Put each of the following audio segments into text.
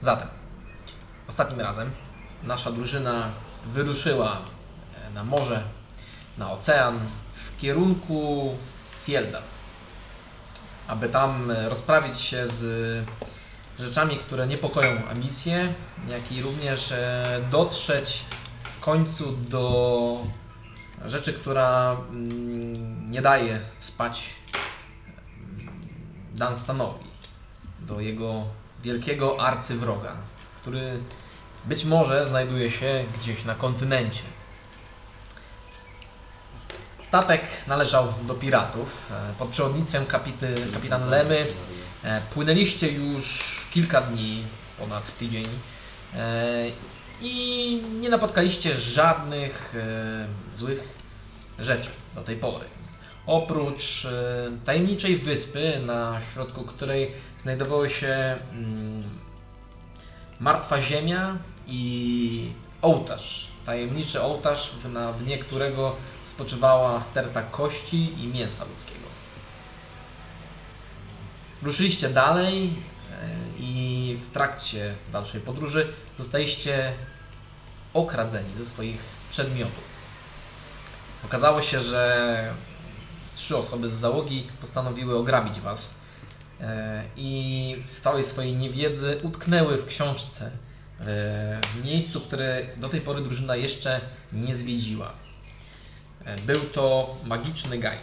Zatem, ostatnim razem nasza drużyna wyruszyła e, na morze, na ocean w kierunku Fielda, aby tam e, rozprawić się z rzeczami, które niepokoją Amisję, jak i również e, dotrzeć w końcu do rzeczy, która mm, nie daje spać mm, Dunstanowi, do jego wielkiego arcywroga, który być może znajduje się gdzieś na kontynencie. Statek należał do piratów e, pod przewodnictwem kapity, kapitan Lemy. E, Płynęliście już kilka dni, ponad tydzień e, i nie napotkaliście żadnych e, złych rzeczy do tej pory. Oprócz e, tajemniczej wyspy, na środku której znajdowały się mm, martwa ziemia i ołtarz. Tajemniczy ołtarz, w- na dnie którego spoczywała sterta kości i mięsa ludzkiego. Ruszyliście dalej e, i w trakcie dalszej podróży zostaliście okradzeni ze swoich przedmiotów. Okazało się, że trzy osoby z załogi postanowiły ograbić was e, i w całej swojej niewiedzy utknęły w książce e, w miejscu, które do tej pory drużyna jeszcze nie zwiedziła. E, Był to magiczny gaj.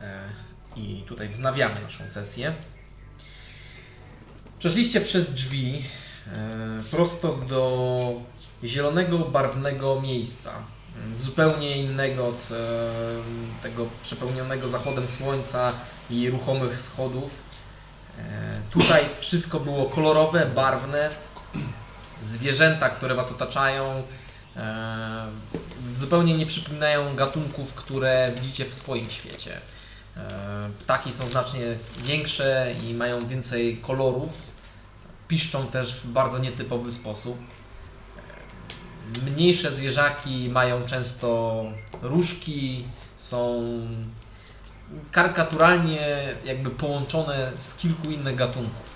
E, i tutaj wznawiamy naszą sesję. Przeszliście przez drzwi e, prosto do zielonego, barwnego miejsca. Mm, Zupełnie innego od e, tego przepełnionego zachodem słońca i ruchomych schodów. E, Tutaj wszystko było kolorowe, barwne. Zwierzęta, które Was otaczają, e, zupełnie nie przypominają gatunków, które widzicie w swoim świecie. E, Ptaki są znacznie większe i mają więcej kolorów. Piszczą też w bardzo nietypowy sposób. E, Mniejsze zwierzaki mają często różki, są karykaturalnie jakby połączone z kilku innych gatunków.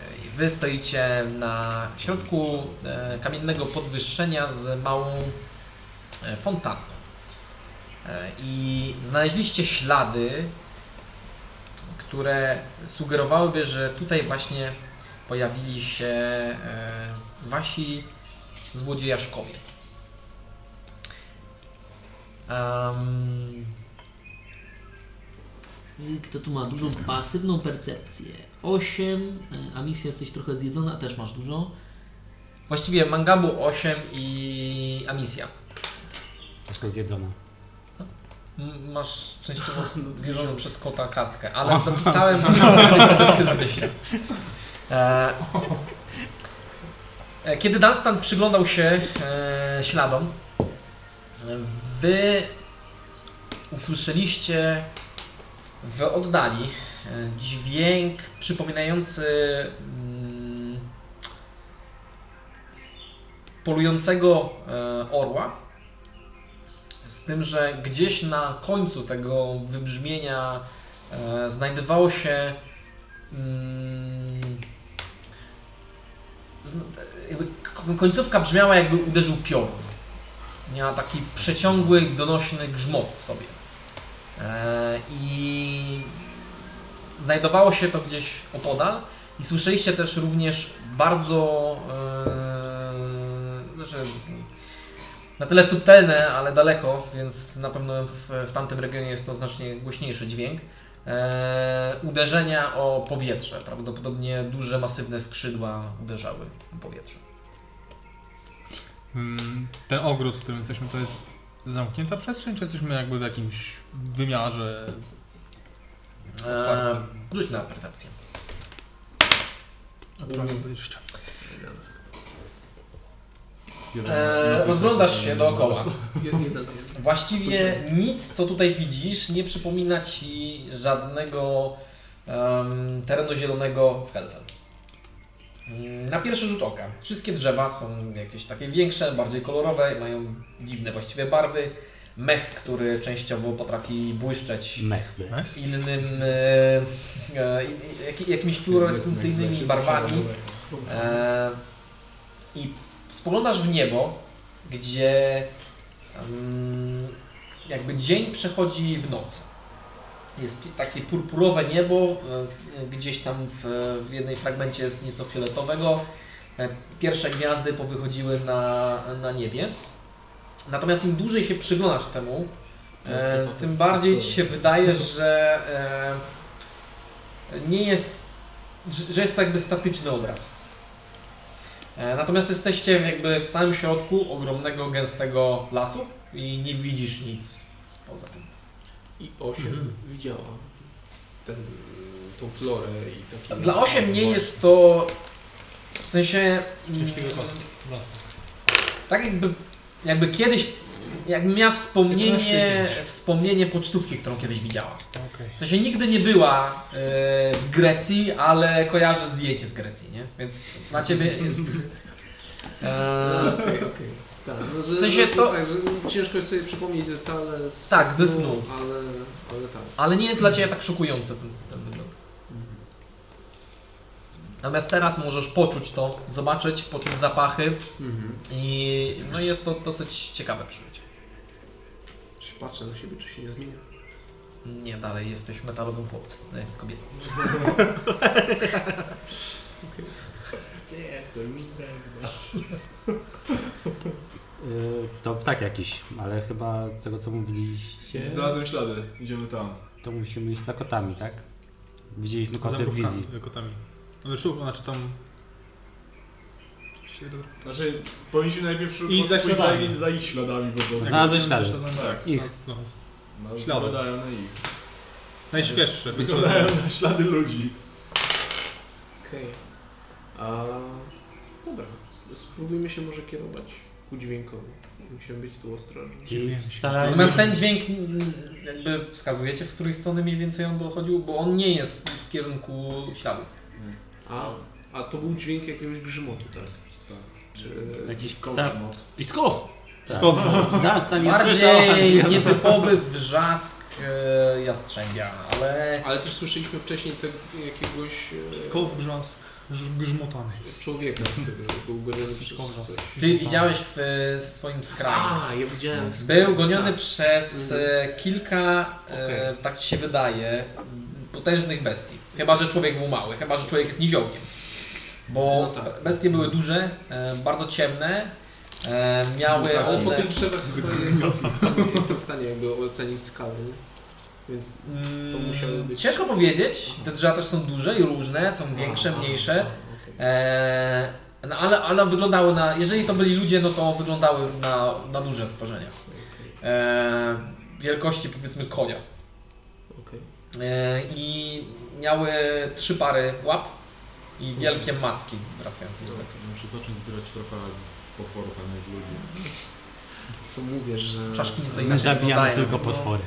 E, i Wy stoicie na środku e, kamiennego podwyższenia z małą e, fontanną. E, I znaleźliście ślady, które sugerowałyby, że tutaj właśnie pojawili się e, wasi złodziejaszkowie. Em, Y, Kto tu ma dużą pasywną percepcję? 8, a misja jesteś trochę zjedzona, też masz dużo. właściwie Mangabu 8 i Amisja. Troszkę zjedzona. M- Masz częściowo zjeżdżoną przez kota kartkę, ale dopisałem na pozytywnie. E, e, Kiedy Dunstan przyglądał się e, śladom, e, wy usłyszeliście w oddali e, dźwięk przypominający mm, polującego e, orła. Z tym, że gdzieś na końcu tego wybrzmienia e, znajdowało się. Mm, zn- jakby k- końcówka brzmiała, jakby uderzył piorun. Miała taki przeciągły, donośny grzmot w sobie. E, I znajdowało się to gdzieś opodal. I słyszeliście też również bardzo. E, znaczy, na tyle subtelne, ale daleko, więc na pewno w, w tamtym regionie jest to znacznie głośniejszy dźwięk. E, uderzenia o powietrze. Prawdopodobnie duże, masywne skrzydła uderzały o powietrze. Mm, Ten ogród, w którym jesteśmy, to jest zamknięta przestrzeń, czy jesteśmy jakby w jakimś wymiarze? E, rzuć na percepcję. Prawie 20. E, rozglądasz się dookoła. Jest jeden, jeden. Właściwie nic, co tutaj widzisz, nie przypomina ci żadnego em, terenu zielonego w Helfen. Mm, Na pierwszy rzut oka. Wszystkie drzewa są jakieś takie większe, bardziej kolorowe, mają dziwne właściwie barwy. mech, który częściowo potrafi błyszczeć Mech. by. Tak? innym, e, e, i- jak, jakimiś fluorescencyjnymi barwami. E, I spoglądasz w niebo, gdzie mm, jakby dzień przechodzi w noc. Jest pi- takie purpurowe niebo, e, gdzieś tam w, w jednej fragmencie jest nieco fioletowego. E, Pierwsze gwiazdy powychodziły na, na niebie. Natomiast im dłużej się przyglądasz temu, e, tym bardziej ci się wydaje, że e, nie jest, że- że jest to jakby statyczny obraz. E, Natomiast jesteście jakby w samym środku ogromnego, gęstego lasu i nie widzisz nic poza tym. I 8 Mhm. widziała ten, tą florę i taki... Dla 8 nie jest to w sensie Szczęśliwy mm, los. tak jakby, jakby kiedyś jakbym miała wspomnienie, 14 wspomnienie pocztówki, którą kiedyś widziała. Okej. W sensie nigdy nie była e, w Grecji, ale kojarzę zdjęcie z Grecji, nie? Więc dla ciebie jest... A, E, Okej, okej. Tak, no, że, W sensie że to- Tak, że ciężko jest sobie przypomnieć detale z Tak, ze snu. Ale, ale tak. Ale nie jest dla Ciebie tak szokujący ten, ten wygląd. Natomiast teraz możesz poczuć to, zobaczyć, poczuć zapachy Mhm. i no jest to dosyć ciekawe przeżycie. Czy patrzę na siebie, czy się nie zmienia? Nie, dalej jesteś metalowym chłopcem, nie, kobietą. Nie jestem, już Y, To ptak jakiś, ale chyba z tego co mówiliście, Znalazłem ślady, idziemy tam. to musimy iść za kotami, tak? Widzieliśmy koty w Zamkówkami, wizji. Kotami. No, szuk, znaczy tam... Się dobra. Znaczy, powinniśmy najpierw szukać I za pójść śladami. za- za ich śladami po prostu. Znalazłeś ślady. Tak. Ich. No, no. No, Ślady. Wyglądają na ich. Najświeższe. Wyglądają na ślady ludzi. Okej. A... Dobra. Spróbujmy się może kierować ku dźwiękowi. Musimy być tu ostrożni. I Natomiast starajmy ten dźwięk mm, jakby wskazujecie, w której strony mniej więcej on dochodził, bo on nie jest z kierunku śladu. A, a to był dźwięk jakiegoś grzmotu, tak? Tak. Czy... jakiś ptak. Skoczmot. Pisko! Tak. Skąd? Nas tam nie Bardziej słyszał. nietypowy wrzask e, jastrzębia, ale Ale też słyszeliśmy wcześniej te, jakiegoś e, Skow grzask. grz- Grzmotany. człowieka, który był goniony przez Skow grzask. coś. ty widziałeś w e, swoim skraju. A, ja widziałem. No. Był skok. goniony Tak. Mhm. przez e, kilka, e, Okej. tak ci się wydaje, potężnych bestii. Chyba, że człowiek był mały, chyba, że człowiek jest niziołkiem. Bo No tak. bestie były duże, e, bardzo ciemne, e, miały Ale po one... tych drzewach chyba jest, nie jestem w stanie jakby ocenić skalę, nie? Więc Mm, to musiały być... Ciężko powiedzieć, te drzewa też są duże i różne, są większe, A, a, mniejsze. a, okej. E, no ale, ale wyglądały na, jeżeli to byli ludzie, no to wyglądały na, na duże stworzenia. Okej, E, wielkości powiedzmy konia. okej. E, i miały trzy pary łap i wielkie macki wrastające z pleców. Muszę zacząć zbierać trofea z potworów, a nie z ludzi. To mówię, że... No. Czaszki nieco My inaczej zabijamy wyglądają. tylko No, potwory.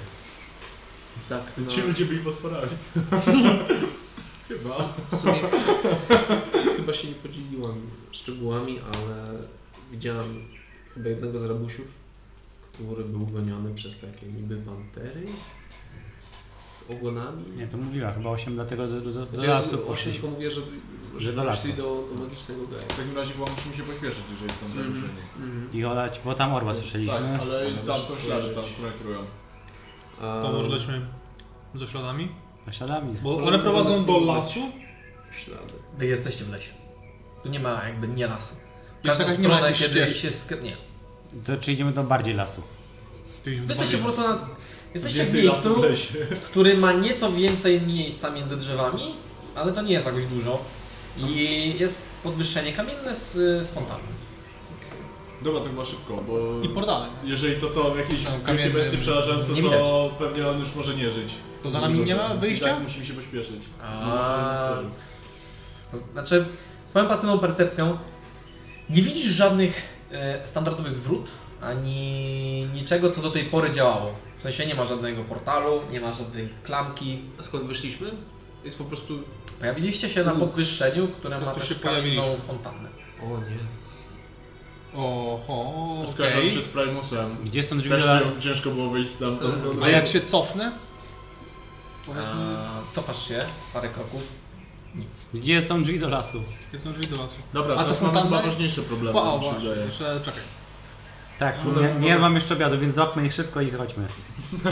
Tak, no, Ci ludzie byli potworami. Chyba. w sumie chyba się nie podzieliłam szczegółami, ale widziałam chyba jednego z rabusiów, który był goniony przez takie niby pantery z ogonami. Nie, to mówiła chyba 8, dlatego do, do, do, do Znaczy, lasu o czym poszliśmy. tylko mówię, żeby, Że żeby do lasu. poszli do, do magicznego gaja. W takim razie chyba musimy się pośpieszyć, jeżeli są Mhm. Mhm, zagrożeni. I olać, bo tam orła Tak, słyszeliśmy. ale tam są ślady, tam które kierują. A, To może lećmy ze śladami? A śladami. Bo Może- one może prowadzą do spróbować. lasu. Ślady. Wy jesteście w lesie. Tu nie ma jakby nie lasu. Jest Każdą jakaś- nie ma stronę, jakiejś kiedy ścieżki. się sk... Nie. To czy idziemy do bardziej lasu? Tu idziemy Wy jesteście po bardziej. prostu na... Jesteście w Więcej lasów miejscu, w lesie. który ma nieco więcej miejsca między drzewami, ale to nie jest jakoś dużo. I jest podwyższenie kamienne z, z fontanem. Dobra, tak ma szybko, bo... I portale. Jeżeli to są jakieś Tam wielkie kamienny- bestie przerażające, nie widać. to pewnie on już może nie żyć. To za nami nie ma Więc i wyjścia? Tak, musimy się pośpieszyć. A. Nie może nie przeżyć. To znaczy, swoją pasywną percepcją nie widzisz żadnych e, standardowych wrót, ani niczego, co do tej pory działało. W sensie nie ma żadnego portalu, nie ma żadnej klamki. A skąd wyszliśmy? Jest po prostu... Pojawiliście się na podwyższeniu, które ma prostu też się pojawiliśmy. kamienną fontannę. O nie. Oho, Skracam okej. się z Primusem. Gdzie są drzwi Też do... cię- ciężko było wyjść stamtąd. A A jak się cofnę? Powiedzmy, A, cofasz się parę kroków. Nic. Gdzie są drzwi do lasu? jakie są drzwi do lasu. Dobra, A to teraz mamy fontanny? chyba ważniejsze problemy, O, mi się właśnie, wydaje. jeszcze czekaj. Tak, No, nie, no, nie no. mam jeszcze obiadu, więc złapmy ich szybko i chodźmy. No,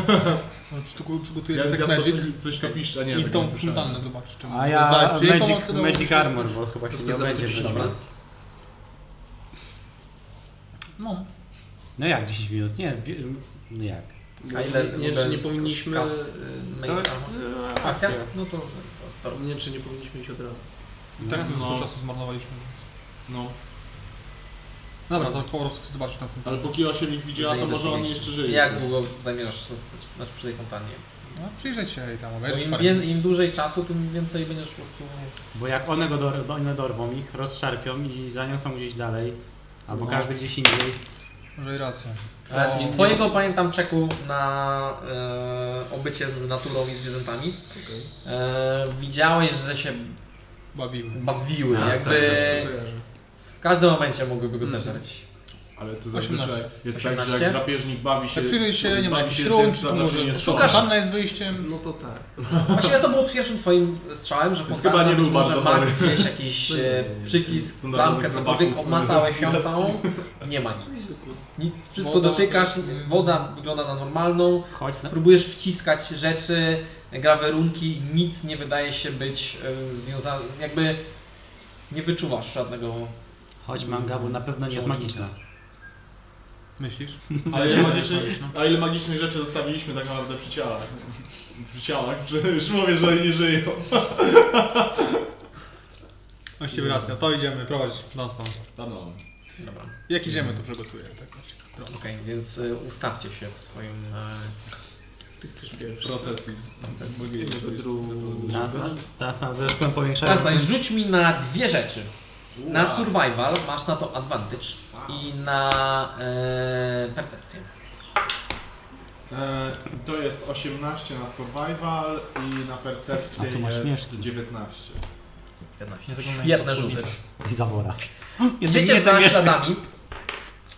przytu- Przygotuję Ja tak tak magic coś, coś to piszcze, nie i tego tą nie słyszałem. fontannę zobaczę. czemu. A ja Zajdzie i Magic, pomocy magic dołączę. Armor, bo chyba się nie Rozpędzamy obejdzie. to bez 10 niej. minut. No, No jak 10 minut? Nie, bi- no jak? A ile nie, nie, w wiem, ogóle czy nie z- powinniśmy... cast, y, To, Tak? mage armor? e, Akcja? akcja. No to, to, to Nie wiem, czy nie powinniśmy iść od razu. teraz już No. dużo czasu zmarnowaliśmy. więc- No. Dobra, to po prostu zobaczę tą Ale fontannę. póki Osiem ich widziała, to może on jeszcze żyje. Jak długo zamierzasz zostać znaczy przy tej fontannie? No, przyjrzeć się jej tam, Bo obejrzeć im, parę wie, minut. Im dłużej czasu, tym więcej będziesz po prostu... Bo jak one go dor- one dorwą ich, rozszarpią i zaniosą gdzieś dalej, albo No. każdy gdzieś indziej. Może i rację. Ale Z O. twojego pamiętam czeku na e, obycie z naturą i zwierzętami Okej. e, widziałeś, że się Bawiły. bawiły, A, jakby To kojarzę. w każdym momencie mogłyby go zażreć. Ale to 18. zazwyczaj jest tak, że 18? jak drapieżnik bawi się... Jak przyjrzeć Tak się, nie ma bawi jakichś się run, rund, czy to to znaczy może... jest Szukasz? szok. Panna jest wyjściem. No to tak. To Właściwie to było pierwszym twoim strzałem, że Więc fontanna chyba nie być był może bardzo ma dobry. gdzieś jakiś No nie, e, nie, nie. przycisk, Standardowy lampkę, cokolwiek, chłopaków. obmacałeś ją całą, nie ma nic. Nic, wszystko Woda- dotykasz, woda wygląda na normalną, Chodź na... Próbujesz wciskać rzeczy, grawerunki, nic nie wydaje się być y, związane, jakby nie wyczuwasz żadnego. Chodź manga, bo na pewno nie jest magiczna. Myślisz? A ile, magicznych, no. a ile magicznych rzeczy zostawiliśmy tak naprawdę przy ciałach? Przy ciałach, że już mówię, że nie żyją. Właściwie racja, to idziemy, prowadź nas tam. A no. Dobra, Jak idziemy, to przygotuję. Tak, właśnie. okej, więc y, ustawcie się w swoim. e, Ty chcesz pierwszy. Procesji. Procesji. Boginie, Może drugi. Teraz na, teraz na zresztą powiększają. Teraz daj, rzuć mi na dwie rzeczy. Na survival masz na to advantage i na e, percepcję. E, to jest 18 na survival i na percepcję A, tu masz jest mieszki. 19. Świetne rzuty. I zawora. Idziecie za śladami.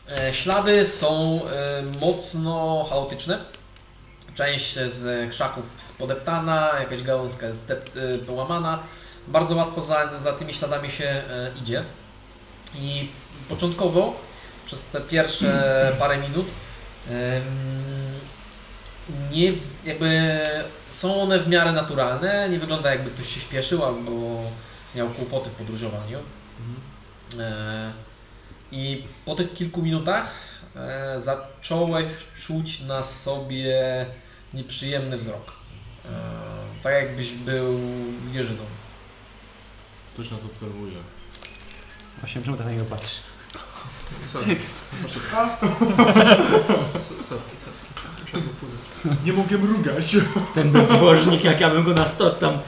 E, Ślady są e, mocno chaotyczne. Część z krzaków jest podeptana, jakaś gałązka jest zdep- e, połamana. Bardzo łatwo za, za tymi śladami się e, idzie. I początkowo, przez te pierwsze parę minut, em, nie, jakby są one w miarę naturalne. Nie wygląda jakby ktoś się śpieszył albo miał kłopoty w podróżowaniu. E, I po tych kilku minutach e, zacząłeś czuć na sobie nieprzyjemny wzrok. E, Tak jakbyś był zwierzyną. Ktoś nas obserwuje. Osiem, czemu tak na niego patrzysz? Sorry. So- so- Sorry, sorry. Musiałem upłynąć. Nie mogę mrugać. Ten bezbożnik, jak ja bym go na stos tam...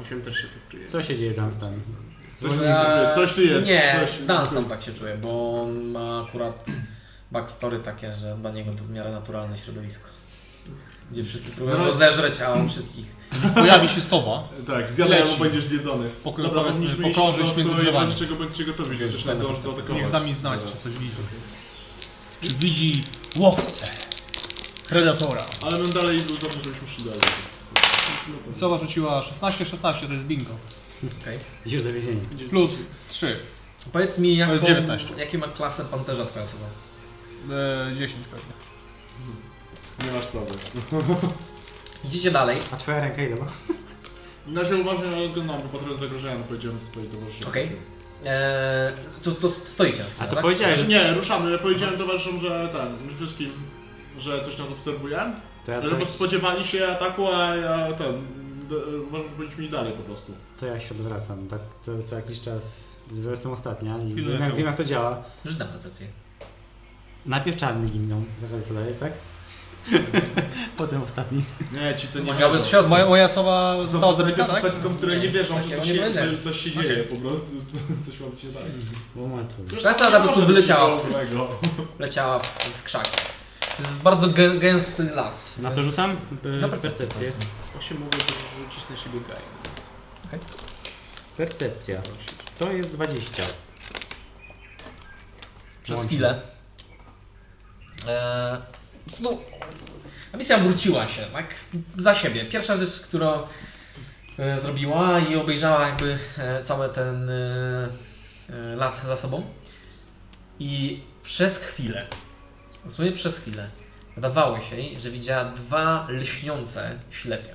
Osiem też się tak czuje. Co się dzieje tam z tam? Coś, ja... coś tu jest. Nie, coś, Dans tam jest. tak się czuje, bo on ma akurat backstory takie, że dla niego to w miarę naturalne środowisko. Gdzie wszyscy próbują No. go zeżreć, a on wszystkich. Pojawi się sowa. Tak, zjadaj, Leci. bo będziesz zjedzony. Pokój Dobra, powiedzmy, powinniśmy iść pokrążyć po prostu między i drzewami. wobec czego będziecie gotowi, że coś nas założy zaatakować. Niech da mi znać, czy coś widzi. Czy widzi łowcę? Predatora. Ale bym dalej był dobrze, żebyśmy szli dalej. Sowa rzuciła 16, 16, to jest bingo. Okej. Idziesz do więzienia. Plus 3, Powiedz mi, jaką, jest 19. jakie ma klasę pancerza twoja osoba? e, 10 pewnie. Nie masz sobie. Idziecie dalej. A twoja ręka ile ma? Na razie uważnie rozglądam, bo patrzę zagrożenia, no powiedziałem do swojej towarzyszy. Okej. Eee, co to stoicie? na chwilę, A to tak? powiedziałeś, że... Nie, ruszamy. Ja Powiedziałem towarzyszom, że ten, że wszystkim, że coś nas obserwuje. To ja, Że po prostu to, spodziewali się ataku, a ja ten, d- uważam, że powinniśmy iść dalej po prostu. to ja się odwracam, tak co, co jakiś czas. Bo jestem ostatnia i Chwilę wiem jak, lepiej. wiem jak to działa. Rzuć na percepcję. Najpierw czarni giną, zaraz co jest, tak? Potem ostatni. Nie, ci co nie Magia bez wierzą. środka. Moja, moja sowa została Są zabita, takie tak? postaci, są, które nie wierzą, że Takiego coś tak, nie się, powiedziałem. że coś się dzieje po prostu, coś ma być nie tak. Momentu. Szansa, żeby po prostu Może wyleciała. być nic złego. leciała w, w krzak. To jest bardzo gę, gęsty las. Na co więc- rzucam? E, Na percepcję. percepcję. powiedzmy. Osiem mogę też rzucić na siebie gajem. więc- Okej. Percepcja. To jest 20. Przez Łącznie. chwilę. E, co do, misja wróciła się, tak? Za siebie. Pierwsza rzecz, którą e, zrobiła i obejrzała jakby e, cały ten e, e, las za sobą. I przez chwilę, dosłownie przez chwilę, wydawało się jej, że widziała dwa lśniące ślepia.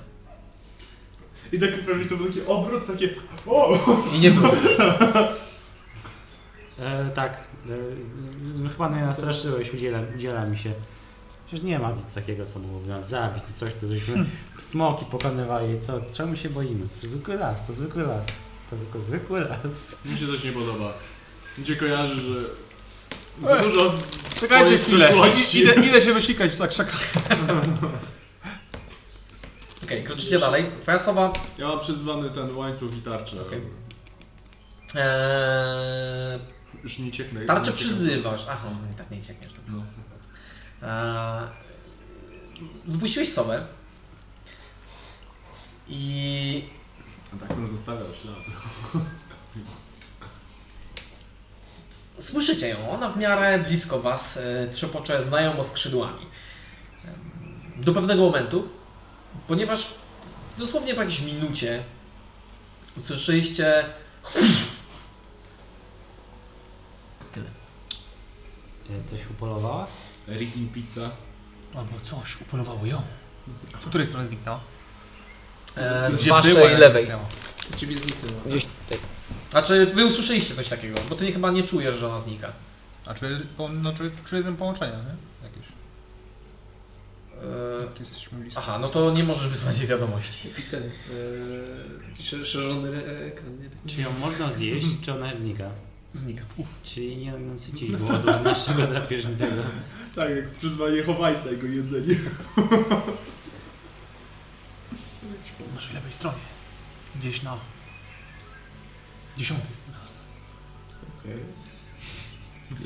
I tak pewnie to był taki obrót, takie o! I nie było. E, tak. E, chyba mnie nastraszyłeś, udziela, udziela mi się. Przecież nie ma nic takiego, co mogłoby nas zabić, coś, co żeśmy smoki pokonywali. Co, czemu się boimy? To zwykły las, to zwykły las. To tylko zwykły las. Mi się coś nie podoba. Mi się kojarzy, że za dużo Czekajcie twojej chwilę. przeszłości. Idę, idę się wysikać tak z krzaka. Okej, kroczycie dalej. Twoja sowa Ja mam przyzwany ten łańcuch i tarczę. Okej. e, Już nie cieknę. Tarczę nie cieknę. przyzywasz. Aha, no i tak nie ciekniesz. to było. Eee, Wypuściłeś sobę. I A tak bym zostawiał ślad. słyszycie ją. Ona w miarę blisko was e, trzepocze znajomo skrzydłami. Em, Do pewnego momentu, ponieważ dosłownie po jakiejś minucie usłyszeliście. Tyle. E, coś upolowała? Rick i pizza. Albo coś, upolowało ją. Z której strony zniknęła? E, Z Gdzie była, waszej jak lewej. zniknęła. Ciebie zniknęła. Gdzieś tutaj. Znaczy, wy usłyszeliście coś takiego, bo ty nie- chyba nie czujesz, że ona znika. A czy, po- no, czy, czy jestem połączenia, nie? Jakieś. Eee, Jak Tak, jesteśmy blisko. aha, no to nie możesz wysłać jej wiadomości. I ten, e, taki szer- szerzony re- ekran, nie? Tak. Czy ją można zjeść, czy ona znika? No. Znika. Czyli nie nasycili głodu naszego drapieżnego. Tak, jak przyzwanie chowajca jego jedzenie. Po naszej lewej stronie. Gdzieś na... Dziesiąty. raz. Okej.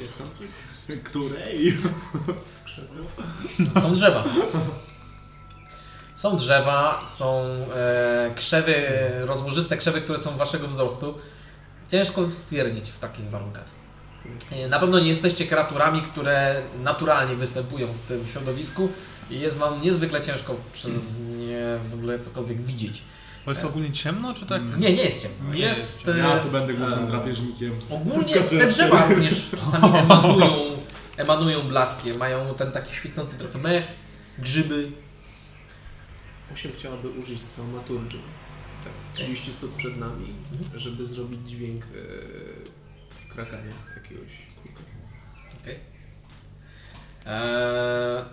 Jest tam coś? Której? Są drzewa. Są drzewa, są e, krzewy, rozłożyste krzewy, które są waszego wzrostu. Ciężko stwierdzić w takich warunkach. E, Na pewno nie jesteście kreaturami, które naturalnie występują w tym środowisku i jest wam niezwykle ciężko przez nie w ogóle cokolwiek widzieć. Bo jest ogólnie ciemno, czy tak? E. Nie, nie jest ciemno. Nie jest Jest, ciemno. Ja e, tu będę głównym drapieżnikiem. Ogólnie Skaczę te na drzewa również czasami emanują, emanują blaskiem, mają ten taki świecący trochę mech, grzyby. Osiem chciałaby użyć taumaturgii. Tak, 30 stóp przed nami, Mhm. żeby zrobić dźwięk e, krakania jakiegoś. Okej. Eee,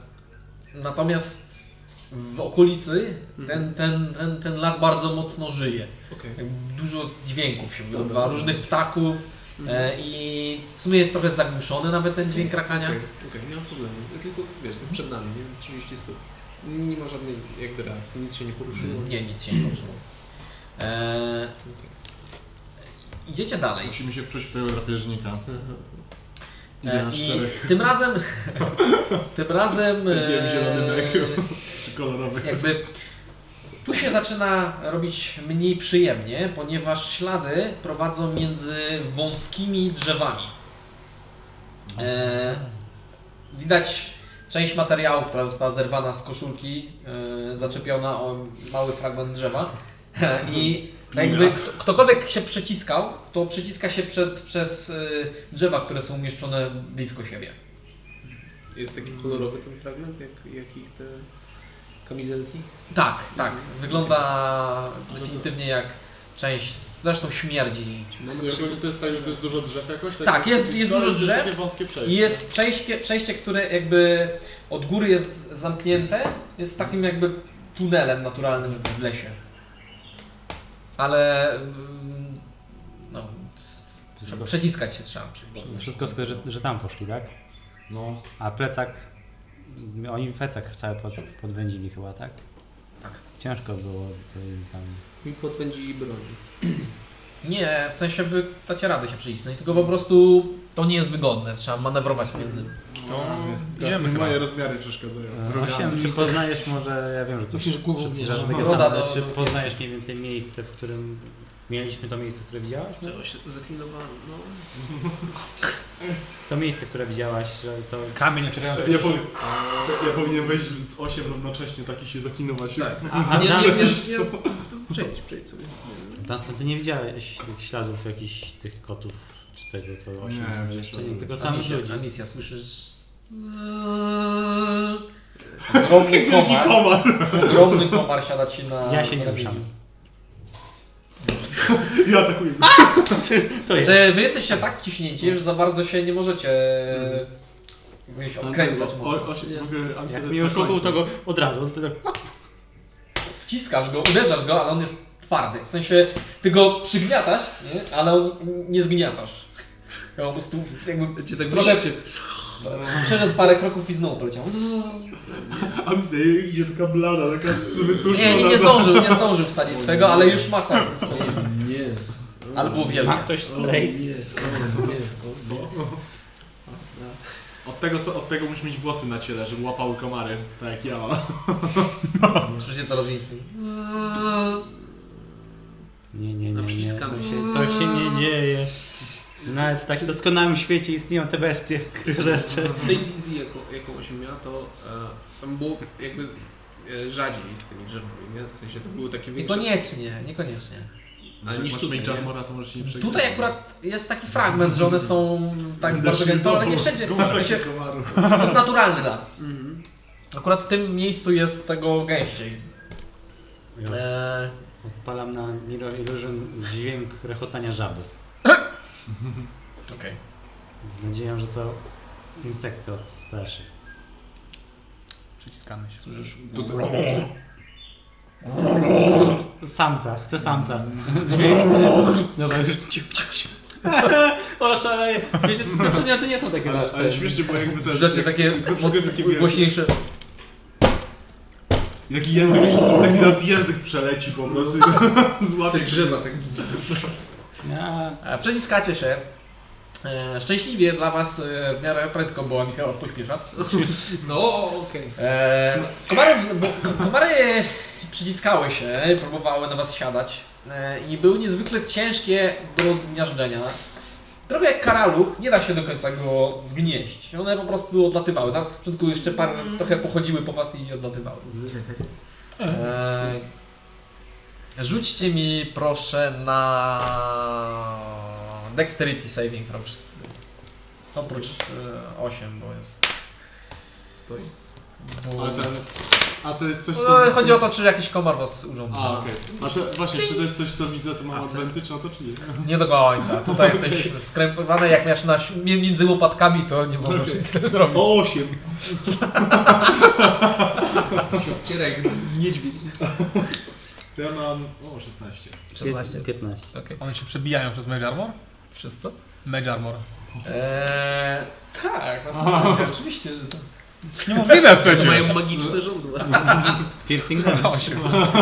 natomiast w okolicy Mhm. ten, ten, ten, ten las bardzo mocno żyje. Okej. Jakby Dużo dźwięków się Dobra. wydobywa, różnych ptaków e, Mhm. i w sumie jest trochę zagłuszony nawet ten dźwięk krakania. Okej, okej, nie ma problemu. Ja Tylko wiesz, no przed nami, nie? 30 stóp. Nie ma żadnej jakby reakcji, nic się nie poruszyło. Mm, Mhm. Nie, nic się nie poruszyło. Eee, idziecie dalej. Musimy się wczuć w tego drapieżnika. Aha. Idę na E, czterech. tym razem, tym razem, Wiem, zielony e, mech. Czy kolorowy? jakby tu się zaczyna robić mniej przyjemnie, ponieważ ślady prowadzą między wąskimi drzewami. E, widać część materiału, która została zerwana z koszulki, e, zaczepiona o mały fragment drzewa. I tak jakby kto- ktokolwiek się przyciskał, to przyciska się przed, przez e, drzewa, które są umieszczone blisko siebie. Jest taki kolorowy ten fragment, jak, jak ich te kamizelki? Tak, tak. Wygląda to- definitywnie jak część, zresztą śmierdzi. to jest tak, że to jest dużo drzew jakoś? Tak, jest- jest dużo To drzew. Takie wąskie przejście. I Jest przejście, przejście, które jakby od góry jest zamknięte, jest takim jakby tunelem naturalnym w lesie. Ale mm, no, Wszystko- przeciskać się trzeba. Wszystko wskazuje, że, że tam poszli, tak? No. A plecak, oni plecak cały pod, podwędzili chyba, tak? Tak. Ciężko było tutaj tam. Mi podpędzili broni. Nie, w sensie wy dacie radę się przycisnąć, tylko po prostu to nie jest wygodne, trzeba manewrować między. To Idziemy idziemy chyba. Moje rozmiary przeszkadzają. E, Osiem, czy poznajesz może, ja wiem, że tu Musisz głową wszystkie zmierzyć. żadnego Roda samego, do- czy do- poznajesz mniej więcej miejsce, w którym Mieliśmy to miejsce, które widziałaś? Czego się zaklinowałem, no. To miejsce, które widziałaś, że to kamień Ja, powiem, ja powinien wejść z 8 równocześnie, taki się zaklinować. Tak. A, a nie, tam, nie, nie, nie, to przejdź, przejdź sobie. tam stąd ty nie widziałeś tych śladów jakichś tych kotów czy tego co osiem, Nie, jeszcze nie, nie, tylko A samych misja, ludzi. a misja słyszysz. Ogromny komar. komar! Ogromny komar siada ci na. Ja się nie na ruszam. Ja atakuję. To jest. Czy wy jesteście tak wciśnięci, że za bardzo się nie możecie jakoś odkręcać O- mocno. No, o- osiem- mogę- Jak Amsterdam mi jest na oszukał, końcu. to go od razu. on To tak, Wciskasz go, uderzasz go, ale on jest twardy. W sensie ty go przygniatasz, nie? ale on nie zgniatasz. Ja po prostu jakby Cię tak Trochę- Trochę... się. przeszedł parę kroków i znowu poleciał. Amsterdam idzie taka blada, taka wysuszona. Nie, nie, nie zdążył, nie zdążył wsadzić swego, ale już ma tam swoje. Nie. O, Ale było wielkie. ma ktoś O, slay? nie, o, nie, o, Co? Od tego, co- od tego musisz mieć włosy na ciele, żeby łapały komary, tak jak ja. Słyszycie coraz więcej. Nie, nie, No, nie, nie. przyciskamy. To się, to się nie dzieje. Nawet w takim doskonałym świecie istnieją te bestie, rzeczy. W tej wizji, jaką, jaką się miała, to e, tam było jakby e, rzadziej z tymi drzewami, nie? W sensie to były takie większe... Niekoniecznie, niekoniecznie. Ale Jak niż masz tutaj, Mage nie? Armora, to możesz nie przejść. Tutaj akurat jest taki fragment, że one są tak bardzo gęsto, ale nie wszędzie. Się, komarów. to jest naturalny las. Mhm. Akurat w tym miejscu jest tego gęściej. No. Ja Eee, Odpalam na Mirror Illusion dźwięk rechotania żaby. Okej. Z nadzieją, że to insekty odstraszy. Przyciskamy się. Słyszysz? Samca, chcę samca. Dźwięk. Dobra, już ciu, ciu, ciu. Oszaleję. Wiesz, te przedmioty nie są takie Ale, nasze. ale śmiesznie, bo jakby też... Rzeczy takie jak- to wszystko jest takie, wiesz, głośniejsze. Jaki język, taki zaraz język przeleci po prostu. No. Złapie Te drzewa tak... Ja- E, Przeciskacie się. E, Szczęśliwie dla was e, w miarę prędko była misja was pośpiesza. No, okej. E, komary, w- bo, ko- komary przyciskały się, próbowały na was siadać e, i były niezwykle ciężkie do zmiażdżenia. Trochę jak karaluch, nie da się do końca go zgnieść. One po prostu odlatywały. Na początku jeszcze parę trochę pochodziły po was i odlatywały. E, rzućcie mi proszę na Dexterity Saving Throw wszyscy. Oprócz e, 8, bo jest... Stoi. Bo... Ale ten... A to jest coś, co... No, chodzi o to, czy jakiś komar was urządza. A, okej. A to właśnie, czy to jest coś, co widzę, to mam A, co? advantage na to, czy nie? Nie do końca. Tutaj jesteś skrępowany, jak masz na, mi- między łopatkami, to nie możesz nic z tym zrobić. O, 8! Cierek, niedźwiedź. To ja mam... O, 16. 16. 15. Okej. One się przebijają przez Mage Armor? Wszystko? Mage Armor. Eee, tak, no to tak, oczywiście, że tak. Niemożliwe To przecież. mają magiczne żądła. Piercing damage. No,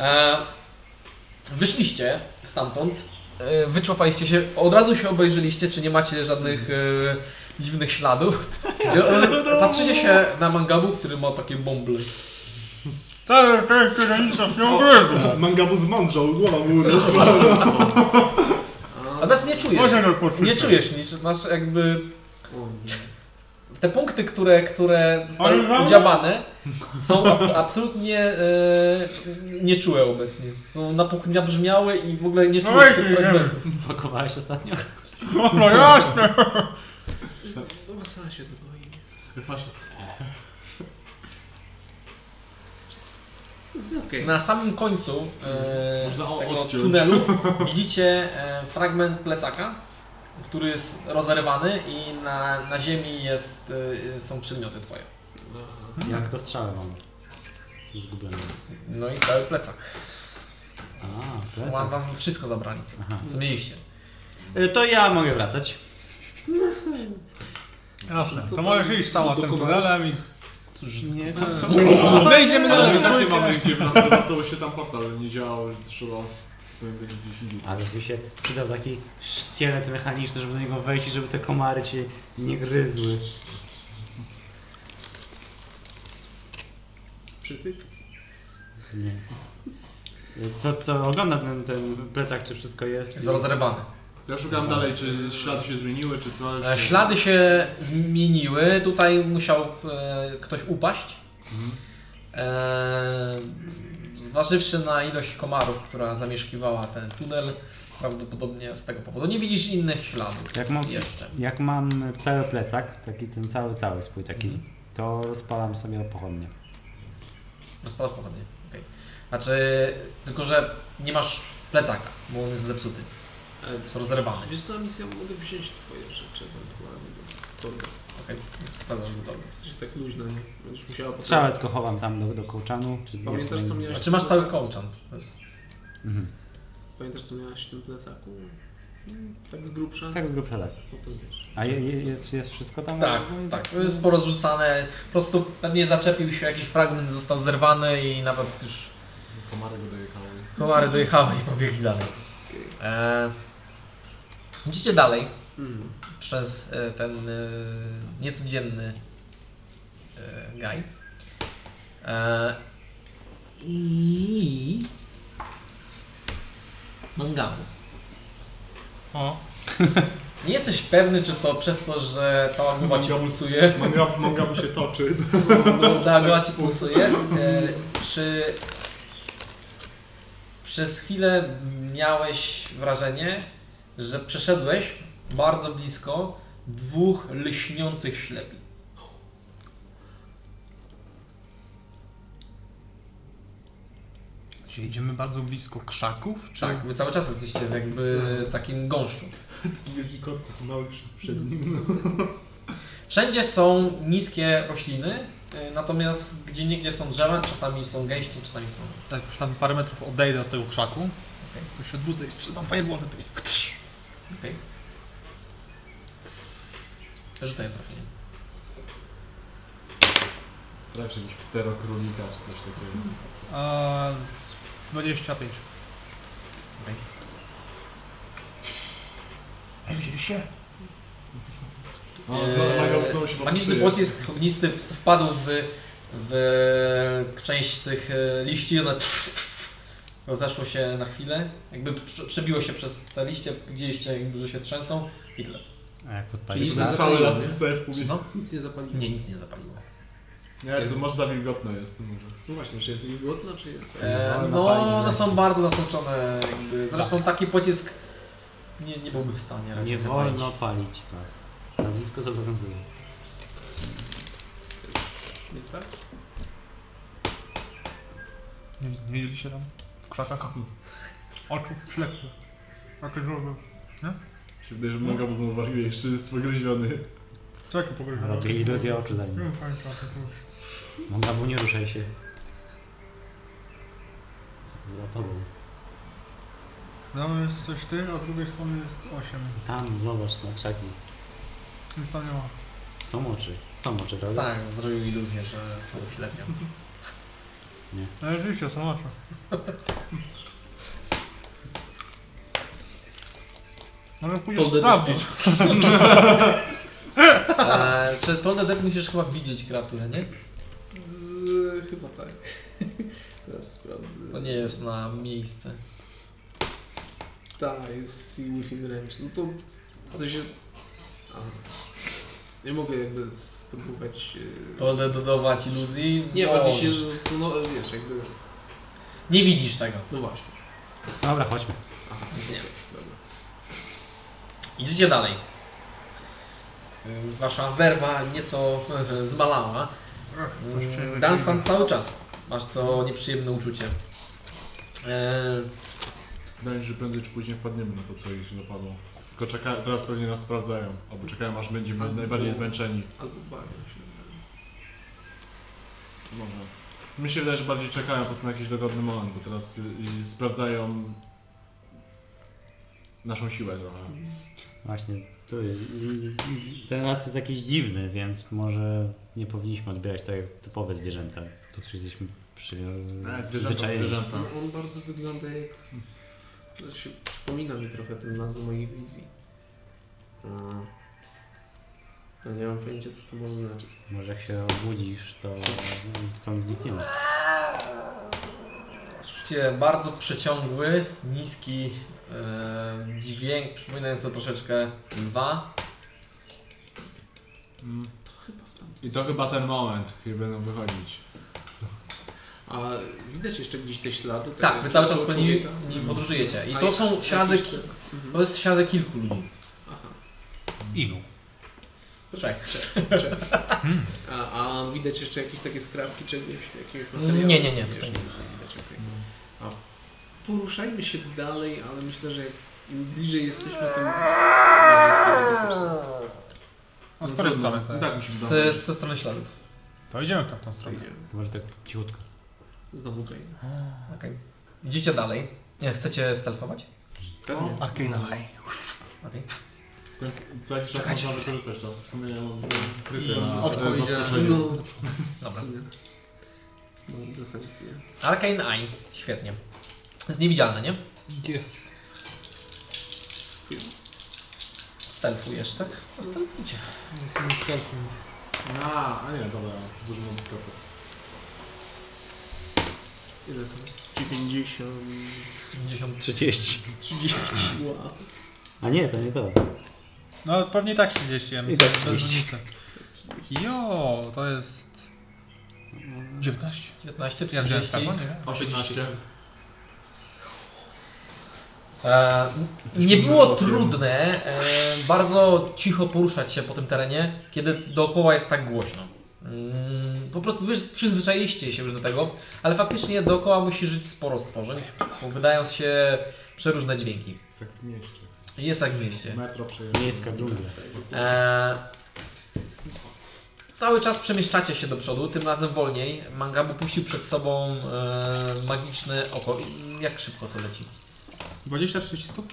Eee, wyszliście stamtąd, eee, wyczłapaliście się, od razu się obejrzeliście, czy nie macie żadnych eee, dziwnych śladów. Eee, patrzycie się na Mangabu, który ma takie bąble. Całe szczęście, że nic nas nie ugryzło. Mangabu zmądrzał, głowa mu urosła. Natomiast nie czujesz, Może nie odpoczynek. czujesz nic, masz jakby O nie. Te punkty, które, które Ale zostały mamy- udziałane, są ab- absolutnie e, nieczułe obecnie. Są napuch- nabrzmiałe i w ogóle nie czułeś Oj, tych nie fragmentów. Pakowałeś ostatnio? No, no jasne. No, Wasana się zboi. Masz Okej. Na samym końcu e, Można o- tego odciąć. tunelu widzicie e, fragment plecaka, który jest rozerwany i na, na ziemi jest, e, są przedmioty twoje. Aha. Jak to strzałę mam? Zgubiony. No i cały plecak. A, Wam, plecak. wam wszystko zabrali, Aha. co mieliście. Y, To ja mogę wracać. Jasne. To To możesz tam- iść sama do tym komara. tunelem i... Nie, tam są... My idziemy Ale na my takie trójkę. mamy, gdzie wracało się tam portal, nie działał, że trzeba jakby gdzieś indziej. Ale by się przydał taki szkielet mechaniczny, żeby do niego wejść i żeby te komary cię nie gryzły. Sprzytyk? Nie. E, To, to ogląda ten, ten plecak, czy wszystko jest. Jest rozrywany. Ja szukam dalej, czy ślady się zmieniły, czy coś. E, Ślady się zmieniły, tutaj musiał e, ktoś upaść. E, zważywszy na ilość komarów, która zamieszkiwała ten tunel, prawdopodobnie z tego powodu. Nie widzisz innych śladów Jak mam, jeszcze. jak mam cały plecak, taki ten cały, cały swój taki, to rozpalam sobie pochodnie. Rozpalasz pochodnie. okej. Znaczy, tylko że nie masz plecaka, bo on jest zepsuty. E, Jest rozerwany. Wiesz co, misja, mogę wziąć twoje rzeczy ewentualnie do torby. Okej, więc wstawiasz do torby. W sensie tak luźno, nie? Będziesz musiała... potem- Strzałę tylko chowam tam do, do kołczanu. Czy Pamiętasz, co miałeś- A czy Znaczy, masz cały kołczan? To jest- Mhm. Pamiętasz co miałaś w tym plecaku? Mm, Tak z grubsza? Tak z grubsza tak. Potem wiesz. A je, je, jest, jest wszystko tam? Tak, tak. To jest porozrzucane. Po prostu pewnie zaczepił się jakiś fragment, został zerwany i nawet już Komary go dojechały. Komary dojechały i pobiegli dalej. E, idziecie dalej Mhm. przez e, ten e, niecodzienny e, gaj. E, I... Mangamu. O, nie jesteś pewny, czy to przez to, że cała głowa ci pulsuje, Manga, manga mu się toczy. cała głowa ci pulsuje, e, czy przez chwilę miałeś wrażenie, że przeszedłeś bardzo blisko dwóch lśniących ślepi. czy idziemy bardzo blisko krzaków? Czy... Tak, wy cały czas jesteście jakby takim gąszczu. Mhm. Taki wielki kot, taki mały krzyk przed nim. no. Wszędzie są niskie rośliny, y, natomiast gdzie niegdzie są drzewa, czasami są gęście, czasami są. Tak, już tam parę metrów odejdę od tego krzaku. Okay. Się odwrócę i strzelam fireballem. Okej. Rzucaj na trafienie. Lepszy niż Pitero Królika czy coś takiego. A, 25. Okej. Ej, widzieliście? O, Eee, No, znowu się Magiczny popsuje. pocisk ognisty wpadł w, w część tych e, liści i one rozeszło się na chwilę. Jakby prze- przebiło się przez te liście, widzieliście, jakby, że się trzęsą i tyle. A jak Czyli podpalisz? za- Cały nie? raz staję w powietrzu. No? Nic nie zapaliło. Nie, nic nie zapaliło. Nie, to może za wilgotno jest. Może. No właśnie, czy jest wilgotno, czy jest... tak? E, No, no, napalili one nas. są bardzo nasączone. Jakby. Zresztą taki pocisk nie, Tak. nie byłby w stanie raczej Nie zapalić. wolno palić nas. Nazwisko zobowiązuje. Nie tak? Nie, nie widzieliście tam? W krzakach? Oczu ślepły. Oczy żółwe. Się wydaje, że manga mu znowu wariuje, jeszcze jest pogryziony. Co jak pogryzłem? Robię iluzję oczu za nim. Nie pamiętam. to już. Mogę, bo nie ruszaj się. Za tobą. Tam jest coś ty, a z drugiej strony jest 8. Tam, zobacz na krzaki. Nic tam nie ma. Są oczy. Są oczy, prawda? Tak, zrobił iluzję, że są ślepia. No rzeczywiście, są oczy. Może To pójdę detektyw. sprawdzić. E, czy to DD musisz chyba widzieć kreaturę, nie? Z, chyba tak. Teraz sprawdzę. To nie jest na miejsce. Ta, jest Sea Within Range. No to w sensie... Aha. Nie mogę jakby spróbować... e, To DD dodawać iluzji? Nie, Możesz. bardziej się zastanowię, no, wiesz, jakby... Nie widzisz tego. No właśnie. Dobra, chodźmy. Aha, Nic nie. okej, Dobra. Idziecie dalej. E, Wasza werwa nieco zmalała. Mm, Dans tam cały czas. Masz to nieprzyjemne uczucie. E, Wydaje mi się, że prędzej czy później wpadniemy na to, co ich się zapadło. Tylko czeka, teraz pewnie nas sprawdzają, albo czekają aż będziemy najbardziej zmęczeni. Albo bawię się. Może. Mi się wydaje, że bardziej czekają po prostu na jakiś dogodny moment, bo teraz y, y, sprawdzają naszą siłę trochę. Właśnie, tu jest. Ten las jest jakiś dziwny, więc może nie powinniśmy odbierać tak jak typowe zwierzęta. Tu już jesteśmy przy... E, zwierzęta, przyzwyczajeni. zwierzęta. No, on bardzo wygląda jak. to Się, przypomina mi trochę ten las z mojej wizji. Mm. No nie mam pojęcia, co to może znaczyć. Może jak się obudzisz, to stąd znikniemy. Słyszycie bardzo przeciągły, niski e, dźwięk, przypominający troszeczkę lwa. Mm. I to chyba ten moment, kiedy będą wychodzić. A widać jeszcze gdzieś te ślady? takie Tak, wy cały czas po nim, człowieka? Mhm. nim podróżujecie. I A to jak- są jakieś ślady, te- Mhm. to jest ślady kilku ludzi. Aha. Ilu? Trzech. A, a widać jeszcze jakieś takie skrawki czegoś, jakiegoś Nie, materiału? nie, nie, nie, No. Wiesz, tutaj nie widać, okej. A poruszajmy się dalej, ale myślę, że jak im bliżej jesteśmy, tym bardziej jest niebezpieczne. A z której strony? Tak. Tak, musimy Z, dążyć. ze strony śladów. To idziemy w tamtą stronę. Idziemy. Może tak cichutko. Znowu Ukraina. Okej. Idziecie dalej. Nie, chcecie stealthować? Tak, Pewnie. Arcana Eye. Okej. Co jakiś czas Czekajcie. można wykorzystać to. W sumie ja mam kryty I na odpo to jest idzie. zaskoczenie. No, w Tak. Dobra. sumie. No Bardzo chętnie. Arcane Eye. Świetnie. Jest niewidzialne, nie? Jest. Swój- Stealthujesz, tak? Co stealthujcie? Jestem stealthem. A, a nie, dobra, dużo mam kapy. Ile to? 90... 50. 30. 30. Wow. A nie, to nie to. No pewnie tak 30, ja I myślę, tak że to 30. różnica. Jo, to jest 19. 19, Ja wziąłem 30. taką, nie? 18. E, nie było trudne e, bardzo cicho poruszać się po tym terenie, kiedy dookoła jest tak głośno. Mm, Po prostu wy przyzwyczailiście się już do tego, ale faktycznie dookoła musi żyć sporo stworzeń, bo wydają się przeróżne dźwięki. Jest jak w mieście. Jest jak w mieście. Metro przejeżdża. Miejska dżungla. E, cały czas przemieszczacie się do przodu, tym razem wolniej. Mangabu puścił przed sobą e, magiczne oko. Jak szybko to leci? 20-30 stóp?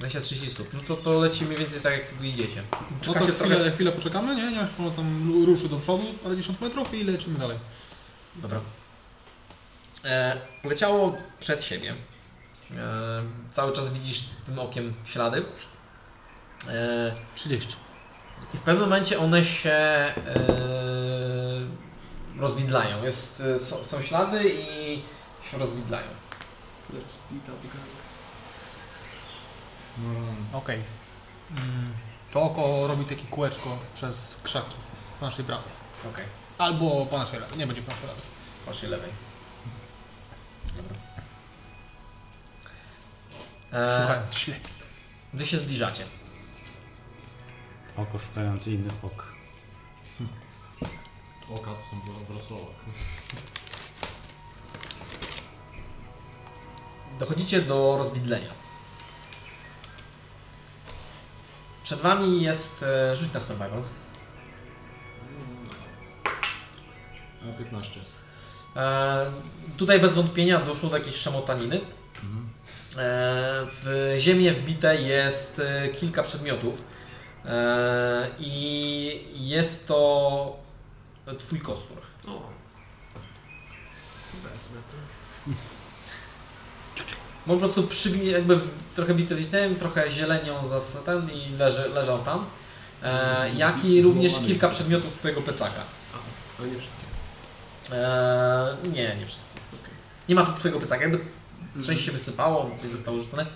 Lesia 30 stóp. No to, to leci mniej więcej tak, jak tu idziecie. No to Czekacie chwilę, trochę. chwilę poczekamy, nie? Niech ono tam lu- ruszy do przodu parę dziesiąt metrów i lecimy dalej. Dobra. E, leciało przed siebie. E, cały czas widzisz tym okiem ślady. E, 30. I w pewnym momencie one się e, rozwidlają. Jest, e, są, są ślady i się rozwidlają. Let's split up gang. No, Okej. Mm, To oko robi takie kółeczko przez krzaki po naszej prawej. Okej, Albo po naszej lewej. Nie będzie po naszej lewej. waszej lewej. Dobra. E, Szukając ślepi. wy się zbliżacie. Oko szukające innych ok. Oka to są w Wrocława. Dochodzicie do rozbidlenia. Przed wami jest e, rzut na survival. A 15. E, tutaj bez wątpienia doszło do jakiejś szamotaniny. E, w ziemię wbite jest e, kilka przedmiotów e, i jest to twój kostur. O. Wezmę to. Bo po prostu przygni, jakby w- trochę bite witem, trochę zielenią za ten i leży, leżał tam. E, jak i również Mhm. Złamany. kilka przedmiotów z twojego plecaka. Aha, ale nie wszystkie. Eee, nie, nie wszystkie. Okej. Nie ma tu twojego plecaka, jakby Mhm. coś się wysypało, coś zostało rzucone.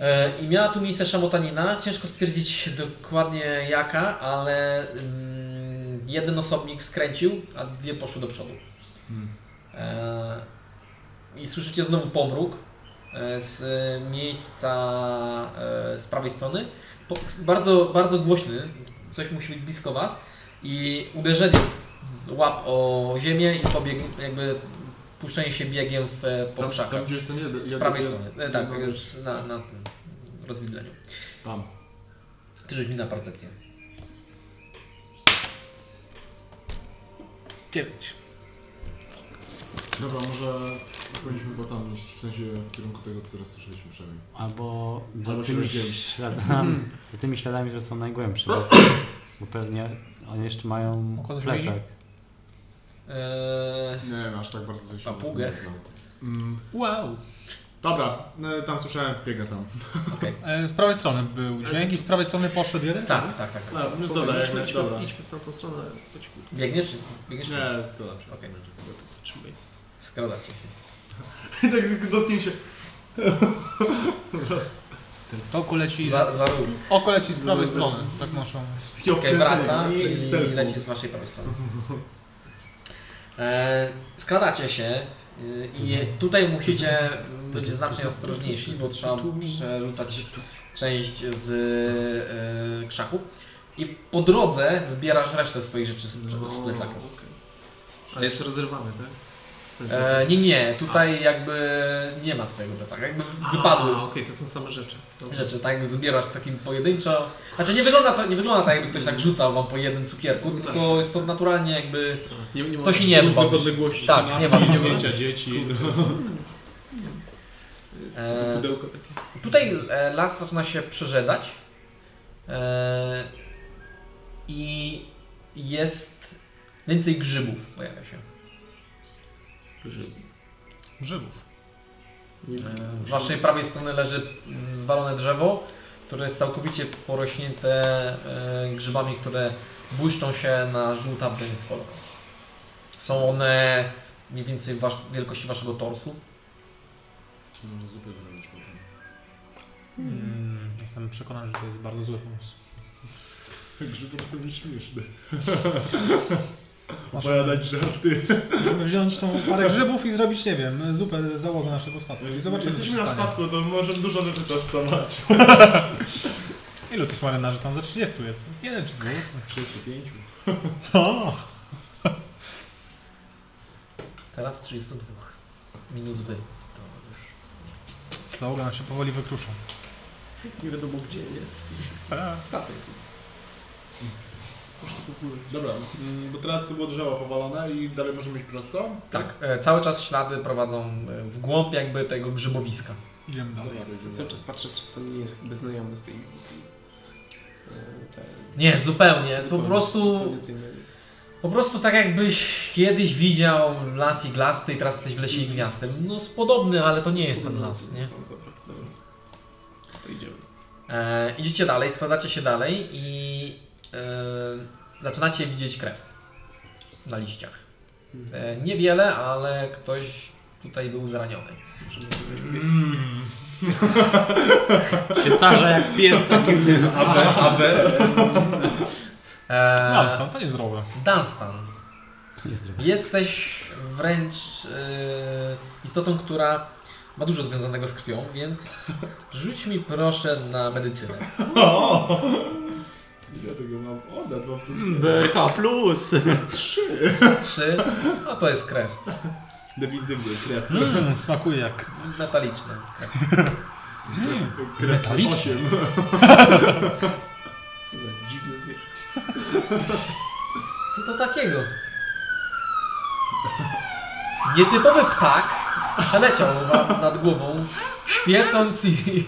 Eee, I miała tu miejsce szamotanina, ciężko stwierdzić dokładnie jaka, ale mm, jeden osobnik skręcił, a dwie poszły do przodu. Hmm. Eee, I słyszycie znowu pomruk e, z miejsca e, z prawej strony. Po, bardzo, bardzo głośny, coś musi być blisko was i uderzenie łap o ziemię i pobieg, jakby puszczenie się biegiem w e, po Tam, tam krzakach. gdzie jest ten jeden. Z jeden- prawej jeden- strony. E, tak, jeden- jest na, na tym rozwidleniu. Tam. Ty rzuć mi na percepcję. 9. Dobra, może powinniśmy go tam iść, w sensie w kierunku tego, co teraz słyszeliśmy przynajmniej. Albo za Albo się Hmm. tymi, rozdzielić. śladami, za tymi śladami, które są najgłębsze. Bo, bo pewnie oni jeszcze mają Oko też plecak. widzi? Eee, Nie wiem, aż tak bardzo coś się na tym Papugę. nie znam. Mm, Wow. dobra, no, tam słyszałem, biega tam. okej. E, Z prawej strony był dźwięk i z prawej strony poszedł jeden? Tak, tak, tak. tak. No, no Powiem, dobra, idźmy, jak idźmy, dobra. w, idźmy w tamtą stronę po cichu. Biegniesz? Biegniesz? Nie, zgadzam się. Okej. Zatrzymaj. Skradacie się. I tak tylko dotknięcie. Raz. Oko leci, Za, za róg. oko leci z za- prawej za- strony, tak noszą. I Okej, obkręcenie. wraca I i sterku. leci z waszej prawej strony. E, skradacie się y, i Mhm. tutaj musicie być znacznie ostrożniejsi, bo trzeba przerzucać część z e, krzaków. I po drodze zbierasz resztę swoich rzeczy z, No. No, z plecaków. okej. Ale jest rozerwany, tak? Ten E, plecak. nie, nie, tutaj jakby nie ma twojego plecaka, jakby wypadły A, Okej, to są same rzeczy. Dobra. rzeczy, tak? Zbierasz takim pojedynczo. Znaczy nie wygląda to, nie wygląda tak, jakby ktoś tak rzucał wam po jednym cukierku, No tak. tylko jest to naturalnie jakby... A, Nie, nie To się nie dba. dba. podległości. Tak, nie ma. I zdjęcia dzieci. Jest Eee. Pudełko takie. Tutaj e, las zaczyna się przyrzedzać e, i jest więcej grzybów pojawia się. Żył. Grzybów. E, Z waszej prawej strony leży mm, zwalone drzewo, które jest całkowicie porośnięte e, grzybami, które błyszczą się na żółtawy kolor. Są one mniej więcej wasz, wielkości waszego torsu. Może zupę zrobić potem. Mm, jestem przekonany, że to jest bardzo zły pomysł. Grzyb trochę śmieszny. Masz- Opowiadać żarty. Możemy wziąć tą parę grzybów i zrobić, nie wiem, zupę z założę naszego statku i zobaczymy, Jesteśmy co się na stanie. statku, to możemy dużo rzeczy testować. Ilu tych marynarzy tam za 30 jest? Jest Jeden czy dwóch? 35. O! Teraz 32. Minus wy. To już. Załoga nam się powoli wykrusza. Nie wiadomo gdzie, nie? Tak. Statek. Muszę to popłynąć. Dobra, mm, bo teraz tu było drzewo powalone i dalej możemy iść prosto? Tak, e, cały czas ślady prowadzą e, w głąb jakby tego grzybowiska. Idziemy Dobra, dalej. idziemy cały dalej. czas patrzę, czy to nie jest jakby znajomy z tej wizji. Eee, tak. Nie, zupełnie. E, Po Zupełnie- prostu, zupełnie co innego. po prostu tak jakbyś kiedyś widział las iglasty i teraz jesteś w lesie igniastym. No jest podobny, ale to nie jest ten las, nie? Dobra, dobra. To idziemy. E, idziecie dalej, składacie się dalej i e, zaczynacie widzieć krew na liściach. E, niewiele, ale ktoś tutaj był zraniony. Możemy zrobić Mm. Się tarza jak pies takim tym. Awe, awe. E, No, ale stąd to niezdrowe. Dunstan. To jest droga. Jesteś wręcz e, istotą, która ma dużo związanego z krwią, więc rzuć mi proszę na medycynę. Ja tego mam oddać, mam tu Mm. BRH plus! Trzy, no to jest krew. definitywnie krew. Mm, smakuje jak... Metaliczna krew. Krew Metaliczny. 8. Co za dziwne zwierzę. Co to takiego? Nietypowy ptak przeleciał wam nad głową, świecąc i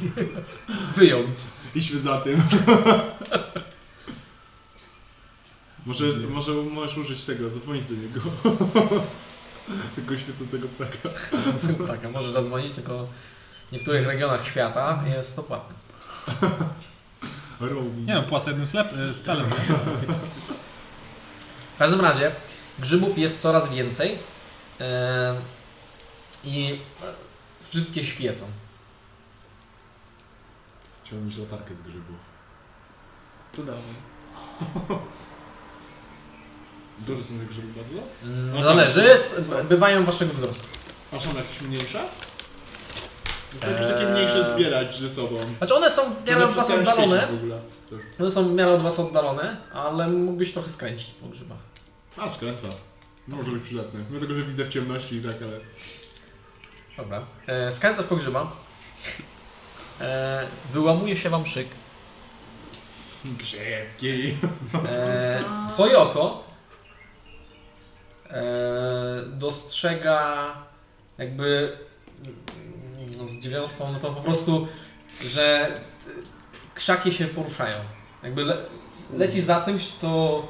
wyjąc. Idźmy za tym. Może, może możesz użyć tego, zadzwonić do niego. Tego świecącego ptaka. Tak, a może zadzwonić, tylko w niektórych regionach świata jest to płatne. Robi. Nie no, płacę jednym slep, y, stelem. W każdym razie grzybów jest coraz więcej e, i wszystkie świecą. Chciałbym mieć latarkę z grzybu. To dawaj. Dużo są tych grzybów bardzo? Mm, No Zależy, tak. z- bywają waszego wzrostu. A są jakieś mniejsze? Chcę jakieś takie mniejsze zbierać ze sobą. Znaczy one są w miarę od was oddalone, W ogóle. To już- one są w miarę od was oddalone, ale mógłbyś trochę skręcić po grzybach. A, skręca. No, może być przydatny. Mimo tego, że widzę w ciemności i tak, ale... Dobra. E, skręcasz po grzyba. E, wyłamuje się wam szyk. Grzybki. E, twoje oko e, dostrzega jakby mm, no, zdziwioną sprawą, no to po prostu, że t- krzaki się poruszają. Jakby le, leci za czymś, co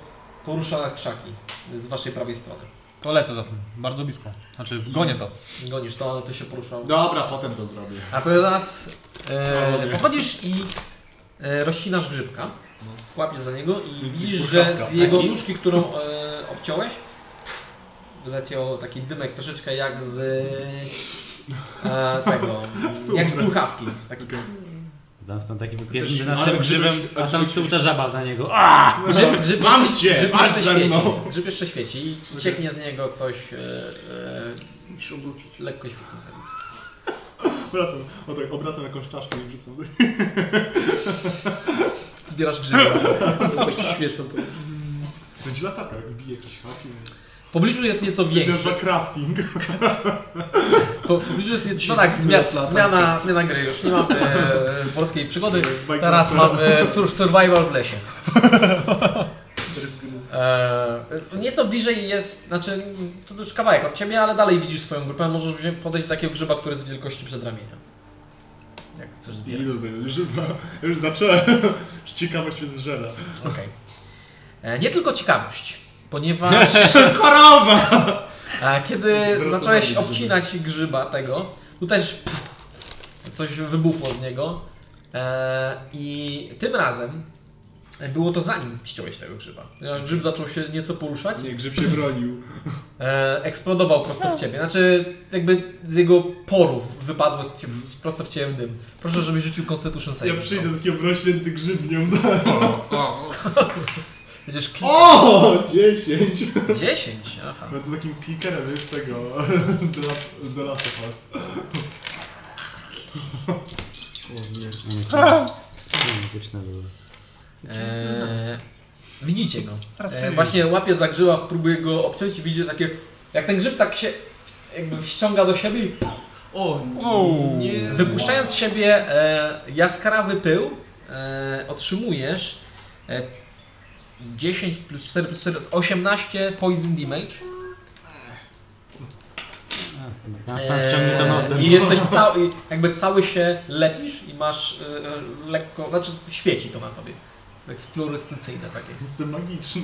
porusza krzaki z waszej prawej strony. To lecę za tym, bardzo blisko. Znaczy, gonię to. Gonisz to, ale to się poruszało. Dobra, potem to zrobię. A teraz No, e, lubię. pochodzisz i e, rozcinasz grzybka, No. łapiesz za niego i Więc widzisz, że gruszawka. z jego Taki? nóżki, którą e, obciąłeś, wyleciał taki dymek troszeczkę jak z E, tego, jak z pulchawki. Taki Tam tam taki wypierdzi, że Też- nas ale tym grzybem, gdybyś- a tam gdybyś- z tyłu ta żaba na niego. A! Grzyb, grzyb No, Mam jeszcze- cię, grzyb masz jeszcze ze świeci. mną. Grzyb jeszcze świeci i cieknie z niego coś e, e, Musisz obrócić. lekko świecącego. Wracam, o tak, obracam jakąś czaszkę i wrzucam. Zbierasz grzyby. Jakoś świecą to. Będzie latarka, jak bije tak? jakiś hakiem. W pobliżu jest nieco To się większy. nazywa crafting. Po, w pobliżu jest nieco... No tak, zmiana, zmiana, zmiana gry. Już nie mamy e, polskiej przygody. Bajka- Teraz mamy sur, survival w lesie. E, nieco bliżej jest, znaczy to już kawałek od ciebie, ale dalej widzisz swoją grupę. Możesz wziąć- podejść do takiego grzyba, który jest wielkości przedramienia. Jak chcesz I zbierać. do tego grzyba. Ja Już zacząłem. Już Ciekawość mnie zżera. Okej. E, Nie tylko ciekawość, ponieważ Choroba! e, kiedy Zwracamy zacząłeś grzyby. obcinać grzyba tego, tu też coś wybuchło z niego E, i tym razem było to zanim ściąłeś tego grzyba. Ponieważ grzyb zaczął się nieco poruszać, Nie, grzyb się bronił. e, eksplodował prosto w ciebie. Znaczy jakby z jego porów wypadło z ciebie, prosto w ciebie dym. Proszę, żebyś rzucił Constitution Save. Ja przyjdę do takiego wrośnięty grzybnią. za- Będziesz klikał. O! 10! 10, aha. Będę takim klikerem z tego. Z The Last- z The Last of Us. Mityczne były. Eee, widzicie go. Teraz Eee, przejdziemy. właśnie łapie za grzyba, próbuje go obciąć i widzicie takie, jak ten grzyb tak się jakby ściąga do siebie i O, no, O, nie. wypuszczając z siebie e, jaskrawy pył, e, otrzymujesz e, 10 plus 4 plus 4, 18 poison damage. Nas tam wciągnie Tak, to nosem. Eee, I jesteś cały, i jakby cały się lepisz i masz e, e, lekko, znaczy świeci to na tobie. Tak fluorescencyjne takie. Jestem magiczny.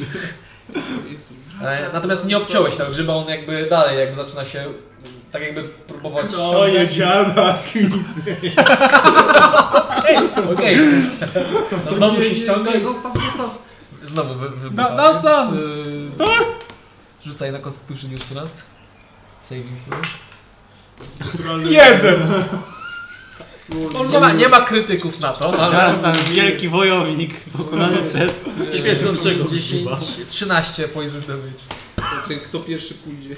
Jestem E, Natomiast nie obciąłeś tego grzyba, on jakby dalej jakby zaczyna się tak jakby próbować Oje, ściągać. dziadak! No, Nic nie Ej, Okej, więc no znowu się ściąga i Zostaw, zostaw. znowu wy, wybucha, No, no, więc, sam. e, Rzucaj na Constitution jeszcze raz. Saving throw. Naturalny- Jeden! Nie ma, nie ma krytyków na to, ale Teraz tam wielki wojownik pokonany przez świecącego 10, grzyba. 13 poison damage. Znaczy, kto pierwszy pójdzie?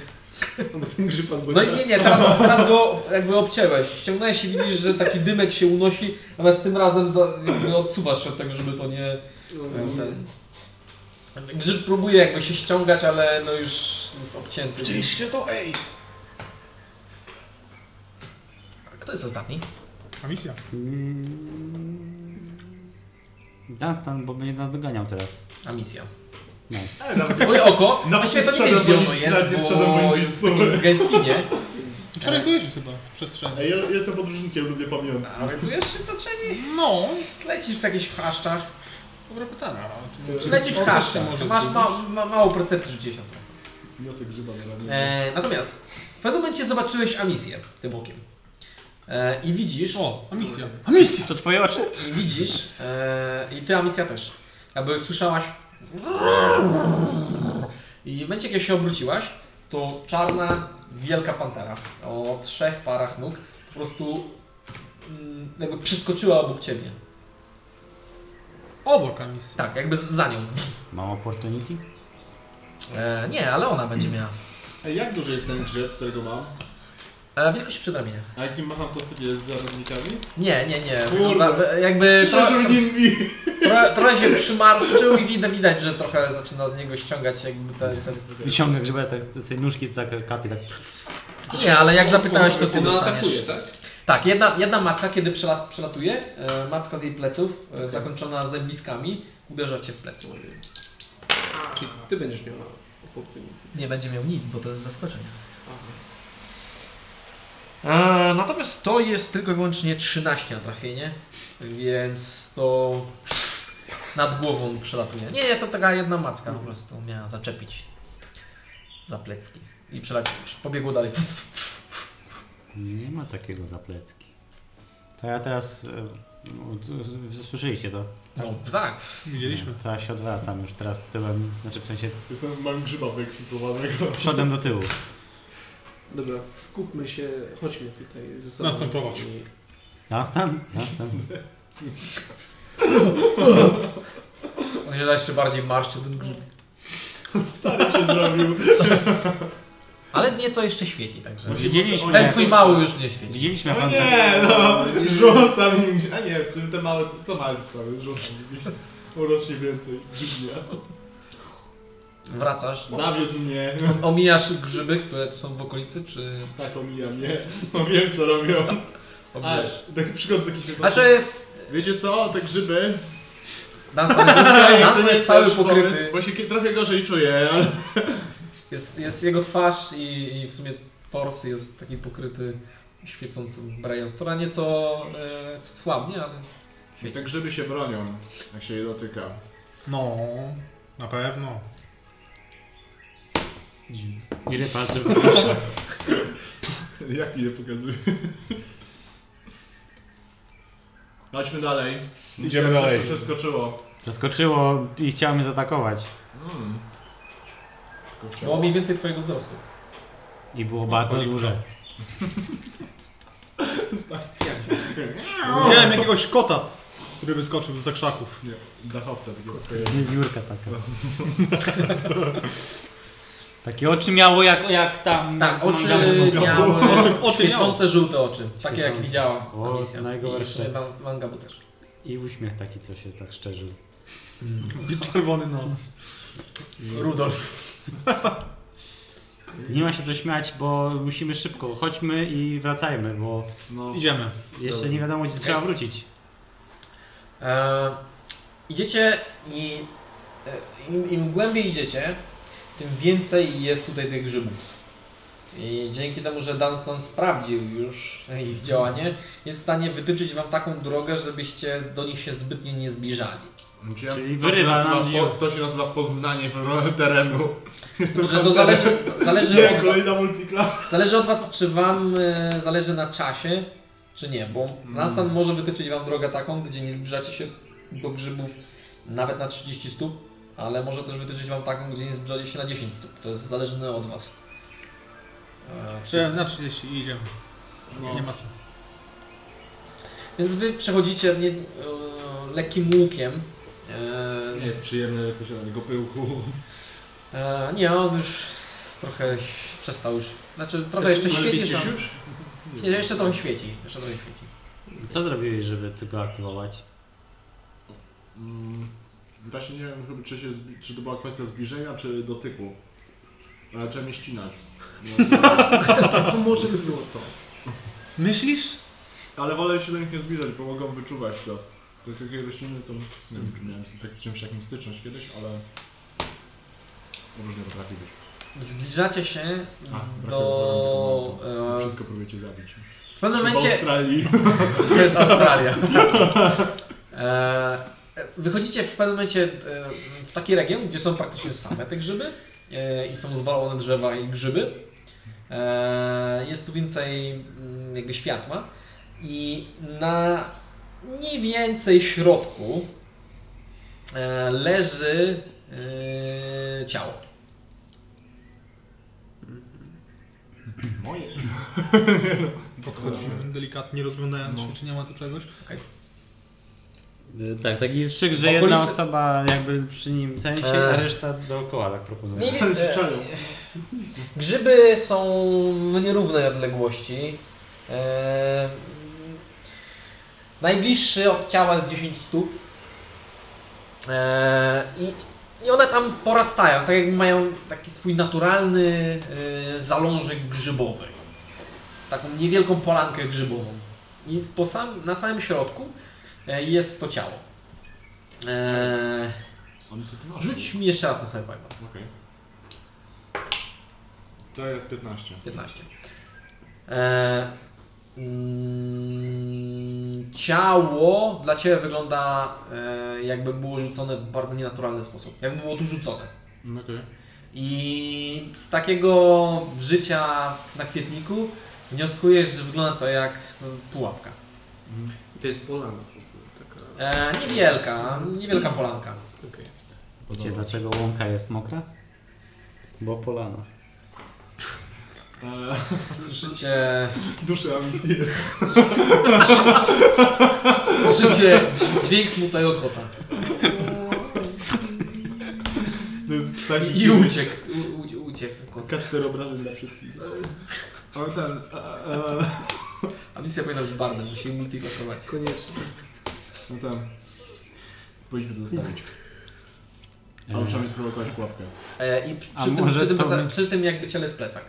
Albo ten grzyb, albo No ja. i nie, nie, teraz, teraz go jakby obcięłeś. Ściągnąłeś i widzisz, że taki dymek się unosi, natomiast tym razem za, jakby odsuwasz się od tego, żeby to nie... No, nie. Grzyb próbuje jakby się ściągać, ale no już jest obcięty. Widzieliście to? Ej! Kto jest ostatni? A misja. Nas tam, bo będzie nas doganiał teraz. A misja. Ale nawet Twoje oko? Na Właściwie to nie przestrzeni wiesz, gdzie ono poniżej- nawet No, jest, nie strzelam bo poniżej jest w stóp. takim gęstwinie. Czarujkuje się chyba w przestrzeni. Ej, ja jestem podróżnikiem, lubię pamiątki. Ale czujesz się patrzenie? No, Lecisz w jakichś chaszczach. dobre pytanie. ale Czy Lecisz w Oko się chaszczach. może Masz ma, zgubić. ma, mało percepcji, rzuciłeś na to. Wniosek grzyba dla mnie. E, natomiast w pewnym momencie zobaczyłeś Amisję tym okiem. E, I widzisz... O, a misja. A misji! To twoje oczy? I widzisz, e, i ty Amisja też, aby słyszałaś i w momencie, kiedy się obróciłaś, to czarna, wielka pantera o trzech parach nóg po prostu mm, jakby przeskoczyła obok ciebie. Obok a misja. Tak, jakby z- za nią. Mam opportunity? E, nie, ale ona będzie miała. Ej, jak duży jest ten grzyb, którego mam? E, wielkość przedramienia. A jakim macham to sobie z zarodnikami? Nie, nie, nie. Kurde. Wygląda- Jakby tro, Proszę nimi! tro, trochę się przymarszczył i widać, widać, że trochę zaczyna z niego ściągać jakby ten... ten... Wyciąga grzyba, tak sobie nóżki tak kapie, tak. Nie, ale jak zapytałeś, to ty Ona dostaniesz. atakuje, tak? Tak, jedna, jedna macka, kiedy przela- przelatuje, e, macka z jej pleców, e, zakończona zębiskami, uderza cię w plecy. Czyli ty będziesz miała opportunity. Nie będzie miał nic, bo to jest zaskoczenie. Aha. E, natomiast to jest tylko i wyłącznie 13 na trafienie, więc to nad głową przelatuje. Nie, to taka jedna macka po prostu miała zaczepić za plecki i przelać, pobiegło dalej. Nie ma takiego zaplecki. To ja teraz. e, no, t- Słyszeliście to? No tak, Widzieliśmy. To ja się odwracam już teraz tyłem, znaczy w sensie Jestem, mam grzyba wyekwipowanego. przodem do tyłu. Dobra, skupmy się, chodźmy tutaj ze sobą. Następować. I- Następ, następ. On się da jeszcze bardziej marszczy ten grzyb. Stary się zrobił. Ale nieco jeszcze świeci, także. Widzieliśmy, Ten twój mały już nie świeci. widzieliśmy No fantasy. nie, no, rzucam im, a nie, w sumie te małe, co- co małe zostały, rzucam im, urośnie więcej, grzybnia. Wracasz. Zawiódł mnie, Omijasz grzyby, które tu są w okolicy, czy tak omija mnie, no wiem co robią, aż, omijasz? tak przychodzę jakiś Znaczy, Wiecie co, te grzyby, nas tam jest, to nas nie Tak, jest cały też pokryty. pomysł, Bo się kie- trochę gorzej czuję, ale... Jest, jest jego twarz i, i w sumie tors jest taki pokryty świecącym brają, która nieco e, słabnie, ale... Te grzyby się bronią, jak się je dotyka. No, na pewno. Ile palców proszę. Jak mi je pokazuje? Chodźmy dalej. Idziemy Coś dalej. tu Przeskoczyło. Przeskoczyło i chciało mnie zaatakować. Hmm. Kurczę. Było mniej więcej twojego wzrostu. I było bardzo duże. Widziałem jakiegoś kota, który wyskoczył z krzaków. Nie, dachowca takiego. Wiewiórka taka. Takie oczy miało jak, jak tam... Tak, oczy Mangabu. miały Oczy- oczy świecące żółte oczy, takie jak Świecące. widziała O, Amicia. I w najgorsze. sumie man- Mangabu też. I uśmiech taki, co się tak szczerzył. I czerwony nos. Rudolf. Nie ma się co śmiać, bo musimy szybko. Chodźmy i wracajmy, bo No. Idziemy. jeszcze Dobra. nie wiadomo, gdzie trzeba wrócić. E, idziecie i e, im, im głębiej idziecie, tym więcej jest tutaj tych grzybów. I dzięki temu, że Dunstan sprawdził już ich działanie, jest w stanie wytyczyć wam taką drogę, żebyście do nich się zbytnio nie zbliżali. Gdzie- Czyli to się wyrywa nazywa nam- po- To się nazywa poznanie w- terenu. Jestem Że to hamsterem. zależy, zależy, Nie, od, kolejna multikla. zależy od was, czy wam e, zależy na czasie, czy nie, bo Mm. Dunstan może wytyczyć wam drogę taką, gdzie nie zbliżacie się do grzybów nawet na 30 stóp, ale może też wytyczyć wam taką, gdzie nie zbliżacie się na 10 stóp. To jest zależne od was. E, Czy na 30 i idziemy. No. Nie ma co. Więc wy przechodzicie nie, e, lekkim łukiem. E, Nie jest przyjemne, jak się na niego pyłku. E, nie, on już trochę przestał już. Znaczy trochę jeszcze Ale świeci. widzisz Tam. już? Nie, jeszcze trochę świeci. Jeszcze trochę świeci. Co zrobiłeś, żeby tylko aktywować? Mm, Właśnie nie wiem, chyba, czy, się, zbi- czy to była kwestia zbliżenia, czy dotyku. Ale trzeba mnie ścinać. No, To może by było to. Myślisz? Ale wolę się do nich nie zbliżać, bo mogą wyczuwać to. To takie rośliny to... Nie wiem, czy miałem z tak, czymś takim styczność kiedyś, ale... Różnie potrafi być. Zbliżacie się A, do. brakuje E, Wszystko próbujecie zabić. w pewnym W momencie. Australii. To jest Australia. E, wychodzicie w pewnym momencie e, w taki region, gdzie są praktycznie same te grzyby e, i są zwalone drzewa i grzyby. E, jest tu więcej mm, jakby światła i na mniej więcej środku e, leży e, ciało. Moje. Podchodzimy delikatnie, No. rozglądając się, czy nie ma tu czegoś. Y, Tak, taki szyk, że W jedna okolicy- osoba jakby przy nim ten się, a Eee. reszta dookoła tak proponuje. Nie wiem, Ale się czaią. Grzyby są w nierównej odległości. E, najbliższy od ciała jest 10 stóp. E, i, I one tam porastają, tak jakby mają taki swój naturalny e, zalążek grzybowy. Taką niewielką polankę grzybową. I po sam, na samym środku e, jest to ciało. E, On jest taki mały. rzuć mi jeszcze raz na sobie pojma. Okej. To jest 15. 15. E, mm, ciało dla Ciebie wygląda e, jakby było rzucone w bardzo nienaturalny sposób. Jakby było tu rzucone. Okej. I z takiego życia na kwietniku wnioskujesz, że wygląda to jak z- pułapka. I to jest polana w ogóle, taka... E, niewielka, niewielka polanka. Okej. Wiecie dlaczego łąka jest mokra? Bo polana. E, Słyszycie, duszę Amisji. słyszycie dźwięk smutnego kota. To jest psaki. I uciekł, u, u, uciekł kot. K4 obrażeń dla wszystkich. Ale ten... E, e, A misja powinna być barna, musi multiklasować. Koniecznie. No tam. Powinniśmy to zostawić. A muszę sprowokować pułapkę. E, I przy, A przy, tym, może przy, tym, to pleca, my- przy tym jakby ciele jest plecak.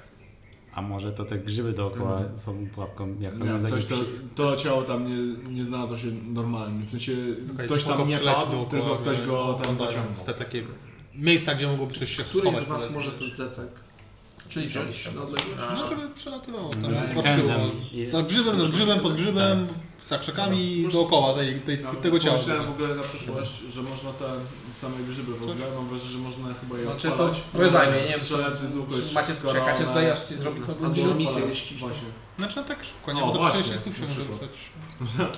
A może to te grzyby dookoła są pułapką, tak jak Hmm. Nie wiem, ogląda coś to, jakiś to ciało tam nie, nie znalazło się normalnie. W sensie Okej, ktoś spoko, tam nie przyleci padł, dookoła, tylko ktoś go tam tak, zaciągnął. Te takie miejsca, gdzie mogłoby coś się Któryś schować. z Was powiedzmy. może ten plecak Czyli wziąć wziąć. na odległość? A. No, żeby przelatywało No, tam, tak. patrzyło I- za grzybem, nad grzybem, pod grzybem, za krzakami, dookoła tej, tej, No, tego ciała. Pomyślałem w ogóle na przyszłość, że można te same grzyby w ogóle, mam wrażenie, że można chyba je Znaczy, to odpalać. powiedzajmy, nie wiem, Strzelać z łuku, Czy Macie skoro czekacie one- tutaj, aż ci zrobi to No Albo grubszy? misję Odpalać. ściśle. Właśnie. Znaczy no tak szybko, nie? O, Bo do właśnie, no 30 się na może przykład. ruszać.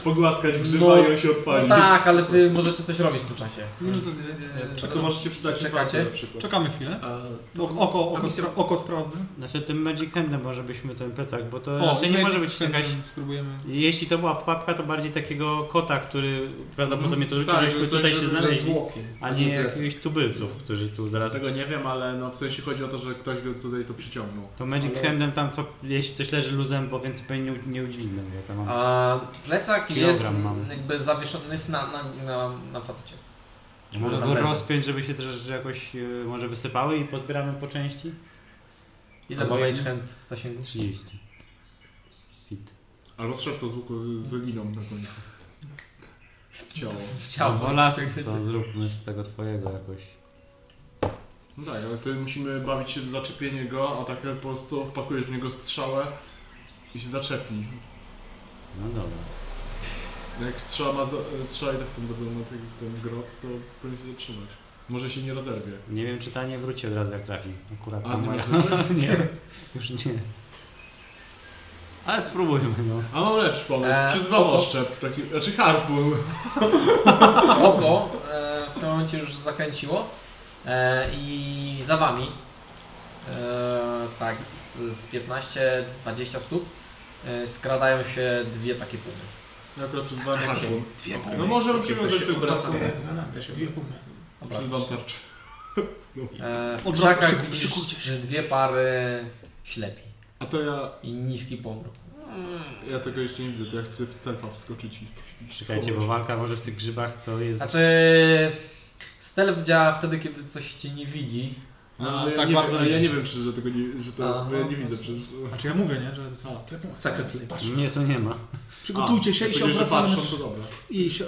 Pozłaskać grzyba No, i on się No odpali. tak, ale wy możecie coś robić w tym czasie. Więc, e, A No, to może się przydać Czekacie? infarktu na przykład. Czekamy chwilę. A, No, oko, A oko, misja- spra- oko sprawdzę. Znaczy tym Magic Handem może byśmy ten plecak, bo to O, raczej E, znaczy, nie tutaj może być jakaś... Spróbujemy. Jeśli to była pułapka, to bardziej takiego kota, który prawdopodobnie to rzucił, Tak, żeśmy że coś, tutaj się żeby ze znaleźli, zwłokiem, a nie plecak. jakichś tubylców, którzy tu zaraz... Tego nie wiem, ale no w sensie chodzi o to, że ktoś go tutaj to przyciągnął. To Magic Ale- Handem tam, co, jeśli coś leży luzem, bo więcej pewnie nie, u- nie udźwignę, bo ja tam mam. A plecak jest Kilogram mam. jakby zawieszony jest na, na, na, na facecie. Może tam go leży. rozpiąć, żeby się też jakoś e, może wysypały i pozbieramy po części? Ile Albo ma jedno. Mage Hand w zasięgu? 30. Fit. Albo strzel to z łuku z, z liną na końcu. Ciało. W ciało. no, las, to zróbmy z tego twojego jakoś. No tak, ale wtedy musimy bawić się w zaczepienie go, a tak po prostu wpakujesz w niego strzałę i się zaczepi. No dobra. Jak strzała, ma za, strzała i tak standardowo na ten, ten grot, to powinien się zatrzymać. Może się nie rozerwie. Nie wiem, czy ta nie wróci od razu jak trafi. Akurat A, tam nie moja. nie, już nie. Ale spróbujmy, no. A mam lepszy pomysł, Eee, przyzwam oko. oszczep, taki, znaczy harpun. Oko e, w tym momencie już zakręciło e, i za wami e, tak z, z 15-20 stóp e, skradają się dwie takie pumy. Ja akurat przyzwam harpun. Dwie Okej. pumy. No możemy Takie przywiązać to do się tego obracam. harpuna. Ja się obracam. Przyzwam tarczę. E, w Od razu krzakach szykuj- widzisz szykujcie się. dwie pary ślepi A to ja, i niski pomruk. ja tego jeszcze nie widzę, to ja chcę w stealtha wskoczyć i... Czekajcie, bo walka może w tych grzybach to jest... Znaczy stealth działa wtedy, kiedy coś cię nie widzi. No, A, ale ja, tak nie, bardzo ale ja nie. nie wiem, czy że tego nie, że to, A, bo ja nie no, widzę właśnie. przecież. Znaczy ja mówię, nie? Że Secretly. Nie, to nie ma. Przygotujcie A, się jak i się powiedziałeś, że obracamy. patrzą, to dobra. I się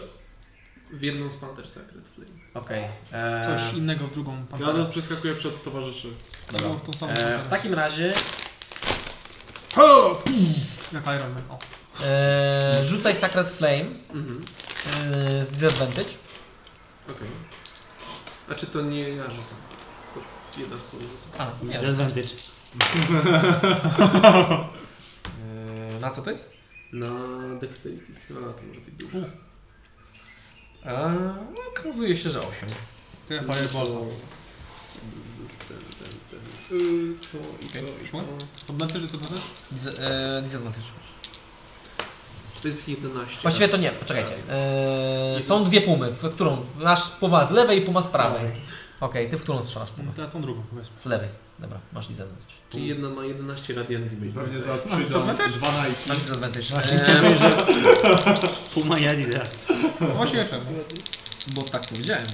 W jedną z Panther Sacred Flame. Okej. e, coś no, innego w drugą Ja panterę. teraz przeskakuję przed towarzyszy. dobra. Tą samą E, w panterę. takim razie Jak Iron Man. O. e, rzucaj Sacred Flame Mhm. e, z advantage. Okej. A czy to nie ja rzucam? To jedna z podrzucam. A, nie. Zezantycz. E, na co to jest? Na Dexterity. No, na to może być dużo. E, no, okazuje się, że 8. To ja To- Fireball. Ten, ten, ten. Hmm. Y, To i to, i Szło? to. Co dna też, co dna też? Diz, e, disadvantage. To jest 11. Właściwie to nie, poczekajcie. E, są dwie pumy, w którą masz puma z lewej i puma z prawej. Okej, ty w którą strzelasz pumę? To ja No, tą drugą powiedzmy. Z lewej. Dobra, masz disadvantage. Czyli jedna ma 11 radian damage. Pewnie Dostaję. zaraz przyjdą co, my No, też? dwa Nike. Masz disadvantage. Właśnie Eee, chciałbym, że... Puma i Adidas. Właśnie czemu? bo tak powiedziałem.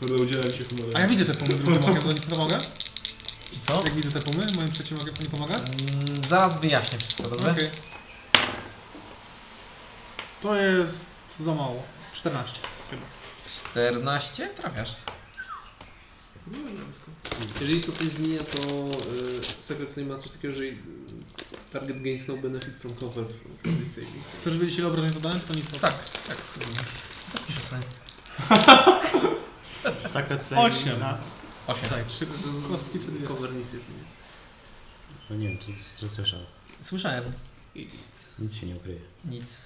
Kurde, udzielam się A humorem. ja widzę te pumy drugim okiem, to nic nie pomogę? Czy co? Jak widzę te pumy, moim trzecim okiem to nie pomaga? Mm, zaraz wyjaśnię wszystko, dobrze? Okej. To jest za mało. 14 chyba. 14? Trafiasz. No, elegancko. Jeżeli to coś zmienia, to y, Secret Flame ma coś takiego, że y, target gains no benefit from cover from this saving. Chcesz wiedzieć ile obrażeń zadałem, czy to nic? Tak, tak. Zapiszę sobie. Sacred Flame. Osiem. Na... 8. Tak, trzy kostki czy dwie. Znaczy, Cover nic nie zmienia. No nie wiem, czy, czy słyszał. Słyszałem. I Nic się nie ukryje. Nic.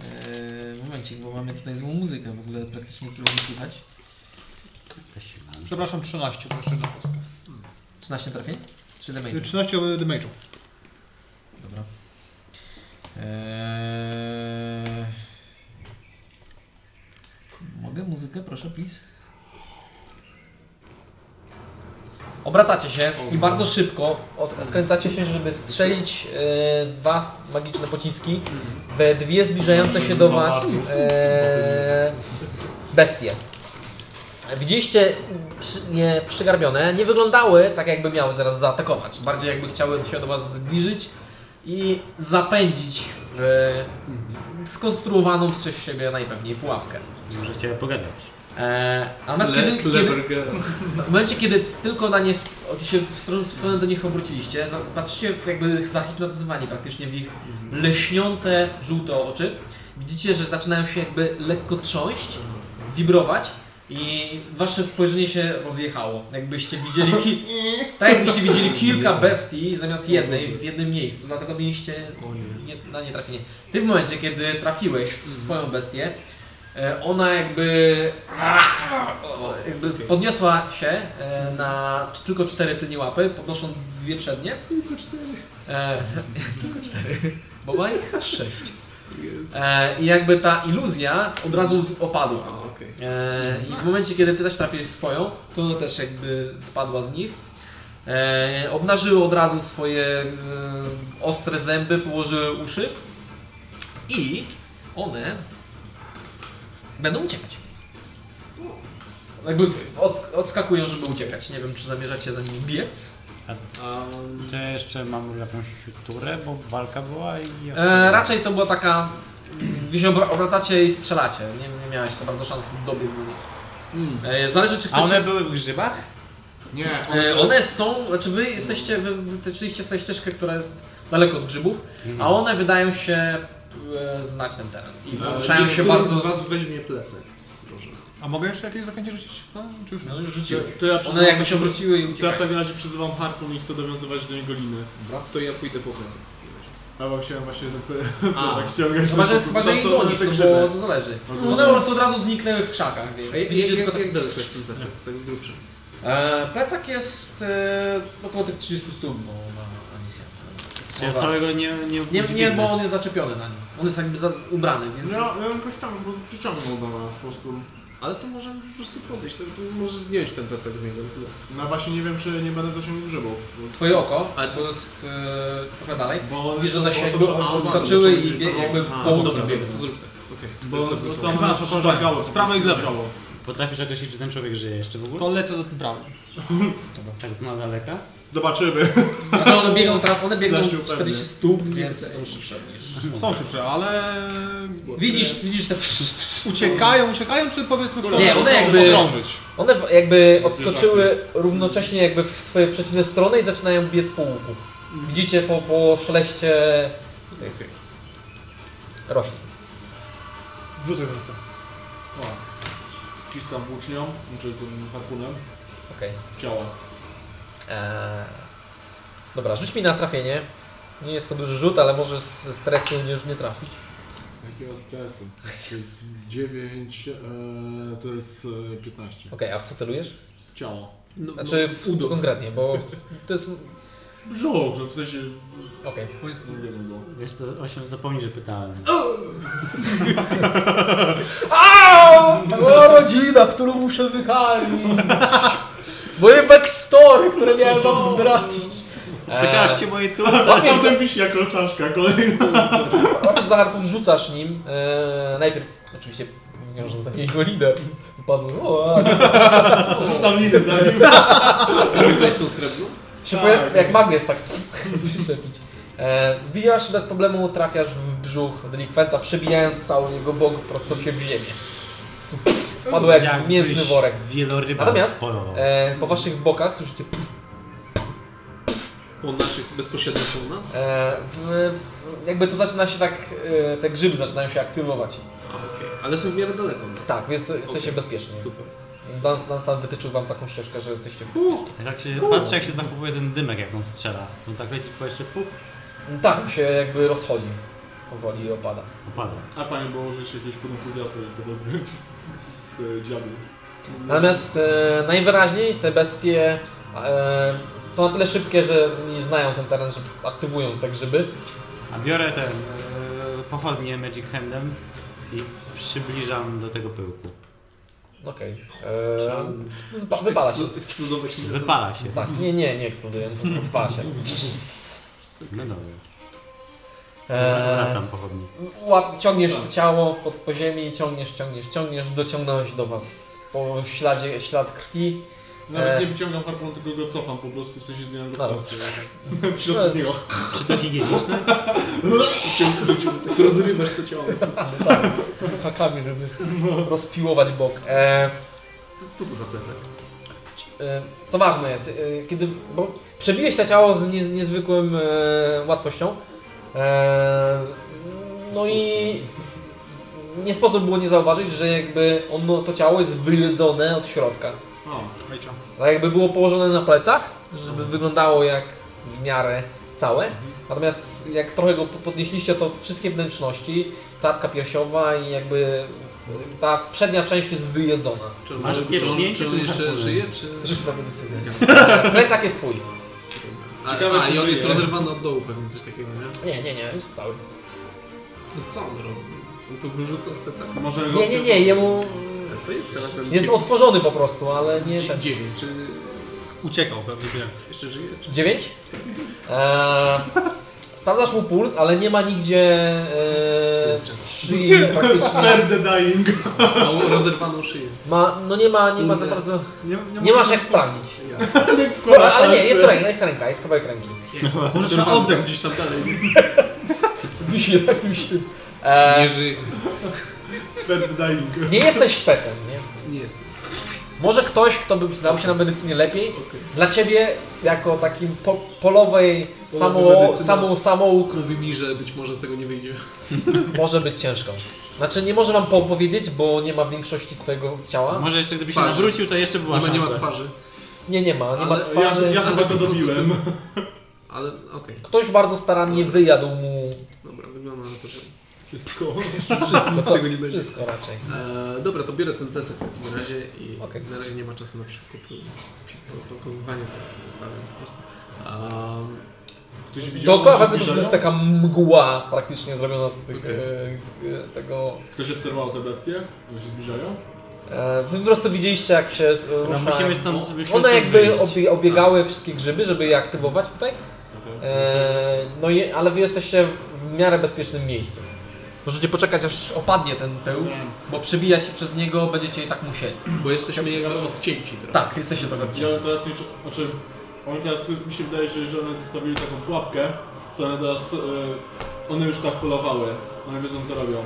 Eee, momencik, bo mamy tutaj złą muzykę w ogóle praktycznie, którą nie słychać. Weź się na- Przepraszam, 13, to jeszcze jedna kostka. 13 trafień? Czy damage? 13 damage'u. Dobra. Eee... Mogę muzykę, proszę, please? Obracacie się i bardzo szybko od- odkręcacie się, żeby strzelić e, dwa s- magiczne pociski we dwie zbliżające się do Was e, bestie. Widzieliście mm, przy, je przygarbione, nie wyglądały tak jakby miały zaraz zaatakować, bardziej jakby chciały się do Was zbliżyć i zapędzić w skonstruowaną przez siebie najpewniej pułapkę. Może chciałem pogadać. E, natomiast kiedy, kiedy, Clever girl. w momencie, kiedy tylko na nie sp- się w stronę, w stronę do nich obróciliście, za- patrzycie w jakby zahipnotyzowani praktycznie w ich lśniące żółte oczy. Widzicie, że zaczynają się jakby lekko trząść, wibrować i wasze spojrzenie się rozjechało. Jakbyście widzieli, ki- tak jakbyście widzieli kilka bestii zamiast jednej w jednym miejscu, dlatego mieliście O nie. nie, na nie trafienie. Ty w momencie, kiedy trafiłeś w swoją bestię, e, ona jakby, o, jakby podniosła się e, na c- tylko cztery tylnie łapy, podnosząc dwie przednie. Tylko cztery. E, tylko cztery. Bo ma ich aż sześć. E, I jakby ta iluzja od razu opadła. A, okej. E, I w momencie, kiedy ty też trafiłeś w swoją, to ona też jakby spadła z nich. E, obnażyły od razu swoje e, ostre zęby, położyły uszy i one będą uciekać. Jakby odsk- odskakują, żeby uciekać. Nie wiem, czy zamierzacie za nimi biec. A, Czy jeszcze mam jakąś turę, bo walka była i... E, raczej to była taka... mm, Wy się obra- obracacie i strzelacie. Nie, nie miałeś za bardzo szans dobiec do nich. E, zależy, czy chcecie... Mm. A one były w grzybach? Nie, E, One są, znaczy wy jesteście, wy wytyczyliście sobie ścieżkę, która jest daleko od grzybów, a one wydają się e, znać ten teren i poruszają ale się niektóry e, z bardzo... was weźmie plecek. Proszę. A mogę jeszcze jakieś zaklęcie rzucić? No, czy już nie? No, już to, rzuciły. to ja One przyzywam- jakby się obróciły i To ja w uciekają. takim razie przyzywam harpun i chcę dowiązywać do niego liny. Dobra, to ja pójdę po plecek. Ja wam No chciałem właśnie ten A. tak ściągać. Chyba, że, chyba, że Tam i są gonisz, te no bo grzyby. to zależy. One po prostu od razu zniknęły w krzakach, więc A jak, widzicie jak, tylko jak taki daleko jest ten plecak? Tak z grubsza. E, Plecak jest e, około tych 30 stóp, bo ma misję. Czy ja całego nie... Nie, Nie, nie, bo on jest zaczepiony na nim. On jest jakby za, ubrany, więc... No, Ja, ja bym jakoś tam po prostu przyciągnął do nas po prostu. Ale to możemy po prostu podejść, to, to może zdjąć ten plecak z niego. No właśnie nie wiem czy nie będę zasięgnął grzybów. bo- Twoje oko, Ale ale to jest e, trochę dalej. Bo one Widzisz, że są- one się bo jakby to- to- odskoczyły to- i to- bie, to- jakby A, po dobra, łuku biegną. to zrób tak. Okej, Bo to jest to dobry tam Chyba nas przy- oporządzało. z prawej i z lewej. Potrafisz określić, czy ten człowiek żyje jeszcze w ogóle? To lecę za tym prawym. Tak z daleka? Zobaczymy. Wiesz co, one biegną teraz, one biegną Dość upewnie. 40 stóp, więc są szybsze niż... Są szybsze, ale... Widzisz, widzisz te... Uciekają, uciekają, czy powiedzmy chcą Nie, one jakby- okrążyć? One w- jakby odskoczyły równocześnie jakby w swoje przeciwne strony i zaczynają biec po łuku. Widzicie po, po szeleście tych roślin. Rzucę teraz to. Kiskam włócznią, czy tym harpunem. Okej. Ciała. Eee, Dobra, rzuć mi na trafienie. Nie jest to duży rzut, ale możesz ze stresu nie, nie trafić. Jakiego stresu? 9, e, to jest e, 15. Okej, a w co celujesz? Ciało. Znaczy w udo konkretnie, bo to jest... Brzuch, no w sensie... Okej. To jest No, drugiego było. Wiesz co, właśnie zapomnij, że pytałem. Była rodzina, którą muszę wykarmić. Moje backstory, które miałem wam zdradzić. Przekażcie mojej córce! Łapiesz za, Potem wisi jako czaszka kolejna. łapiesz za harpun, rzucasz nim. Eee, najpierw, oczywiście, nie że to nie jego lider. Wypadł, o, a- Tam liny za nim. Chcesz wejść tą srebrną? się Tak. pojawi, jak magnes tak przyczepić. E, wbijasz bez problemu, trafiasz w brzuch delikwenta, przebijając cały jego bok prosto się w ziemię. Po prostu pff, Wpadło jak w Jakbyś mięsny worek. Wieloryba Natomiast polował. e, po waszych bokach słyszycie Po naszych, bezpośrednio po nas? E, w, w, jakby to zaczyna się tak, e, te grzyby zaczynają się aktywować. A, okej. Ale są w miarę daleko. No. Tak, więc jesteście bezpieczni. Super. Dan, Dan Stan wytyczył wam taką ścieżkę, że jesteście bezpieczni. Tak się, patrzę jak się zachowuje ten dymek, jak on strzela. On tak leci po jeszcze puk, Tak, się jakby rozchodzi. Powoli i opada. opada. A fajnie było użyć jakiegoś podmuchu wiatru, żeby go zdjąć. Te Dziadu. Natomiast e, najwyraźniej te bestie e, Są na tyle szybkie, że nie znają ten teren, że aktywują te grzyby. A biorę ten e, pochodnie Magic Handem i przybliżam do tego pyłku. Okej. Okay. Wypala się. Eksplodować nie Wypala się. Tak, nie, nie, nie eksploduje, po prostu wypala się. E, No dobra. Eee, Wracam pochodni. łap, ciągniesz to ciało pod po ziemi, ciągniesz, ciągniesz, ciągniesz, dociągnąłeś do was po śladzie, ślad krwi. Nawet E. nie wyciągam harpun, tylko go cofam po prostu, w sensie zmieniam go No. palce. W To środku jest- niego. Czy to higieniczne? Tak rozrywasz to ciało. Tak, z tymi hakami, żeby rozpiłować bok. E, Co, co to za plecak? E, Co ważne jest, e, kiedy. Bo przebiłeś to ciało z niez, niezwykłym e, łatwością. E, no i nie sposób było nie zauważyć, że jakby ono, to ciało jest wyledzone od środka. O, Tak jakby było położone na plecach, żeby wyglądało jak w miarę całe. Natomiast jak trochę go po- podnieśliście, to wszystkie wnętrzności, klatka piersiowa i jakby ta przednia część jest wyjedzona. Czy on, Masz czy on, pieprznięcie czy on tym jeszcze harpunem. żyje, czy... Rzuć na medycynę. Tak, Plecak jest twój. A, Ciekawe, a czy i on żyje. jest rozerwany od dołu pewnie, coś takiego, nie? Nie, nie, nie, jest cały. No co on robi? On to wyrzuca z plecaka? Możemy go... Nie, nie, nie, jemu To jest razem... jest tak. otworzony po prostu, ale nie ten. 9, czy Uciekał pewnie, wiem. jeszcze żyje? Czy... 9? Eee, sprawdzasz mu puls, ale nie ma nigdzie eee, szyi praktycznie. Fair the dying. Mało rozerwaną szyję. Ma, no nie ma, nie ma za bardzo, Nie, nie masz jak sprawdzić. Jasne. Dobra, ale nie, jest ręka, jest ręka, jest kawałek ręki. Rozerwaną oddech gdzieś tam dalej. Wisi jakimś tym. Eee, Nie żyje. Fair the dying. nie jesteś specem, nie? Nie jest. Może ktoś, kto by znał się na medycynie lepiej, Okej. dla ciebie jako takim po, polowej samo, medycyna. samo, samouk Mówi mi, że być może z tego nie wyjdzie. Może być ciężką. Znaczy nie może wam po- powiedzieć, bo nie ma większości swojego ciała. Może jeszcze gdyby się Twarzy. nawrócił, to jeszcze była Nie ma, nie ma szansa. twarzy. Nie, nie ma, nie ma Ale ja- twarzy. Ja, ja Ale chyba to po prostu- dobiłem. Ale okej, Ktoś bardzo starannie wyjadł mu dobra, wygląda na to, że Wszystko. wszystko z co, tego nie będzie. wszystko raczej. E, dobra, to biorę ten plecak w takim razie i Okej. na razie nie ma czasu na przepakowywanie tego zostawiam po prostu. Em, Ktoś widział Dookoła was po zbliżenia? prostu jest tak- taka mgła praktycznie zrobiona z tych, Okej. e, e, tego... Ktoś obserwował te bestie? One się zbliżają? E, wy po prostu widzieliście jak się e, rusza. No, musimy stąd- musimy One stąd jakby wyjść. obie, obiegały wszystkie grzyby, żeby je aktywować tutaj. Mhm. E, no i, ale wy jesteście w- w miarę bezpiecznym miejscu. Możecie poczekać aż opadnie ten pył, bo przebijać się przez niego będziecie i tak musieli. bo jesteśmy jakby odcięci trochę. Tak, jesteście tego Widziałem odcięci. teraz nie... Znaczy... Oni teraz... Mi się wydaje, że jeżeli one zostawili taką pułapkę, to one teraz... E, one już tak polowały. One wiedzą co robią.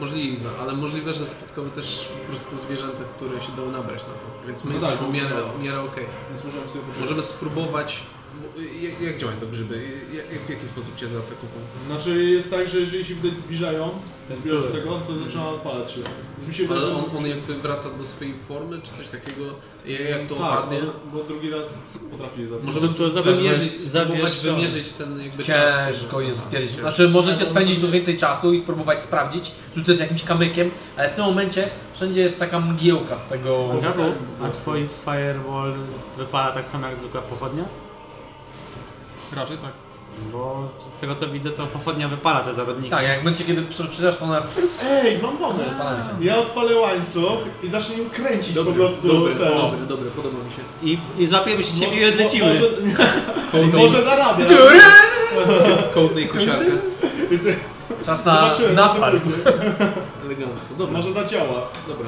Możliwe, ale możliwe, że spotkały też po prostu zwierzęta, które się dało nabrać na to. Więc my No tak, jesteśmy w miarę, bo- w miarę okej. Więc możemy sobie poczekać. Możemy spróbować. bo- Jak, jak działają te grzyby? Jak, jak, w jaki sposób cię zaatakują? Znaczy jest tak, że jeżeli się widać zbliżają, Ten zbliżasz do pyłek. tego, to zaczyna odpalać się. Więc mi się wydaje, Tak, Mhm. Ale że- on, on jakby wraca do swojej formy, czy coś takiego? Jak, jak to No. tak, opadnie? bo- bo drugi raz potrafi zacząć. Możemy to zobacz, wymierzyć, bo- spróbować zabierz- wymierzyć ten jakby czas. Ciężko tego. jest stwierdzić. Ciężko. Znaczy możecie spędzić tu więcej czasu i spróbować sprawdzić, rzucać jakimś kamykiem, ale w tym momencie wszędzie jest taka mgiełka z tego... Gabu, a twój firewall wypala tak samo jak zwykła pochodnia? Raczej tak. Bo z tego co widzę, to pochodnia wypala te zarodniki. Tak, jak będzie kiedy przeczytasz to ona... Ej, mam pomysł! Ja odpalę łańcuch i zacznę nim kręcić Dobry, po prostu dobry, ten. dobry, dobry, podoba mi się. I, I złapiemy się ciebie i Mo- mo- odlecimy. Może, może da radę. Tak, Kołdny i kosiarka. Czas na Zobaczyłem, napal. może, Elegancko, dobra. może zadziała. Dobra.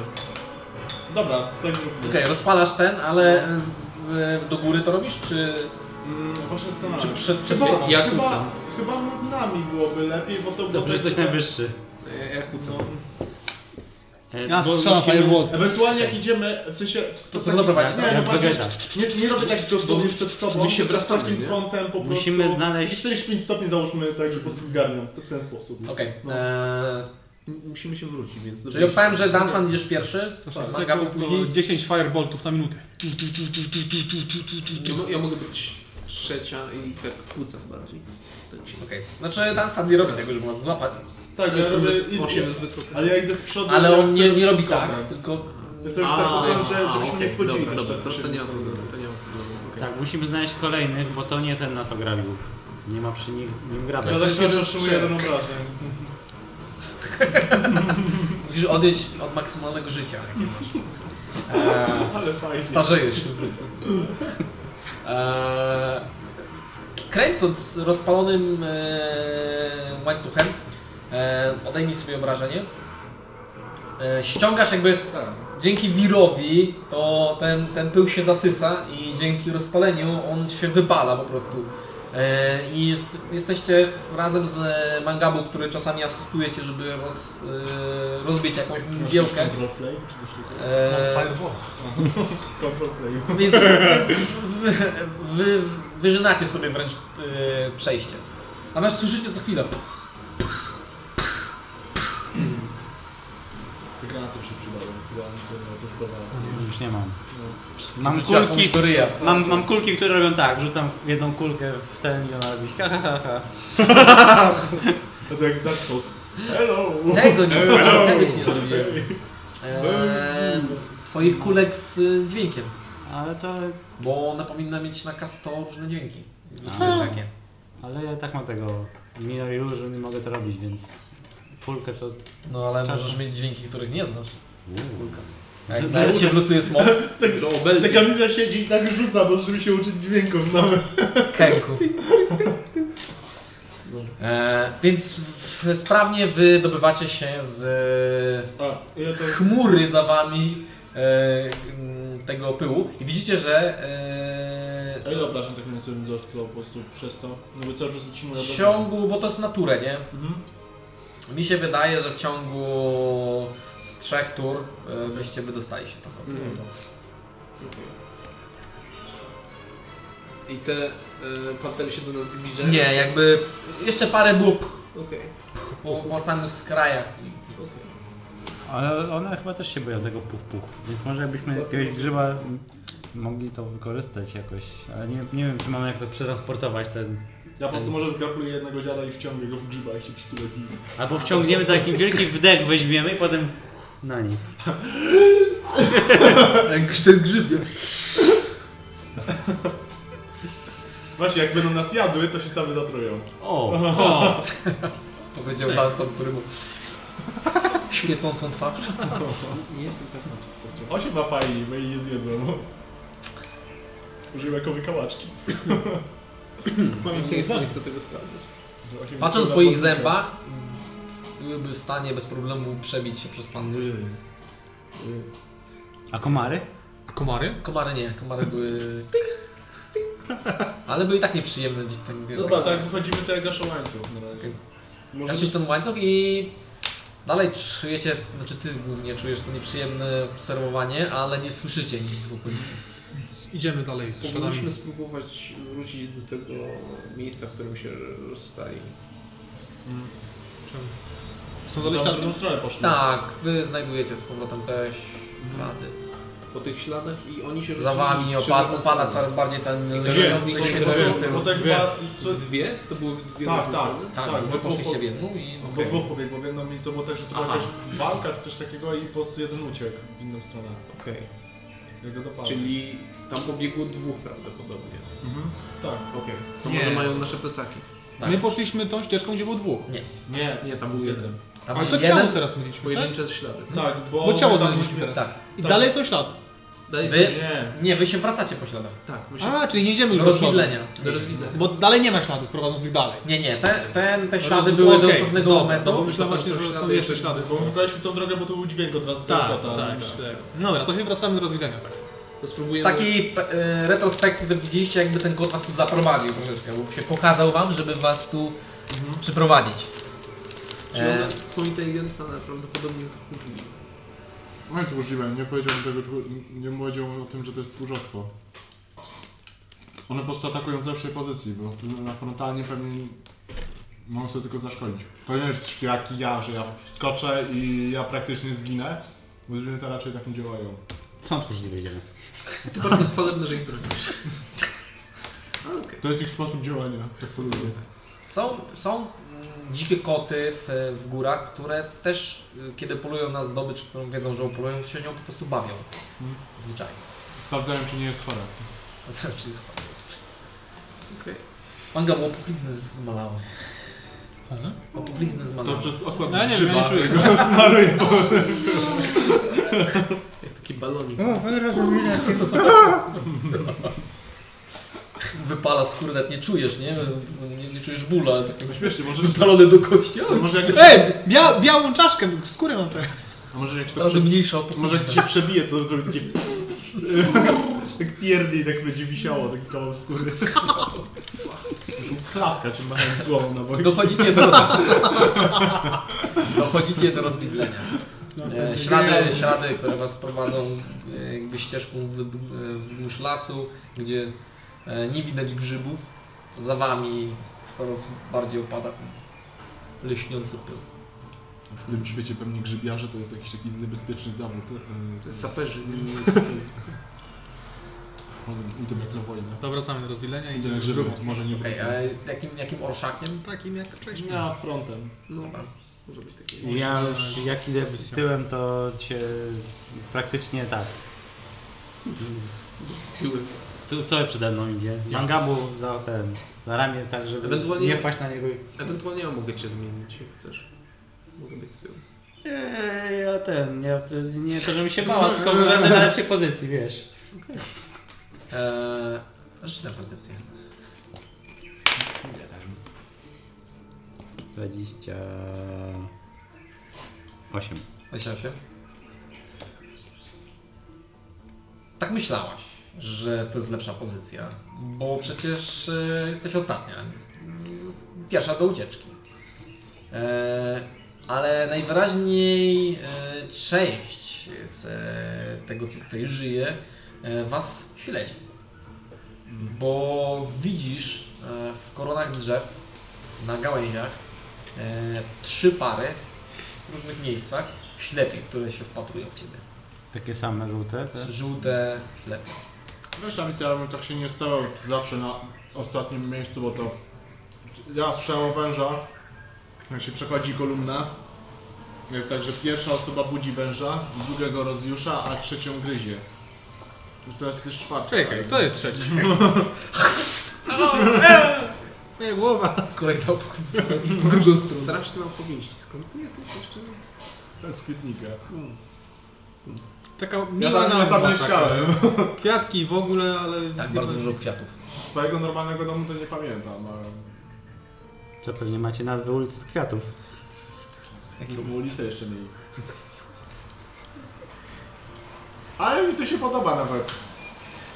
Dobra, tak zróbmy. Okej, rozpalasz ten, ale w, w, do góry to robisz, czy... Mm, Właśnie zastanawiam. Czy przed- przed Chyba- sobą? Ja chyba, kłócam. chyba nad nami byłoby lepiej, bo to bo Dobrze, tak- jesteś najwyższy. Ja, ja kłócam. No, E, Ja bo strzelam musimy- firewall. ewentualnie jak idziemy, w sensie... To, to tak- doprowadzi Nie, do- no Jak właśnie, wegeta. nie, nie robię tak dosłownie przed sobą, my się przed wracamy, takim nie? kątem po prostu... Musimy znaleźć- 45 stopni załóżmy tak, że po prostu zgarniam w ten sposób. Okej. eee, M- Musimy się wrócić, więc... Czyli obstawiam, że Dunstan idziesz pierwszy, Tak. a Gabu później. 10 fireboltów na minutę. Ja, mo- ja mogę być trzecia i tak kłócam bardziej. Tak się... Okej. Znaczy Dunstan nie robi tego, żeby was złapać, Tak, E, ja robię... wys- osiem jest idę- wysoko. Ale ja idę z przodu... ale No, ja on nie, chcę- nie robi tak, Dobra. tylko Ja to już tak powiem, że żebyśmy nie wchodzili Dobra, też dobra, tak to, to nie ma szybko. problemu, to nie ma problemu, okej. takiego. Tak, musimy znaleźć kolejnych, bo to nie ten nas ograbił. Nie ma przy nim, nim grabek. Ja tak sobie rozczuję trzy. jeden obrazek. Musisz odejść od maksymalnego życia, jakie masz. Eee, Ale fajnie. Starzejesz się po prostu. Eee, kręcąc rozpalonym eee, łańcuchem, eee, odejmij sobie obrażenie. Eee, ściągasz jakby Tak. dzięki wirowi, to ten, ten pył się zasysa i dzięki rozpaleniu on się wypala po prostu. E, I jest, jesteście razem z e, Mangabu, który czasami asystujecie, żeby roz, e, rozbić jakąś mgiełkę. Control play? Czy coś takiego? E, Control play. więc więc wy, wy, wyżynacie sobie wręcz e, przejście. Natomiast słyszycie co chwilę. Te granaty się przydały, które on sobie testowała. Już nie mam. Wszystkim Mam rzuciła kulki. komuś do ryja. Mam, mam kulki, które robią tak, rzucam jedną kulkę w ten i ona robi ha ha ha ha. A to jak Dark Souls. Hello! Tego nie, tego ci nie zrobiłem. E, twoich kulek z y, dźwiękiem. Ale to... Bo ona powinna mieć na kasto różne dźwięki. Wiesz jakie. Ale ja tak mam tego Mino Illusion i mogę to robić, więc... Kulkę to... No ale Czarno. możesz mieć dźwięki, których nie znasz. Kulka. Że- Jak nawet się wlosuje smok, Tak, że Ta obelgi kamiza siedzi i tak rzuca, bo żeby się uczyć dźwięków nawet. kęku. E, więc w, sprawnie wydobywacie się z A, ja to... chmury za wami e, m, tego pyłu i widzicie, że A ile e, obrażeń tak mniej więcej dostał po prostu przez to? No bo cały czas utrzymuje w ciągu, bo to jest naturę, nie? Mhm. Mi się wydaje, że w ciągu z trzech tur e, byście wydostali się stąd. Mm. I te y, pantery się do nas zbliżają? Nie, jakby jeszcze parę było p- Okej, po, po samych skrajach. i- okej. Ale one chyba też się boją tego puch puch, więc może jakbyśmy No to jakiegoś może. grzyba m, mogli to wykorzystać jakoś. Ale nie, nie wiem, czy mamy jak to przetransportować ten... Ja po prostu może zgrapluję jednego dziada i wciągnę go w grzyba i się przytulę z nim. Albo wciągniemy taki wielki wdech, weźmiemy i potem na nich. Jakiś ten grzyb Właśnie, jak będą nas jadły, to się same zatrują. O! o. Powiedział Dunstan, który mu Tak. świecącą twarz. Nie jestem pewna, czy to działa. On się ma fajnie, bo jej nie zjedzą. Użył jako wykałaczki. Mam nadzieję, że nie chcę tego sprawdzać. Patrząc po ich zębach, byłyby w stanie bez problemu przebić się przez pancerz. Y, A komary? A komary? Komary nie, komary były... Ale były i tak nieprzyjemne. gdzie Ten... Dobra, tak wychodzimy to jak gaszę łańcuch na razie. Okej. Może Gasisz ten łańcuch i dalej czujecie, znaczy ty głównie czujesz to nieprzyjemne obserwowanie, ale nie słyszycie nic w okolicy. Idziemy dalej z śladami. Powinniśmy spróbować wrócić do tego miejsca, w którym się rozstali. Mm. Są Tam dalej w drugą ślady? stronę poszli. Tak, wy znajdujecie z powrotem te ślady. Po tych śladach i oni się Za rzucili wami w trzy opada, różne opada strony. coraz bardziej ten Gdzie jest? lśniący, Coś świecący takiego. pył. Bo tak Dwie. chyba... co- W dwie? To były w dwie Tak, różne tak. strony? Tak, bo wy po- poszliście po- w jedną i... Bo dwóch pobiegło w jedną i to było tak, że to była Aha. jakaś walka czy coś takiego i po prostu jeden uciekł w inną stronę. Okej. Jak go dopadł. Czyli tam pobiegło dwóch prawdopodobnie. Mhm. Tak. Okej. To Nie. może mają nasze plecaki. Tak. My poszliśmy tą ścieżką, gdzie było dwóch. Nie, Nie, tam był jeden. Tam Ale to jeden- ciało teraz mieliśmy, tak? Pojedyncze ślady. No. Tak, bo... Bo ciało tam znaleźliśmy byliśmy- teraz. Tak. I Tak. dalej są ślady. Dalej Wy- są- Nie. Nie, wy się wracacie po śladach. Tak, my się A, czyli nie idziemy już Do do przodu. rozwidlenia. do rozwidlenia. Bo dalej nie ma śladów prowadzących dalej. Nie, nie, te, ten, te No ślady rozum- były do okej, pewnego dobrze, momentu. no bo myślałem potem właśnie, są że są ślady jeszcze jeszcze- ślady. Bo my wybraliśmy tą drogę, bo to był dźwięk od razu. Tak, tylko tak, tak. Dobra, to się wracamy do rozwidlenia. Tak. To Z spróbujemy... takiej p- e, retrospekcji to widzieliście, jakby ten kot was tu zaprowadził troszeczkę, bo się pokazał wam, żeby was tu Mhm. przyprowadzić. Czyli E, one są inteligentne, ale prawdopodobnie to użyli. No i to użyłem, nie powiedziałem tego, tchu- nie powiedziałem o tym, że to jest tchórzostwo. One po prostu atakują z lepszej pozycji, bo na frontalnie pewnie mogą sobie tylko zaszkodzić. To nie jest jak ja, że ja wskoczę i ja praktycznie zginę, bo drużyny to raczej tak nie działają. Stąd już nie wyjdziemy. To bardzo chwalebne, że ich bronisz. A, Okej. To jest ich sposób działania, tak po ludzie. Są, są mm, dzikie koty w, w górach, które też, y, kiedy polują na zdobycz, którą wiedzą, że upolują, się nią po prostu bawią. Mhm. Zwyczajnie. Sprawdzają, czy nie jest chora. Znaczy, słuchaj. Okej. Manga było poplizny z- zmalały. Ale? O poplizny To zmalały. przez odkład No. Ja z nie wiem, grzyba ja nie czuję. go smaruję. Jak taki balonik. Wypala skórę, nawet nie czujesz, nie? Nie, nie czujesz bólu, ale takie To No śmiesznie, może... wypalone do kości. A może jak, Ej, bia, białą czaszkę, skórę mam tak. teraz. a może jak to Teraz prze... mniejsza Może jak ci się przebije, to zrobi takie... tak pierdnie i tak będzie wisiało, taki kawał skóry. Muszą klaskać, machając głową na boku. Dochodzicie do, roz... Dochodzicie do rozwidlenia. E, Ślady, ślady, które was prowadzą e, jakby ścieżką wyd- e, wzdłuż lasu, gdzie e, nie widać grzybów. Za wami coraz bardziej opada leśniący pył. W tym świecie pewnie grzybiarze to jest jakiś taki niebezpieczny zawód. e, Saperzy. Może Idą jak na wojnę. To wracamy do rozwilenia i Idą do jak grzyby, grzybu. może nie Okej, wrócę. a jakim, jakim orszakiem? Takim jak wcześniej. Ja frontem. No, może być taki. Ja już jak idę tyłem, to się praktycznie tak. Tyły. Tu, co przede mną idzie? Mangabu za ten, za ramię, tak żeby Ewentualnie- nie wpaść na niego. i- Ewentualnie ja mogę cię zmienić, jak chcesz. Mogę być z tyłu. Nie, Eee, ja ten, ja, nie to żebym się bała, tylko będę na lepszej pozycji, wiesz. Eee, Rzuć na percepcję. 28. 28. Tak myślałaś, że to jest lepsza pozycja, bo przecież e, jesteś ostatnia. Mm, Pierwsza do ucieczki. E, Ale najwyraźniej e, część z e, tego, co tutaj żyje, e, was śledzi. Bo widzisz e, w koronach drzew, na gałęziach, e, trzy pary w różnych miejscach ślepich, które się wpatrują w ciebie. Takie same żółte? tak? te? Tak. Żółte ślepie. Wiesz, Amicia, ja bym tak się nie stawał zawsze na ostatnim miejscu, bo to... Ja słyszałem o węża, jak się przechodzi kolumna. Jest tak, że pierwsza osoba budzi węża, drugiego rozjusza, a trzecią gryzie. To jest też tak? czwarta. Czekaj, to jest trzeci. Moja głowa. Kolejna drugą stronę. Straszne opowieści. Skąd ty jesteś jeszcze? To jest kwietnika. Taka Ja miła tam nie nazwa. taka. zamieszkałem. Kwiatki w ogóle, ale... Tak, bardzo dużo kwiatów. Swojego normalnego domu to nie pamiętam, ale... Co pewnie macie nazwę ulic od kwiatów. To było ulicę No, jeszcze mniej. Ale mi to się podoba nawet.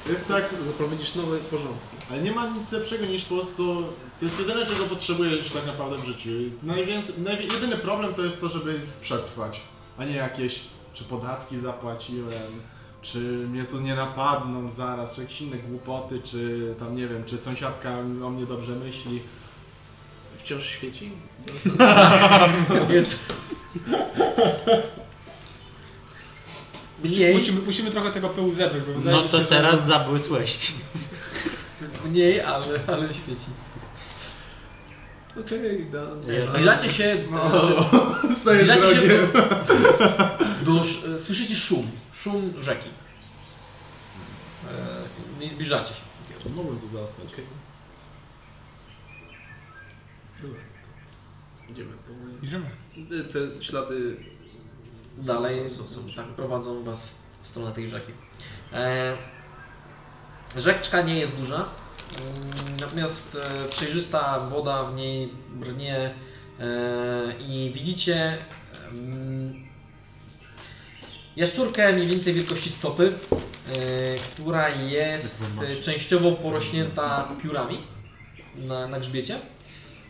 Jest tak, Zaprowadzisz nowe porządki. ale nie ma nic lepszego niż po prostu... To jest jedyne, czego potrzebujesz tak naprawdę w życiu. Najwięcej, najwi- jedyny problem to jest to, żeby przetrwać, a nie jakieś, czy podatki zapłaciłem, czy mnie tu nie napadną zaraz, czy jakieś inne głupoty, czy tam nie wiem, czy sąsiadka o mnie dobrze myśli. Wciąż świeci? Jest. Mniej, Musimy, musimy trochę tego pyłu zebrać, bo wydaje No mi to się, że- teraz zabłysłeś. mniej, ale, ale świeci. Okej, da. Zbliżacie się, No, znaczy, staję zbliżacie się drogiem. do, do, sz- słyszycie szum, szum rzeki. E, No i zbliżacie się. Mogłem to zastać. Okej. Dobra. Idziemy powoli. Idziemy. Y, Te ślady Dalej są, są, są. tak prowadzą was w stronę tej rzeki. E, rzeczka nie jest duża, mm, natomiast e, przejrzysta woda w niej brnie e, i widzicie mm, jaszczurkę mniej więcej wielkości stopy, e, która jest e, częściowo porośnięta piórami na, na grzbiecie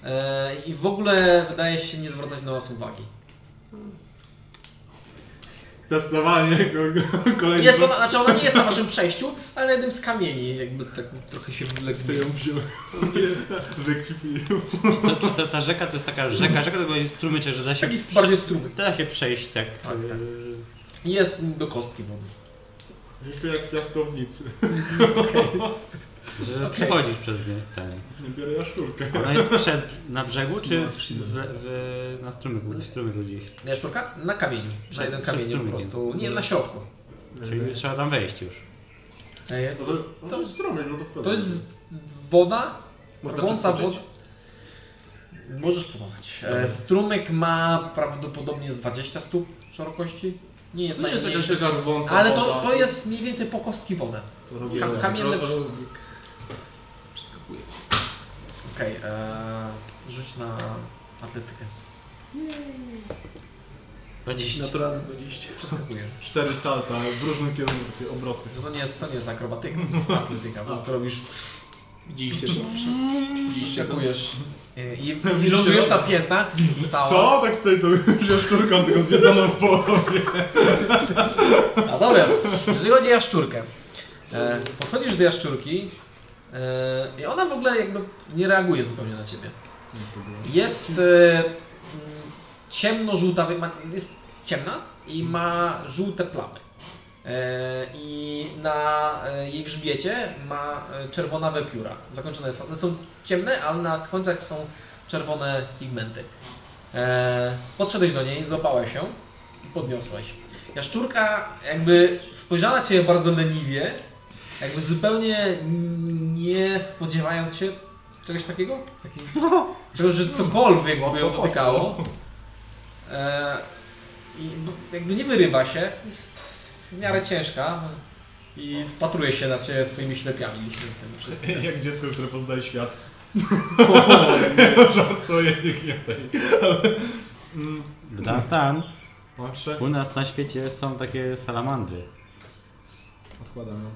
e, i w ogóle wydaje się nie zwracać na was uwagi. Testowanie ko- kolejnego. Jest ona, znaczy ona nie jest na waszym przejściu, ale na jednym z kamieni, jakby tak trochę się Co wylekuje. ją wziął? Wykwipił. To, czy ta, ta rzeka to jest taka rzeka, rzeka to będzie strumyczek, że da się, Taki z- bardziej strumy. da się przejść tak. Tak, y, tak. Jest do kostki wody. Wykwipił jak w piaskownicy. Że przechodzisz przez nie. Ten. Nie biorę jaszczurkę. Ona jest przed, na brzegu czy w, w, w, na strumyku, w strumyku gdzieś? Jaszczurka? Na kamieniu. Na Przed- jednym przed kamieniu po strumieniem. prostu. Nie, na środku. Czyli trzeba tam wejść już. E, No to, no to jest stromyk, no to wkładam. To jest woda, Można gorąca woda. przeskoczyć? Możesz próbować. E, strumyk ma prawdopodobnie z 20 stóp szerokości. Nie jest No To nie jest jakaś najmniejszy. taka rwąca Ale woda. to, to jest mniej więcej po kostki wodę. To robię Kam- kamienne- rozbieg, ro- rozbieg. Przeskakuję. Okej, e, rzuć na atletykę. No 20. Naturalne 20. Przeskakuję. Cztery salta w różnym kierunku, takie obroty. To nie jest, to nie jest akrobatyka, to jest atletyka. Po prostu robisz, Widzieliście, że skakujesz e, i, i lądujesz na piętach. Cała. Co? Tak stoi to już jaszczurką, tylko zjedzoną w połowie. Natomiast, jeżeli chodzi o jaszczurkę, e, podchodzisz do jaszczurki e, i ona w ogóle jakby nie reaguje zupełnie na ciebie. Jest e, mm, ciemno-żółta, wy- ma- jest ciemna i ma żółte plamy. E, I na e, jej grzbiecie ma e, czerwonawe pióra. Zakończone są, one są ciemne, ale na końcach są czerwone pigmenty. E, Podszedłeś do niej, złapałeś ją i podniosłeś. Jaszczurka jakby spojrzała na Ciebie bardzo leniwie, jakby zupełnie nie spodziewając się czegoś takiego, Takiej- czegoś, że cokolwiek by ją dotykało. E, I b- jakby nie wyrywa się, jest w miarę ciężka i wpatruje się na Ciebie swoimi ślepiami liśniącymi wszystkimi. Jak dziecko, które poznaje świat. Żartuję, nikt nie tej. Stan, stan. Patrzę, U nas na świecie są takie salamandry. odkładam ją.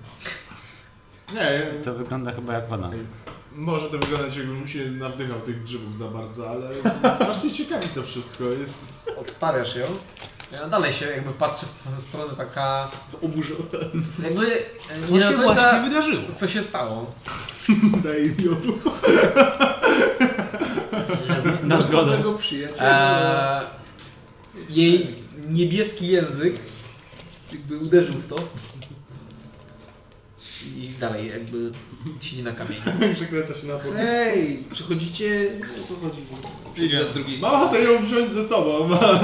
Nie, To wygląda chyba jak woda. może to wyglądać jakbym się nawdychał tych grzybów za bardzo, ale strasznie ciekawi to wszystko. Jest Odstawiasz ją. E, Dalej się jakby patrzy w twoją stronę taka... oburzał teraz. Jakby e, Co nie się do końca... właśnie wydarzyło? Co się stało? daje miodu. Na zgodę. Mojego przyjaciela. Eee, jej niebieski język jakby uderzył w to. I dalej jakby siedzi na kamieniu. Przekręca się na podłogę. Hej, przychodzicie... No to chodzi. Przyjdę z drugiej No. Mam ochotę ją wziąć ze sobą, ale...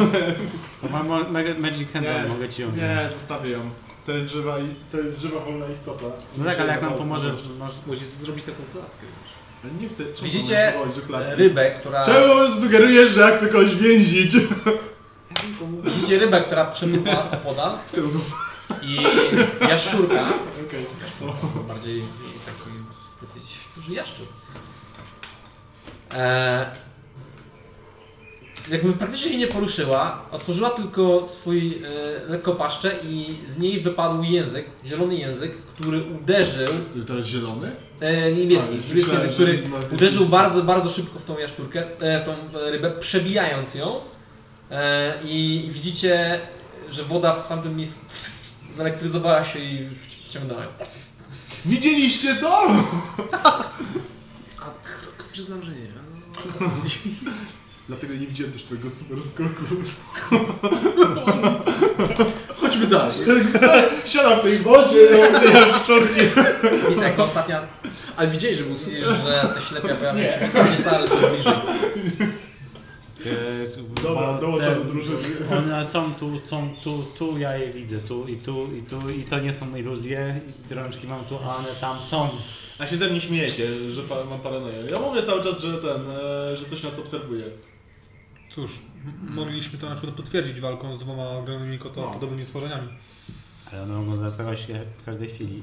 To mam ma- ma- Magic Handle, Nie. mogę ci ją Nie, zostawię ją. To jest żywa, i- to jest żywa wolna istota. No tak, ale jak nam Myślę, że- pomoże, może... Możecie zrobić taką klatkę już. Ale Nie chcę... czemu Widzicie mam wywołać do klatki? rybę, która... Czemu sugerujesz, że ja chcę kogoś więzić? Widzicie rybę, która przepływa podal Chcę zobaczyć. i jaszczurka. Okej. Bardziej taki dosyć duży jaszczur. Eee, jakby praktycznie się nie poruszyła, otworzyła tylko swój e, lekko paszczę i z niej wypadł język, zielony język, który uderzył. To jest zielony? E, niebieski, Tak, A, już niebieski myślałem, język, który że ma jakiś- uderzył bardzo, bardzo szybko w tą jaszczurkę, e, w tą e, rybę, przebijając ją. E, I widzicie, że woda w tamtym miejscu zelektryzowała się i wci- wciągnęła ją. Widzieliście to? Przyznam, że nie. ale- Dlatego nie widziałem też twojego super skoku. Chodźmy dalej. Siada w tej wodzie, no, tej jaszczurki. Misja jako ostatnia, Ale widzieli, że był super. widzisz, że te ślepia pojawiają się w tej sali, co bliżej. Dobra, dołączam do drużyny. E, One są tu, są tu, tu ja je widzę, tu i tu i tu i to nie są iluzje. I Drączki mam tu, a one tam są. A się ze mnie śmiejecie, że pa- mam paranoję. Ja mówię cały czas, że ten, e, że coś nas obserwuje. Cóż, m- mogliśmy to na przykład potwierdzić walką z dwoma ogromnymi koto- No. podobnymi stworzeniami. Ale one mogą zaatakować się w każdej chwili.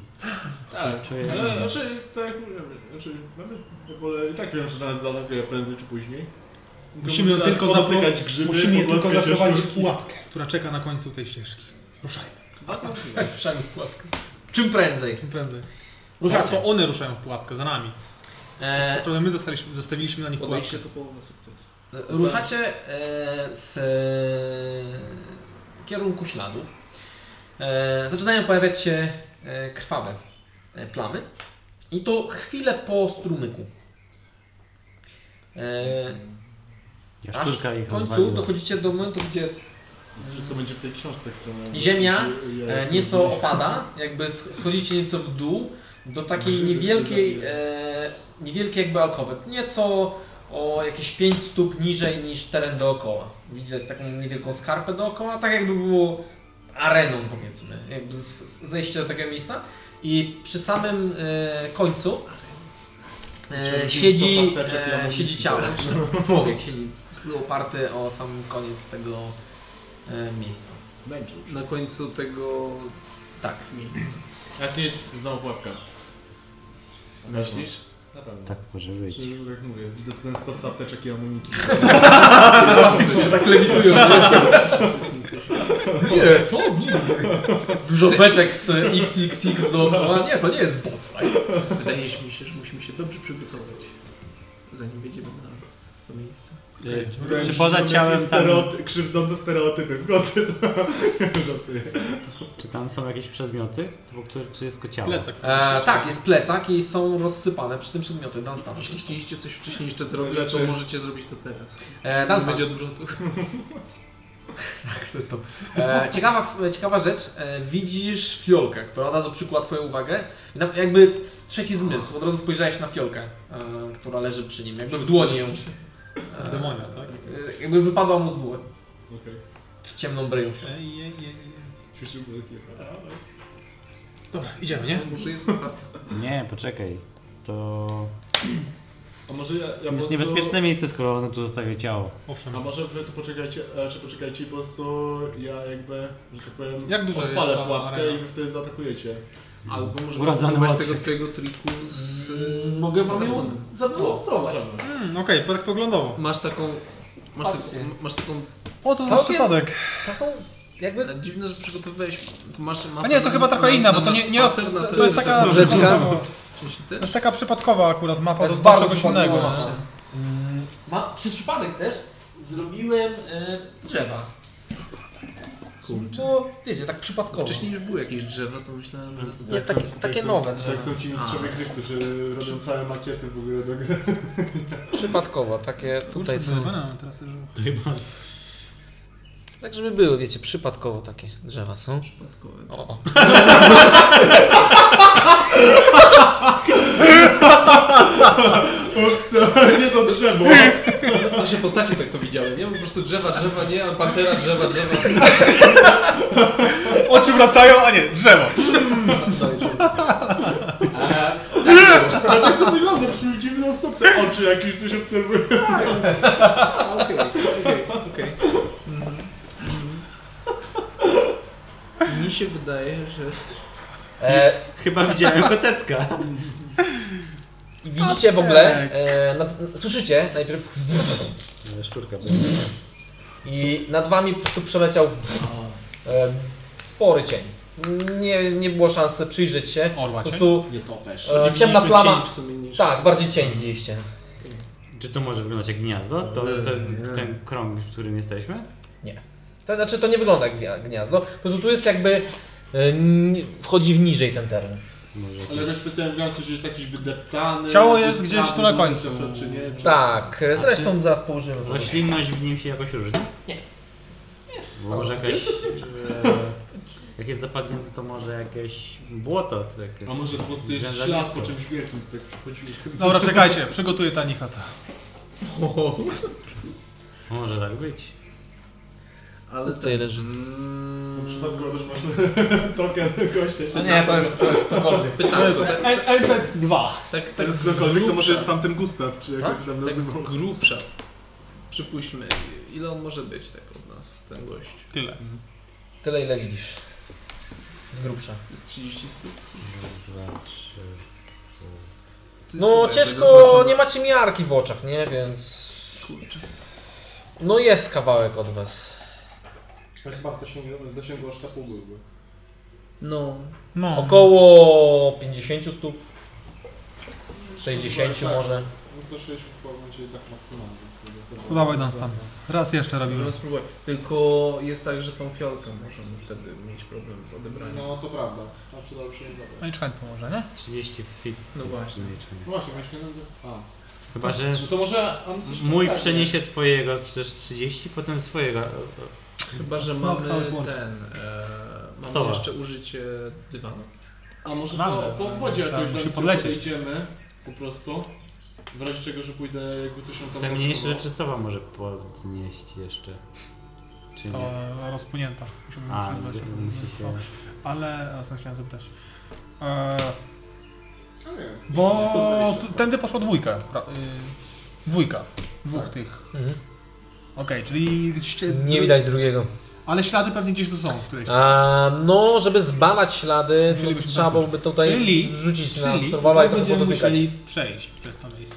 Tak, Czuję- ale znaczy, tak jak mówiłem, znaczy, nawet ja wolę, i tak wiem, że nas zaatakuje prędzej czy później. Musimy je teraz tylko, podotykać zapro- grzyby, musimy je tylko pogłaskać zaprowadzić w jaszczurki. pułapkę, która czeka na końcu tej ścieżki. Ruszajmy, Przynajmniej pułapkę. Czym prędzej. czym prędzej. Ruszacie. To one ruszają w pułapkę za nami. E, To my zostaliśmy, zostawiliśmy na nich pułapkę. Podejście to połowa sukcesu. ruszacie e, w e, kierunku śladów. E, zaczynają pojawiać się e, krwawe e, plamy. I to chwilę po strumyku. E, aż Jaszczurka ich w końcu rozwaliła. dochodzicie do momentu, gdzie Wszystko będzie w tej książce, którą... Ziemia, Ja E, jestem- nieco opada, jakby sch- schodzicie nieco w dół do takiej niewielkiej, e, niewielkiej jakby alkowy, nieco o jakieś 5 stóp niżej niż teren dookoła. Widzicie taką niewielką skarpę dookoła, tak jakby było areną powiedzmy, jakby z- z- zejście do takiego miejsca I przy samym e, końcu e, Chciałbym siedzi, pięć tostateczek i e, amunicji. siedzi ciało. Człowiek siedzi oparty o sam koniec tego e, miejsca. Zmęczył. Na końcu tego Tak. miejsca. A ty jest znowu pułapka. Myślisz? Na pewno. Tak może być. Przecież jak mówię, widzę ten stos apteczek i amunicji. Faktycznie tak lewitują. Nie, co? Dużo beczek z XXX dookoła. no, Nie, to nie jest boss fight. Wydaje się mi się, że musimy się dobrze przygotować, zanim wejdziemy na to miejsce. E, Czy poza ciałem tam, Stereoty- krzywdzące stereotypy. W końcu to... Żartuję. czy tam są jakieś przedmioty, wokół których czy jest tylko ciało? Plecak. E, tak, jest plecak i są rozsypane przy tym przedmioty. Dunstan. Jeśli chcieliście coś wcześniej jeszcze zrobić, Rzeczy. to możecie zrobić to teraz. E, Nie Dunstan. będzie odwrotów. To jest to. E, ciekawa, ciekawa rzecz. E, widzisz fiolkę, która od razu przykuła Twoją uwagę. I na, jakby trzeci zmysł. Od razu spojrzałeś na fiolkę, e, która leży przy nim. Jakby w dłoni ją. E, Demonia, tak? E, jakby wypadła mu z dłoni. Okej. Ciemną bryją się. Ej, ej, ej. Ćwiczył były takie. Dobra, idziemy, nie? Może jest otwarte. Nie, poczekaj. To A może ja, ja po jest prostu- niebezpieczne miejsce, skoro one tu zostawia ciało. Owszem. A może wy tu poczekajcie, znaczy poczekajcie i po prostu ja jakby, że tak powiem, Jak duża jest odpalę ta pułapkę arena? i wy wtedy zaatakujecie. Albo możemy Urodzony spróbować łotrzyk. tego twojego triku z... Mogę wam ją Demonem. No. zademonstrować. Możemy. Hmm, okej, tak poglądowo. Masz taką... Masz, Patrzcie. taką, masz taką... O, to na Całkiem- przypadek. Taką jakby Dziwne, że przygotowywałeś... Masz mapę A nie, to na- chyba trochę na- inna, na bo to nasz nie- nie o- spacer na to ten- jest taka- Rzeczka. Oczywiście To To jest taka przypadkowa akurat mapa jest do bardzo czegoś przypadkowa innego. mapa. nie? Mm, Ma, przez przypadek też zrobiłem e, drzewa. Kurczę. Bo wiecie, tak przypadkowo. Wcześniej już były jakieś drzewa, to myślałem, że... Nie, Jak takie- są- takie jak są- nowe drzewa. Tak są ci mistrzowie gry, którzy robią całe makiety w ogóle do gry. Przypadkowo, takie tutaj Kurczę, są. zajebana mam teraz też. Tak, żeby były, wiecie, przypadkowo takie drzewa są. przypadkowe. O, o. Ups, nie to drzewo! Nasze postacie tak to widziały, nie? Po prostu drzewa, drzewa, nie? A Pantera, drzewa, drzewa. Oczy wracają, a nie, E, drzewo. tak, A tak to wygląda, przyjdzie mi non-stop te oczy jakieś coś obserwują. Okej, okej, okej. Mi się wydaje, że... E, Chyba widziałem kotecka. Widzicie w ogóle, e, nad, słyszycie najpierw Szczurka. i nad wami po prostu przeleciał No. e, spory cień. Nie, nie było szansy przyjrzeć się. Orła Po cień? prostu Nie to też. e, ciemna plama. w sumie niż... Tak, bardziej cień widzieliście. Czy to może wyglądać jak gniazdo? To, to Nie. ten krąg, w którym jesteśmy? To znaczy to nie wygląda jak gwia- gniazdo. Po prostu tu jest jakby e, ni- wchodzi w niżej ten teren. Może Ale też specjalnie wygląda, że jest jakiś wydeptany. Ciało jest gdzieś tu na końcu. Czy nie, czy... Tak, e, zresztą zaraz położymy. roślinność w nim się jakoś różni? Bo Może jakaś... e, Jak jest zapadnięte, to może jakieś błoto. To jakieś A może po prostu jest Rzędza ślad blisko. po czymś wielkim, co jak przychodził. No. Dobra, czekajcie, przygotuję tanichata. Może tak być. Ale tak- Mm. Tutaj leży. W przypadku też masz token gościa. Nie, to jest, to jest ktokolwiek. pytanie, tak, Elpec 2. tak, To tak jest z ktokolwiek, to może grubsza- jest tamten Gustaw, czy jakoś tam Tak z nazywał. grubsza. Przypuśćmy, ile on może być tak od nas, ten gość? Tyle. Tyle ile widzisz. Z grubsza. To jest 30 stóp? Dwa, trzy. To jest chyba No jakby ciężko, zaznaczone. nie macie miarki w oczach, nie? Więc Kurczę. No jest kawałek od was. Chyba w zasięgu- w zasięgu aż tak byłby. No. No. Około 50 stóp. 60 tak. może. No to 6 będzie tak maksymalnie. No dawaj Dunstan. Raz jeszcze robimy. Tak, Możemy spróbować. Tylko jest tak, że tą fiolkę możemy wtedy mieć problem z odebraniem. No to prawda, a przydałoby się nie No i czekaj pomoże, nie? 30 fit. No właśnie. Właśnie, właśnie. no to- Chyba, że A. No to może Ancestral mój tak, nie? przeniesie twojego przez 30, potem swojego. Chyba, że That's mamy not how it works. ten. E, mamy Sowa. jeszcze użycie dywanu. A może Mamy. po, po obwodzie Trzeba jakoś by się zanim sobie podlecieć. podejdziemy, po prostu. W razie czego, że pójdę jakby coś on tam... Te mniejsze blokował. rzeczy Sowa może podnieść jeszcze. Czy To nie? rozpłynięta. Musimy A, przyznać. gdzie- musi się... Ale o co chciałem zapytać. E, A nie. bo Jest to tu- tędy poszła dwójka. pra- y, Dwójka. Dwóch Tak. tych. Mhm. Okej, czyli... ście- Nie widać drugiego. Ale ślady pewnie gdzieś tu są. w którejś. A, no, żeby zbadać ślady, no, to Musielibyśmy trzeba zakuć. byłoby tutaj Czyli- rzucić na Czyli survival i tak trochę będziemy podotykać. musieli przejść przez to miejsce.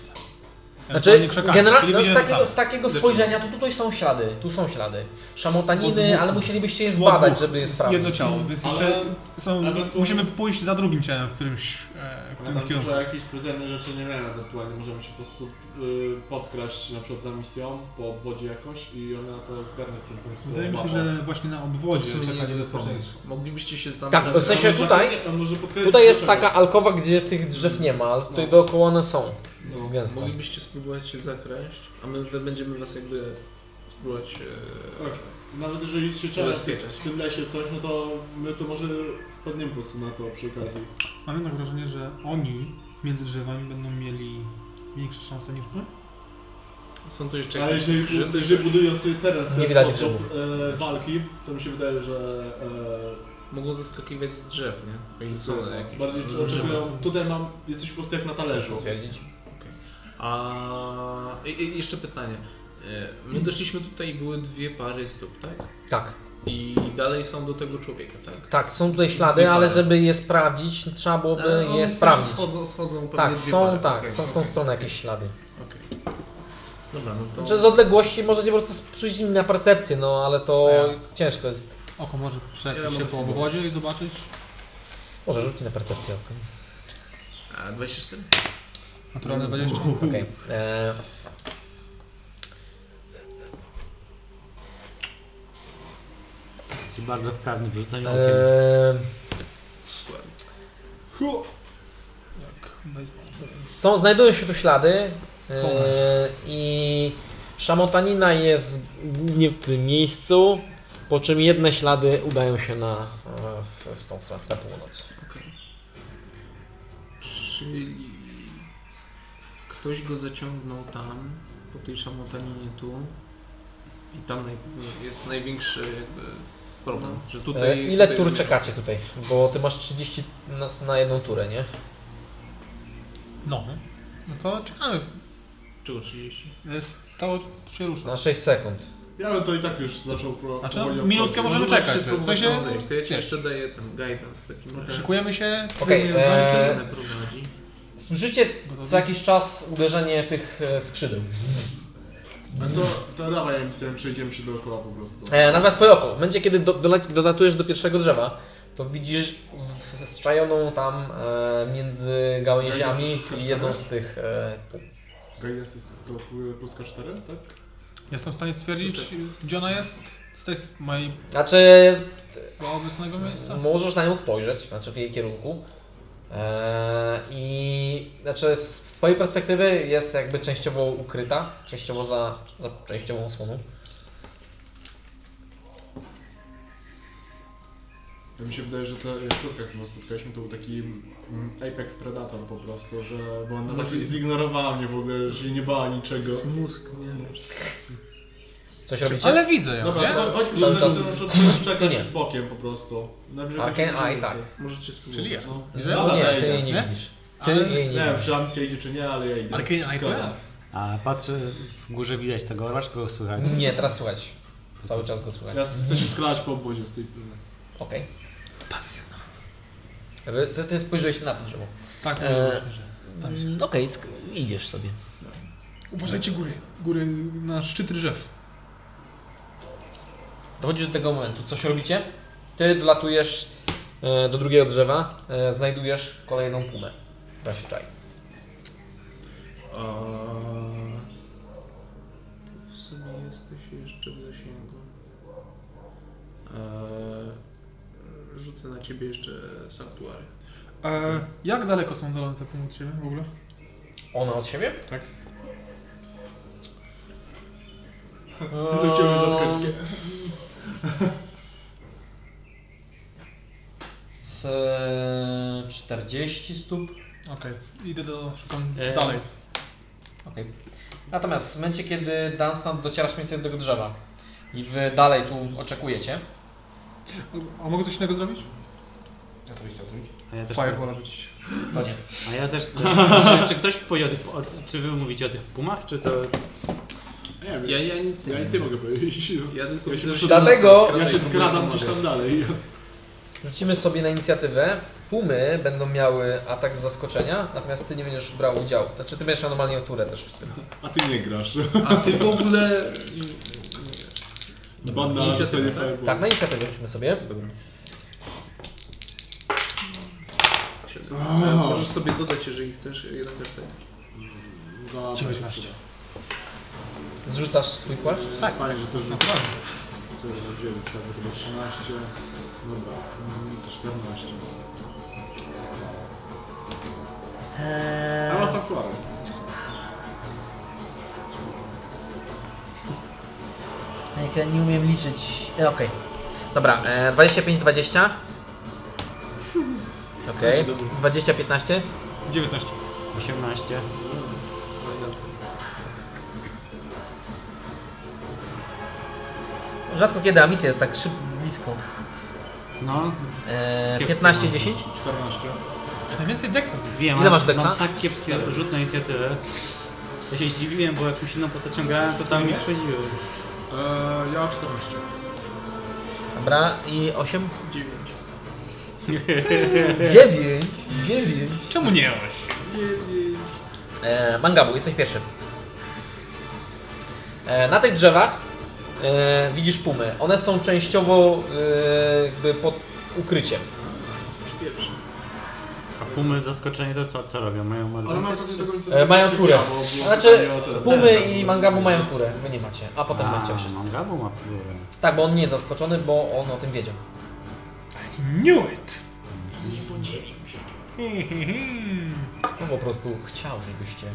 Znaczy, generalnie generalnie no, z, takiego, z takiego spojrzenia, to tutaj są ślady, tu są ślady. Od Szamotaniny, dwóch- ale musielibyście je zbadać, dwóch. żeby je Jedno sprawdzić. ciało, więc Ale jeszcze są, ewentualnie- musimy pójść za drugim ciałem w którymś, e, w Ale którymś tam kierunku. dużo jakichś specjalnych rzeczy nie miałem ewentualnie, możemy się po prostu y, podkraść na przykład za misją, po obwodzie jakoś i ona to zgarnie w tym punkcie. Wydaje mi się, że właśnie na obwodzie To w sumie czeka nie jest niebezpieczeństwo. Moglibyście się tam Tak, w zabrać. sensie tutaj, tutaj jest taka alkowa, gdzie tych drzew nie ma, No. ale tutaj dookoła one są. Jest gęsto. Moglibyście spróbować się zakraść, a my będziemy was jakby spróbować... E... Nawet jeżeli się trzeba Zabezpieczać. w tym lesie coś, no to my to może wpadniemy po prostu na to przy okazji. Mam jednak wrażenie, że oni między drzewami będą mieli większe szanse niż my. Są tu jeszcze Ale jakieś jeżeli, grzyby, jeżeli coś. budują sobie teren w ten Nie widać sposób e, walki, to mi się wydaje, że Mogą zaskakiwać z drzew, nie? e, Jeżeli są jakieś bardziej czy oczekują. Tutaj mam, jesteś po prostu jak na talerzu. Stwierdzić. A i, i jeszcze pytanie. E, My doszliśmy tutaj i były dwie pary stóp, tak? Tak, I dalej są do tego człowieka, tak? tak, są tutaj ślady, ale żeby je sprawdzić, trzeba Ale byłoby E, one w je sensie E, sprawdzić. Schodzą, schodzą pewnie Tak, dwie są, pary. tak, Okej, są w tą okej, stronę okej, jakieś ślady. okej. Dobra, no to... Znaczy z odległości możecie po prostu przyjść im na percepcję, no ale to Ja. ciężko jest. Oko może Ja przejść mogę się po spróbować. obwodzie i zobaczyć. Może rzuci na percepcję, okej. A, 24? Naturalne 20. Okej. E, Jesteś bardzo wprawny w rzucaniu okiem. e, Dokładnie. Są, znajdują się tu ślady e, Cholera. i szamotanina jest głównie w tym miejscu, po czym jedne ślady udają się na, e, w, w, tą, w tę północ. E, Okej. Czyli ktoś go zaciągnął tam, po tej szamotaninie tu i tam naj- jest największy jakby problem, że tutaj... E, ile tutaj tur czekacie tutaj? Bo ty masz 30 na, na jedną turę, nie? No. No to czekamy. Czego 30? Jest, to się rusza. Na 6 sekund. Ja bym to i tak już zaczął pro- Znaczy, powoli minutkę obchodzić. możemy czekać. no. Możecie W sensie, spróbować tam zejść. To ja ci wiesz. jeszcze daję ten guidance taki może. Szykujemy się. Okej, próbujemy e, odwrócić. Syrenę prowadzi. Słyszycie co jakiś czas uderzenie tych e, skrzydeł. No to, to dawaj, ja myślałem, przejdziemy się dookoła po prostu. E, natomiast twoje oko, w momencie kiedy do, doleci- dolatujesz do pierwszego drzewa, to widzisz w- zesczajoną tam e, między gałęziami i jedną z tych e, Guidance jest to plus 4, tak? Jestem w stanie stwierdzić, gdzie ona jest z tej s- mojej Znaczy, obecnego miejsca. możesz na nią spojrzeć, znaczy w jej kierunku. Eee, I znaczy z z twojej perspektywy jest jakby częściowo ukryta, częściowo za, za częściową osłoną. Ja mi się wydaje, że ta sztuka, którą spotkaliśmy, to był taki mm, Apex Predator po prostu, że bo ona tak zignorowała mnie w ogóle, że się nie bała niczego. Jest mózg, nie? Coś robicie? Ale widzę ją, Dobra, nie? co, chodźmy Cały za czas- czas... Nie. przekroczyć bokiem po prostu. Najwyżej Arcane będziemy Eye, tak. Możecie spróbować. Czyli ja. No. Że- No nie, ty jej Dobra, nie nie? widzisz. Ty Ale jej nie nie wiem, widzisz. czy tam się idzie, czy nie, ale ja idę. Arcane Eye to Zgoda. ja. A patrzę, w górze widać tego orła, czy go słychać? Nie, teraz słychać. Cały czas go słychać. Ja chcę się skrać po obwodzie z tej strony. Okej. Wy- Ty, ty spojrzałeś na to drzewo. Tak, E, myślę, że. Tam jest. Mm, Tak. Okej, sk- idziesz sobie. Uważajcie góry. Góry na szczyty drzew. Dochodzisz do tego momentu. Coś robicie? Ty dolatujesz e, do drugiego drzewa, e, znajdujesz kolejną pumę, która się czai. A... Ty w sumie jesteś jeszcze w zasięgu. Eee, rzucę na ciebie jeszcze sanktuary. E, jak daleko są dolone te punkty od siebie w ogóle? Ona od siebie? Tak. E, Do ciebie No zatkać. Z 40 stóp. Okej, idę do. szukam E, dalej. Okej. Natomiast w momencie, kiedy Dunstan docierasz mniej więcej do tego drzewa i wy dalej tu oczekujecie, A mogę coś innego zrobić? Ja sobie chciał zrobić. A ja też, Fireball rzucić. To nie. a ja też chcę. czy, czy ktoś powie o tych, o, czy wy mówicie o tych pumach, czy to... Nie wiem. Ja, ja nic Ja nic nie mogę powiedzieć. Ja tylko Ja się widzę, że Dlatego- nas Ja się skradają, w skradam ogóle gdzieś nie tam dalej. Rzucimy sobie na inicjatywę. Pumy będą miały atak z zaskoczenia, natomiast ty nie będziesz brał udziału. Znaczy ty będziesz miał normalnie turę też w tym. A ty nie grasz. rozmawiamy. A ty w ogóle... Banda Inicjatywa, nie tak? fireball. Tak, na inicjatywę rzućmy sobie. Dobra. O. E, Możesz sobie dodać, jeżeli chcesz, jeden kasztan. Za- 19. Zrzucasz swój płaszcz. Tak, fajnie, że też rzucamy. To jest 9, tak, to chyba 13. Dobra, mm, 14. A was akurat. Jak ja nie umiem liczyć. E, Okej. Dobra, e, 25-20. Okej, 20-15. 19. 18. Rzadko kiedy Amicia jest tak szybko blisko. No, E, Kiepski 15-10. 14. Najwięcej Dexa z wiem, Ile masz ale deksa? Mam tak kiepskie rzut na inicjatywę. Ja się zdziwiłem, bo jak już inną postacią grałem, to tam mi przechodziły. E, Eee, ja 14. Dobra, i 8. Dziewięć. 9. 9. Czemu nie oś? E, Mangabu, jesteś pierwszy. E, na tych drzewach e, widzisz pumy. One są częściowo e, jakby pod ukryciem. Jesteś pierwszy. A pumy zaskoczenie to co, co robią? Mają Ale marne. mam takie tego nic E, mają nie turę. bo było Znaczy, pytanie o te- pumy i Mangabu mają turę. Wy nie macie, a potem A, macie wszyscy. Mangabu ma próbę. Eee. Tak, bo on nie jest zaskoczony, bo on o tym wiedział. Knew it! Nie podzielił się. No po prostu chciał, żebyście.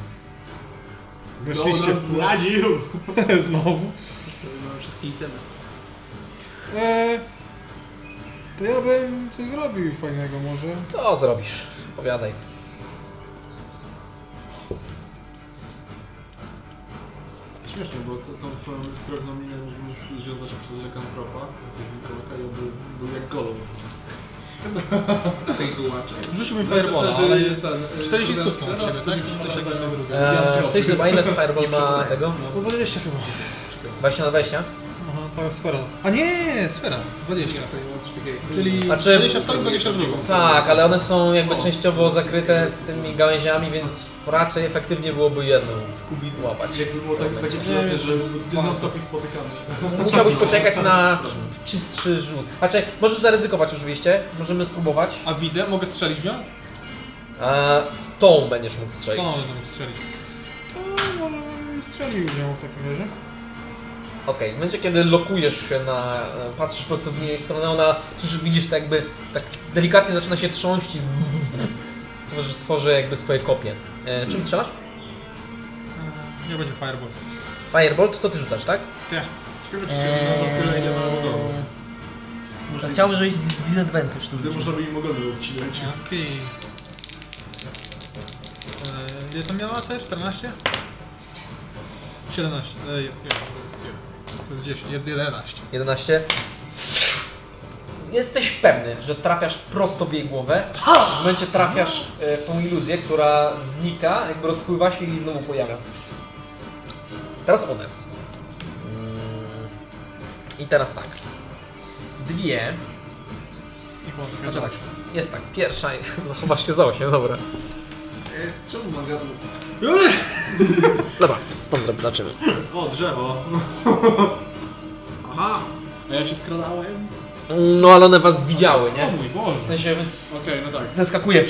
Weszliście w zdradził. Znowu. Już prawie mamy wszystkie itemy. Eee, to ja bym coś zrobił fajnego może. To zrobisz. Opowiadaj. Śmieszne, bo to, tą swoją srebrną linię mógłbym związać przez lekantropa, jakiegoś wilkołaka i on był, był jak golub. A tej gołacze. Rzućmy No, Firebola, w sensie, ale że jest ten, e, 40 stóp są teraz od siebie, tak? sobie To się wyobrażają- tak jakby- Eee, Stoisz chyba ile Fireball ma tego? Po 20 chyba. 20 na 20? Aha, to sfera. A nie, sfera. 20. Czyli Znaczy- 20 w tą, 20 w drugą. Tak, ale one są jakby częściowo zakryte tymi gałęziami, więc raczej efektywnie byłoby jedną łapać. Jakby było tak, takie przyjemne, że non stop ich spotykamy. Musiałbyś poczekać na czystszy rzut. Znaczy, możesz zaryzykować oczywiście, możemy spróbować. A widzę, mogę strzelić w nią? Eee, w tą będziesz mógł To strzelić. może tam strzelić. To może bym strzelił w nią w takim razie. Okej, w momencie kiedy lokujesz się na. e, patrzysz po prostu w jej stronę, ona. Słyszysz, widzisz to jakby. tak delikatnie zaczyna się trząść i. tworzy, tworzy jakby swoje kopie. E, czym strzelasz? Eee, Nie będzie Fireball. Firebolt to ty rzucasz, tak? Tak. Ciekawe, czy się na tyle ile Eee. mają golów. Okay. Chciałbym, żebyś z disadvantage tu Gdy rzucił. można by im ogony obcinać. Okej. Eee, Ile to miała AC? 14? 17. Eee, je- je- to jest jeden. To jest 10. jed- 11. 11. Jesteś pewny, że trafiasz prosto w jej głowę. W momencie trafiasz e, w tą iluzję, która znika, jakby rozpływa się i znowu pojawia. Teraz one. Mm. I teraz tak. Dwie. I chłopie. No Znaczy tak. Jest tak. Pierwsza. Zachowasz się za 8, dobra. E, Czemu mam wiadro? Dobra, stąd zrobię, zobaczymy. O, drzewo. Aha! A ja się skradałem? No ale one was widziały, O nie? mój Boże. W sensie Okej, no tak. zeskakuje.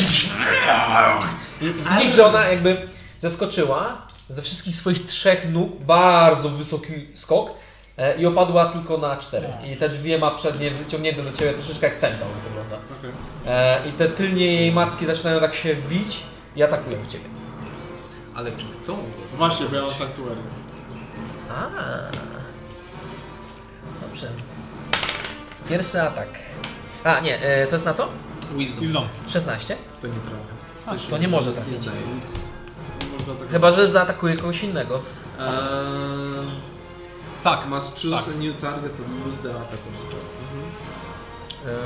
I Widzisz, że ona jakby zeskoczyła ze wszystkich swoich trzech nóg, bardzo wysoki skok e, i opadła tylko na cztery. I te dwie ma przednie wyciągnięte do ciebie troszeczkę jak centaur wygląda. Okej. E, I te tylnie jej macki zaczynają tak się wić i atakują w ciebie. Ale czy chcą go? Właśnie, bo ja mam sanktuarium. A. Dobrze. Pierwszy atak. A nie, e, to jest na co? Wisdom. I w dom. 16? To nie trafia. W sensie Tak, to nie może trafić. Nie daje nic. Może zaatakować. Chyba, że zaatakuje kogoś innego. Eee, Tak. must choose a new target and use the attack on spell. Eee,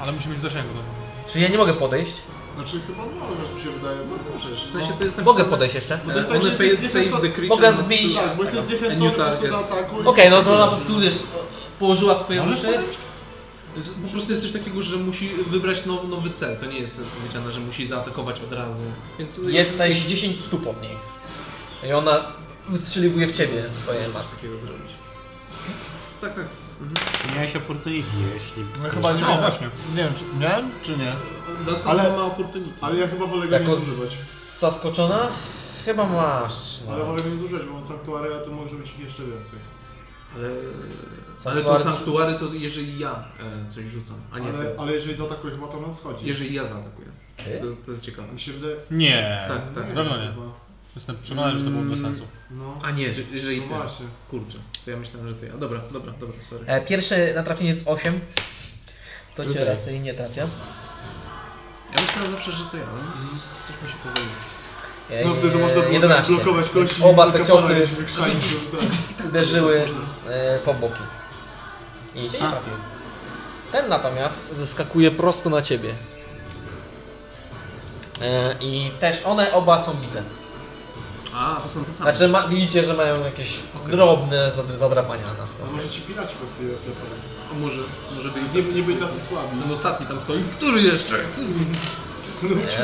Ale musi być w zasięgu. no. Czyli ja nie mogę podejść? Znaczy chyba możesz mi się wydaje, no, bo możesz. W sensie to jest No, Mogę napisane- podejść jeszcze? Bo to jest E, One takie failed zniechęca- save the creature. Mogę must zmienić- choose Tak, bo jesteś A zniechęcony new po prostu target. do ataku. i- Okej, no to ona po prostu wiesz, położyła swoje uszy. Po prostu jest coś takiego, że musi wybrać now, nowy cel. To nie jest powiedziane, że musi zaatakować od razu. Więc Jesteś 10 stóp od niej. I ona wystrzeliwuje w ciebie swoje Masz maski. takiego zrobić. Tak, tak. Nie miałeś opportunity, jeśli... No chyba nie No, miałem. właśnie. Nie wiem, czy miałem czy nie? Dostał Ale- ale... ma opportunity. Ale ja chyba wolę go Jako nie z- zużywać. zaskoczona? Chyba masz. Ale No. wolę go nie zużywać, bo mam sanktuaria, to może być ich jeszcze więcej. Ale, ale to Sanktuary- sanktuary to jeżeli ja e, coś rzucam, a nie Ale, ty. ale jeżeli zaatakuje, chyba to nam schodzi. Jeżeli ja zaatakuję. Ty? To, jest- to jest ciekawe. Mi się wydaje... Nie. Tak, tak. Na pewno nie. Chyba. Jestem przekonany, że to byłoby bez sensu. No. A nie, że- jeżeli No ty. właśnie. Kurczę, to ja myślałem, że ty. ja. dobra, dobra, dobra, sorry. E, pierwsze natrafienie jest 8. To cię Tutaj. raczej nie trafia. Ja myślałem zawsze, że to ja, ale no, coś mi się powoliło. E, No wtedy można było 11. blokować Więc kości. i Oba te kapara ciosy gdzieś wykrzanić, tak. uderzyły e, po boki. I cię nie trafił. Ten natomiast zeskakuje prosto na ciebie. E, I też one oba są bite. A, to są te same. Znaczy ma, widzicie, że mają jakieś drobne zadr- zadrapania na w A może ci piraci po prostu je lepiej. A może, może byli Nie, nie byli tacy słabi. Ten ostatni tam stoi. Który jeszcze?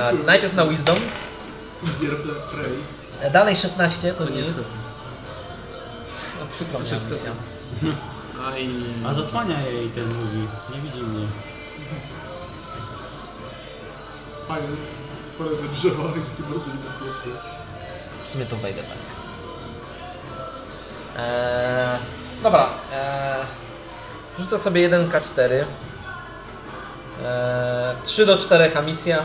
e, Najpierw na Wisdom. Zjer Prey. E, Dalej 16 to To nie jest. niestety. No, przykro mi, Znaczy, Amicia. Aj. A zasłania jej ten mówi, nie widzi mnie. Fajnie. Spore te drzewa, takie bardzo niebezpieczne. W sumie to wejdę tak. Eee, dobra. Eee, rzucę sobie 1K4. Eee, 3 Eee, do 4 a misja.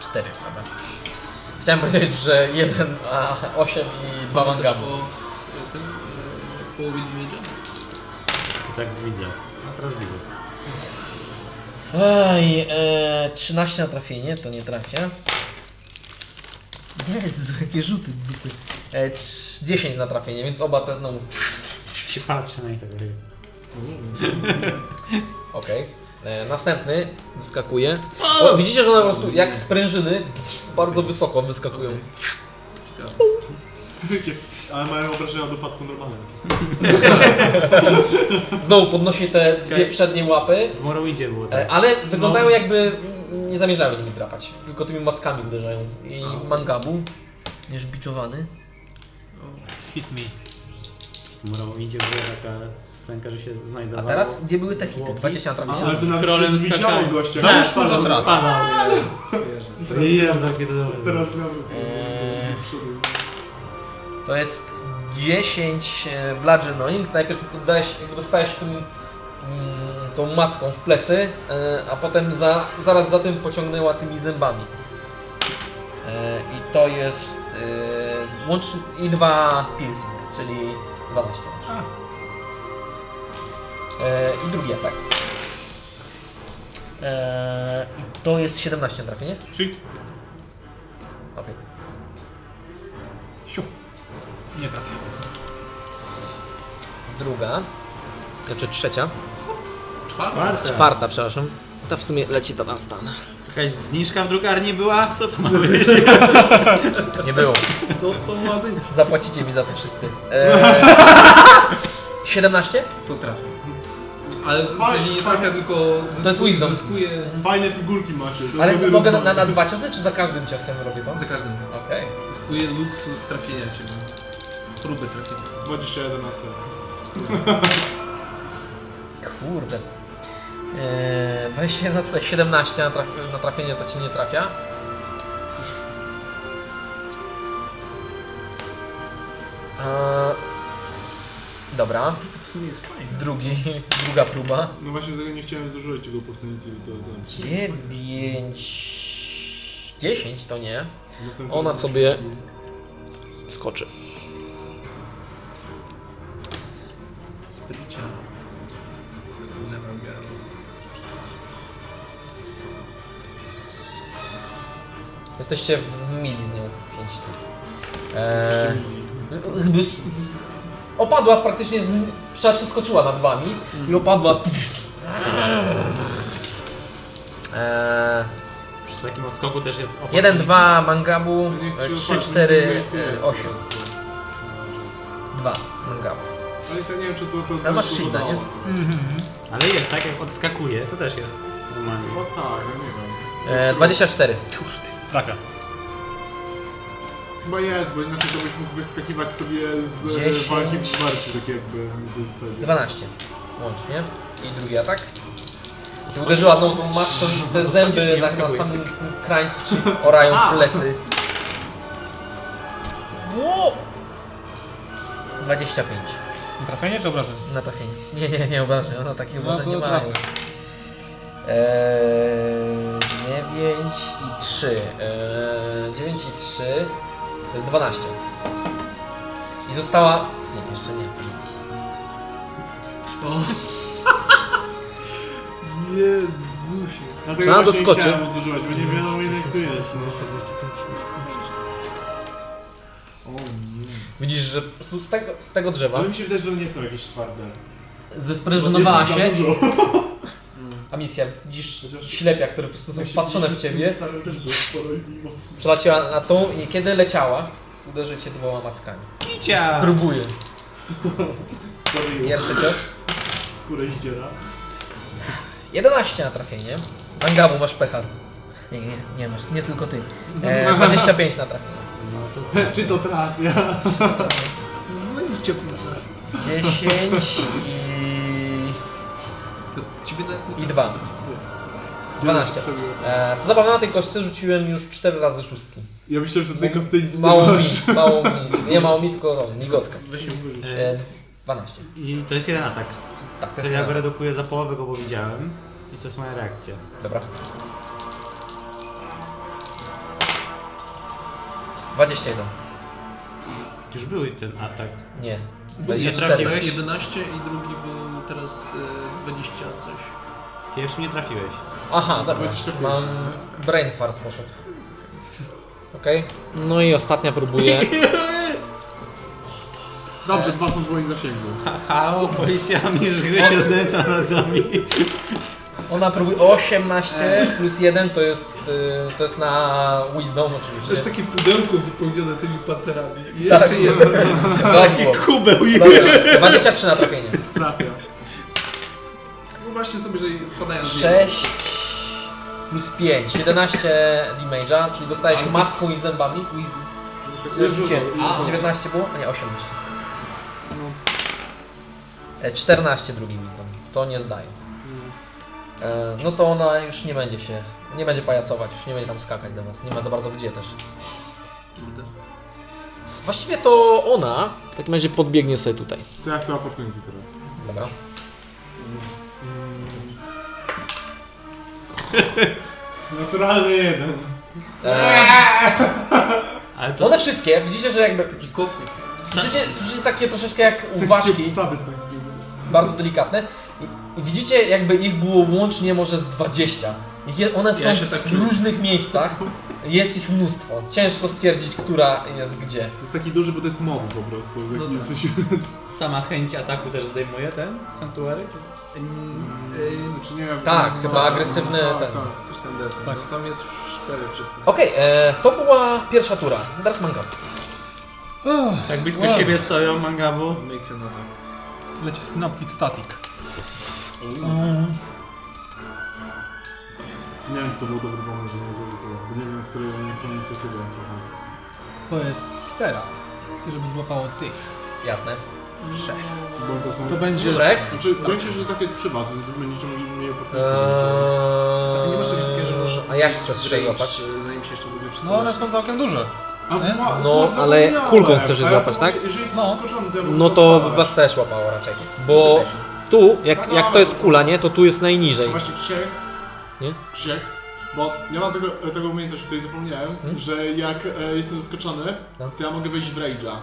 Cztery, prawda? Chciałem powiedzieć, że 1, a 8 i 2 Pamiętasz mangabu. o e, tym e, połowie niedźwiedzia? I tak widzę. A teraz widzę. Ej, e, 13 na trafienie, to nie trafia. Jezu, jakie rzuty dupy. E, trz- 10 na trafienie, więc oba te znowu. Się patrzę na nich tak. robię. Okej. E, Następny wyskakuje. O, widzicie, że one po prostu jak sprężyny bardzo wysoko wyskakują. Ciekawe. Takie- Ale mają obrażenia od upadku normalne. Znowu podnosi te dwie przednie łapy, W Morrowindzie było tak. e, ale wyglądają jakby nie zamierzały nimi drapać. Tylko tymi mackami uderzają. I mangabu. Jest biczowany. Hit me. W Morrowindzie była taka scenka, że się A znajdowało. teraz gdzie były te hity? 20 na Ale trafienie. ty nawet królem nie widziałem skakałem. gościa. Tak, Spadał, może spadał. Spadał. Nie, Teraz- Jezu, jakie to dobre. Teraz No, miałem... Eee. To jest 10 e, bludgeoning. Najpierw dodałeś, jakby dostałeś tym, mm, tą macką w plecy, e, a potem za, zaraz za tym pociągnęła tymi zębami. E, I to jest e, łącznie i dwa piercing, czyli 12 łącznie. E, I drugi atak. E, I to jest 17 na trafienie. Shit. Okay. Siu. Nie trafię. Druga, znaczy trzecia. Czwarta. Czwarta, przepraszam. Ta w sumie leci to na stan. Jakaś zniżka w drukarni była? Co to ma być? Nie było. Co to ma być? Zapłacicie mi za to wszyscy. Eee, 17? To trafia. Ale w sensie nie trafia, tylko To jest wisdom. zyskuje Fajne figurki macie. to Ale robię mogę na, na, rozmawiać. na dwa ciosy, czy za każdym ciosem robię to? za każdym. Okej. Zyskuje luksus trafienia się. Próby trafienia. 21 na cel. Kurde. Eee, 21 na C, 17 na, traf na trafienie to ci nie trafia. Eee, dobra, To w sumie jest fajne. drugi, druga próba. No właśnie tego nie chciałem zużyć tego opportunity. To, to. 9. 10 to nie. Następnym Ona razem sobie się- skoczy. Sprycia. Never girl. Jesteście w z- mili z nią 5 eee, się mieli. Jakby s- s- Opadła praktycznie, z... prze- przeskoczyła nad wami Mhm. i opadła. Eee, Przy takim odskoku też jest opór. 1, 2 mangabu, Niech ci 3, opadnie, 4, niech to jest po 8. prostu. 2 mangabu. Ale to nie wiem, czy to... to Ale masz to shielda, nie? udało. Ale jest, tak jak odskakuje, to też jest normalnie. No tak, ja nie E, wiem. 24. Trafia. Chyba jest, bo inaczej to byś mógł wyskakiwać sobie z e, 10. walki w barcie, tak jakby w zasadzie. 12 łącznie. I drugi atak. Się uderzyła znowu tą macką i te zęby tak na, na samym krańcu ci orają plecy. Ło! 25 Trafienie czy obrażenie? na trafienie. Nie, nie, nie obrażę, ona takich No obrażeń nie to ma. trafia. Eee, 9 i 3. Eee, 9 i 3 to jest 12. I została. Nie, jeszcze nie. to nic. Jezusie. Dlatego Trzeba właśnie doskoczy. nie chciałem używać, bo nie wiadomo ile kto jest. O nie. Widzisz, że po prostu z tego, z tego drzewa. Ale mi się wydaje, że one nie są jakieś twarde. Zesprężynowała Jest ich się za dużo. A misja, widzisz Chociaż- ślepia, które po prostu są Jak się wpatrzone w widzisz, ciebie. tym samym też było sporo i mocno. Przeleciała na tą i kiedy leciała, uderzy cię dwoma mackami. Kicia! Spróbuję. Sporo i Pierwszy cios. Skórę zdziera. 11 na trafienie. Angabu, masz pecha. Nie, nie, nie masz, nie tylko ty. E, 25 na trafienie. Czy No to trafia? No 10 i... To ciebie nawet i nie 2. 12. E, co zabawne, na tej kostce rzuciłem już 4 razy szóstki. Ja myślałem, że tylko z tej nic nie Mało mi, masz. mało mi, nie mało mi, tylko no, migotka. Weź ją wyrzuć. E, 12. I to jest jeden atak. Tak, to To jest ja go na- redukuję za połowę go, bo widziałem. I to jest moja reakcja. Dobra. 21. Już był ten atak. Nie. trafiłeś? 24. 11 i drugi był teraz e, 20 coś. Pierwszy nie trafiłeś. Aha, dobra. Mam brain fart poszedł. Okej. No i ostatnia próbuje. Dobrze, dwa są w moim zasięgu. Halo, policja mi gry się znęca nad nami. Ona próbuje 18 plus 1 to jest y, to jest na wisdom To jest oczywiście. takie pudełko wypełnione tymi panterami. I jeszcze Tak. jeden. Tak było. Kubeł i Dobra, 23 na trafienie. Trafia. Wyobraźcie sobie, że spadają E, z nieba. 6 plus 5, 11 damage'a, czyli dostajesz macką i zębami. Rzuciłem. A, 19 było? A nie, 18. No. E, 14 drugi wisdom. To nie zdaje. E, No to ona już nie będzie się, nie będzie pajacować, już nie będzie tam skakać do was. Nie ma za bardzo gdzie też. Kurde. Właściwie to ona w takim razie podbiegnie sobie tutaj. To ja chcę opportunity teraz. Dobra. Naturalny jeden. E, Ale to No one wszystkie, widzicie, że jakby... Słyszycie, słyszycie takie troszeczkę jak u ważki, Psa bez państwa. bardzo delikatne. I, I widzicie, jakby ich było łącznie może z 20. Ich Je, one są Ja się tak w czuję. różnych miejscach. Jest ich mnóstwo. Ciężko stwierdzić, która jest gdzie. Jest taki duży, bo to jest mob po prostu. W No no tak. sensie. sama chęć ataku też zdejmuje ten sanktuary? Znaczy nie, Tak, no, chyba no, agresywny tak, ten. tak. Coś tam deser. No tam jest w szpery wszystko. Okej, e, to była pierwsza tura. Teraz manga. Tak blisko siebie stoją mangabu. Makes an attack. Leci synoptic static. Nie wiem, czy to był dobry pomysł, że nie zarzuciłem. Bo nie wiem, które nie są inicjatywy. trochę. To jest sfera. Chcę, żeby złapało tych. Jasne. Bo są- To będzie... Trzech. Znaczy, wydaje się, że tak jest przy was, więc wy będziecie mogli mniej opportunity. A ty nie masz czegoś takiego, że Eee, możesz a jak mieć chcesz się range, złapać? e, Zanim się jeszcze w ogóle wszystko No one zacznie. są całkiem duże. A, Nie? ma- No, ma- ale zapomniałem. kulką chcesz je Ale złapać, to- tak? Jeżeli jest No. skoczony, to ja No mogę to odpalać. was też łapało raczej. Bo tu, jak, jak to jest kula, nie, to tu jest najniżej. Właśnie trzech. Nie? Trzech. Bo ja mam tego, tego umiejętność, o której zapomniałem, Hmm? że jak e, jestem zaskoczony, No. to ja mogę wejść w rage'a.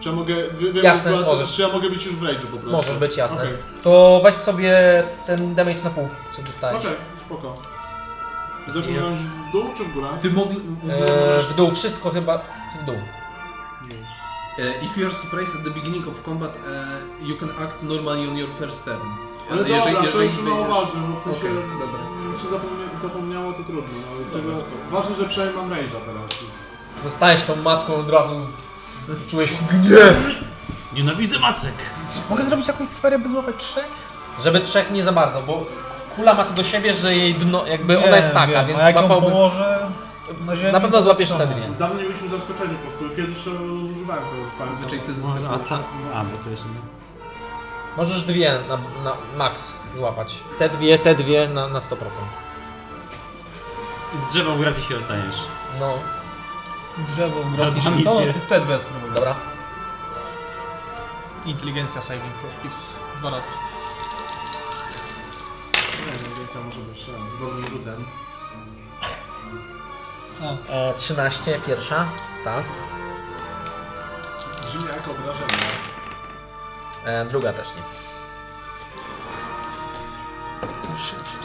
Czy ja mogę. Wy, wy, Jasne, była- możesz. Czy ja mogę być już w rage'u po prostu? Możesz być jasne. Okej, To weź sobie ten damage na pół, co dostajesz. Okej, No tak, spoko. Zapomniałem, że w dół czy w górę? E, Ty mogli... Eee, w dół wszystko chyba. W dół. E, If you are surprised at the beginning of combat, e, you can act normally on your first turn. E, Ale dobra, to już mało będziesz- ważne, no w sensie... Okej, dobra. Czy zapomnie, zapomniało, to trudno, no, ale Dobra, tego... spoko. Ważne, że przynajmniej mam rage'a teraz. Zostałeś tą maską od razu w- czułeś gniew. Nienawidzę macek! Mogę zrobić jakąś sferę, by złapać trzech? Żeby trzech nie za bardzo, bo kula ma to do siebie, że jej dno, jakby ona jest taka, wiem, więc a jak ją łapałbym... położę, na, ziemi, Na no pewno to złapiesz zostanę. wtedy, nie? Dawno nie byliśmy zaskoczeni po prostu, kiedyś to używałem tego fajnego. Znaczy, Zazwyczaj ty Może, a, zyskujesz. ta, a, bo to jeszcze nie. Możesz dwie na, na max złapać. Te dwie, te dwie na, na 100%. I drzewo w gratis się dostaniesz. No, Drzewo, Albo gratis, to misję. te dwie spróbuję. dobra. Inteligencja saving throw, please. Dwa razy. Dobrym rzutem. E, 13, pierwsza, tak. Brzmi jak obrażenie. E, druga też nie.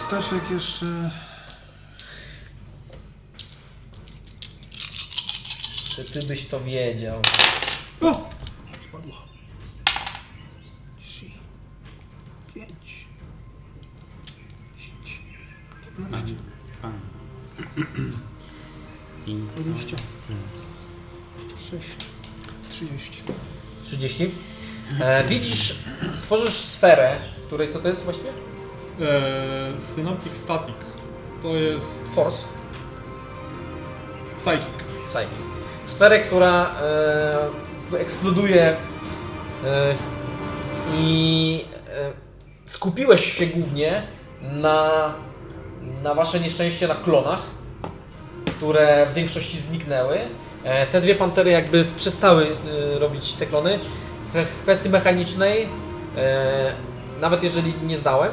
Staszek jeszcze... Czy ty byś to wiedział? Fajnie. I co? 30. E, widzisz, tworzysz sferę, w której co to jest właściwie? E, Eee, synoptic static. To jest... Force. Psychic. Psy. Sferę, która e, eksploduje e, i e, skupiłeś się głównie na, na wasze nieszczęście na klonach, które w większości zniknęły. E, te dwie pantery jakby przestały e, robić te klony. W, w kwestii mechanicznej, e, nawet jeżeli nie zdałem,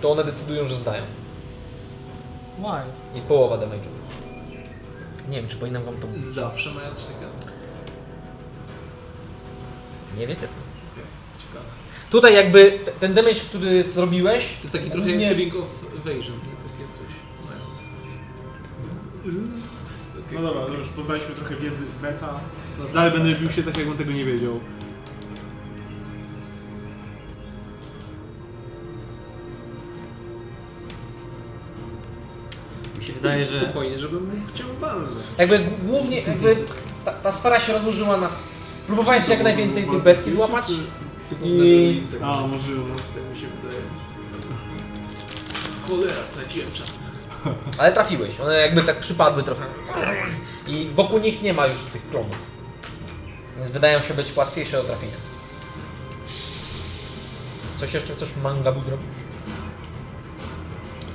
to one decydują, że zdają. Why? I połowa damage'u. Nie wiem, czy powinnam wam to... Zawsze mają coś takiego. Nie wiecie. Okej, ciekawe. Tutaj jakby t- ten damage, który zrobiłeś, Jest taki trochę Nie. jak Ring of Evasion, nie? takie coś. mają. No Takie- dobra, to już poznaliśmy trochę wiedzy beta. No Dalej będę bił się tak, jakbym tego nie wiedział. Mi się wydaje, że Spokojnie, żebym mógł chciał walnąć. jakby g- głównie jakby ta, ta sfera się rozłożyła na... Próbowałeś jak najwięcej tych bestii złapać i... A, możliwe. Tak mi się wydaje. Cholera, straciłem czas. Ale trafiłeś, one jakby tak przypadły trochę. I wokół nich nie ma już tych klonów. Więc wydają się być łatwiejsze do trafienia. Coś jeszcze chcesz mangabu zrobić?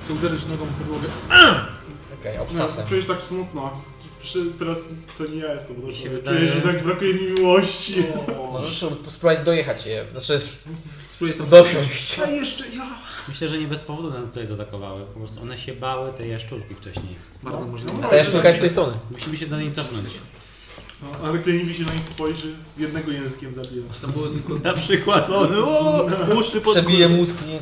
Chcę uderzyć nogą w podłogę. Okej, No, obcasem. czujesz tak smutno. Przy, teraz to nie ja jestem, bo się czuję, wydaje- że tak brakuje mi miłości. Możesz spróbować dojechać je, znaczy Spróbuję tam dosiąść. A jeszcze ja! myślę, że nie bez powodu nas tutaj zaatakowały. Po prostu one się bały tej jaszczurki wcześniej. Bardzo możliwe. A ta jaszczurka jest z tej strony. Musimy się do niej cofnąć. No, ale kliniwi się na nich spojrzy, jednego językiem zabija. Tam było tylko... Na przykład one, o, uszy pod Przebije mózg nie.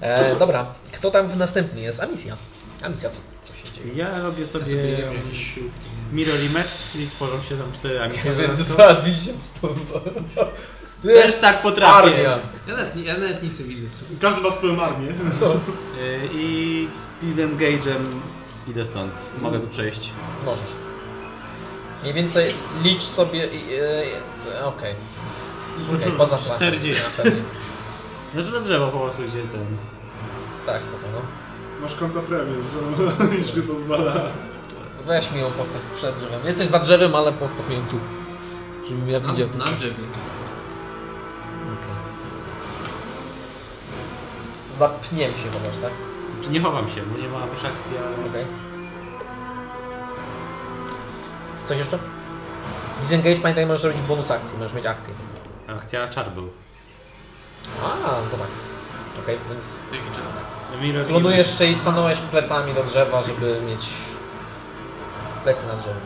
E, dobra, kto tam w następny jest? Amisja. Amisja, co, co się dzieje? Ja robię sobie Zrobiłem jakieś siłki. mirror image, czyli tworzą się tam cztery akcje. zaraz widzicie w to. Tu Też jest tak potrafię. armia. Ja nawet, nie- ja nawet nic nie widzę w sobie. Każdy ma swoją armię. Y, I Pilem Gage'em idę stąd. Mogę tu przejść. Możesz. Mniej więcej licz sobie. i- e, e, Okej. Okej, Mhm. poza flaszą. 40. Pewnie. Znaczy na drzewo po prostu gdzie ten. Tak, spokojno. Masz konta premium, to już nie pozwala. Weź mi ją postać przed drzewem. Jesteś za drzewem, ale postaw mi ją tu. Żebym ja Na, widział. na drzewie. Zapniem się chociaż, tak? Czy nie chowam się, bo nie ma już akcji, ale... Okej. Coś jeszcze? Disengage, pamiętaj, możesz robić bonus akcji, możesz mieć akcję. Akcja czar był. A, to tak. Okej, więc Mirror klonujesz się i stanąłeś plecami do drzewa, żeby mieć plecy na drzewie.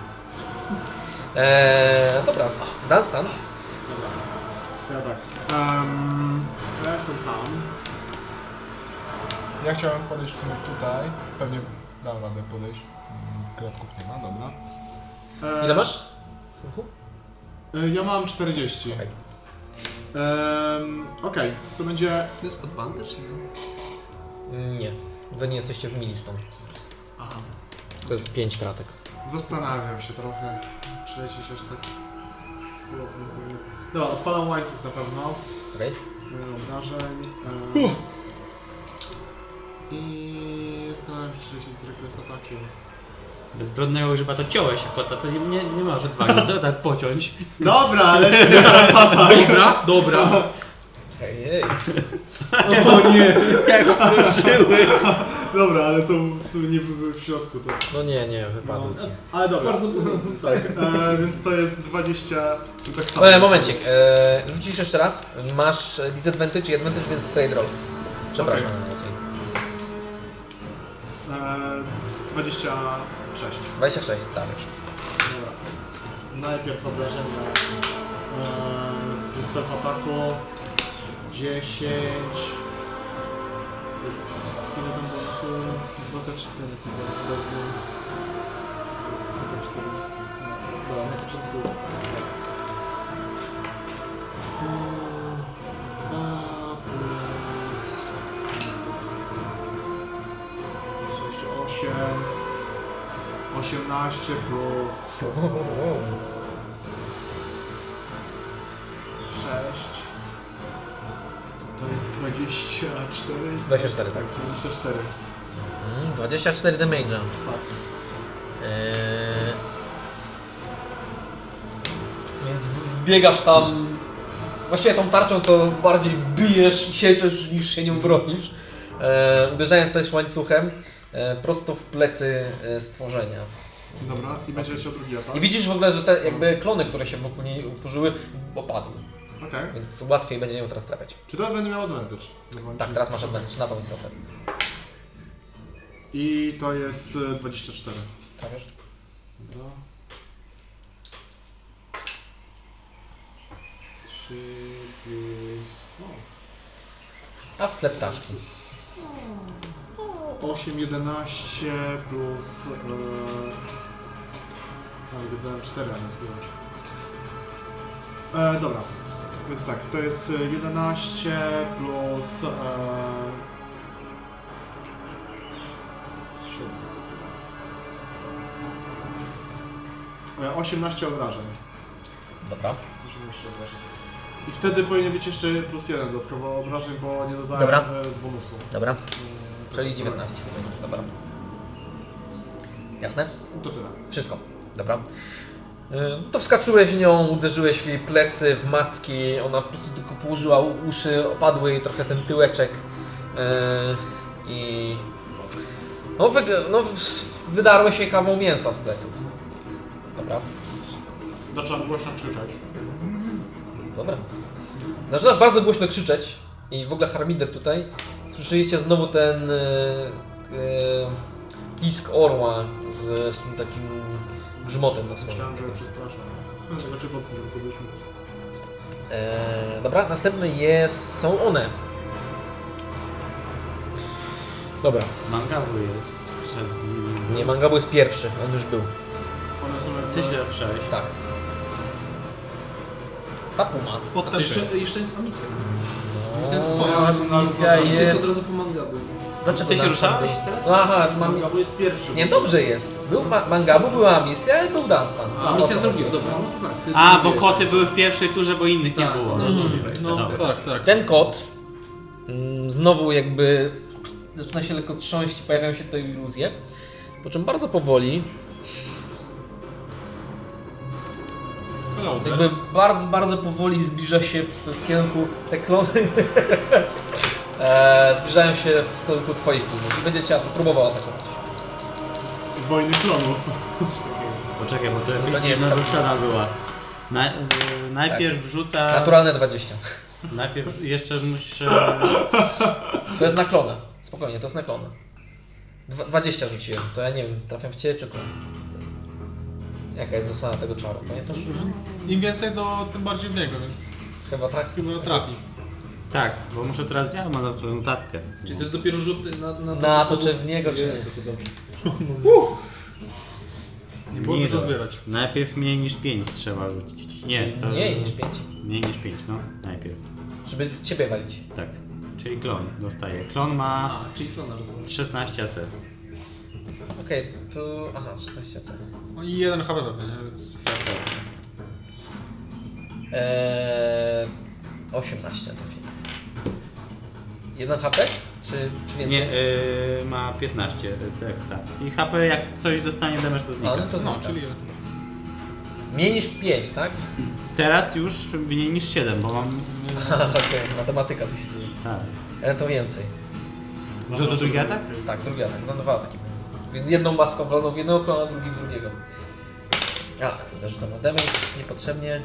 Eee, dobra, Dunstan. Ja tak. Um, ja jestem tam. Ja chciałem podejść w sumie tutaj. Pewnie dam radę podejść. Mm, Klapków nie ma, dobra. E, Ile masz? E, Ja mam 40. Okej. Em, Okej, to będzie To jest advantage? Nie? Nie. Wy nie jesteście w milistą. Aha. To jest 5 kratek. Zastanawiam się trochę, czy lecieć aż tak chłodno sobie. Dobra, odpalam łańcuch na pewno. Okej? e, Obrażeń. e, I zastanawiam się, czy lecieć z regres atakiem. Bezbrodnego grzyba to ciąłeś, a kota to nie, nie, nie może dwa razy tak pociąć. Dobra, lecimy regres Tak. atak. Dobra, dobra. Hej, O nie! Jak skończyły. Dobra, ale to w sumie nie były w środku to. No nie, nie, wypadł ci. Ale dobra. Bardzo tak, e, więc to jest 20. czyli Tak samo. E, momencik, e, rzucisz jeszcze raz. Masz e, disadvantage i advantage, więc straight roll. Przepraszam. E, 26. 26, tak. Dobra. E, Najpierw obrażenia e, system ataku 10 ile tam było? 2 te 4 Dobra, na początku Mm, dwa plus jeszcze 8 18 plus Wow, wow, wow. 6 to jest 24 24, tak tak. 24 Mm, 24 damage'a. tak Eee, Więc w- wbiegasz tam. Właściwie tą tarczą to bardziej bijesz i siedzisz niż się nią bronisz. Eee, uderzając też łańcuchem e, prosto w plecy e, stworzenia. dobra i będzie jeszcze drugi atak I widzisz w ogóle, że te jakby klony, które się wokół niej utworzyły, opadły. okej Więc łatwiej będzie nią teraz trafiać. czy teraz będę miał advantage? Normalnie. Tak, teraz masz advantage na tą istotę. i to jest e, 24 Trafiasz? Dwa. Trzy plus... A w tle ptaszki. O, 8, 11 plus... E, tam wydałem 4, a nie 5. E, dobra. Więc tak, to jest e, 11 plus... E, 7. E, 18 obrażeń. Dobra. I wtedy powinien być jeszcze plus jeden dodatkowo obrażeń, bo nie Tak, dodałem Dobra. e, z bonusu. Dobra. E, Czyli tak, 19. Dobra. Jasne? To tyle. Wszystko. Dobra. Y, To wskaczyłeś w nią, uderzyłeś w jej plecy, w macki, ona po prostu tylko położyła u- uszy, opadły jej trochę ten tyłeczek y, i... No, wy, no w- wydarłeś jej kawał mięsa z pleców. Dobra, Zaczęłam głośno krzyczeć. dobra. Zaczynasz bardzo głośno krzyczeć i w ogóle harmider tutaj. Słyszeliście znowu ten y, y, pisk orła z, z tym takim grzmotem na słonie. Myślałem, że przestraszam. No, Znaczy wątpię, że to byśmy. Eee, dobra, następne jest, są one. Dobra, Mangabu jest. Przed nim. nie, Mangabu jest pierwszy, on już był, One są jakby... Ty źle słyszałeś. tak. Ta puma. No, A to jeszcze, jeszcze jest amisja. Moja misja Amisja jest od jest... razu po mangabu. Dlaczego Znaczy, Ty się następny? ruszałeś teraz? No aha, mam... Mangabu jest pierwszy. Nie, dobrze jest. Był ma Mangabu, była misja i był Dunstan. A O misja co zrobiła, chodzi? dobra. No to tak, ty- A, ty bo wiesz. koty były w pierwszej turze, bo innych Tak, nie było. no, Mhm. no, No, tak. Tak, tak. Ten kot mm, znowu jakby zaczyna się lekko trząść i pojawiają się te iluzje. Po czym bardzo powoli, Hello, jakby bardzo, bardzo powoli zbliża się w, w kierunku te klony. e, zbliżają się w stosunku twoich klonów i będzie cię at- próbował atakować. Wojny klonów. Poczekaj, bo to No to nie jakaś jest Tak. dziwna kapitalizm. ruszana była. Na, y, najpierw wrzuca... Naturalne 20. Najpierw jeszcze e, muszę... To jest na klona. Spokojnie, to jest na klona. Dwa- 20 rzuciłem, to ja nie wiem, trafiam w ciebie czy klon. Jaka jest zasada tego czaru? Pamiętasz? Im więcej, to tym bardziej w niego, więc Chyba tak? chyba trafi. Tak, bo muszę teraz... Ja mam na notatkę. Czyli to jest dopiero No rzut na, na, Na to, czy w niego, czy nie. Jezu, to dobrze. Nie było Nie dużo da. zbierać. Najpierw mniej niż 5 trzeba rzucić. Nie, to... Mniej niż pięć. Mniej niż 5, no. Najpierw. Żeby ciebie walić. Tak. Czyli klon dostaje. Klon ma A, czyli klona rozumiem. 16 AC. Okej, to... Aha, 16 C. No I jeden HP pewnie, nie? Więc- Eee, 18 trafiłem. 1 HP? Czy, czy więcej? Nie, y, ma 15 Dexa. I HP jak coś dostanie damage to znika. A, no to No, znika. czyli jeden. Mniej niż 5, tak? Teraz już mniej niż 7, bo mam... y, Mhm. Aha, Okej, matematyka tu się dzieje. Tak. E, to więcej. Do, do drugi atak? Tak, drugi atak. No dwa ataki były. Więc jedną macką wloną w jednego klona, drugi w drugiego. Ach, narzucam na damage, niepotrzebnie. Eee,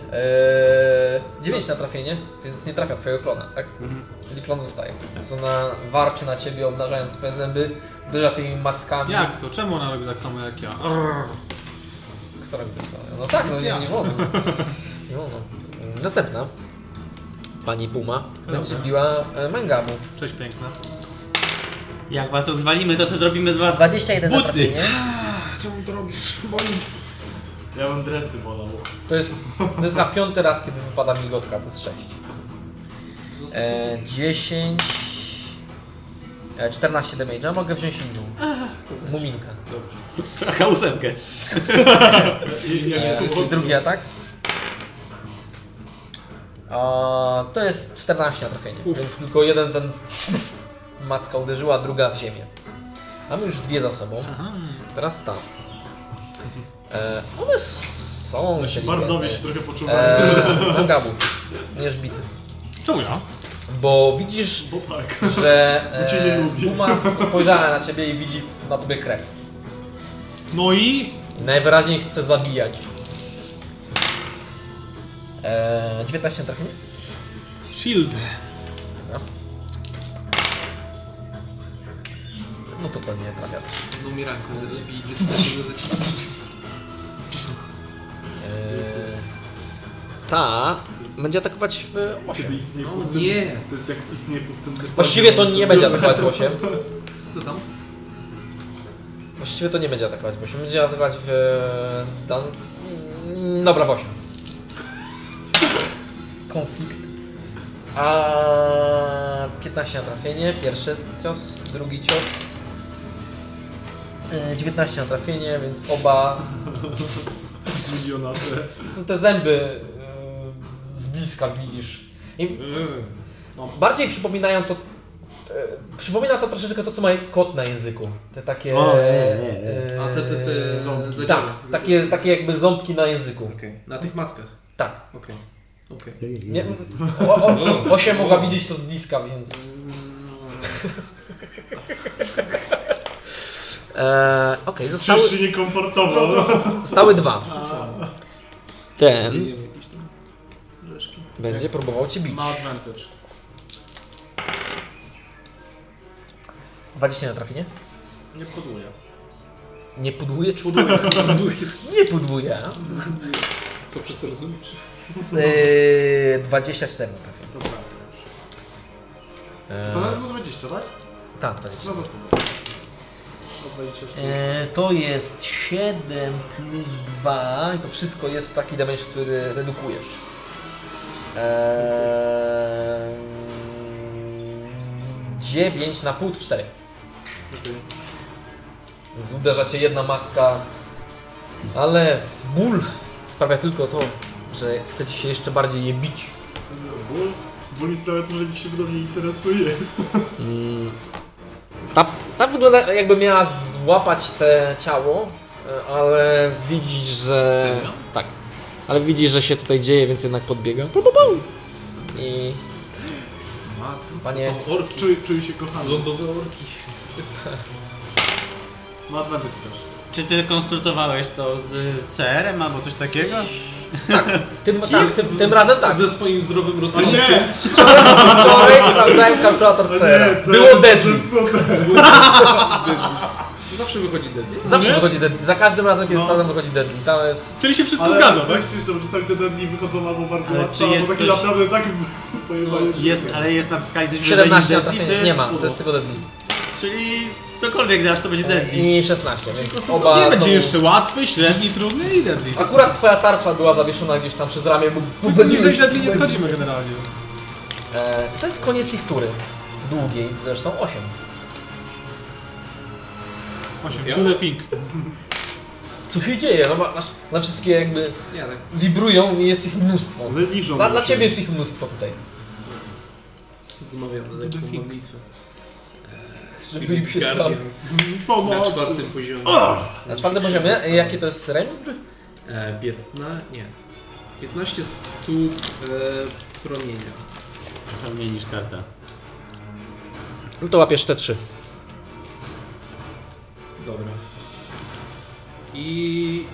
9 na trafienie, więc nie trafia twojego klona, tak? Mhm. Czyli klon zostaje. Więc ona warczy na ciebie, obnażając swoje zęby, uderza tymi mackami. Jak to? Czemu ona robi tak samo jak ja? Kto robi tak samo? No tak, no Więc nie, ja. nie wolno. Nie wolno. Następna. Pani Puma będzie biła e, Mangamu. Cześć piękna. Jak was rozwalimy, to co zrobimy z was? 21 na Buty. trafienie. Ah, Czemu to robisz? Boli. Ja bym dresy bolał. To jest, to jest na piąty raz, kiedy wypada migotka, to jest 6. E, 10. E, 14 damage'a, mogę wziąć inną. Muminka. Taka ósemkę. E, czyli drugi atak. A, to jest 14 na trafienie, więc tylko jeden ten macka uderzyła, druga w ziemię. Mamy już dwie za sobą. Teraz ta. E, one są Bardowie się trochę poczuwają. Eee, Mangabu, nie żbity. Czemu ja? Bo widzisz, Bo tak. że Bo cię nie e, lubię. Puma sp- spojrzała na ciebie i widzi na tobie krew. No i... Najwyraźniej chce zabijać. Eee, 19 trafi? Shield. Dobra. No to pewnie trafia też. No Miraku, zabij, żeby go zacisnąć. Eee, ta będzie atakować w Kiedy 8. istnieje No pustyn... nie. To jest jak istnieje pustynny... Właściwie to nie będzie atakować w 8. Co tam? Właściwie to nie będzie atakować w 8. Będzie atakować w e, dans. mm, Dobra, w 8. Konflikt. A 15 na trafienie, pierwszy cios, drugi cios. E, 19 na trafienie, więc oba. Milionarze. Co te zęby e, z bliska widzisz. I bardziej przypominają to. e, Przypomina to troszeczkę to, co ma kot na języku. Te takie. e, O, nie, nie, nie. A te, te, te... Ząbki. zadziały. Tak, takie, takie jakby ząbki na języku. Okej, na tych mackach. Tak. Okej. Okej. Nie, o, No, o, Osia mogła widzieć to z bliska, więc. Eee, Okej, zostały, Czujesz się niekomfortowo. zostały dwa. Ten Zdejmiemy jakieś tam rzeszki. będzie próbował cię bić. Ma advantage. 20 na trafienie? Nie podłuję. Nie pudłuje czy pudłuje? Nie pudłuje. a? Co przez to rozumiesz? Eee, 24 na trafienie. To prawda. To nawet Eee, było 20, tak? tak, to jest. No to spoko. To 26. E, to jest 7 plus 2. To wszystko jest taki damage, który redukujesz. Eee, 9 na pół, 4. Okej. Więc uderza cię jedna mastka, ale ból sprawia tylko to, że chce ci się jeszcze bardziej je bić. Ból? Ból mi sprawia to, że nikt się mną nie interesuje. Mm, Ta, ta wygląda jakby miała złapać te ciało, e, ale widzisz, że... Serio? Tak. Ale widzisz, że się tutaj dzieje, więc jednak podbiega. Pu, pu, pu. I Matko, Panie- to są orki. Czuję, czuję się kochany. Lądowe orki. Ma advantage też. Czy ty konsultowałeś to z CR-em albo coś takiego? tym, tak, tym, tym razem tak. Ze swoim zdrowym rozsądkiem. Nie! Wczoraj sprawdzałem kalkulator CR. No co Było ja- deadly. No. co to- Zawsze wychodzi deadly. Zawsze wychodzi deadly. Za każdym razem, No. kiedy sprawdzam, wychodzi deadly. Tam jest... Czyli się wszystko Ale zgadza, tak tak? śmieszne, bo czasami te deadly wychodzą albo bardzo Ale czy łatwo, albo jest takie coś- No, naprawdę tak Jest, pojebane. ale jest na skali coś wyżej niż 17 Deadly, trafienia. czy- Nie ma, to jest tylko deadly. Czyli Cokolwiek dasz, to będzie deadly. I 16, więc Nie oba będzie znowu- jeszcze łatwy, średni, trudny i deadly. Akurat twoja tarcza była zawieszona gdzieś tam przez ramię, bo bo Niżej będziesz- średnio nie schodzimy generalnie. E, To jest koniec ich tury. Długiej, zresztą 8. Osiem, to the thing. Co się dzieje? No, ma- masz, na wszystkie jakby Ja tak wibrują i jest ich mnóstwo. One liżą Dla, dla się. ciebie jest ich mnóstwo tutaj. zmawiam na lekką Defik. modlitwę. Żeby im się stało. Guardians na Pomoc! czwartym poziomie. Na czwartym poziomie, e, jaki to jest range? E, 15, nie. 15 stóp e, promienia. Czasem mniej niż karta. No to łapiesz te 3. Dobra. I...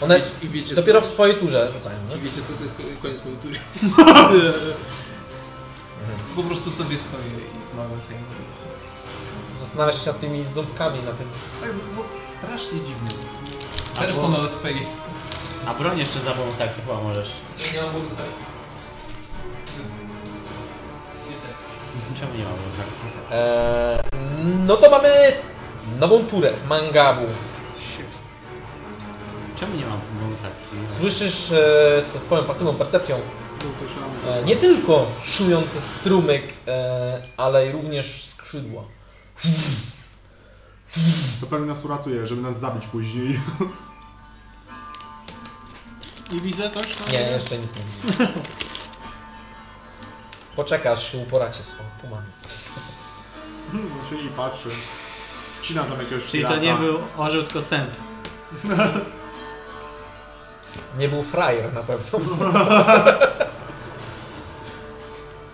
One i wiecie dopiero w co? swojej turze rzucają, I nie? wiecie co, to jest ko- koniec mojej tury. Po prostu sobie stoję i zmawiam sobie. Zastanawiasz się nad tymi ząbkami, na tym. Tak, bo strasznie dziwne. Personal space. A broń jeszcze za bonus akcji chyba możesz. Nie mam bonus akcji. tak. Czemu nie ma bonus akcji? Eee, no to mamy nową turę Mangabu. Czemu nie ma bonus akcji? Słyszysz e, ze swoją pasywną percepcją e, nie tylko szujący strumyk, e, ale i również skrzydła. To pewnie nas uratuje, żeby nas zabić później. I widzę coś tam? Nie, jeszcze nic nie widzę. Poczekasz i uporacie z pumami. Hmm, Siedzi i patrzy. Wcina tam jakiegoś Czyli to pirata. nie był orzeł, tylko sęp. Nie był frajer na pewno.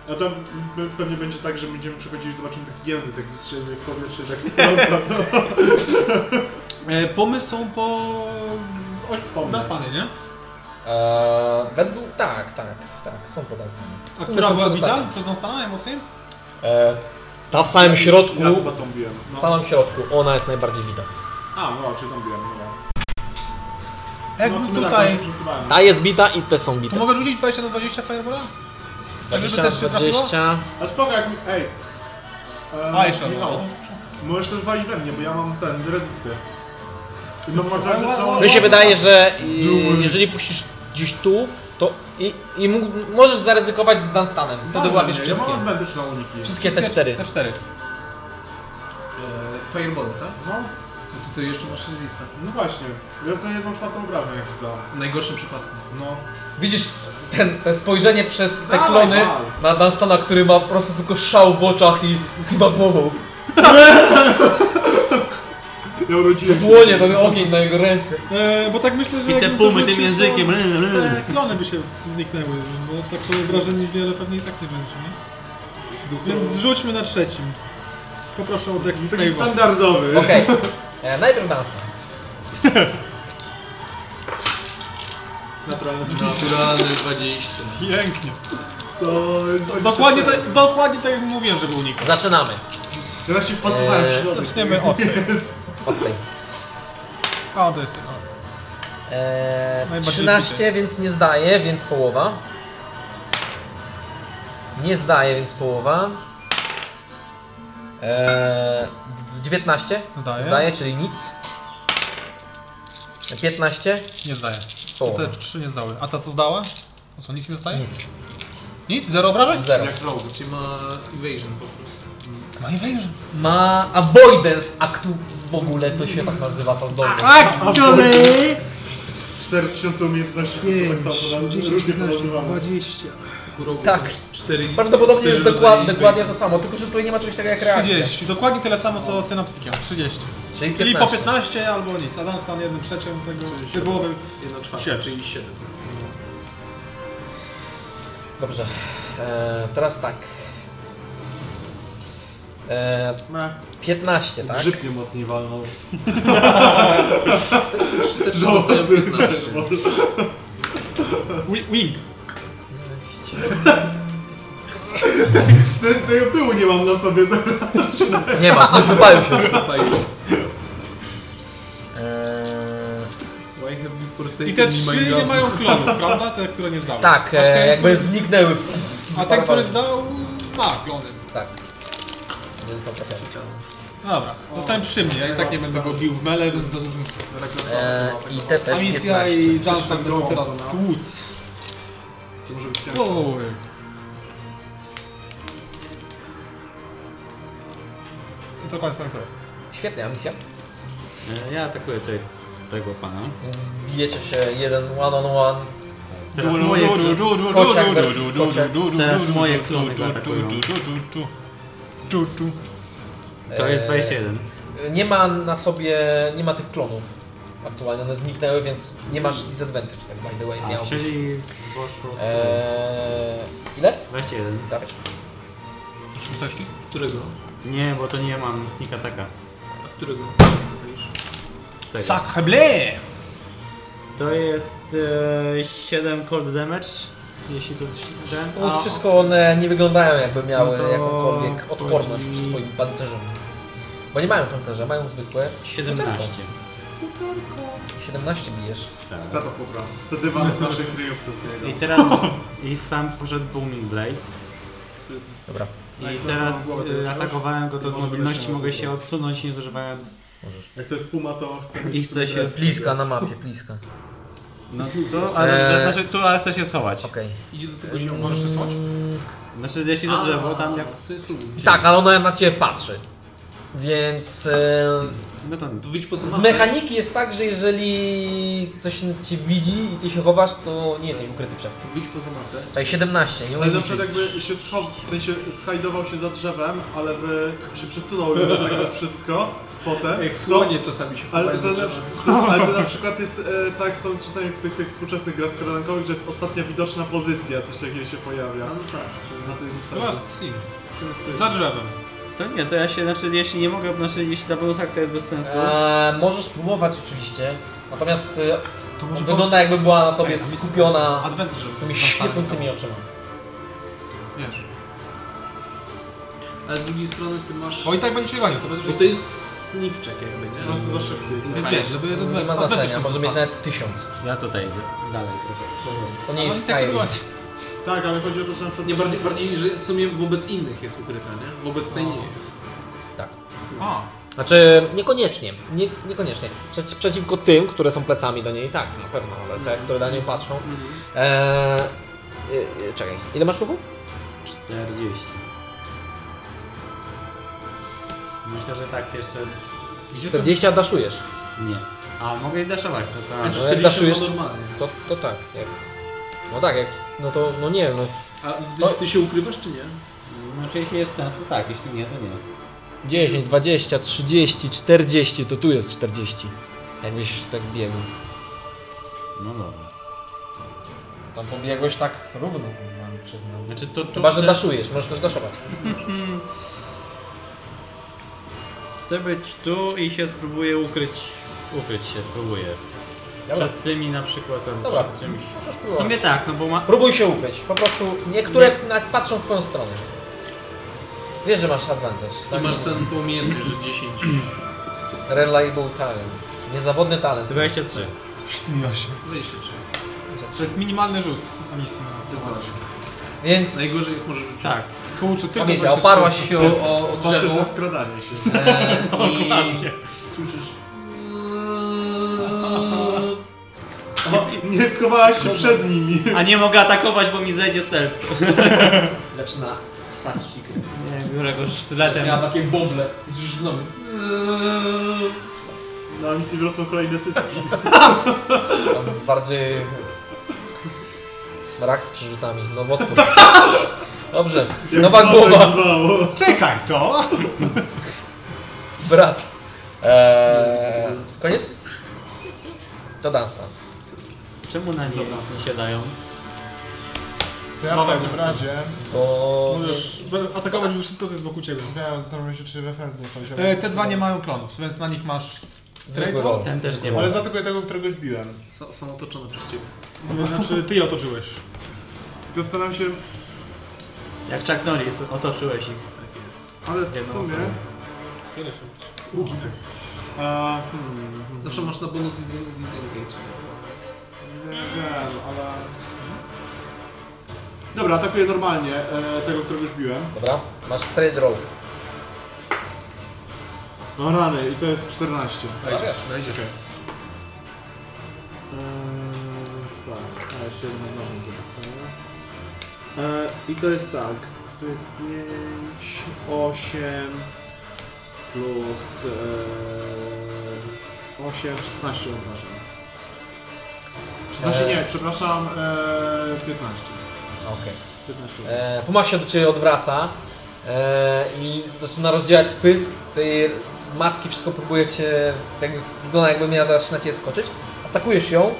A tam pe- pewnie będzie tak, że będziemy przechodzili i zobaczymy taki język, taki strzelny w powietrze, tak strąca. E, pomysł są po... O, Pomysł. na stanie, nie? Eee, według, tak, tak, tak, są podastane. A One która są była przed bita? ostatnią. Przed tą staną najmocniej? Eee, ta w samym środku, Ja chyba tą biłem. w No. samym środku, ona jest najbardziej widna. A, no, czy tą biłem, dobra. Jak no, w sumie tutaj. Tak, no, przesuwałem. Ta jest bita i te są no. To bite. mogę rzucić 20 do 20 Firebola? żeby 20, też się trafiło? 20. A spoko, jak mi... Ej! Eee, A, jeszcze Michał, no. możesz też walić we mnie, bo ja mam ten, rezysty. I mam wrażenie, że całą... Mi się wydaje, że i- jeżeli puścisz gdzieś tu, to i, i mógł, możesz zaryzykować z Dunstanem. Wtedy Mam łapiesz mnie, wszystkie. Ja mam advantage na uniki. Wszystkie C4. T4. E, Fireball, tak? No, No to ty jeszcze masz resista. no właśnie. Ja jestem jedną czwartą obrazę, jak zdam. W najgorszym przypadku. No. Widzisz ten, te spojrzenie przez te Dawaj, klony dawaj. na Dunstana, który ma po prostu tylko szał w oczach i chyba głową. Ja urodziłem się- Płonie ten ogień na jego ręce. E, bo tak myślę, że... I te jakbym pumy to tym rzucił, językiem. to Mm, mm. Te klony by się zniknęły, bo tak sobie wrażenie wiele pewnie i tak nie będzie, nie? Więc rzućmy na trzecim. Poproszę o Dex Taki Save'a. standardowy. Okej, e, najpierw Dunstan. Naturalne. Naturalny 20. Pięknie. To jest... Dokładnie, tak- dokładnie tak jak mówiłem, żeby uniknął. Zaczynamy. Ja się wpasowałem Eee, w środek. Zaczniemy od tej. Od tej. A, to jest... o. Eee, Najbardziej 13, bity. więc nie zdaje, więc połowa. Nie zdaje, więc połowa. Eee, 19. Zdaje. Zdaje, czyli nic. 15, Nie zdaje. połowa. Te trzy nie zdały. A ta co zdała? To co, nic nie dostaje? Nic. Nic? Zero obrażeń? Zero. Jak rogu. Czyli ma evasion po prostu. Ma nie wejrzy. Ma avoidance aktu w ogóle to się tak nazywa ta zdolność. Tak, Johnny! 4000 umiejętności, to są tak samo podane, różnie podawane. 20. Kurowy Tak. są cztery, Prawdopodobnie cztery jest dokład, rodzaje dokładnie to evasion. samo, tylko że tutaj nie ma czegoś takiego jak reakcja. 30. Dokładnie tyle samo co z synoptikiem. 30. Czyli 15. Czyli po 15 albo nic. Adam stan jednym trzecim tego wybłowy. Jedna czwarta, czyli 7. Dobrze. Eee, teraz tak. Eee, 15, tak? Grzyb mnie mocniej walnął. Te trzy dostają 15. Wi- Wing. Te- Tego pyłu nie mam na sobie. Nie masz, nie wypalił się. E, Why have you forsaken I te me, my trzy nie God? mają klonów, prawda? Te, które nie zdały. Tak, A ten, e, jakby który- zniknęły. A ten, który zdał, ma klony. Tak. Więc to trafiamy. Dobra, to ten przy mnie, ja i tak nie będę go bił w mele, więc bez różnicy. E, I te też A misja 15. i Dan tak będą teraz kłóc. To może być ciężko. Oj. I to koniec mojego. Świetnie, a misja? E, Ja atakuję tutaj tego pana. Więc bijecie się jeden one on one. Teraz moje, klo- Kociak versus kociak. teraz moje klony go atakują. To jest Eee, 21. Nie ma na sobie, nie ma tych klonów aktualnie, one zniknęły, więc nie masz disadvantage, tak by the way A, miałbyś. czyli poszło eee... Eee, ile? 21. Trafiasz. Którego? Nie, bo to nie mam sneak attacka. A którego? Mówisz? Tego. heble! To jest e, 7 cold damage, jeśli to jest ten. Mimo No, wszystko one nie wyglądają jakby miały No to jakąkolwiek odporność chodzi- w swoim pancerzem. Bo nie mają pancerza, mają zwykłe. 17. 17 bijesz. Tak. Za to popra. Za dywan w naszej kryjówce z niego. I teraz i tam poszedł Booming Blade. Dobra, No I teraz e, atakowałem go to z Może będę mobilności, się mogę się mogę. odsunąć nie zużywając. możesz. Jak to jest puma, to chcę mieć I chce się presję. Bliska na mapie, bliska. No to, ale Eee. znaczy tu ale chcę się schować. Okej. Mm, Idzie do tego zioła. Możesz się schować? Znaczy jeśli za drzewo tam jak. Sobie spróbuj. Tak, ale ona na ciebie patrzy. Więc e, No to To wyjdź poza z mapę. mechaniki jest tak, że jeżeli coś cię widzi i ty się chowasz, to nie jesteś ukryty przed tym. Wyjdź poza mapę. Czyli 17, nie Ale umiem na przykład liczyć. jakby się schował, w sensie schajdował się za drzewem, ale by się przesunął do tego wszystko potem. Jak to- słonie czasami się No, Ale chowają za to, na, drzewem. to, ale to na przykład jest, e, tak są czasami w tych, tych współczesnych grach skradankowych, że jest ostatnia widoczna pozycja, coś takiego się pojawia. No tak. Czyli Na tej zasadzie. Last scene. Za drzewem. To nie, to ja się, znaczy jeśli nie mogę, znaczy jeśli ta bonus akcja jest bez sensu. E, możesz próbować oczywiście, natomiast e, To on wygląda jakby była na tobie skupiona Adventure. tymi świecącymi oczyma. Wiesz. Ale z drugiej strony ty masz... Bo i tak będzie się gonił, to Bo będzie... to jest sneak check jakby, Po nie? prostu za szybki. Więc wiesz, żeby... Nie ma znaczenia, może mieć nawet 1000. Ja tutaj idę. Dalej trochę. To nie tak jest Skyrim. Tak, ale chodzi o to, że na przykład... Nie, bardziej, bardziej, że w sumie wobec innych jest ukryta, nie? Wobec tej nie jest. A, Znaczy, niekoniecznie. Nie, niekoniecznie. Przeci, przeciwko tym, które są plecami do niej, tak, na pewno, ale te, które na nią patrzą. Eee, e, e, czekaj, ile masz ruchu? 40. Myślę, że tak jeszcze. 40, a daszujesz. Nie. A mogę daszować, to Znaczy tak. jak 40 daszujesz- jest... normalnie. To, to tak, jak... No tak, jak... No to, no nie, no... A w- To- ty się ukrywasz czy nie? Znaczy jeśli jest sens, to tak, jeśli nie, to nie. 10, 20, 30, 40, to tu jest 40. Jakbyś tak biegł. No dobra. Tam pobiegłeś tak równo, mam przyznał. Znaczy to tu Chyba, że chcę- Hmm. daszujesz, możesz też daszować. Chcę być tu i się spróbuję ukryć. Ukryć się, spróbuję. Dobra, Przed tymi na przykład albo Dobra. przed czymś. możesz W sumie próbować. tak, no bo ma. Próbuj się ukryć, po prostu niektóre nawet patrzą w twoją stronę. Wiesz, że masz advantage, I tak? masz ten tą umiejętność, że 10. Reliable talent. Niezawodny talent. 23. 23. to jest minimalny rzut na misji. No Więc Najgorzej jak możesz rzucić. Tak. Kurczę, tylko komisja 23. oparła się o, o, o Pasywne drzewo skradanie się. e, i Słyszysz? O, nie schowałaś się przed nimi. A nie mogę atakować, bo mi zejdzie stealth. Zaczyna ssać sikry. Nie, biorę go sztyletem. Miała takie boble. I Słyszysz znowu. Na misji wyrosną kolejne cycki. tam bardziej rak z przerzutami, nowotwór. Dobrze, Jak nowa zwane głowa, zwało. Czekaj, co? brat. E, koniec? To Dunstan. Czemu na nie nie siadają? To ja w takim razie Bo... Możesz atakować wszystko, co jest wokół ciebie. miałem zastanowić się, czy referencje nie wchodziły. E, Te dwa nie mają klonów, więc na nich masz... Zwykły rol. Ten też nie ma. Ale zaatakuję tego, którego już biłem. S- Są otoczone przez ciebie. No, Znaczy, ty je otoczyłeś. Tylko staram się, Jak Chuck Norris, otoczyłeś ich. Tak jest. ale w Jedną sumie... osobę. A, hmm, hmm, Zawsze masz na bonus dis- disengage. nie wiem, ale... Dobra, atakuję normalnie e, tego, którego już biłem. Dobra, masz straight roll. Mam ranę No i to jest 14. Trafiasz. Okej. Eee, tak, a jeszcze jedną nową dostaję. Eee, I to jest tak. To jest 5, 8 plus eee, 8, 16 odważam. 16 nie, przepraszam, eee, 15. Okej. 15 E, Puma się do ciebie odwraca e, i zaczyna rozdzielać pysk tej macki, wszystko próbuje cię, tak wygląda jakby miała zaraz na ciebie skoczyć. Atakujesz ją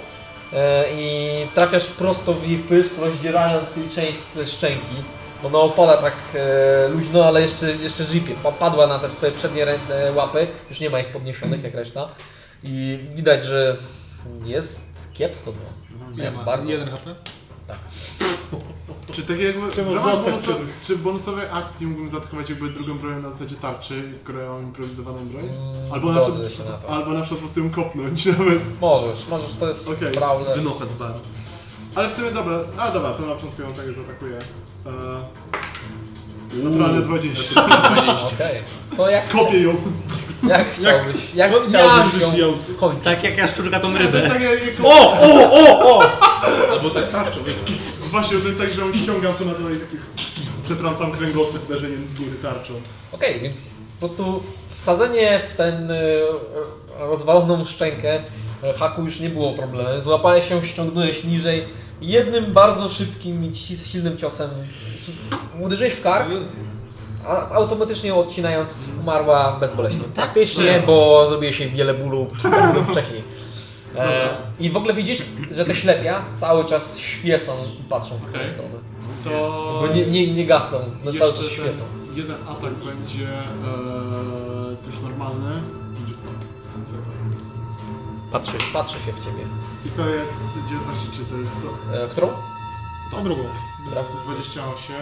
e, i trafiasz prosto w jej pysk, rozdzierając jej część ze szczęki. Ona opada tak e, luźno, ale jeszcze, jeszcze żypie. Pa- Padła na te swoje przednie rę- e, łapy, już nie ma ich podniesionych jak reszta. I widać, że jest kiepsko z nią. No, Nie ma. bardzo. Jeden HP? Czy tak jakby Czemu w ramach zostaw bonusa, cię? czy w bonusowej akcji mógłbym zaatakować jakby drugą broń na zasadzie tarczy, skoro ja mam improwizowaną broń? Mm, Albo na, zgodzę przykład, się na to. albo na przykład po prostu ją kopnąć nawet. Możesz, możesz, to jest Okej. brawler. Wynocha z bar. Ale w sumie dobra, a dobra, to na początku ją tak zaatakuję. E, Eee, naturalne 20. Okej. To jak, Kopię ją. jak chciałbyś, jak, No, chciałbyś miażdżysz ją ją. skończyć? Tak jak ja szczurka tą To jest rybę. tak jak... jak o! Albo tak tarczą. jak- Właśnie, to jest tak, że ją ściągam tu na dole i takich... Przetrącam kręgosłup uderzeniem z góry tarczą. Okej, więc po prostu wsadzenie w ten y, rozwaloną szczękę y, haku już nie było problemem. Złapałeś się, ściągnąłeś niżej. Jednym bardzo szybkim i ci- silnym ciosem uderzyłeś w kark, a automatycznie odcinając umarła bezboleśnie. Tak Praktycznie, bo zrobiłeś jej wiele bólu kilka sekund wcześniej. E, I w ogóle widzisz, że te ślepia cały czas świecą i patrzą w tę Okej. stronę. To... Bo nie, nie, nie gasną, no cały czas Jeszcze ten świecą. Jeden atak będzie eee, też normalny. Będzie w top. Patrzy, patrzy się w ciebie. I to jest 19, czy to jest co? E, którą? Tą drugą. Która? 28.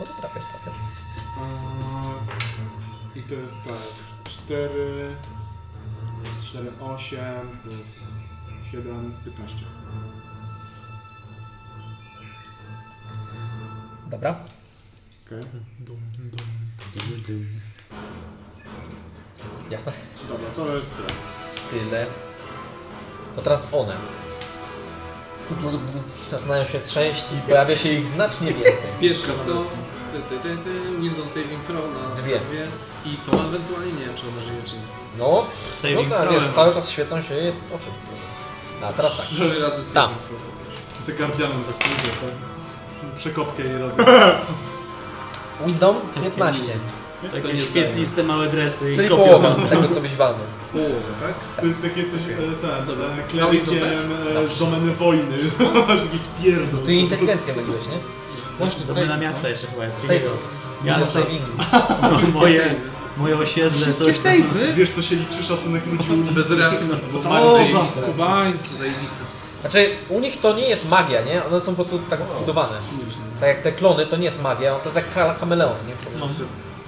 No to trafiasz, trafiasz. eee, I to jest tak. 4, 4, 8 plus 7, 15. Dobra. Okej. Jasne. Dobra, to jest tyle. Tyle. To teraz one. Zaczynają się trzęść i pojawia się ich znacznie więcej. Pierwsze co? Ty, ty, ty, ty, wisdom saving throw na Dwie. I to ewentualnie nie wiem, czy ona żyje, czy nie. No, no Saving tak, throw. wiesz, cały czas świecą się jej oczy. A teraz tak. Trzy razy Tam. saving throw. Te Guardianem tak pójdę, tak? Przekopkę jej robię. Wisdom 15, To nie Takie świetliste małe dresy czyli i kopią. połowa tego, co byś walnął. Połowę, tak? To jest jak jesteś Okej. e, ten, Dobra. e, Na wisdom klerykiem też? e, Na z wszystko. domeny wojny, już masz jakiś pierdol. Ty inteligencję myliłeś, nie? Właśnie, Domy na miasta jeszcze chyba jest. Save. Ja Ja sam- saving. Moje, moje osiedle, coś tam. Wiesz co się liczy, szacunek ludzi Bez reakcji. Bo O, bardzo za zajebiste. skubańcy. Zajebiste. Znaczy, u nich to nie jest magia, nie? One są po prostu tak zbudowane. Tak jak te klony, to nie jest magia, to jest jak ka- kameleon, nie? A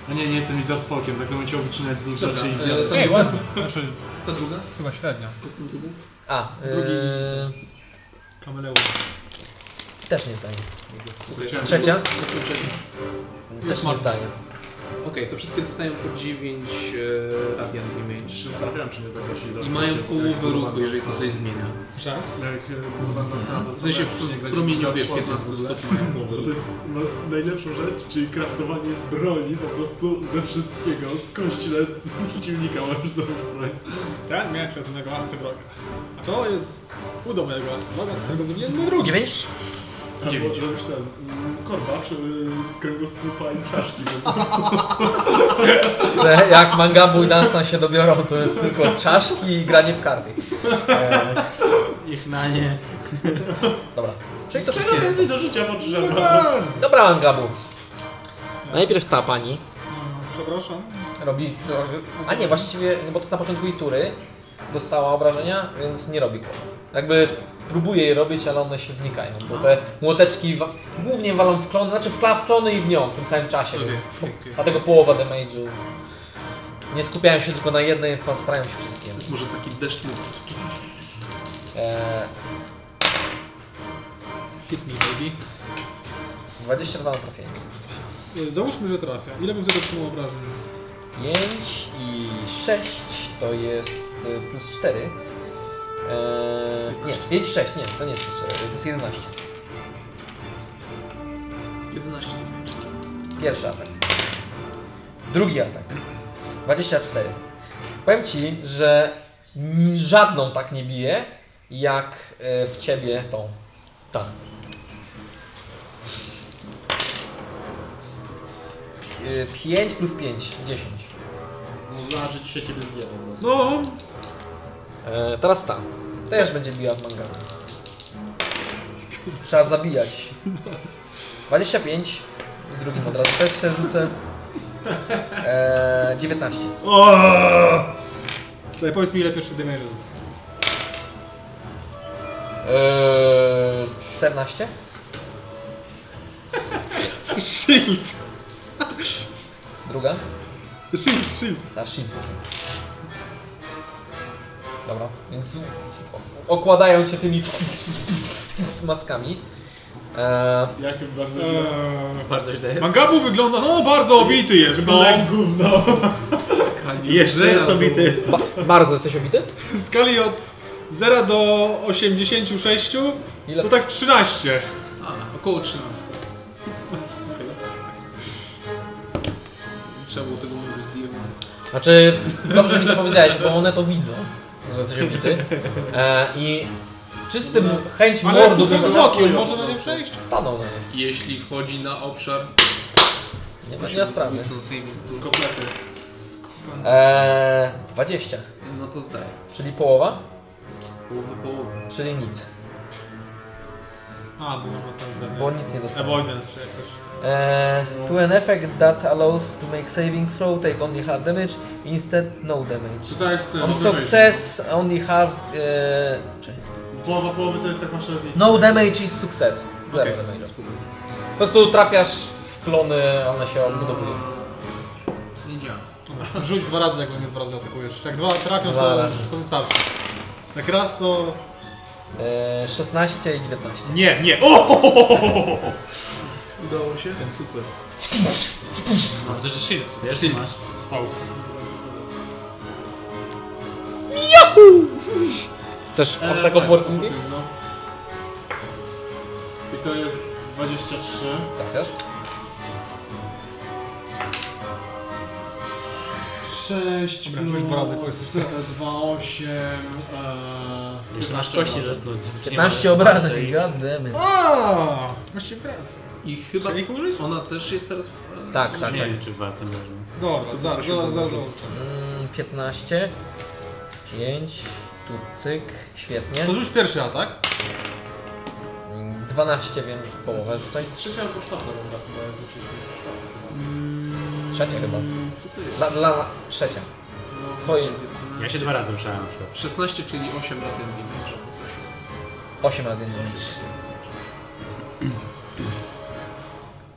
No nie, nie jestem Izardfolkiem, tak to bym chciał wycinać z nich Dobra, rzeczy i e, zjadać. ta, Ej, druga, ładnie. Znaczy, ta druga? chyba średnio. Co z tym drugą? A, Drugi. yy, Kameleon. też nie zdaje. Okej. Trzecia? Co z tym trzecią? Też nie zdaje. Okej, to wszystkie dostają po 9 e, radian damage. Czy zastanawiam, czy nie zaprosili do I mają połowę ruchu, jeżeli to coś zmienia. Czas? Jak e, budowano strata, W sensie w promieniu, wiesz, 15 stopni mają połowę To ruchu. jest no, najlepsza rzecz, czyli kraftowanie broni po prostu ze wszystkiego, z kości nawet z przeciwnika masz zrobić broń. Tak, miałem przez jednego arcy wroga. A to jest udo mojego arcy wroga, z którego zrobiłem mój drugi. Dziewięć? Albo robisz ten mm, korbacz y, z kręgosłupa i czaszki po prostu. Te, jak Mangabu i Dunstan się dobiorą, to jest tylko czaszki i granie w karty. E, Ich na nie. dobra. Czyli to Czego wszystkie. więcej do życia No potrzeba? Dobra, Mangabu. Najpierw ta pani Przepraszam. robi... A nie, właściwie, bo to jest na początku jej tury. Dostała obrażenia, więc nie robi klonów. Jakby próbuje je robić, ale one się znikają, bo te młoteczki wa- głównie walą w klony, znaczy w, kla- w klony i w nią w tym samym czasie, Okej, więc okej, okej. dlatego połowa damage'u. Nie skupiają się tylko na jednej, starają się wszystkie. To jest może taki deszcz mógł. Eee, Hit me, baby. 22 na trafienie. e, Y, Załóżmy, że trafia. Ile bym wtedy otrzymał obrażeń? 5 i 6 to jest y, plus 4. Eee, nie, 5 6, nie, to nie jest plus 4, to jest 11. 11 do meczu. Pierwszy atak. Drugi atak. 24. Powiem ci, że n- żadną tak nie bije, jak e, w ciebie tą. Ta. Pi- e, 5 plus 5, 10. Można, że dzisiaj ciebie zjadą. No, E, teraz ta. Też będzie biła w manga. Trzeba zabijać. 25. Drugim od razu też się rzucę. E, 19. tutaj powiedz mi ile pierwszy damage. E, 14. Shield! Druga. Shield, shield. Ta shield. Dobra, więc okładają cię tymi maskami. E, Jakie bardzo źle. Eee, Bardzo źle jest. Mangabu wygląda, no bardzo obity jest, no. Wygląda jak gówno. Jeszcze jest obity. ba- bardzo jesteś obity? W skali od 0 do 86, Ile? no tak 13. A, około 13. Okej. Trzeba było tego mówić DM. Znaczy, dobrze mi to powiedziałeś, bo one to widzą, że jesteś obity. E, I czystym chęć Ale tu mordu ze wywołała- wzrokiem, może na nie przejść? Staną na nich. Jeśli wchodzi na obszar... Nie ma, nie ma sprawy. No, saving throw. E, 20, no to zdaję. czyli połowa, Połowa, połowa. czyli nic, A, bo mam tam bo nic nie dostałem. Avoidance czy jakoś. E, to an effect that allows to make saving throw, take only half damage, instead no damage. Czy tak jak z tym, On obejrzeć. success, only half... E, czy- Połowa połowy to jest jak masz raz no damage is success, zero Okej, damage. spokojnie. Po prostu trafiasz w klony, one się odbudowują. Nie działa. Rzuć dwa razy, jak go nie dwa razy atakujesz. Jak dwa trafią, Dwa to, razy. to wystarczy. Jak raz, to... E, 16 i 19. Nie, nie, o! Udało się? Super. Dobrze, że shield. Wiesz, masz. Stał. Chcesz Eee, E, attack tak, opportunity? po tym, no. I to jest 23. Trafiasz. 6 Dobra, rzuć dwa razy, plus 2, 8, e, Jeszcze masz kości zasnąć. 15 obrażeń, goddammit. A, Właściwie rację. I chyba Chcieli ich użyć? ona też jest teraz... w- e, Tak, tak, Nie tak. wiem, czy dwa, co można. Dobra, zaraz, zaraz, zaraz. Mm, 15. 5. Tu cyk. Świetnie. To rzuć pierwszy atak. Mm, 12, więc połowę rzucaj. Trzecia albo czwarta runda chyba, jak zaczęliśmy. Trzecia Mm, chyba. Mm, Co to jest? Dla, dla, trzecia. No, twoim. Ja się dwa razy ruszałem na przykład. 16, czyli 8 lat damage. 8 razy damage.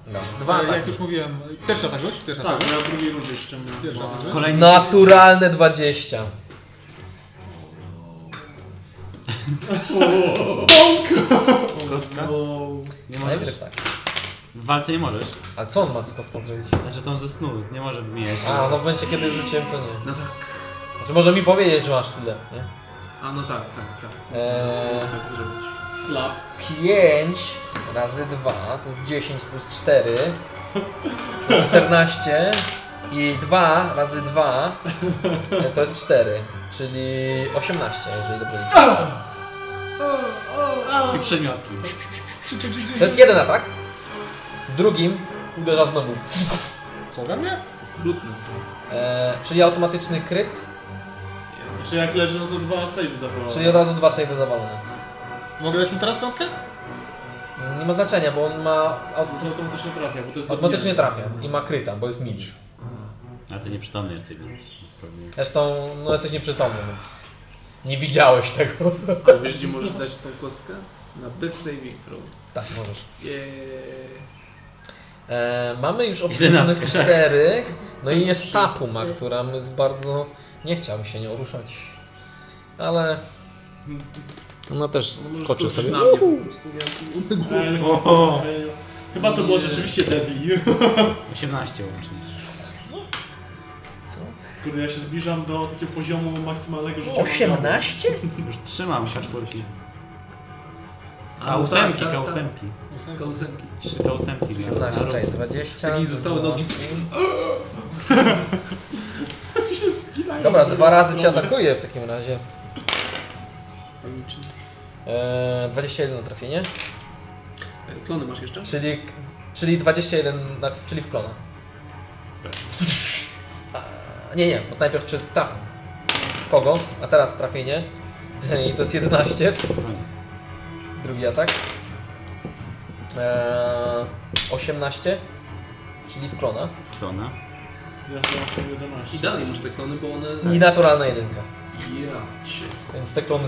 No. Dwa Ale Jak ataki. już mówiłem, pierwszy atak rzuć, pierwszy Tak, atak. bo rzuć. ja w drugiej rundzie jeszcze miałem. Pierwszy atak rzuć. Kolejny. No. Naturalne 20. No Kostka? No. Nie możesz. Najpierw tak. W walce nie możesz. A co on ma z kosmos zrobić? Znaczy tą ze snu. Nie może mieć. A, no w momencie kiedy rzuciłem to nie. No tak. Znaczy może mi powiedzieć, że masz tyle, nie? A no tak, tak, tak. Eee, Tak zrobić. 5 razy 2 to jest 10 plus 4 to jest 14 i 2 razy 2 to jest 4, czyli 18, jeżeli dobrze liczę. I przedmiotki. To jest jeden atak, drugim uderza znowu, Co we mnie? Brudne są. e, czyli automatyczny kryt, Czy jak leży, no to dwa save zawołałem. czyli od razu dwa save zawalone. Mogę dać mu teraz piątkę? Nie ma znaczenia, bo on ma aut- Z automatycznie trafia, bo to jest... automatycznie trafia i ma kryta, bo jest mili. A ty nieprzytomny jesteś, więc pewnie. Zresztą no, jesteś nieprzytomny, więc nie widziałeś tego. Ale wiesz, gdzie możesz dać tą kostkę? Na Death Saving Throw. tak, możesz. Jeee. E, mamy już obsłużonych Jedenastka. czterech, no i jest ta puma, która jest bardzo... Nie chciałam się nią ruszać, ale ona też skoczy sobie. Na mnie po prostu. Ja tu- Ej, ej. Chyba to było rzeczywiście Debbie. 18 łącznie. Kurde, ja się zbliżam do takiego poziomu maksymalnego życia. 18? Już trzymam się czwórki. A no ósemki, tak, ta, tak, tak. ósemki. Kołsemki. Trzy to ósemki. miałem. 18, czekaj, Takiej 20. zostały nogi. Dobra, dwa razy cię atakuje w takim razie. Paniczny. E, 21 na trafienie. E, Klony masz jeszcze? Czyli, czyli 21, na, czyli w klona. Tak. A, nie, nie, bo najpierw czy traf w kogo, a teraz trafienie. I to jest 11. Drugi atak. Eee, 18, czyli w klona. Klona. Ja chyba w tym 11. I dalej masz te klony, bo one... I naturalna jedynka. Ja cię. Więc te klony.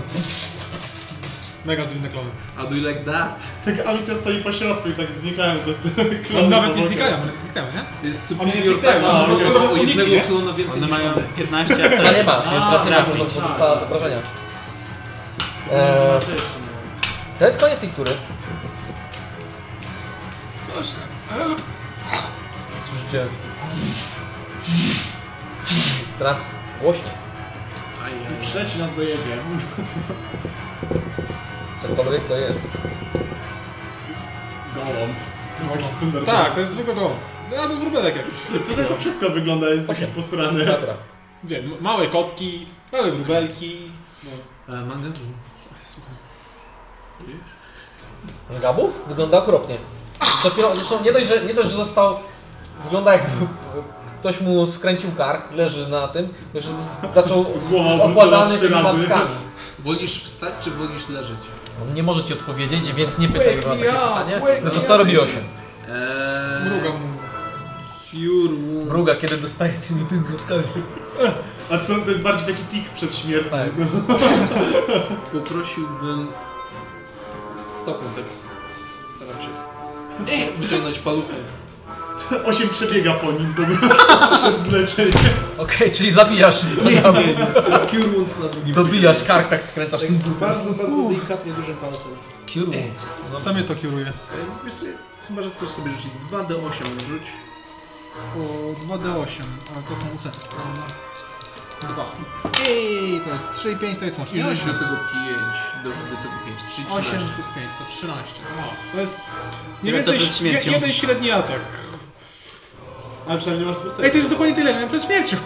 Mega zwinne klony. A do you like that? Tak Alicja stoi po środku i tak znikają te, te One klony nawet nie powoli. znikają, ale nie znikają, nie? To jest Oni nie superior znikają, tak, a, on oni ma robią o uniki, nie? jednego klona One więcej niż mają one. 15 a A no teraz- nie ma, więc A, teraz nie ma, trafić. bo dostała do obrażenia. No, Eee, to jeszcze, no. to jest koniec ich tury. Słyszycie? Coraz głośniej. Ajaj. Trzeci nas dojedzie. Cokolwiek to jest. Gołąb. Taki standardowy. Tak, to jest zwykły gołąb. Albo wróbelek jakiś. Tutaj to wszystko wygląda, jest taki Osiem. posrany. Temperatura. Wiem, m- małe kotki, małe wróbelki. No. E, Manga? Gabu? Wygląda okropnie. Przed chwilą, zresztą nie dość, że, nie dość, że został... Wygląda jakby ktoś mu skręcił kark, leży na tym, to jeszcze z- zaczął Głowa z- okładany obrócona trzy tymi razy. packami. Wolisz wstać, czy wolisz leżeć? On nie może ci odpowiedzieć, więc nie pytaj go na takie Wake me pytanie. up, wake No to me co up. robi 8? Eee... Mruga mu. Cure wounds. Mruga, kiedy dostaje tymi tymi packami. A co, to jest bardziej taki tik przedśmiertny. Tak. Poprosiłbym stopą tak. Staram się wyciągnąć paluchę. Osiem przebiega po nim, bo z leczenia. Okej, czyli zabijasz. Nie, A Cure Wounds Tak, na drugim. Dobijasz kark, tak skręcasz. Bardzo, bardzo delikatnie dużym palcem. Kierując. Co mnie to kieruje? E, Wiesz co, chyba, że chcesz sobie rzucić 2d8 rzuć. O 2D8, ale to są ósemki. Dwa. Ej, to jest 3 i 5, to jest I łącznie rzuć do 8. tego 5. Do, do tego 5. 3, 8 13. plus 5 to 13. No, to jest mniej Tyle, co więcej przed śmiercią. świe- jeden średni atak. Ale przynajmniej masz dwóch save'ów. Ej, to jest dokładnie tyle, miałem przed śmiercią.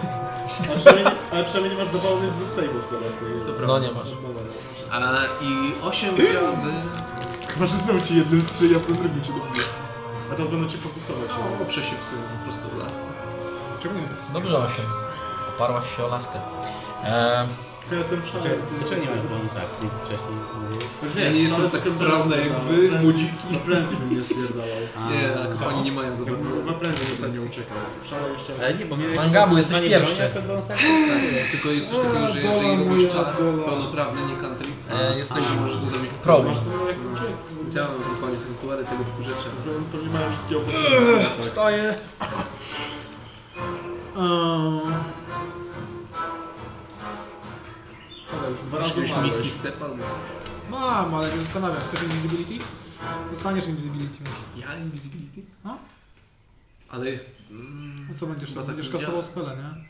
A przynajmniej, ale przynajmniej masz zapalonych dwóch save'ów teraz. nie? Dobra. No nie masz. A i 8 chciałaby. Chyba, że znowu ci jednym strzeli, a po drugim cię dobiję. A teraz będą cię fokusować. No, oprze się w sobie po prostu o lasce. Czemu nie? Dobrze, 8. Oparłaś się o laskę. Eee, Ja jestem Czy- szalony. Dlaczego nie masz bonus akcji wcześniej? mówiłeś? No, Ja no, nie jestem tak sprawna jak wy, młodziki. Prędzej bym nie spierdalał. A, Nie, a kochani nie mają za dużo. Chyba prędzej bym za nie uciekał. Szalę jeszcze Ale nie, bo miałeś... Mangabu, jesteś używanie broni pierwszy. jako bonus akcji? Tylko jest coś takiego, że jeżeli robisz czar pełnoprawny, nie country, E, jesteś to możesz go zrobić w pro. Masz to no, jak uciec. Całą wypalnie sanktuary, tego typu rzeczy. Pewnie mają wszystkie opłacone. Wstaję. Eee. Ale już dwa Masz razy jakiegoś umarłeś. miski stepa? no albo coś? Mam, ale się zastanawiam. Chcesz invisibility? Dostaniesz invisibility. Ja invisibility? No. Ale... Mm, No co będziesz? Chyba tak Będziesz nie kastował spele, nie?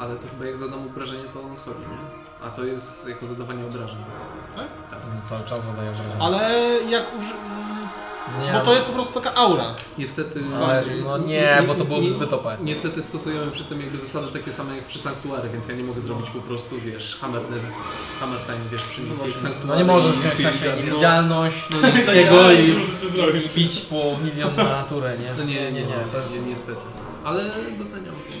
ale to chyba jak zadam obrażenie, to on schodzi, nie? A to jest jako zadawanie obrażeń. cały czas zadaję obrażenia. Ale jak uży... mm, Nie, Bo to jest po prostu taka aura. Niestety... Ale, bardziej- no nie, bo to byłoby zbyt OP. Niestety stosujemy przy tym jakby zasady takie same jak przy sanktuary, więc ja nie mogę zrobić po prostu, wiesz, hammer dance, hammer time, wiesz, przy nich, jak No sanktuary. nie możesz i wziąć na siebie Trinidad, no. niewidzialność, no, wszystkiego Tego i i... pić po milion na naturę, nie? No nie, nie, nie, To jest... niestety. Ale doceniam to.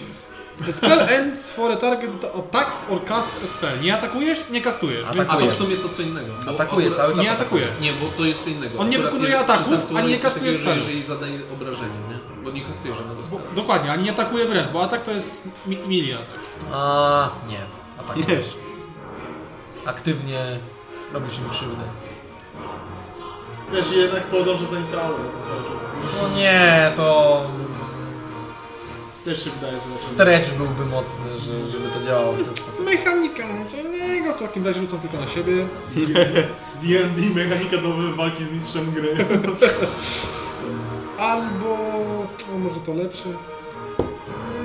The spell ends for a target that attacks or casts a spell. Nie atakujesz, nie A kastujesz. więc A to Atakuje. w sumie to co innego. bo Atakuje, akurat- cały czas nie atakuje. Nie, bo to jest co innego. On nie Akurat wykonuje jeżeli- przy ataków, sanktuarze ani nie jest coś kastuje takiego, że spelów. Jeżeli zadaje obrażenie, nie? Bo nie kastuje żadnego spelu. Dokładnie, ani nie atakuje wręcz, bo atak to jest mi mili atak. A nie. Atakuje. Wiesz, Aktywnie robisz im krzywdę. Wiesz, jednak podążę za Intaurę, to cały czas. No nie, to... Też się wydaje, że... Stretch byłby mocny, że- żeby to działało w ten sposób. Mechanika, no to nie go w takim razie rzucam tylko na siebie. D&D, mechanika do walki z mistrzem gry. Albo... O, może to lepsze.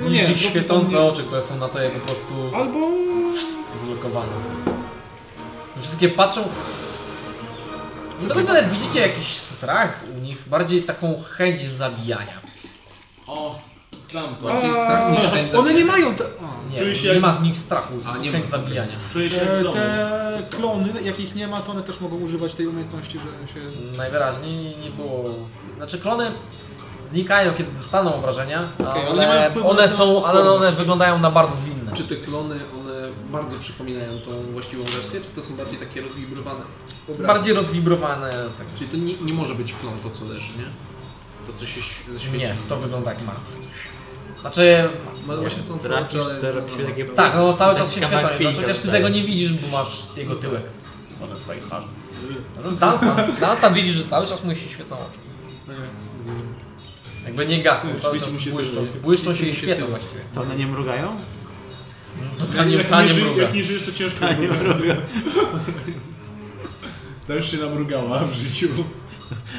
No Niż nie, ich świecące oczy, które są na to jak po prostu Albo... zlokowane. Wszystkie patrzą... Nie do końca nawet widzicie jakiś strach u nich, bardziej taką chęć zabijania. O, znam to. Bardziej strach niż chęć One zabijania. nie mają... Te, Czuję się Nie, nie jak- ma w nich strachu, A, nie nie ma, chęć okej. zabijania. Czuję się jak w te, domu. te e, klony, jakich nie ma, to one też mogą używać tej umiejętności, że się... Najwyraźniej nie było. Znaczy klony znikają, kiedy dostaną obrażenia, Okej, ale nie mają ale wpływu na one są, ale odporność. one wyglądają na bardzo zwinne. Czy te klony, one bardzo przypominają tą właściwą wersję, czy to są bardziej takie rozwibrowane obrazy? Bardziej rozwibrowane. Tak. Czyli to nie, nie może być klon to, co leży, nie? To, co się ś- świeci. Nie, to wygląda jak martwe coś. Znaczy, Ma właśnie co Trafisz, oczy, ale to wygląda robi się takie- martwe. tak, no cały czas się Taka świecą, no, marpinka przecież ty dostaje. tego nie widzisz, bo masz jego tyłek z wodą twojej twarzy. No, Dunstan, Dunstan widzi, że cały czas mu się świecą oczy. Jakby nie gasną, cały świeci mu czas się błyszczą. tyłek. Błyszczą się Świeci i mu się świecą tyłek. właściwie. To one nie mrugają? To tanie, jak, tanie nie ży, mruga. jak nie żyjesz, to ciężko Nie mruga. mrugają. Ta już się namrugała w życiu.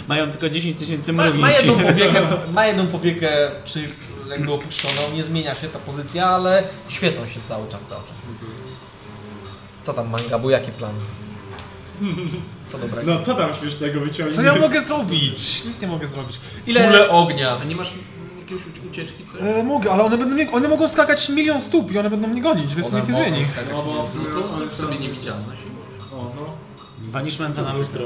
Mają tylko 10 tysięcy Ma, mrugnięć. ma, jedną powiekę, ma jedną powiekę przy jakby opuszczoną, nie zmienia się ta pozycja, ale świecą się cały czas te oczy. Co tam Mangabu, jakie plany? Co dobrego? No co tam śmiesznego wyciągnie? Co ja mogę zrobić? Nic nie mogę zrobić. Ile... Kule ognia. A nie masz jakiegoś ucie- ucieczki, co? E, mogę, ale one, będą mnie, one mogą skakać milion stóp i one będą mnie gonić, więc One nic nie mogą zmieni. skakać No, bo no to ale zrób sobie są- niewidzialność. O, no. Banishmenta na lustro.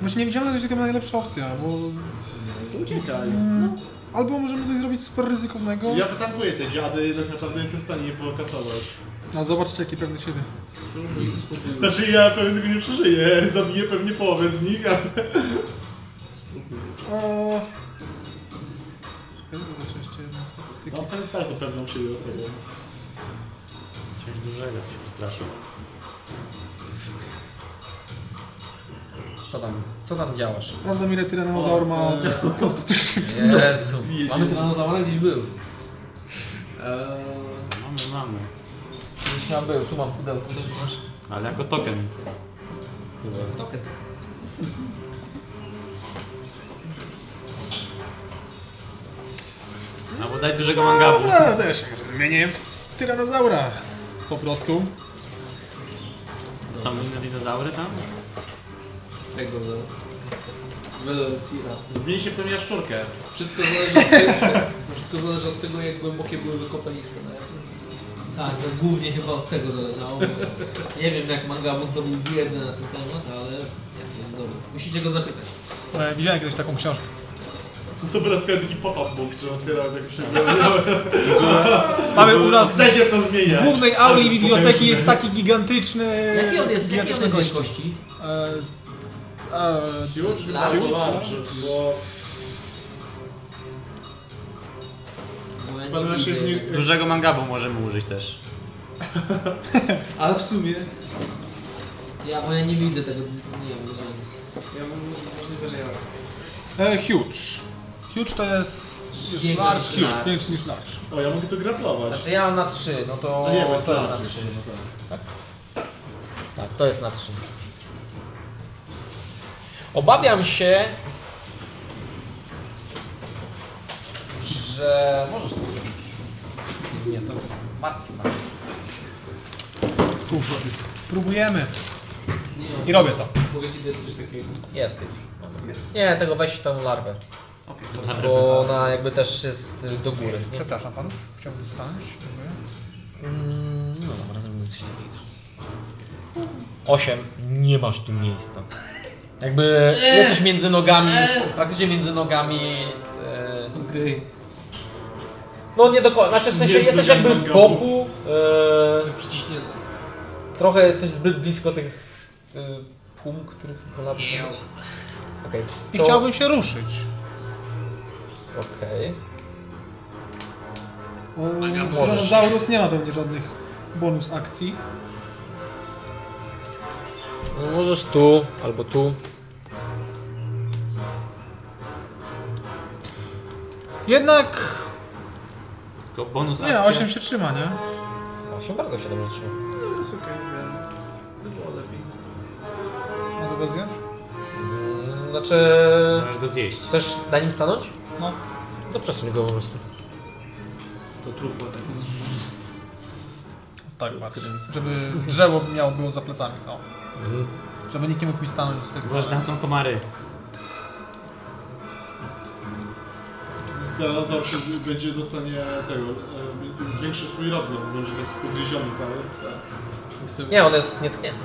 Właśnie nie widziałem, to jest taka najlepsza opcja, bo... Mm, To uciekaj. Albo możemy coś zrobić super ryzykownego. Ja wytankuję te dziady, tak naprawdę jestem w stanie je pokasować. No zobaczcie, jaki pewny siebie. Spróbuj, spróbuj, Znaczy ja pewnie tego nie przeżyję, zabiję pewnie połowę z nich, ale... spróbuj. O... Ja zobaczę jeszcze jedną statystykę. No, sam jest bardzo pewną siebie osobą. Coś dużego, coś przestraszył. Co tam, co tam działasz? Sprawdzam ile tyranozaur ma O, e, konstytucji. No. Jezu, mamy tyranozaura gdzieś był. Eee, Mamy, No, mamy. Gdzieś tam był, tu mam pudełko. Ale jako token. Token. Albo daj dużego mangabu. Dobra, też się może zmienię w tyranozaura. Po prostu. Są inne dinozaury tam? z tego za... Velocira. Zmieni się w tą jaszczurkę. Wszystko zależy od tego, wszystko zależy od tego jak głębokie były wykopaliska na Tak, to głównie chyba od tego zależało. bo Nie wiem jak Mangabu zdobył wiedzę na ten temat, ale jak to zdobył. Musicie go zapytać. E, Widziałem kiedyś taką książkę. To sobie teraz taki pop-up book, że otwierałem tak się... Mamy u nas Chce się to zmienia. w głównej auli biblioteki jest taki gigantyczny... Jaki on jest, jaki on gigantyczny jest gość. wielkości? E, e, Już? Large. Już? Bo... Bo ja Pan nie Leszek widzę nie- jednak. Dużego mangabu możemy użyć też. Ale w sumie... Ja, bo ja nie widzę tego, nie wiem, że on jest. Ja mam możliwe, że ja raz. e, huge. Huge to jest... jest Większy large, niż huge, large. większy niż large. O, ja mogę to graplować. Znaczy ja mam na 3, no to A nie, bo jest to jest na large 3. jeszcze, no tak. Tak, to jest na 3. Obawiam się, że możesz to zrobić. Nie, to martwi nas. Próbujemy. Nie, on- I robię to. Mogę ci dać coś takiego. Jest już. Nie, tego weź tą larwę, Okej. bo ona jakby też jest y, do góry. nie? Przepraszam panów, chciałbym wstać. Mm, No dobra, zrobimy coś takiego. 8. Nie masz tu miejsca. Jakby jesteś między nogami, praktycznie między nogami. e, Okej. No nie do końca, znaczy w sensie Nie jesteś wzruszasz jakby z nogami. boku. Przyciśnięte. e, Trochę jesteś zbyt blisko tych e, pum, których można przyjąć. Okej. I to- chciałbym się ruszyć. Okej. Bo Tyrannosaurus nie ma pewnie żadnych bonus akcji. No możesz tu, albo tu. Jednak... To bonus Nie, akcja. 8 się trzyma, nie? No się bardzo się dobrze trzyma. jest okej, wiem. To było lepiej. Mogę go zdjąć? Mm, Znaczy... Możesz go zjeść. Chcesz na nim stanąć? No. No przesuń go po prostu. To trupło tak. Tak, patrz. Żeby drzewo miało było za plecami. O. Mhm. Żeby nikt nie mógł mi stanąć z tej Zobacz, strony. tam są komary. Stella zawsze będzie dostanie tego, e, zwiększy swój rozmiar, bo będzie taki podgryziony cały. Nie, on jest nietknięty.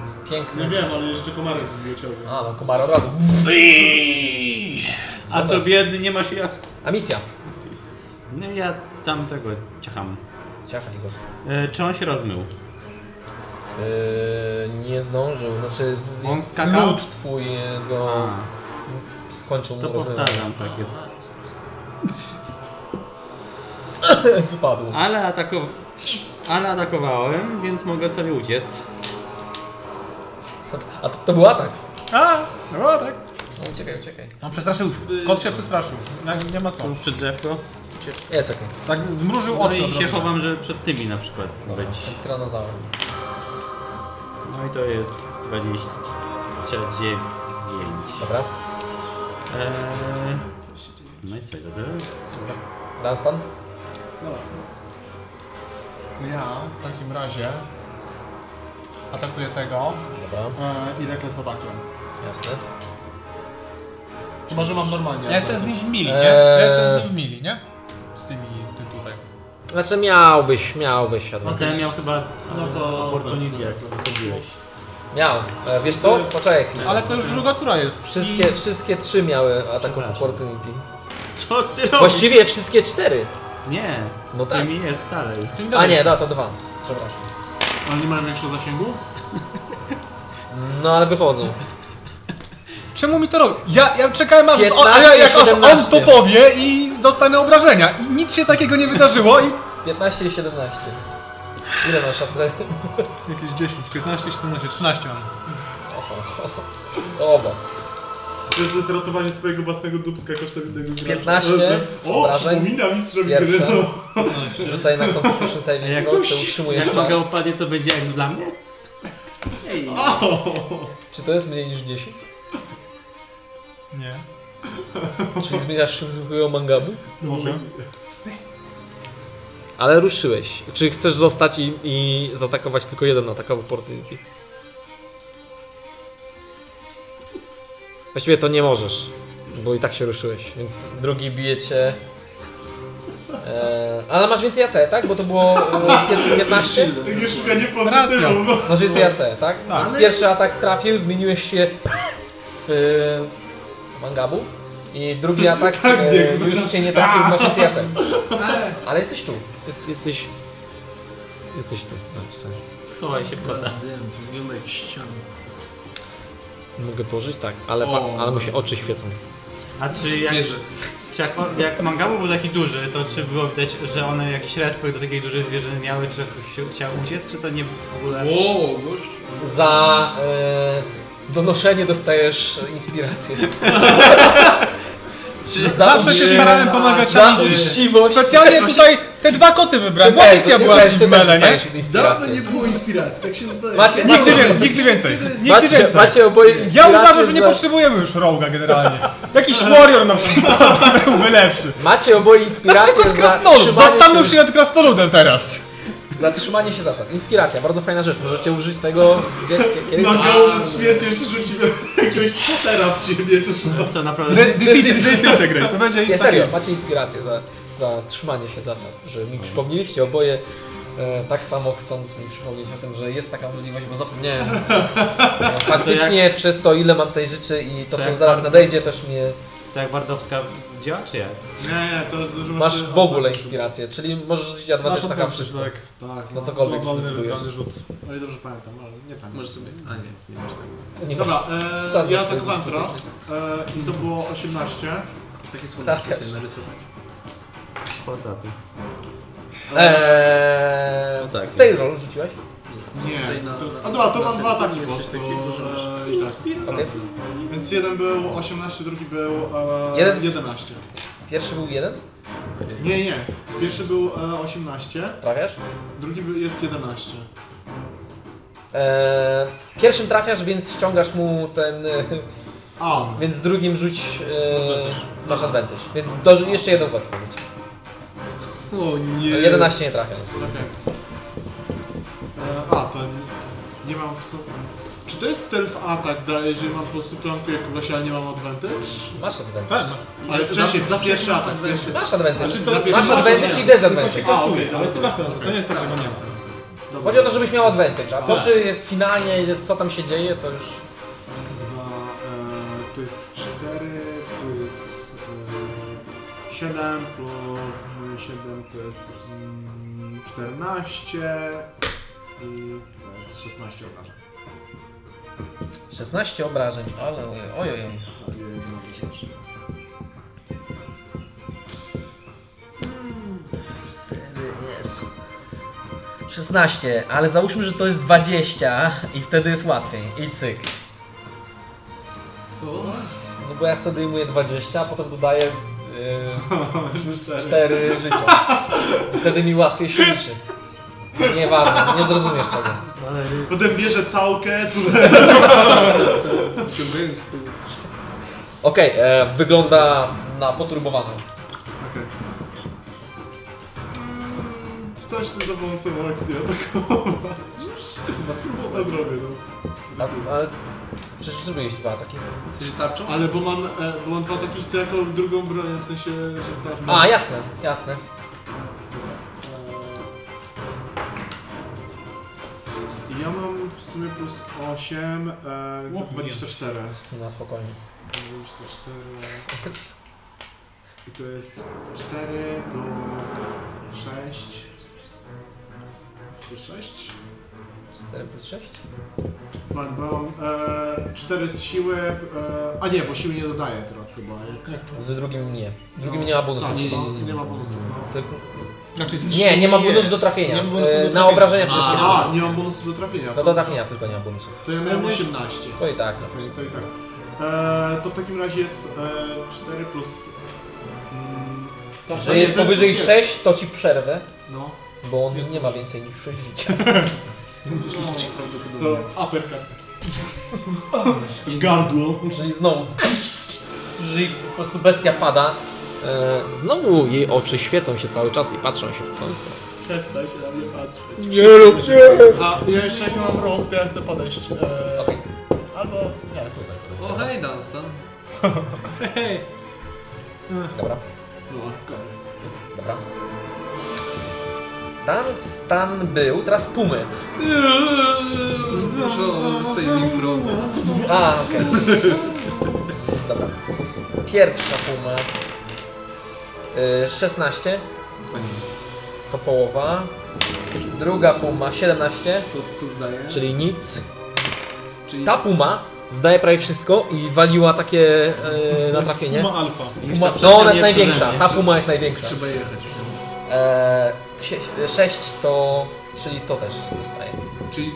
Jest Nie piękny. wiem, ale jeszcze komary wybiją ciągle. A no, komar od razu. A to biedny nie ma się jak. A misja. No ja tam tego ciacham. Ciachaj go. E, czy on się rozmył? Yy, nie zdążył, znaczy On skakał? lód twój go A, skończył mu to rozmywać. powtarzam, tak jest. Wypadł. Ale, atako... Ale atakowałem, więc mogę sobie uciec. A to, to był atak. A, no tak. No, uciekaj, uciekaj. On przestraszył. Kot się przestraszył. Nie, nie ma co. Tu przed drzewko. Jest okej. Tak zmrużył No oczy. i od się razu. chowam, żeby przed tymi na przykład Dobra, być. Przed tyranozaurem. No i to jest 29. Dobra. Eee... No i co, to tyle? Dunstan? To ja w takim razie atakuję tego Dobra, e, i rekles atakiem. jasne. Chyba, że mam normalnie. Ja jestem z nim w mili, nie? Eee. Ja jestem z nim w mili, nie? Z tymi, z tym tutaj. Znaczy miałbyś, miałbyś No advantage. ten miał chyba No to opportunity, bez- jak to zrobiłeś. Miał. E, wiesz co? Poczekaj chwilę. Ale to już druga tura jest. Wszystkie, wszystkie trzy miały ataków Przepraszam. opportunity. Co ty robisz? Właściwie wszystkie cztery. Nie, No z tak. tymi jest dalej. A nie, da, to dwa. Przepraszam. Oni mają większego zasięgu? No ale wychodzą. Czemu mi to robi? Ja, ja czekałem aż 15, o, a ja, jak aż on 17. to powie i dostanę obrażenia. I nic się takiego nie wydarzyło i 15 i 17. Ile masz szacunek? Jakieś 10, 15, 17, 13 mam. Dobra. Przecież to jest ratowanie swojego własnego dubska kosztem innego gracza. 15 O, obrażeń. przypomina mistrza mi gry, Pierwsza. no. Rzucaj na Constitution A Saving jak, Throw, czy utrzymujesz jak czar. maga upadnie, to będzie jak dla mnie? Czy to jest mniej niż 10? Nie. Czyli zmieniasz się w zwykłego mangabu? Może. Ale ruszyłeś. Czy chcesz zostać i, i zaatakować tylko jeden atak of opportunity? Właściwie to nie możesz, bo i tak się ruszyłeś, więc drugi bije cię. E, ale masz więcej AC, tak? Bo to było e, pię- 15? Takie szukanie pozytywu, bo... Masz więcej AC, tak? Więc pierwszy atak trafił, zmieniłeś się w e, mangabu. I drugi atak Tak, e, no. już cię nie trafił, masz więcej AC. Ale jesteś tu. Jest, jesteś... Jesteś tu, zobacz sobie. Schowaj się pada. Dym, to wygląda jak ściana. Mogę położyć? Tak, ale, pa, ale mu się oczy świecą. A czy jak, Bierze. czy jak, jak mangabu był taki duży, to czy było widać, że one jakiś respekt do takiej dużej zwierzyny miały, czy jakoś się chciał uciec, czy to nie w ogóle... Wow, gość. Za e, donoszenie dostajesz inspirację. No Czy zawsze się uczci- starałem pomagać Za ludziom. uczciwość. Specjalnie tutaj te dwa koty wybrałem, bo Ty misja też, była ty też, w ty też mele, nie? dostajesz Dawno inspirację. nie było inspiracji, tak się zdaje. Macie, Nigdy macie, więcej, nigdy więcej. Nigdy macie, więcej. macie oboje Ja inspirację uważam, że nie za- potrzebujemy już roga generalnie. Jakiś warrior na przykład byłby lepszy. Macie oboje Na inspirację przykład za krasnolud. trzymanie Zastanów się, się nad krasnoludem teraz. za trzymanie się zasad. Inspiracja, bardzo fajna rzecz. Możecie użyć tego gdzie, kie- kiedy Na chcecie. działu śmierci jeszcze rzuciłem jakiegoś potera w ciebie, czy co? No Co naprawdę... Zy- Decyzję decyzję tę grę. To będzie Nie, jest serio, takie- macie inspirację za, za trzymanie się zasad, że mi przypomnieliście oboje e, tak samo chcąc mi przypomnieć o tym, że jest taka możliwość, bo zapomniałem. No, faktycznie przez to ile mam tej rzeczy i to, To co jak zaraz bardzo- nadejdzie też mnie... To jak Bardowska działa, czy jak? Nie, nie, to dużo Masz w ogóle inspirację, czyli możesz użyć advantage to na tak, chyba wszystko. tak, tak. Na cokolwiek globalny zdecydujesz. wybrany rzut. O ile No dobrze pamiętam, ale nie pamiętam. Może sobie. A nie, nie masz tego. Nie Dobra, możesz- e, Zaznacz ja sobie atakowałem to. teraz e, i to było 18. Takie słoneczko sobie narysować. Poza tu. Eee, No tak. Stay roll rzuciłeś? Tutaj na- to- na- A dobra, to na mam tym dwa ataki jest po coś prostu. takiego, że masz- e, i tak. Okay. Więc jeden był 18, drugi był e, Jeden? 11. Pierwszy był jeden? Nie, nie. Pierwszy był e, 18, Trafiasz? drugi był- jest 11. Eee, pierwszym trafiasz, więc ściągasz mu ten... e, A, on. Więc drugim rzuć. e, masz advantage. Więc do, jeszcze jedną kostkę rzuć. O nie. 11 nie trafia niestety. Okej. E, A, ten. Nie mam w sobie. Czy to jest stealth atak, da- jeżeli mam po prostu flankę kogoś, ale nie mam advantage? Masz advantage. Pewnie. Ale wcześniej, za pierwszy atak, pierwszy. Masz A, czy advantage. Tak. Znaczy, to- Masz masz, advantage nie. i desadvantage. A, okej, Ale ale ty to masz masz to, to nie jest tak, nie. Dobra. Chodzi o to, żebyś miał advantage, a to Tak. czy jest finalnie, co tam się dzieje, to już... Dwa, e, tu jest 4, tu jest 7 plus 7 to jest mm, 14 i to jest 16 obrażeń. 16 obrażeń, ale ojojoj. Tak, jedna rzecz. Jezu. 16, ale załóżmy, że to jest 20 i wtedy jest łatwiej. I cyk. Co? No bo ja sobie odejmuję 20, a potem dodaję yy, plus 4 życia. I wtedy mi łatwiej się liczy. Nieważne, nie zrozumiesz tego. Potem bierze całkę, tu Ciągając tu. Okej, e, wygląda na poturbowaną. Okej. Coś ty zabonsował akcję atakowa. Chyba spróbować. zrobię, A, no. ale przecież zrobiłeś dwa takie. Jesteś tarczą? Ale bo mam, e, bo mam dwa takie co jako drugą broń, w sensie, że tak. A, jasne, jasne. I ja mam w sumie plus 8, e, więc jest 24. Na No, spokojnie. 24. I to jest 4 plus 6. Plus 6? 4 plus 6? Mam, bo mam e, 4 z siły. E, a nie, bo siły nie dodaję teraz chyba. Jak, jak Z drugim nie. Drugim nie ma bonusu. Tak, nie, nie, nie, nie ma bonusów. No. To- Znaczy, Nie, nie ma bonusu do trafienia. E, Na obrażenia wszystkie są. A, nie mam bonusu do trafienia. No No do trafienia tylko nie ma bonusów. To ja miałem 18. To i tak. To, i- to i tak. E, to w takim razie jest e, 4 plus. Mm, to- to Że jest nie, to powyżej nie. 6, to ci przerwę, No. bo on nie ma więcej niż 6 życia. To uppercut. W gardło. Czyli znowu. Czyli po prostu bestia pada. E, Znowu jej oczy świecą się cały czas i patrzą się w twoją stronę. Przestań się na mnie patrzeć. Nie rób A ja jeszcze jak mam rąk, to ja chcę podejść. E, Okej. Albo. Nie, tutaj. O hej, Dunstan. Dobra, No, koniec. dobra. Dan stan był, teraz pumy. Dużo saving throw. A, okej. Dobra. Pierwsza puma. Y, 16 To nie. to połowa. Druga puma 17, To, to zdaje. czyli nic. Czyli Ta puma zdaje prawie wszystko i waliła takie y, na trafienie. Ma alfa. Puma, no ona jest największa, ta puma jest największa. trzeba jechać. E, 6 to, czyli to też dostaje. Czyli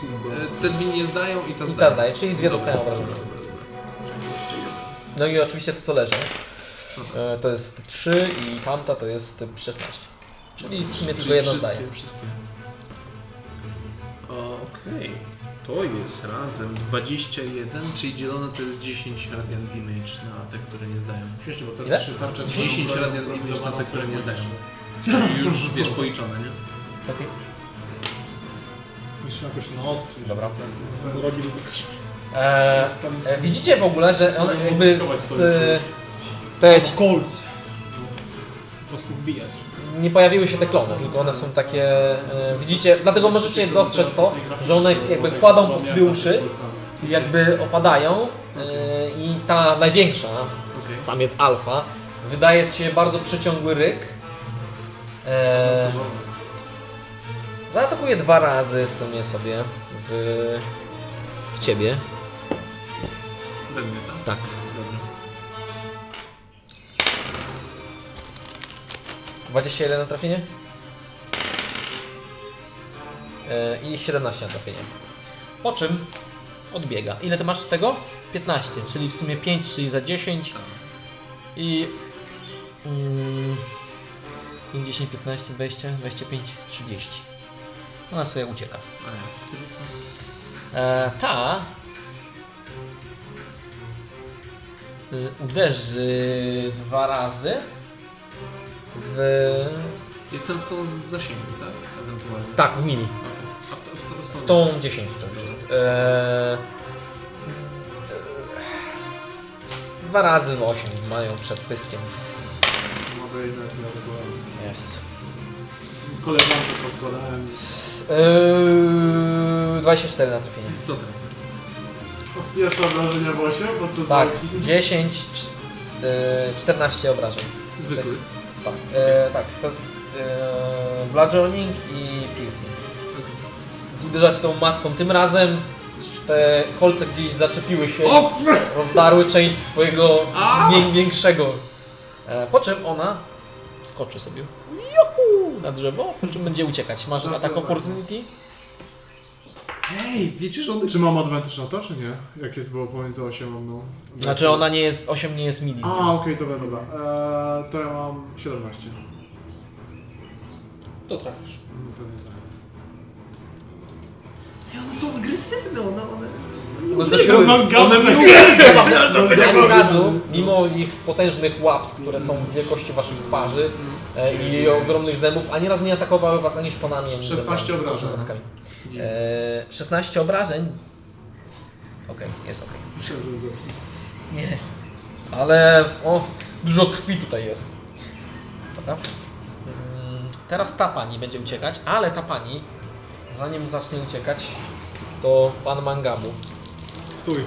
e, te dwie nie zdają i ta I zdaje. ta zdaje, czyli dwie Dobra, dostają obrażenia. dobra, dobra, dobra. Czekaj, jeszcze jedno. No i oczywiście to co leży. E, To jest 3 i tamta to jest 16. Czyli w sumie tylko Czyli jedno wszystkie, zdaje. wszystkie. O, Okej. To jest razem 21, czyli dzielone to jest 10 radian damage na te, które nie zdają. Śmiesznie, bo teraz Ile? Ile? się tarczę 10 radian damage na te, które nie zdają. Już wiesz, policzone, nie? Okej. Jeszcze jakoś na ostrzy. Dobra. Rogi do E, e, widzicie w ogóle, że No one jakby z... e, Te, Kolc. Po prostu wbijać. nie pojawiły się te klony, tylko one są takie... E, widzicie, dlatego możecie dostrzec to, że one jakby kładą po sobie uszy i jakby opadają e, i ta największa, samiec alfa, wydaje z siebie bardzo przeciągły ryk. E, Zaatakuję dwa razy w sumie sobie w, w ciebie. We mnie, tak? Tak. Dobra. 21 na trafienie. E, I 17 na trafienie. Po czym odbiega. Ile ty masz tego? 15, czyli w sumie 5, czyli za 10. I. Mm, 5, 10, 15, 20, 25, 30. Ona sobie ucieka. A ja spirytam. E, ta y, uderzy dwa razy w Jestem w tą z zasięgu, tak? Ewentualnie. Tak, w mini. Okej. A w, to, w, to, W tą 10 to już jest. Eee... Dwa razy w 8 mają przed pyskiem. Mogę jednak ja tego... Jest. Koleżankę poskładałem. Eee... 24 E, na trafienie. To trafia. Pierwsze obrażenia w 8, podczas Tak, walki. 10, cz- eee, 14 obrażeń. Zwykły. Tak, e, tak, to jest e, bludgeoning i piercing. Uderzać tą maską tym razem. Te kolce gdzieś zaczepiły się, O! rozdarły część twojego A! mniej większego. E, po czym ona skoczy sobie Juhu! na drzewo, po czym będzie uciekać. Masz Dobrze, atak tak. opportunity? Ej, wiecie, że on... Czy mam advantage na to, czy nie? Jak jest było pomiędzy 8 a mną? Znaczy ona nie jest, 8 nie jest midi. z A, okej, dobra, dobra. Eee, to ja mam 17. To trafisz. No, pewnie tak. Ej, one są agresywne, one... one... No coś robią. One Ani razu, mimo ich potężnych łaps, które są wielkości waszych twarzy e, i ogromnych zębów, ani razu nie atakowały was ani szponami, ani 16 zębami, obrażeń. kołackami. E, 16 obrażeń. Okej, jest okej. Nie. Ale w- o, dużo krwi tutaj jest. Dobra. Mm, Teraz ta pani będzie uciekać, ale ta pani, zanim zacznie uciekać, to pan Mangabu. Stój.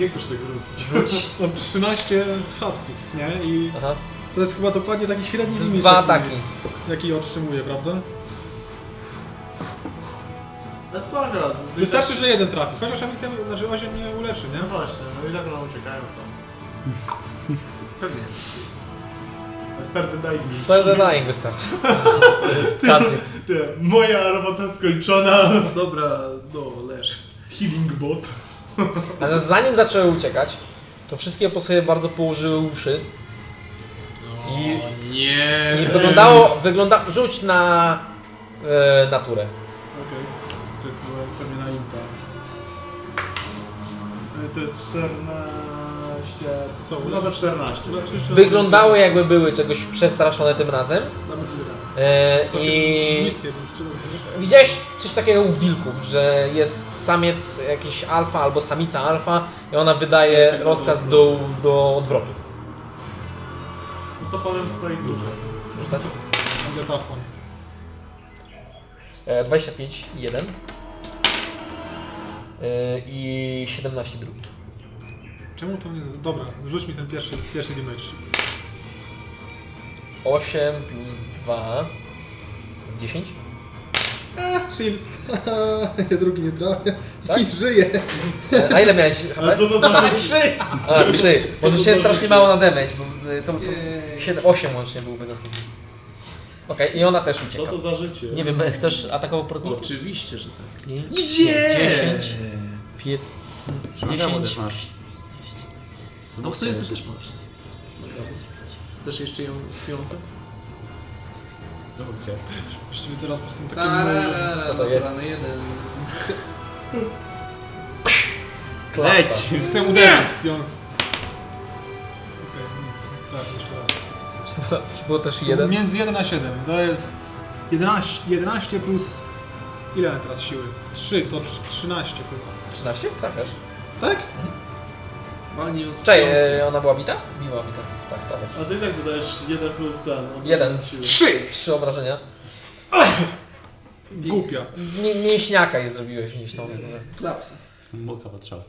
Nie chcesz tego robić. Rzuć. Mam 13 hapsów, nie? I Aha. to jest chyba dokładnie taki średni limit. Dwa jaki- ataki. Jaki otrzymuję, prawda? Bez prawa. Wystarczy, że jeden trafi. Chociaż emisja, znaczy 8 nie uleczy, nie? No właśnie, no i tak one uciekają tam. Pewnie. Esperty daj mi. Spell the dying wystarczy. To jest country. Ty, Moja robota skończona. Dobra, no, leż. Healing bot. Ale zanim zaczęły uciekać, to wszystkie po sobie bardzo położyły uszy. I, nie! i wyglądało, wygląda... Rzuć na e, naturę. Okej. To jest chyba pewnie na inta. E, To jest 14... Co? No to 14. Wyglądały jakby były czegoś przestraszone tym razem. E, I Niskie, więc czy- widziałeś coś takiego u wilków, że jest samiec jakiś alfa albo samica alfa i ona wydaje rozkaz do, do odwrotu. To powiem swojej duże. Rzucać? Będzie tafon. E, 25, 1 e, i 17, drugi. Czemu to nie... Dobra, rzuć mi ten pierwszy, pierwszy damage. 8 plus 2 z 10? Shield. Drugi nie trafia. Tak? I żyje. E, A ile miałeś HP? Ale co to za trzy? A, 3. Może się strasznie mało na damage, bo y, to, to Jej. 7, 8 łącznie byłby następny. Okej, i ona też Co ucieka. to za życie? Nie wiem, chcesz atakować oportunity? Oczywiście, że tak. 5, Gdzie? 10, 5, Mangabu 10, też masz. No w sumie ty też masz. Chcesz jeszcze ją z piątą? Zróbcie. Właściwie teraz po prostu takie małe... Tararara, Co to dobra, jest? no jeden. klasa. Chcę uderzyć z pion. Okej, nic. Tak, jeszcze raz. Czy to było- Czy było też To 1? Między 1 a 7. To jest 11, 11 plus... Ile mam teraz siły? 3, to trz- 13 chyba. 13? Trafiasz. Tak? Walnij ją z Czej, piątą. No. e, ona była bita? Biła bita. Tak, trafiasz. A ty i tak zadajesz 1 plus ten. Jeden. Siły. Trzy! 3 obrażenia. Głupia. Mi- Mięśniaka jej zrobiłeś niż tą. Klapsa. Muka potrzeba.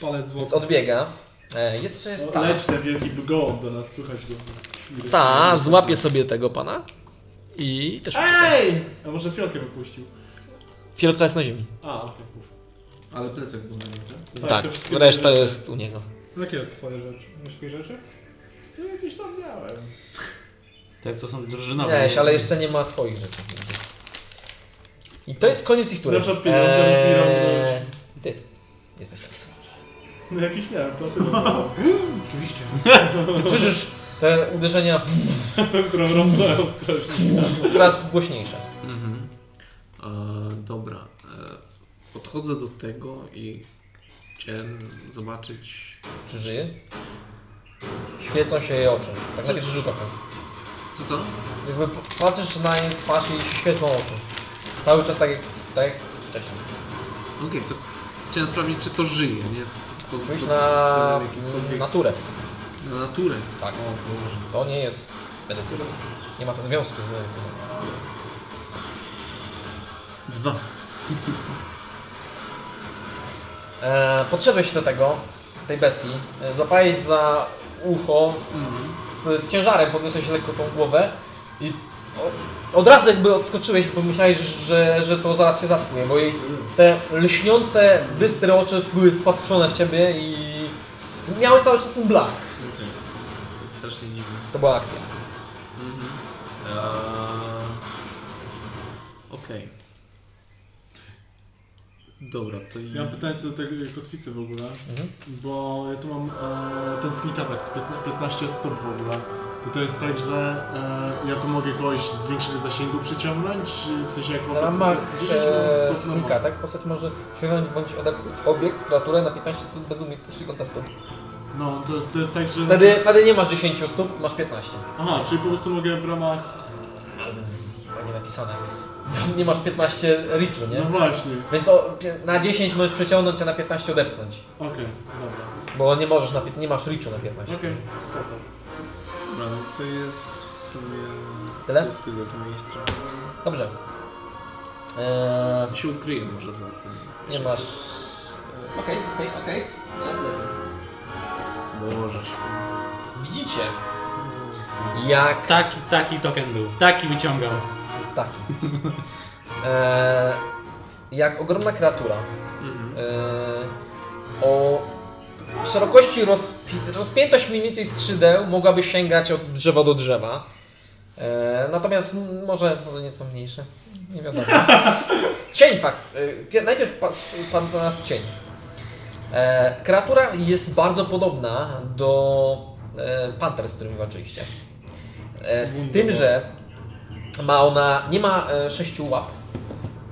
Palec w Więc oku. odbiega. E, jest jeszcze jest O, ta. Leć ten wielki gołąb do nas, słuchać go. Ta złapie sobie tego pana i też ucieka. Ej! A może fiolkę wypuścił? Fiolka jest na ziemi. A, okej. mów. Ale plecak był na niej, tak? Tak, Tak, to wszystkie reszta były- jest u niego. Jakie twoje rzeczy? Jakie rzeczy? To jakieś No tam miałem. Tak, to są drużynowe. no, Nie, ale jeszcze nie ma twoich rzeczy. I to jest koniec ich tury. E, Na przykład pieniądze lub pieniądze. Ty jesteś teraz. No jakieś miałem, platynową. Oczywiście. Słyszysz te uderzenia Tą, którą rąbałem strasznie. coraz głośniejsze. Mhm. E, dobra. E, podchodzę do tego i chciałem zobaczyć, Czy żyje? Świecą się jej oczy. Tak na pierwszy rzut oka. Co, co? Jakby patrzysz na jej twarz i jej się świetlą oczy. Cały czas tak jak, tak jak wcześniej. Okej, to chciałem sprawdzić, czy to żyje, nie? Po, Czujesz po- na jakiekolwiek- naturę. na naturę. Tak. To nie jest medycyna. Nie ma to związku z medycyną. Dwa. E, podszedłeś do tego, tej bestii, e, złapałeś za ucho, z ciężarem podniosłeś lekko tą głowę i o, od razu jakby odskoczyłeś, bo myślałeś, że, że to zaraz się zatkuje, bo jej te lśniące, bystre oczy były wpatrzone w ciebie i miały cały czas ten blask. Okej. To jest strasznie dziwne. To była akcja. Mhm. Eee, Okej. Dobra, to i... Ja mam pytanie co do tej kotwicy w ogóle, Mhm. bo ja tu mam e, ten sneak attack z piętna- 15 stóp w ogóle. To to jest tak, że e, ja tu mogę kogoś z większych zasięgu przyciągnąć, czy w sensie jak W mam- ramach 10 e, stóp na snika, moment. tak? Postać może sięgnąć bądź odepchnąć obiekt, kreaturę na 15 stóp bez umiejętności kontestu. No, to, to jest tak, że... Wtedy, wtedy nie masz 10 stóp, masz 15. Aha, czyli po prostu mogę w ramach... Ale to jest chyba nie napisane. Nie masz 15 richu, nie? No właśnie, Więc o, na 10 możesz przeciągnąć, a na 15 odepchnąć. okej, dobra. Bo nie możesz, na, pię- nie masz richu na 15. Okej, spoko. Dobra, no to jest w sumie... Tyle? Tyle z mojej strony. Dobrze. Eee, Ja się ukryję może za tym. nie masz... Okej, okej, okej. Boże święty. Widzicie, jak Taki, taki token był. Taki wyciągał. jest taki. Eee, jak ogromna kreatura Mhm. Eee, o szerokości rozpi- rozpiętość mniej więcej skrzydeł mogłaby sięgać od drzewa do drzewa. Eee, natomiast m, może, może nieco mniejsze. Nie wiadomo. cień fakt. eee, pier- najpierw wpadł pan do nas cień. Eee, kreatura jest bardzo podobna do e, panter, z którymi walczyliście. Eee, z tym, że ma ona, nie ma e, sześciu łap.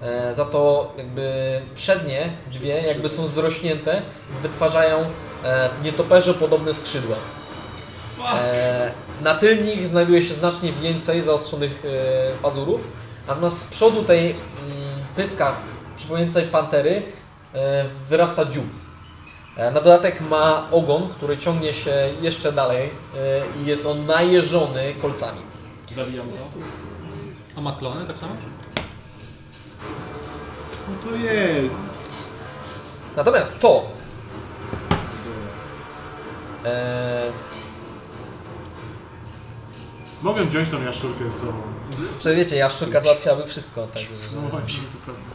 E, za to jakby przednie dwie jakby są zrośnięte, wytwarzają e, nietoperze podobne skrzydła. E, na tylnych znajduje się znacznie więcej zaostrzonych e, pazurów, natomiast z przodu tej mm, pyska przypominającej pantery e, wyrasta dziób. E, na dodatek ma ogon, który ciągnie się jeszcze dalej e, i jest on najeżony kolcami. Zabijam to. A ma klony tak samo? Co to jest? Natomiast to. E, Mogę wziąć tą jaszczurkę ze sobą, Czy wiecie, jaszczurka załatwiałaby wszystko. Tak, że... No właśnie.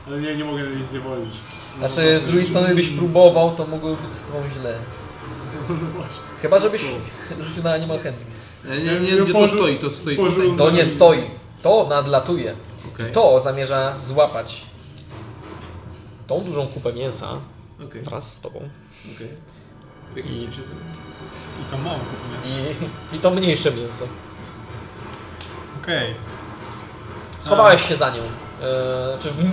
ale nie, nie mogę jej zniewolić. Znaczy, z drugiej strony, byś próbował, to mogłoby być z tobą źle. Chyba, żebyś rzucił na Animal Handling. E, Nie, nie, Ja gdzie to pożu- stoi? To stoi pożu- tutaj. To nie stoi. To nadlatuje. Okej. To zamierza złapać tą dużą kupę mięsa Okej, wraz z tobą okej. W jakim I- sensie to- I to mało kupnie. i, i to mniejsze mięso. Okej. Schowałeś się za nią, e, czy w,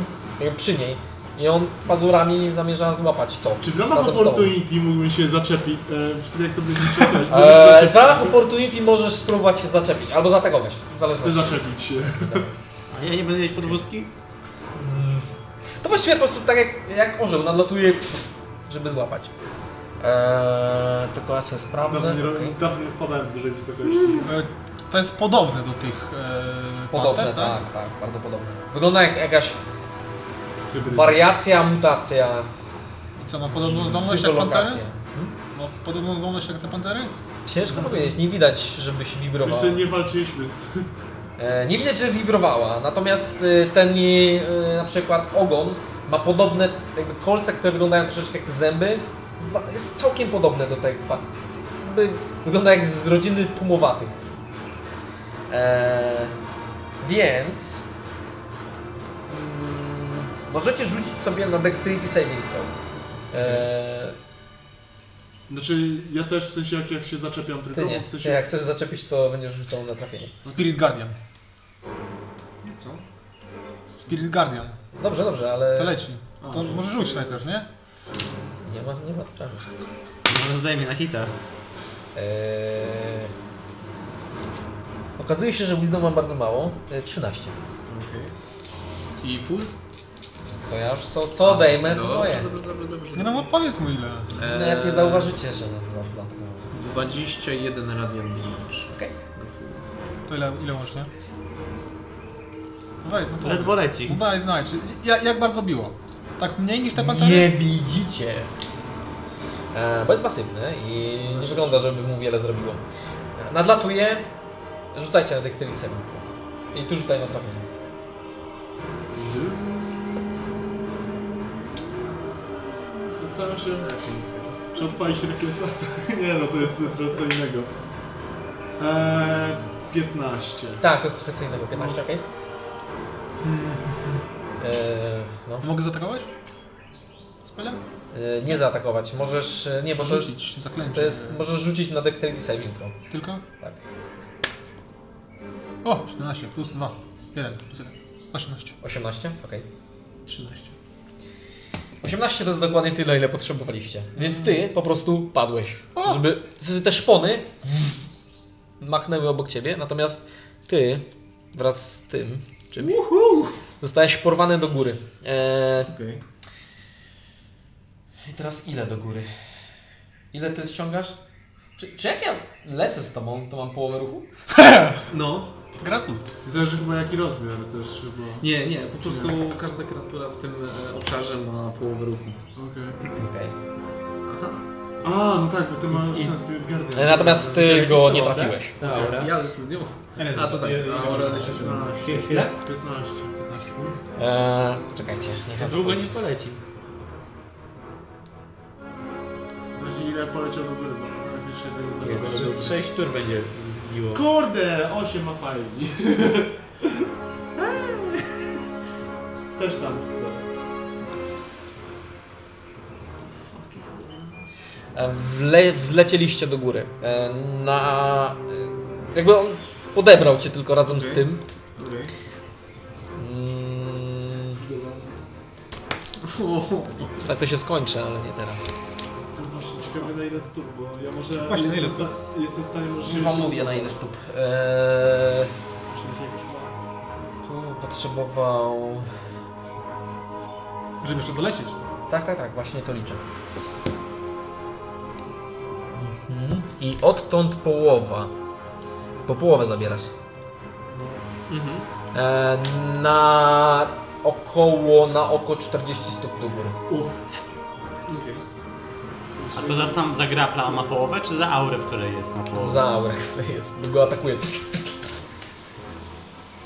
przy niej i on pazurami zamierza złapać to. Czy w ramach razem z tobą. Opportunity mógłbym się zaczepić? E, w sumie jak to byśmy przeczytać? Eee, w ramach opportunity możesz spróbować się zaczepić, albo zaatakować, w Chcę zależności. zaczepić się. A ja nie będę mieć podwózki? To właściwie po prostu tak jak, jak orzeł, nadlatuje, żeby złapać. Eee, tylko ja sobie sprawdzę. Dawno nie, okej. robię- dawno nie spadałem z dużej wysokości. E, To jest podobne do tych e, Podobne, panter, tak? tak, bardzo podobne. Wygląda jak jakaś Hybrydy. wariacja, mutacja, I co, ma podobną zdolność jak psycholokacja. Hmm? pantery? Ma podobną zdolność jak te pantery? Ciężko powiedzieć, nie widać, żebyś wibrowała. Jeszcze nie walczyliśmy z tym. E, Nie widać, że wibrowała, natomiast e, ten jej e, na przykład ogon ma podobne jakby kolce, które wyglądają troszeczkę jak te zęby. Ba- Jest całkiem podobne do tych. pa- Jakby wygląda jak z rodziny pumowatych. E, więc mm, możecie rzucić sobie na Dexterity Saving Throw. E, Znaczy, ja też w sensie jak, jak się zaczepiam tylko, ty nie. w sensie... Ty jak chcesz zaczepić, to będziesz rzucał na trafienie. Spirit Guardian. Co? Spirit Guardian. Dobrze, dobrze, Co ale leci? A, To może rzuć najpierw, nie? nie ma, nie ma sprawy. Może zdejmie na hita. Eee... Okazuje się, że Wisdom mam bardzo mało. Eee, 13. I full? To ja już co, co odejmę, to Dobrze, moje. dobrze, dobrze, dobrze. Nie no, bo powiedz mu ile. Eee, Nawet No, nie zauważycie, że za- za- zatknąłem. 21 radian No biliarz. Okej. To ile, ile łącznie? No Daj, no to- Ledwo leci. No daj znać. Ja, jak bardzo biło? Tak mniej niż te pantery? Nie widzicie. E, bo jest pasywny i nie wygląda, żeby mu wiele zrobiło. E, Nadlatuje. Rzucajcie na Dexterity saving throw. I tu rzucaj na trafienie. Zastanawiam się, czy odpalić refleksata. Nie no, to jest trochę co innego. Eee, 15. Tak, to jest trochę co innego. No. 15, okej? Hmm, E, no. Mogę zaatakować? Spelem? E, nie zaatakować. Możesz... e, Nie, bo to jest... Rzucić, zaklęcie. To jest... Możesz rzucić na Dexterity saving throw. Tylko? Tak. O, 14 plus 2. 1 plus 1. 18. 18? Okej. 13. 18 to jest dokładnie tyle, ile potrzebowaliście. Więc ty po prostu padłeś. Żeby z- te szpony machnęły obok ciebie, natomiast ty wraz z tym czymś zostałeś porwany do góry. Eee, Okej. I teraz ile do góry? Ile ty ściągasz? Czy, czy jak ja lecę z tobą, to mam połowę ruchu? No, Gratul. Zależy chyba jaki rozmiar też chyba. nie, nie, po prostu każda kreatura w tym e, obszarze ma połowę ruchu. Okej. Okej. A, no tak, bo ty masz sens Spirit Guardian. E, Natomiast ty go nie trafiłeś. tak? Dobra. Ja lecę z nią. A to tak, a moralnie się A, chwilę, chwilę. 15. 15. Eee, czekajcie, niech Za ja długo nie poleci. Razie ile poleciałby wyrwa? no, Jak jeszcze jeden Nie, to zawodnik. przez 6 tur będzie biło. Kurde, 8 ma fajni. Też tam chcę. E, Wle, wzlecieliście do góry. E, Na. e, Jakby on podebrał cię tylko razem z Okej. tym. Okej. Mm, tak to się skończy, ale nie teraz. Właśnie ciekawe na ile stóp, bo ja może... Właśnie, na ile jestem stóp? w sta- Jestem w stanie może... Już wam mówię na ile stóp. Eee, tu potrzebował. Żeby jeszcze dolecieć. Tak, tak, tak, właśnie to liczę. Mhm. I odtąd połowa. Po połowę zabierasz. E, na około, na oko 40 stóp do góry. Okej. A to za sam za grapla ma połowę, czy za aurę, w której jest ma połowę? Za aurę, która jest, bo go atakuje. I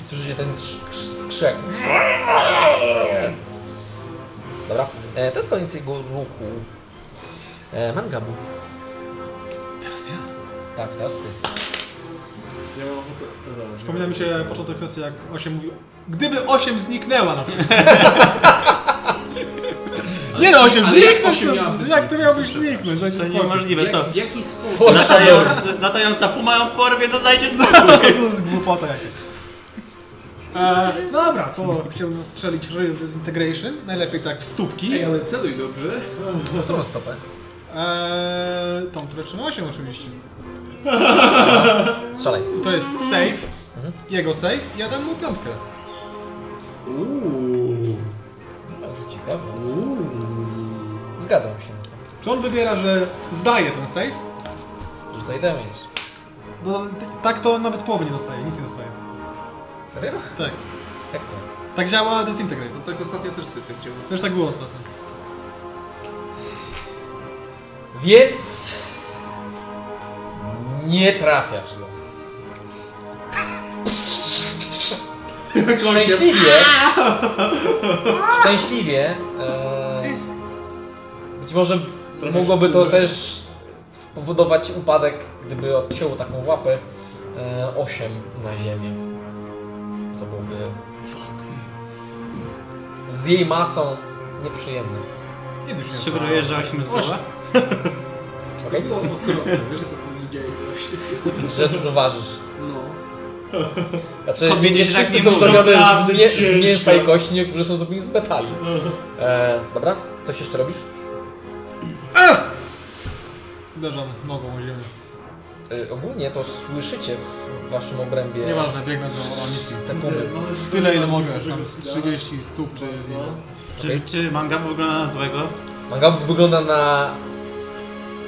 Słyszycie ten trz- skrzek. Dobra, e, to jest koniec jego ruchu. E, mangabu. Teraz ja. Tak, teraz ty. Ja mam ochotę... no dobra, nie Przypomina mi wiem. się początek sesji, jak 8 mówił. Gdyby 8 zniknęła na przykład. Nie no, 8 ale jak zniknąć! osiem miałaby to- Jak ty zniknąć? miałbyś zniknąć? Będzie To spoko. niemożliwe, to Jak, jaki sposób? Fuck. latająca, latająca puma ją porwie, to zajdzie spokój. To jest głupota jakaś. E, dobra, to chciałbym strzelić Ray of Disintegration. Najlepiej tak w stópki. Ej, ale celuj dobrze. W którą stopę? E, tą, która trzyma 8 oczywiście. Strzelaj. To jest save. Mhm. Jego save. Ja dam mu piątkę. Uuu. Bardzo ciekawe. Zgadzam się. na to. Czy on wybiera, że zdaje ten save? Rzucaj damage. Bo tak to nawet połowy nie dostaje, nic nie dostaje. Serio? Tak. Jak to? Tak działa Disintegrate. No tak ostatnio też ty tak działał. To już tak było ostatnio. Więc... Nie trafiasz go. Szczęśliwie... Szczęśliwie... E, być może mogłoby to też spowodować upadek, gdyby odcięło taką łapę e, 8 na ziemię. Co byłoby... Z jej masą nieprzyjemne. Nie wiem, czy nie Szybrujesz, że 8 jest głowa? Okej? Było okropne, wiesz co powiedziałeś właśnie. Że dużo ważysz. No. Znaczy, nie, Kobiety nie się tak wszyscy nie są muszą. zrobione z, Naprawdę mie z ciężko. mięsa i kości, niektórzy są zrobieni z metali. E, dobra, coś jeszcze robisz? Uderzam nogą o ziemię. Y, ogólnie to słyszycie w waszym obrębie. Nieważne, biegnę do Aniski. Te pumy. Tyle ile mogę, tam z 30 stóp czy Czy, ile. czy manga wygląda na złego? Mangabu wygląda na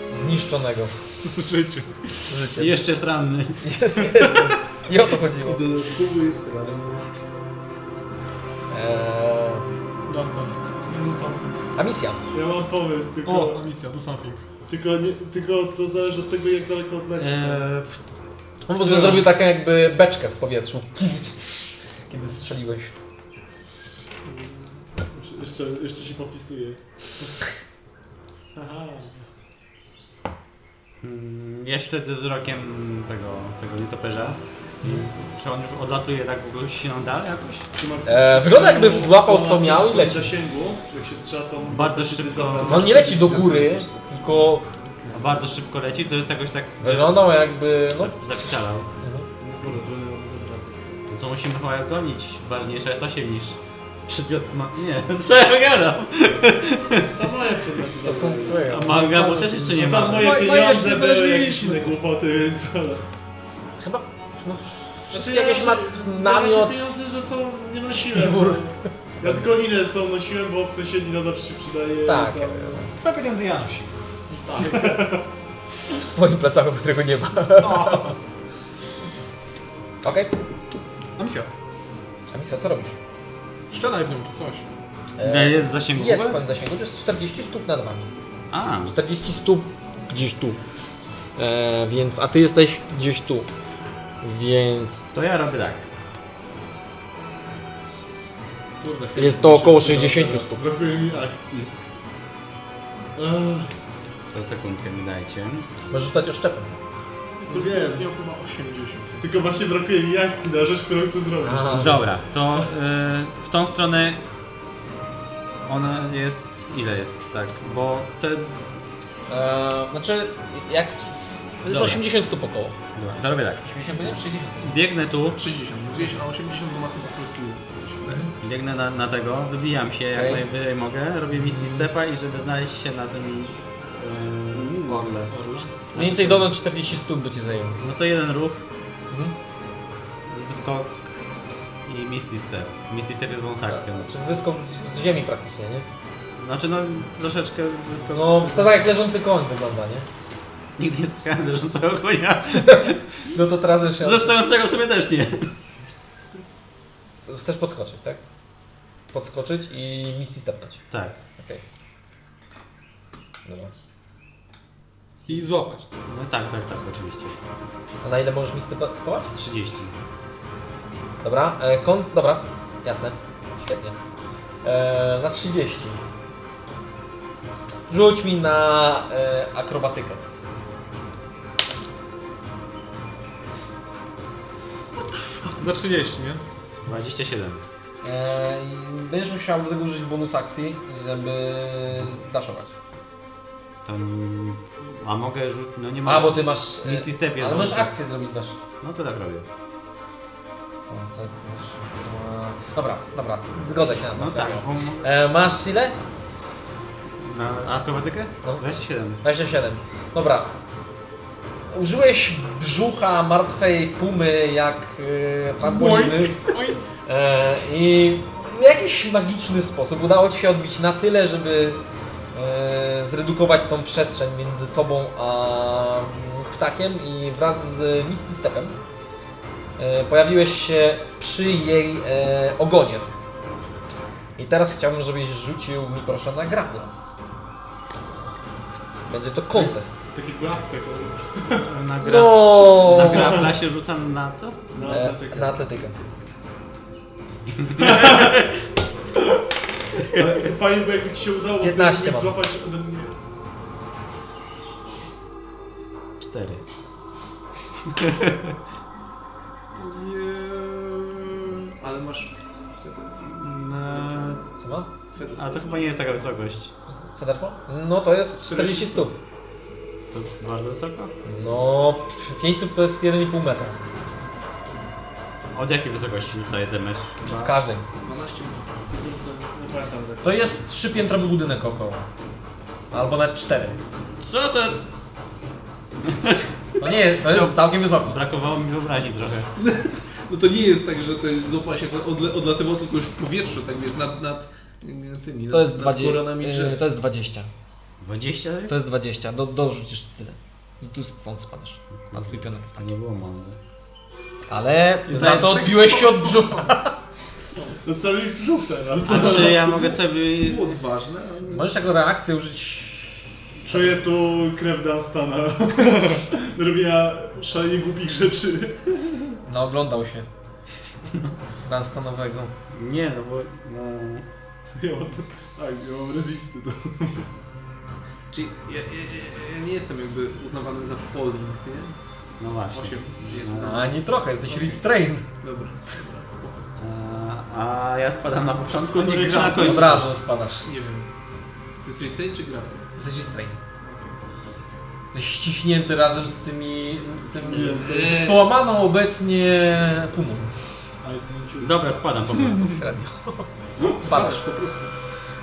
zniszczonego Życie. życie. I jeszcze jest ranny. Jezu. I o to chodziło. Dodatkowo jest ranny. Eee, Dostał. Do something. a misja. Ja mam pomysł, tylko, O, misja, do something. tylko, nie, tylko to zależy od tego, jak daleko odleci. Eee, On po prostu zrobił taką jakby beczkę w powietrzu. Kiedy strzeliłeś. tak? Jeszcze, jeszcze się popisuje. Aha. Mm, Ja śledzę wzrokiem tego, tego nietoperza. I Czy on już odlatuje tak w ogóle się nam dalej jakoś? Trzymam E, wygląda jakby złapał, co Ponad miał i pół leci. No. Zasięgu, jak się strzela, to Bardzo niestety szybko. za- On nie leci do góry, tylko A No, bardzo szybko leci, to jest jakoś tak... wyglądał jakby. No, Zapisalał. Dobra, to ja mam zabrać. To co musimy chyba gonić? Ważniejsza jest 8 niż przedmiot ma... Nie, co ja gadam? Tam moje przedmioty. to są zabrałem. twoje. A manga bo też jeszcze nie No ma. Tam moje Moje- moje jeszcze pieniądze były jakieś znaleźliśmy. inne kłopoty, więc... Chyba. No, wszystkie Znaczy, ja- jakieś ma Ja namiot. raczej pieniądze ze sobą nie nosiłem. Śpiwór. Ja tylko linę ze sobą nosiłem, bo w sąsiedni na zawsze się przydaje. Tak. tam- Dwa pieniądze ja nosi. No. W swoim plecaku, którego nie ma. Okej. A misja. A misja, co robisz? E, Szczelaj w nią czy coś. Nie jest zasięgowy? Jest w twoim zasięgu, to jest 40 stóp nad wami. A, 40 stóp gdzieś tu. E, więc, a ty jesteś gdzieś tu. Więc to ja robię tak. Kurde, jest to około 60 stóp. Brakuje mi akcji. To sekundkę mi dajcie. Możesz rzucać oszczepem. To wiem. Miał chyba 80. Tylko właśnie brakuje mi akcji na rzecz, którą chcę zrobić. Dobra, to y, w tą stronę ona jest. Ile jest, tak? Bo chcę. E, znaczy, jak. w- To jest Dobra. 80 stóp około. Dobra, to robię tak. 80 godzin? 60. Biegnę tu, 60, mówiłeś, a 80 bo ma chyba krótki łuk. się wydaje. biegnę na, na tego, wybijam się jak Okej. najwyżej mogę, robię misty stepa i żeby znaleźć się na tym yy, orle. Mniej więcej dodać 40 stóp by ci zajęło. No to jeden ruch, Mhm. skok i misty step. Misty step jest wąs akcją. Znaczy, wyskok z, z ziemi praktycznie, nie? Znaczy no troszeczkę wyskok. No, to tak jak leżący koń wygląda, nie? Nigdy nie skakałem zresztą konia. No to teraz już. Ze stojącego sobie też nie. Chcesz podskoczyć, tak? Podskoczyć i misji stepnąć. Tak. Okej. Dobra. I złapać. No tak, tak, tak, oczywiście. A na ile możesz mi stepa- stepować? 30. Dobra, e, kąt, dobra, jasne, świetnie. E, na 30. Rzuć mi na e, akrobatykę. Za 30, nie? 27. E, i będziesz musiał do tego użyć bonus akcji, żeby zdaszować. To nie... A mogę rzucić? No nie mogę. A, bo ty masz... E, Misty Step jest ale możesz dobrze. akcję zrobić dasz. No to tak robię. O, co ty masz? E, Dobra, dobra, zgodzę się na to. No tak. bo m- E, masz ile? Na akrobatykę? No. 27. 27. Dobra. Użyłeś brzucha martwej pumy jak yy, trampoliny. E, I w jakiś magiczny sposób udało ci się odbić na tyle, żeby e, zredukować tą przestrzeń między tobą a mm, ptakiem i wraz z Misty Stepem e, pojawiłeś się przy jej e, ogonie. I teraz chciałbym, żebyś rzucił mi proszę na grapla. Będzie to kontest. Tak jakby akcja, kurde. Na gra... No. Na grafla się rzucam na co? Na E, atletykę. na atletykę. Ale Fajnie, bo jakby ci się udało... to 15 jakbyś mam. złapać ode mnie. 4. Ale masz Na... Co ma? A to chyba nie jest taka wysokość. Federfall? No to jest 40 stóp. To bardzo wysoko? No, 5 stóp to jest 1,5 metra. Od jakiej wysokości dostaje damage? W każdym. 12 metrów. Nie pamiętam tego. To jest trzypiętrowy budynek około. Albo nawet cztery. Co to? No nie, to jest całkiem wysoko. Brakowało mi wyobraźni trochę. No to nie jest tak, że ten zopa się odle- odlatywał, tylko już w powietrzu, tak wiesz, nad, nad e, tymi, To jest nad 20. koronami e, drzew. To jest 20. 20 to To jest 20. Do, dorzucisz tyle. I tu stąd spadasz. Na twój pionek jest To taki. nie było mandy. Ale za to odbiłeś się od brzucha. No cały brzuch teraz. A czy ja mogę sobie... Było odważne, ale nie- Możesz jako reakcję użyć. Czuję tu krew Dunstana. Robiła szalenie głupich rzeczy. No, oglądał się. Dan stanowego. Nie, no bo... No... Ja mam, tak, ja mam rezisty. To. Czyli ja, ja, ja, ja nie jestem jakby uznawany za falling, nie? No właśnie. Osiem jest. No, A nie trochę, jesteś restrained. Dobra, dobra, spoko. a, a ja spadam na początku, A nie nie gra. na końcu. Od razu spadasz. Nie wiem. Ty jesteś restrain czy gra? Jesteś restrained. Jesteś ściśnięty razem z tymi. z tym. z połamaną obecnie pumą. Dobra, spadam po prostu. Średnio. Spadasz. po prostu.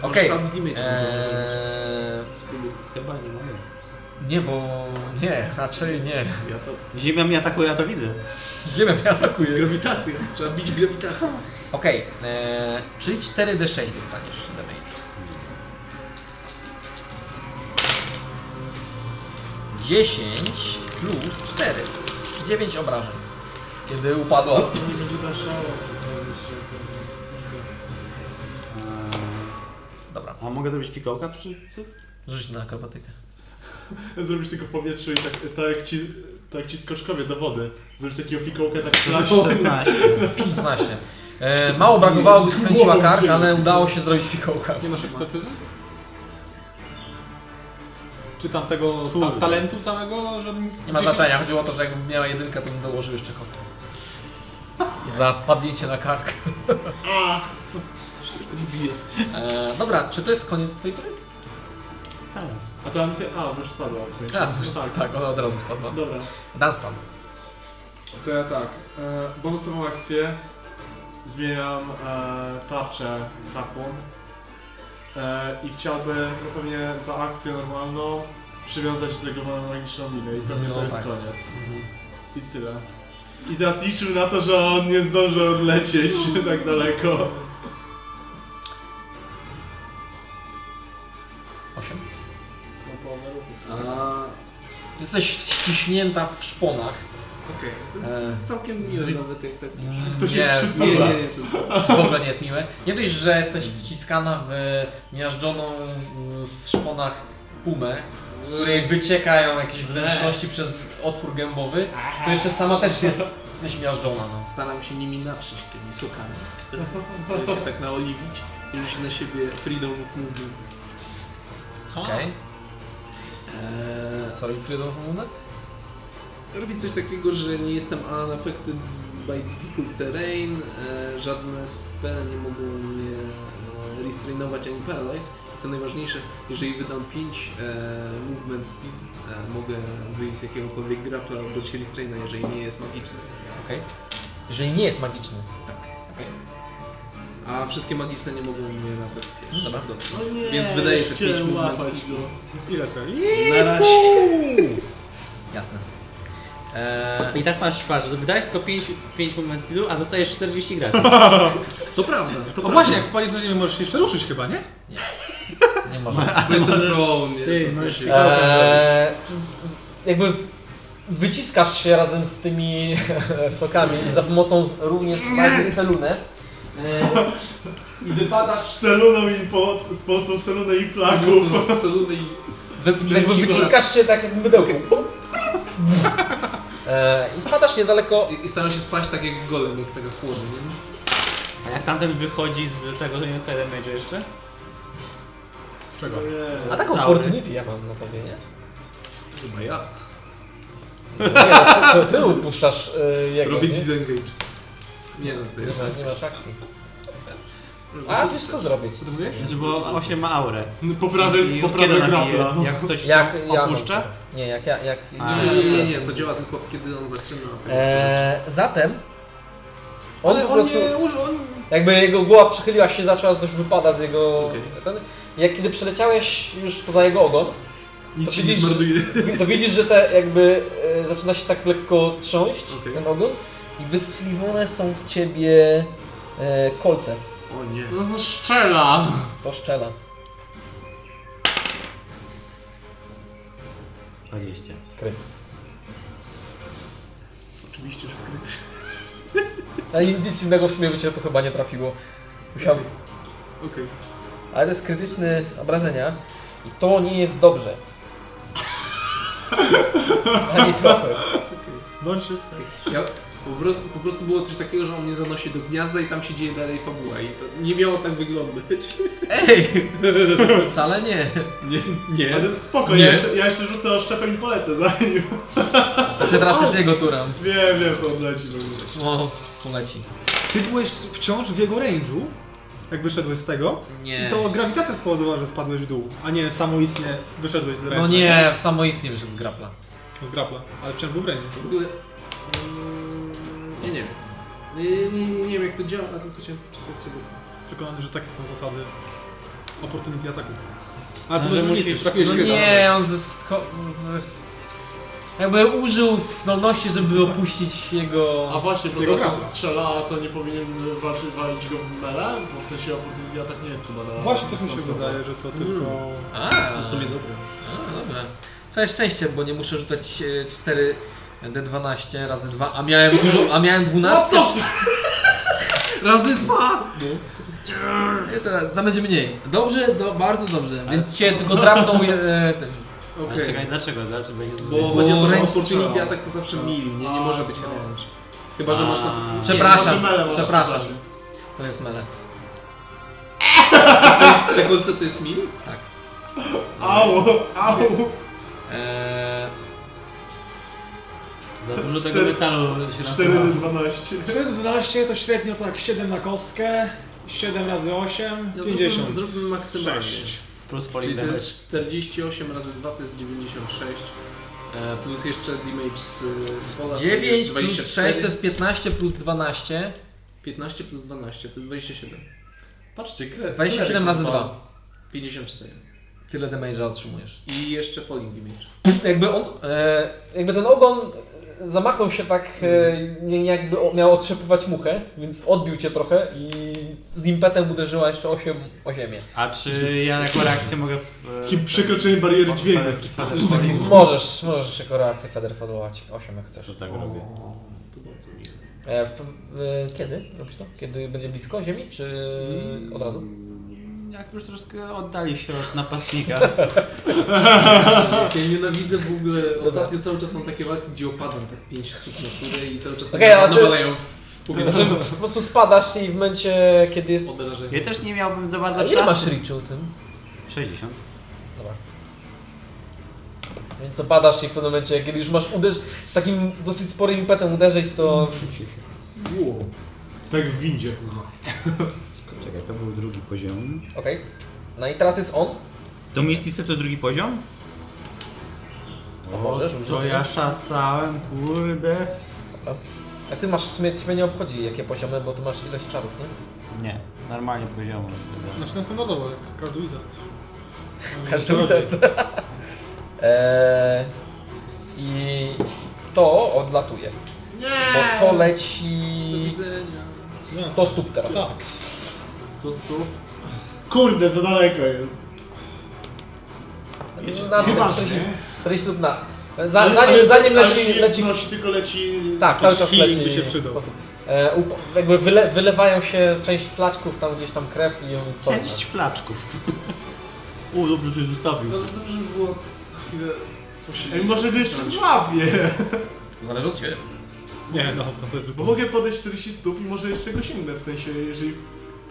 Okej. Możesz tam w damage Eee, Spróbuj. Chyba nie mogę. nie, bo. nie, raczej nie. Ja to... Ziemia mnie atakuje, ja to widzę. Nie wiem, ja atakuję. Jest grawitacja. Trzeba bić grawitacją. Okej, eee, czyli 4d6 dostaniesz damage'u. 10 plus 4. 9 obrażeń. Kiedy upadła. Dobra, A mogę zrobić fikołka przy tym? rzuć na akrobatykę. Zrobisz tylko w powietrzu i tak, tak, jak ci, tak jak ci skoczkowie do wody. Zrobisz takiego fikołka tak No, flaszą. 16. 16. Eee, mało brakowało, by skręciła kark, ale udało się zrobić fikołka. Nie masz ekspertyzy? Czy tam tego ta, talentu całego, że... Nie ma znaczenia, chodziło o to, że jakbym miała jedynkę, to bym dołożył jeszcze kostkę. Za spadnięcie na kark. Eee, dobra, czy to jest koniec twojej tury? Tak. A ta misja... A, bo już spadła. w sensie. Tak, już tak, tak, ona od razu spadła. Dobra. Dunstan. To ja tak. E, bonusową akcję zmieniam e, tarczę kapłon. E, I chciałbym no pewnie za akcję normalną przywiązać do tego mam magiczną minę i pewnie No to jest tak. koniec. I tyle. I teraz liczył na to, że on nie zdąży odlecieć tak daleko. 8. A, Jesteś ściśnięta w szponach. Okej, to jest Eee, całkiem miłe zris- nawet jak tak. To się nie, przyda. Nie, nie, nie, to jest... w ogóle nie jest miłe. Nie dość, że jesteś wciskana w miażdżoną mm, w szponach pumę, z której wyciekają jakieś wnętrzności przez otwór gębowy, to jeszcze sama też jest, jesteś miażdżona. No. Staram się nimi natrzeć tymi sokami. Żeby się tak naoliwić i rzucić na siebie freedom of movement. Okej. Eee, Sorry, Freedom of Movement? robię coś takiego, że nie jestem unaffected by difficult terrain, e, żadne spele nie mogą mnie e, restrainować ani paralyze. Co najważniejsze, jeżeli wydam 5 e, movement speed, e, mogę wyjść z jakiegokolwiek grapla albo się restraina, jeżeli nie jest magiczny. Okej. Jeżeli nie jest magiczny. Okej. A wszystkie magiczne nie mogą mnie nawet Dobra. dotknąć. Więc wydaje te 5 movement No łapać speed. go. Ile celi? Na razie. Jasne. Eee, I tak masz, patrz, wydajesz tylko 5, 5 moment speedu, a dostajesz 40 gratis. To prawda, to No prawda. właśnie, jak spadnie coś, nie możesz jeszcze ruszyć chyba, nie? nie można. Bo jestem prone, nie? Ty, To no znaczy- jeszcze- Eee, jakby w- wyciskasz się razem z tymi sokami za pomocą również magii selunę. Eee, I wypada Z celuną i po, z pomocą celunę i flaków. Mocno z celuny i Wy, Jakby jakby wyciskasz się tak jak mydełką. Eee, I spadasz niedaleko. I, I staram się spać tak jak golem, jak taka chłodna, nie? A jak tamten wychodzi z tego, że nie dostaje damage'u jeszcze? Z czego? A taką Cały. opportunity ja mam na tobie, nie? Chyba ja. No Nie, to, to ty upuszczasz y, jego, Robię nie? disengage. Nie no, to Nie, jest... ma- nie masz akcji. A wiesz co zrobić? Co to mówisz? Bo 8 ma aurę. Poprawy, I poprawy kiedy nabije? grapla. Jak ktoś Jak jak, ja mam opuszcza? to. Nie, jak ja. Jak, A. Nie, nie, nie, nie, to działa tylko kiedy on zaczyna. Eee, zatem. On Ale po prostu. nie użył, on... Jakby jego głowa przychyliła się, zaczęła coś wypada z jego. Okej. Ten, jak kiedy przeleciałeś już poza jego ogon, To Nic się nie widzisz- zmarnuje. Wi- To widzisz, że te jakby e, zaczyna się tak lekko trząść Okej. ten ogon i wystrzeliwane są w ciebie e, kolce. O nie. No, no szczela! To szczela. 20. Kryt. Oczywiście, że kryty. Ale nic innego w sumie by cię to chyba nie trafiło. Musiał... Okej. Ale to jest krytyczny obrażenia i to nie jest dobrze. Ani trochę. Don't you say. Ja, po, prostu, po prostu było coś takiego, że on mnie zanosi do gniazda i tam się dzieje dalej fabuła i to nie miało tak wyglądać. Ej! Wcale nie. Nie, nie. Ale spoko, Nie. ja jeszcze, ja jeszcze rzucę oszczepem i polecę za nim. Znaczy, Czy teraz jest jego tura? Wiem, wiem, to odleci w no. ogóle. O, poleci. Ty byłeś w- wciąż w jego range'u, jak wyszedłeś z tego. Nie. I to grawitacja spowodowała, że spadłeś w dół, a nie samoistnie wyszedłeś z range'u. No nie, w samoistnie wyszedł z grapla. Z grapla, ale wciąż był w range'u. W ogóle... Mm, nie, nie. Nie, nie, nie, nie wiem jak to działa, tylko chciałem poczytać sobie. Jestem przekonany, że takie są zasady opportunity ataku. Ale to No, że będzie nic, musisz- już trafiłeś No kryta. nie, on Ko- jakby użył zdolności, żeby opuścić jego... A A właśnie, bo Jego teraz grabla. on strzela, a to nie powinien walczyć, walić go w mele? Bo w sensie opportunity atak nie jest chyba na... Właśnie też mi się dystansowo. wydaje, że to tylko... A, To w sumie dobre. a, dobra. Całe szczęście, bo nie muszę rzucać e, 4 D12 razy 2, a miałem dużo, a miałem 12. No Razy dwa! Nie, teraz, tam będzie mniej. Dobrze, do, bardzo dobrze. Więc cię tylko drapnął e, tym. Okej. Ale czekaj, dlaczego? Dlaczego? Bo- Bo Bo chodzi o to, że ręce opportunity strzelają. atak to zawsze mili, nie, nie może być A, no. range. Chyba, że masz na... A. Przepraszam, może mele masz przepraszam. w czasie. To jest mele. Tego co to jest mili? Tak. Au, au! Eee, Za dużo tego metalu się 4 nasypało. 12 12 to średnio tak 7 na kostkę, 7 razy 8, No, 50. zróbmy, zróbmy maksymalnie. Plus Czyli to polidemage. jest 48 razy 2 to jest 96. E, plus jeszcze damage z, z pola to 9 jest plus 6 to jest 15 plus 12. 15 plus 12 to jest 27. Patrzcie, krew. 27 razy 2. 54. Tyle damage'a otrzymujesz. I jeszcze falling damage. Jakby on, e, jakby ten ogon e, zamachnął się tak, e, nie, nie jakby o- miał otrzepywać muchę, więc odbił cię trochę i z impetem uderzyła jeszcze 8 o ziemię. A czy ja jako reakcję mogę... e, Kim przekroczenie bariery tak, dźwięku. tak, tak, Możesz, możesz jako reakcję feather followować 8 jak chcesz. To tak robię. E, w, e, kiedy robisz to? Kiedy będzie blisko ziemi, czy od razu? Jak już troszkę oddali się od napastnika. Ja nienawidzę w ogóle, ostatnio cały czas mam takie walki, gdzie opadam tak 5 stóp na górę i cały czas Okej, okay, a czy- nawalają w Znaczy, powietrze. po prostu spadasz i w momencie, kiedy jest... Odrażenie. Ja też nie miałbym za A bardzo ile masz czasu. reachu tym? 60. Dobra. Więc opadasz i w pewnym momencie, kiedy już masz uderz z takim dosyć sporym impetem uderzyć, to Wow. Tak w windzie. kurwa. Czekaj, to był drugi poziom. Okej. No i teraz jest on. To Mistisep to drugi poziom? No, To możesz użyć to tego. ja szasałem, kurde. A ty masz śmierć, mnie nie obchodzi jakie poziomy, bo ty masz ilość czarów, nie? Nie, normalnie poziomu. Znaczy na standardowo, jak każdy wizard. Każdy eee, I to odlatuje. Bo to Do leci widzenia. 100 stóp teraz. Co z tu? Kurde, za daleko jest. Na Chyba, 40, nie? 40 stóp nad. Za, Ale- zanim No, ale- zanim ale leci, się leci wznosi, tylko leci... Tak, cały czas Healing leci. by się przydał. po prostu. E, up, jakby wyle, wylewają się część flaczków, tam gdzieś tam krew i ją porusza. Część flaczków. U, dobrze, coś zostawił. No to dobrze by było chwilę Ej, posiedzieć. może go jeszcze złapię. no- Zależy od ciebie. Nie, no, to jest Bo mogę podejść 40 stóp i może jeszcze go sięgnę, w sensie jeżeli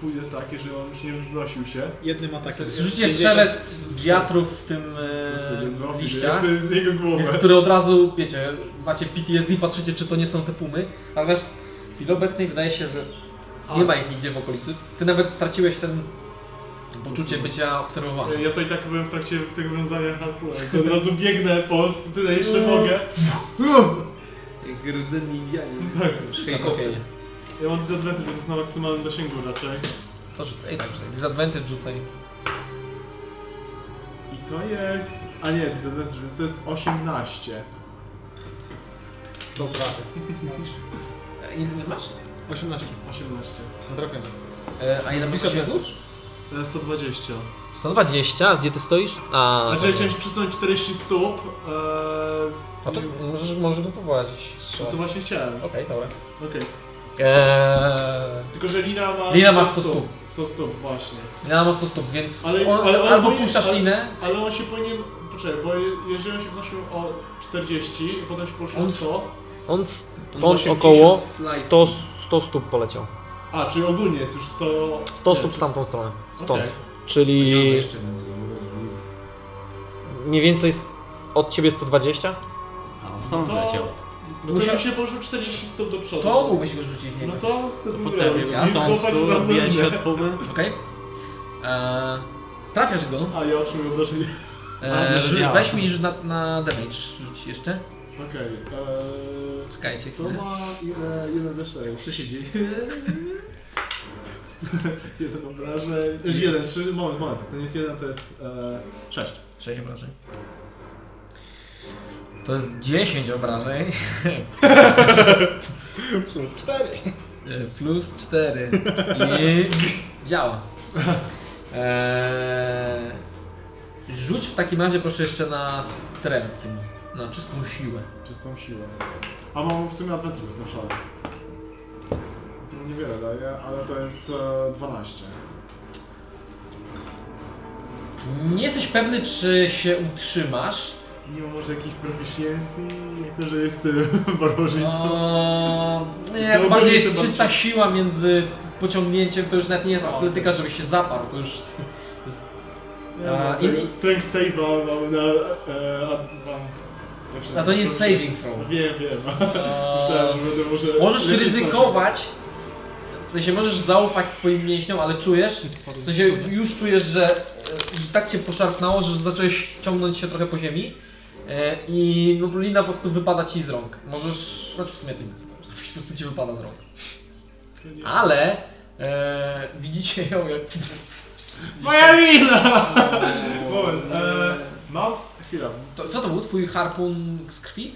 pójdę tak, jeżeli on już nie wznosił się. Jednym atakiem. Słyszycie szelest wiatrów w tym e, liściach, Co jest z jego głowy? które od razu, wiecie, macie PTSD, patrzycie czy to nie są te pumy, natomiast w chwili obecnej wydaje się, że nie ma ich nigdzie w okolicy. Ty nawet straciłeś ten poczucie bycia obserwowanym. Ja to i tak byłem w trakcie w tych wiązania hardcore, od razu biegnę po prostu tyle jeszcze Mm. mogę. Jak rdzenni No Indianie. Tak. Helikopter. Zakopienie. Ja mam disadvantage, bo to jest na maksymalnym zasięgu raczej. To rzucaj, tak, rzucaj. Disadvantage rzucaj. I to jest... A nie, disadvantage, więc to jest 18. To prawie. E, Ile masz? 18. 18. Trafiam. E, A ile masz? E, 120. 120, gdzie ty stoisz? A, Znaczy, dobra. ja chciałem się przesunąć 40 stóp. E, A to i- możesz, możesz go poprowadzić. no to właśnie chciałem. Okej, Okej. dobra. Tylko, że Lina ma. Lina ma 100 stóp. 100 stóp, właśnie. Ja mam 100 stóp, więc Ale- on, ale on albo powinien- puszczasz ale- linę, Ale on się powinien. Poczekaj, bo je- jeżeli on się wznosił o 40 i potem się poruszył On o s- 100. On stąd 80 około slice. 100, 100 stóp poleciał. A, czyli ogólnie jest już 100. 100 stóp nie, w tamtą stronę. Stąd. okej. Czyli no, Miliony jeszcze No więcej. mniej więcej s- od ciebie 120? A on stąd To- leciał. No to Musiał- jakby się poruszył 40 stóp do przodu. to mógłbyś go rzucić, nie No wiem. to chcę to Po co ja zrobić. miałem stąd Kopać tu razem, wbijać nie? świat pumy? Okej. E, Trafiasz go. A ja otrzymuję obrażenie. E, Ważne, że rzu- działa. weź mi rzu- na, na damage rzuć jeszcze. Okej. eee, Czekajcie To chwilę. ma ile? 1d6. Co się dzieje? Jeden obrażeń. Znaczy jeden, trzy, moment, moment. To nie jest jeden, to jest e, sześć. 6 obrażeń. To jest 10 obrażeń. Plus 4. E, Plus 4. I działa. Eee, rzuć w takim razie proszę jeszcze na strength, na czystą siłę. Czystą siłę. A mam w sumie adwentur bez szale. To niewiele daje, ale to jest e, 12. Nie jesteś pewny, czy się utrzymasz. Nie ma może jakichś proficiency, jako że jestem barbarzyńcą. No, nie, to Zaobraźnie bardziej się jest bardzo- czysta siła między pociągnięciem, to już nawet nie jest atletyka, żeby się zaparł, to już... Nie, a, mam tego i- Strength save'a mam na... E, a, mam, jak się A to nie jest nazywa? saving throw. Wiem, wiem. Eee, Myślałem, że będę może... Możesz lepiej ryzykować, w sensie możesz zaufać swoim mięśniom, ale czujesz, w sensie już czujesz, że, e, że tak cię poszarpnało, że zacząłeś ciągnąć się trochę po ziemi e, i no, lina po prostu wypada ci z rąk. Możesz, znaczy w sumie ty nic, nie możesz, po prostu ci wypada z rąk. Ale e, widzicie ją jak... Moja lila! Moment, e, mam... Chwila. To, co to był? Twój harpun z krwi?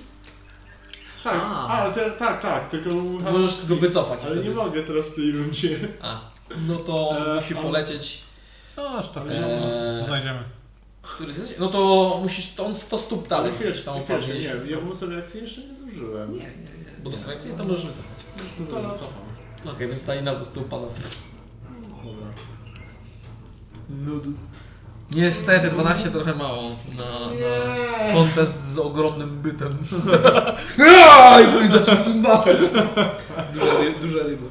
Tak, A. a, te, tak, tak, tylko... Możesz go wycofać Ale wtedy. nie mogę teraz w tej rundzie. A, no to on E, musi a- polecieć... No, aż tam. E, Znajdziemy. Który jesteś? No to musisz, to on 100 stóp dalej. Chwileczkę, tam chwileczkę, opadnie. nie, ja bym sobie akcji jeszcze nie zużyłem. Nie, Bo do selekcji No. to Tak możesz wycofać. No. to cofam. Okej, więc ta lina po prostu upada. Dobra. Niestety, 12 trochę mało na, na kontest z ogromnym bytem. I bo i zaczął machać. Duża, ry- duża ryba.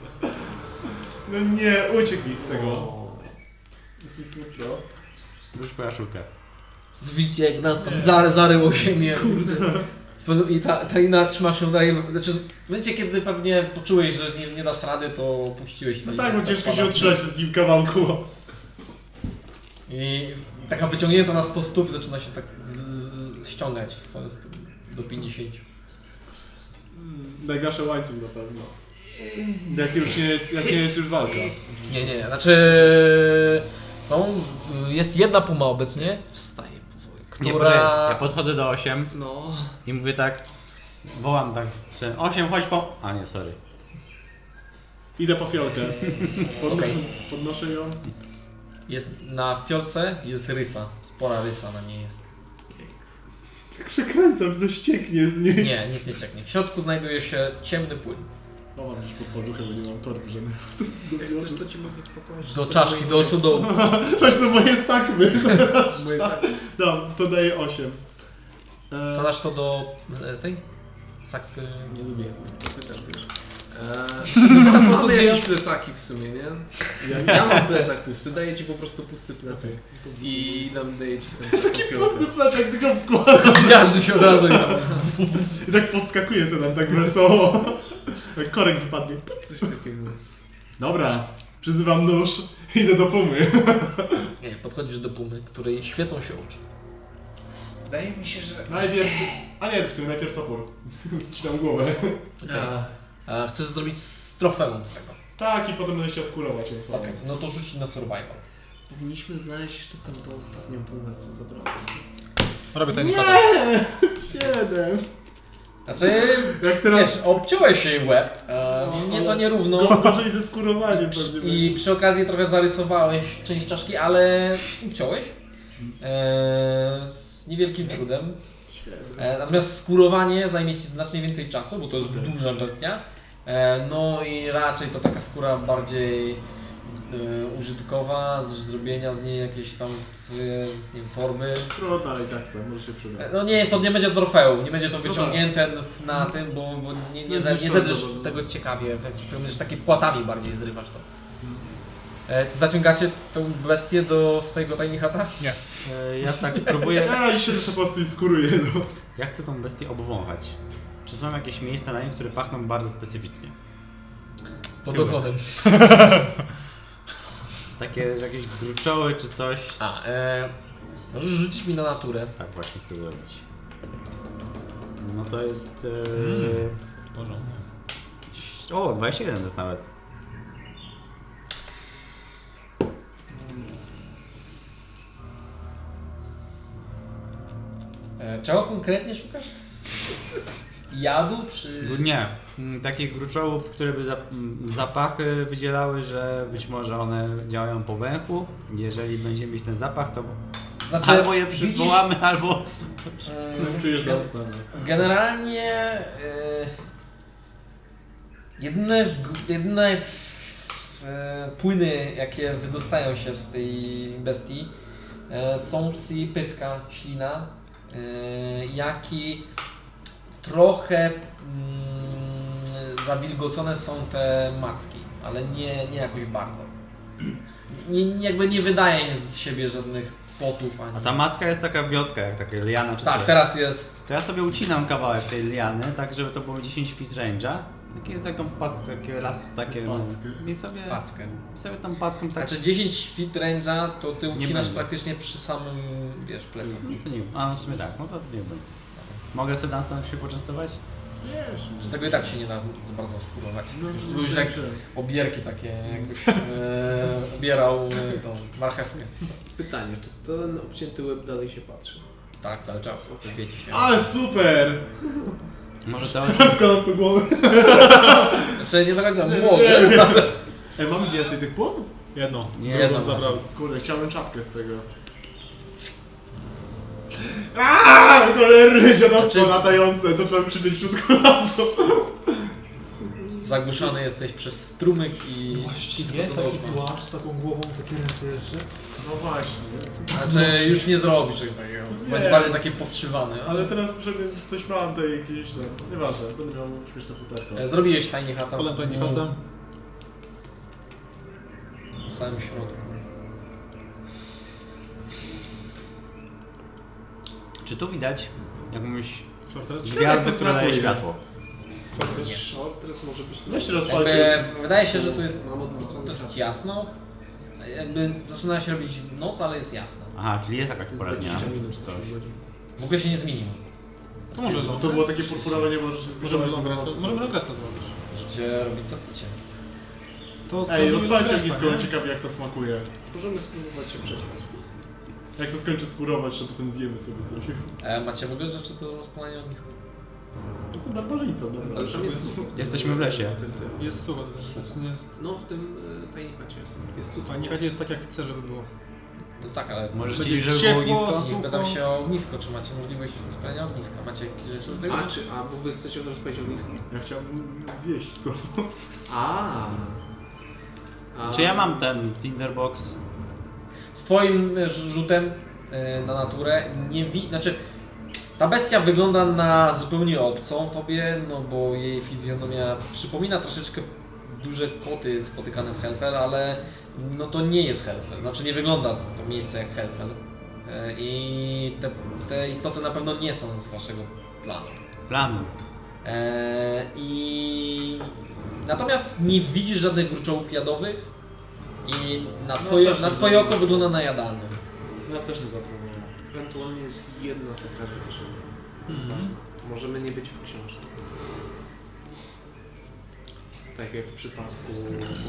No nie, uciekł mi z tego. Jest mi smutno. Wróć po jaszczurkę. Zwicie jak nas tam zary, zaryło ziemię. I ta, ta lina trzyma się dalej. Znaczy, w momencie, kiedy pewnie poczułeś, że nie, nie dasz rady, to puściłeś No i tak, ona bo ciężko spada. się otrzymać w takim kawałku. I taka wyciągnięta na 100 stóp zaczyna się tak z, z, ściągać w twoją stronę do 50. Najgorsze łańcuch na pewno. Jak już nie jest, jak nie jest już walka. Nie, nie, znaczy są, jest jedna puma obecnie, wstaje powoli, Nie, poczekaj, która... ja podchodzę do 8 No, i mówię tak, wołam tak, że 8 chodź po... A nie, sorry. Idę po fiolkę. Pod, Okej. Podnoszę ją. jest na fiolce, jest rysa, spora rysa na niej jest. Tak przekręcam, coś cieknie z niej. Nie, nic nie cieknie. W środku znajduje się ciemny płyn. No mam gdzieś pod pazuchę, bo nie mam torby żadnych. Jak chcesz, to ci mogę pokazać. Do czaszki, do oczu, do... To są moje sakwy. Moje sakwy. Dam, No, to daje 8. Wsadzasz to do e, tej? Sakwy... Nie lubię. Ty też wiesz. Po Eee, prostu mamy dzieje- jakieś plecaki w sumie, nie? Ja, ja mam plecak pusty, daję ci po prostu pusty plecak. I nam daję ci ten taką fiolkę. Pusty fleczek, tylko wkładam. Zmiażdży się od razu i I tak podskakuje sobie tam tak wesoło. Jak Tak korek wypadnie. Coś takiego. Dobra, przyzywam nóż, idę do pumy. Nie, podchodzisz do pumy, której świecą się oczy. Wydaje mi się, że... Najpierw... A nie, w sumie najpierw topór. Wcinam głowę. A, E, Chcesz zrobić z trofeum z tego. Tak, i potem będę chciał skurować ją całą. Okej, No to rzuć na survival. powinniśmy znaleźć jeszcze tę tą ostatnią pumę, co zabrałem. Robię ten Nie! nie. Siedem. Znaczy, Jak teraz... wiesz, obciąłeś jej łeb, e, No, nieco no. nierówno Gorzej ze skurowaniem pewnie. i przy okazji trochę zarysowałeś część czaszki, ale uciąłeś e, z niewielkim trudem. E, natomiast skurowanie zajmie Ci znacznie więcej czasu, bo to jest duża bestia. E, no i raczej to taka skóra bardziej e, użytkowa, z zrobienia z niej jakieś tam swoje, nie wiem, formy. No dalej tak chcę, może się przyda. No nie jest to, nie będzie trofeum, nie będzie to wyciągnięte w- na tym, bo, bo nie, nie, ze- nie zedrzesz tego ciekawie, w jakim- będziesz takie płatami bardziej zrywasz to. E, zaciągacie tą bestię do swojego tak? tiny chata? E, Ja tak próbuję. Ja się też po prostu i skuruję, no. Ja chcę tą bestię obwąchać. Czy są jakieś miejsca na nim, które pachną bardzo specyficznie? Pod okonem. Takie że jakieś gruczoły czy coś? A, e, możesz rzucić mi na naturę. Tak właśnie chcę zrobić. No to jest. E... O, 21 to jest nawet. E, czego konkretnie szukasz? Jadu czy... Nie, mm, takich gruczołów, które by zap- mm, zapachy wydzielały, że być może one działają po węchu. Jeżeli będziemy mieć ten zapach, to Znaczy, albo je widzisz- przywołamy, albo... Mm, Czujesz gen- gęstę, no. Generalnie y, jedyne, g- jedyne y, płyny, jakie wydostają się z tej bestii, y, są psi pyska, ślina, y, jak i trochę mm, zawilgocone są te macki, ale nie, nie jakoś bardzo. Nie, jakby nie wydaje z siebie żadnych potów ani. A ta macka jest taka wiotka, jak taka liana czy Tak, coś. teraz jest To ja sobie ucinam kawałek tej liany, tak żeby to było 10 feet range'a. Takie taką packę, takie las, takie... no, Packę. I sobie, packę. i sobie tą packą tak... Znaczy 10 feet range'a to ty ucinasz będzie. praktycznie przy samym, wiesz, plecu. No to nie, a no w sumie tak, no to nie wiem. Mogę sobie na się poczęstować? Że tego i tak się nie da za bardzo skurować. No, Już to już jak obierki takie, jakbyś e, obierał e, tą marchewkę. Pytanie, czy ten obcięty łeb dalej się patrzy? Tak, cały czas. Świeci się. Ale super! Może to... Wkładam to głowę. Znaczy nie do końca może. E, Ej, mamy więcej tych płon? Jedno. Nie, Drugą no, zabrał. Kurde, chciałem czapkę z tego. Aaaa! Cholerny Znaczy- dziadostwo latające! Zacząłem krzyczeć wśród klasu. Zagłuszany jesteś przez strumyk i Właściwie wszystko co taki dookoła. płaszcz z taką głową, takie ręce jeszcze. No właśnie. Znaczy już nie zrobisz czegoś takiego. Będzie Nie. bardziej takie postrzywane. Ale teraz przebieg coś mam tej jakiejś tam. Nieważne, będę miał śmieszne futerko. E, Zrobiłeś tajnie chata. Potem to nie No, potem. Na samym środku. Czy tu widać jakąś Shortrest? gwiazdę, która daje światło? tak. Short Shortrest może być... Weź się Znaczy, rozpalcie. Jakby, Znaczy, wydaje się, że tu jest Mam odwrócony dosyć jasno. Jakby zaczyna się robić noc, ale jest jasno. Aha, czyli jest jakaś pora dnia czy coś. W ogóle się nie zmieniło. To może No to było takie purpurowe, nie możesz... Możemy long resta, możemy long resta zrobić. Możecie robić co chcecie. To Ej, zrobimy rozpalcie long ognisko, tak, resta, nie? ciekawie jak to smakuje. Możemy spróbować się przespać. Jak to skończy skurować, to potem zjemy sobie coś. E, macie w ogóle rzeczy do rozpalania ogniska? Jestem barbarzyńcą, dobra. Ale tam jest sucho. Jesteśmy w lesie. Tym, tym. Jest sucho, to jest- nie jest... No w tym y, tajnichacie. Jest sucho. Pani Kadzie jest tak jak chce, żeby było. No tak, ale Możesz Będzie chcieć, żeby było ciepło, ognisko? nie sucho. pytam się o ognisko, czy macie możliwość spalenia ogniska. Macie jakieś rzeczy do tego? A, czy, a, bo wy chcecie od razu powiedzieć o ognisku? Ja chciałbym zjeść to. A. A. Czy ja mam ten tinderbox? Z twoim e, rzutem e, na naturę nie wi... Znaczy, ta bestia wygląda na zupełnie obcą tobie, no bo jej fizjonomia przypomina troszeczkę duże koty spotykane w Hellfell, ale no to nie jest Hellfell. Znaczy nie wygląda to miejsce jak Hellfell. E, I te, te istoty na pewno nie są z waszego planu. Planu. E, I natomiast nie widzisz żadnych gruczołów jadowych i na twoje, strasznie na twoje oko wygląda na jadalny. Nas też nie zatrudniają. Ewentualnie jest jedna taka rzecz. Mhm. Możemy nie być w książce. tak jak w przypadku...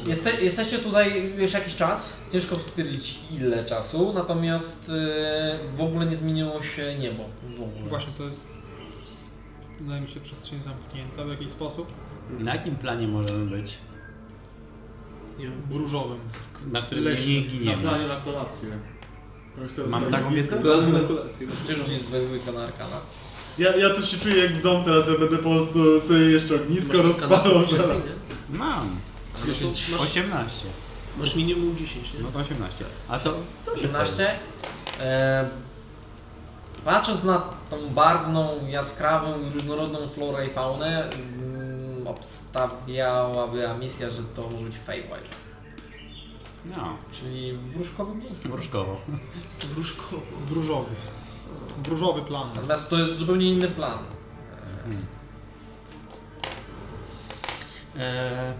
Jeste, jesteście tutaj już jakiś czas, ciężko stwierdzić ile czasu, natomiast e, w ogóle nie zmieniło się niebo. W ogóle. No Właśnie to jest. Wydaje mi się przestrzeń zamknięta w jakiś sposób. Na jakim planie możemy być? Nie wiem. Różowym. Na którym Leś, nie Na planie giniemy? na kolację. Ja chcę Mam rozmawiać taką blisko. wiedzę? Plany na kolację. Przecież już nie dwójka na arkana. Tak. Ja, ja też się czuję jak w dom teraz, ja będę po prostu sobie jeszcze ognisko rozpalał. zaraz. Mam. to 10, masz- 18. Masz minimum 10, nie? No to 18. A to... to się 18. E, patrząc na tą barwną, jaskrawą i różnorodną florę i faunę, mm, obstawiałaby misja, że to może być Feywild, powiem. No, czyli wróżkowe miejsce. wróżkowo. Wróżkowo. Różowy. Różowy plan. Natomiast to jest zupełnie inny plan. Mhm. E...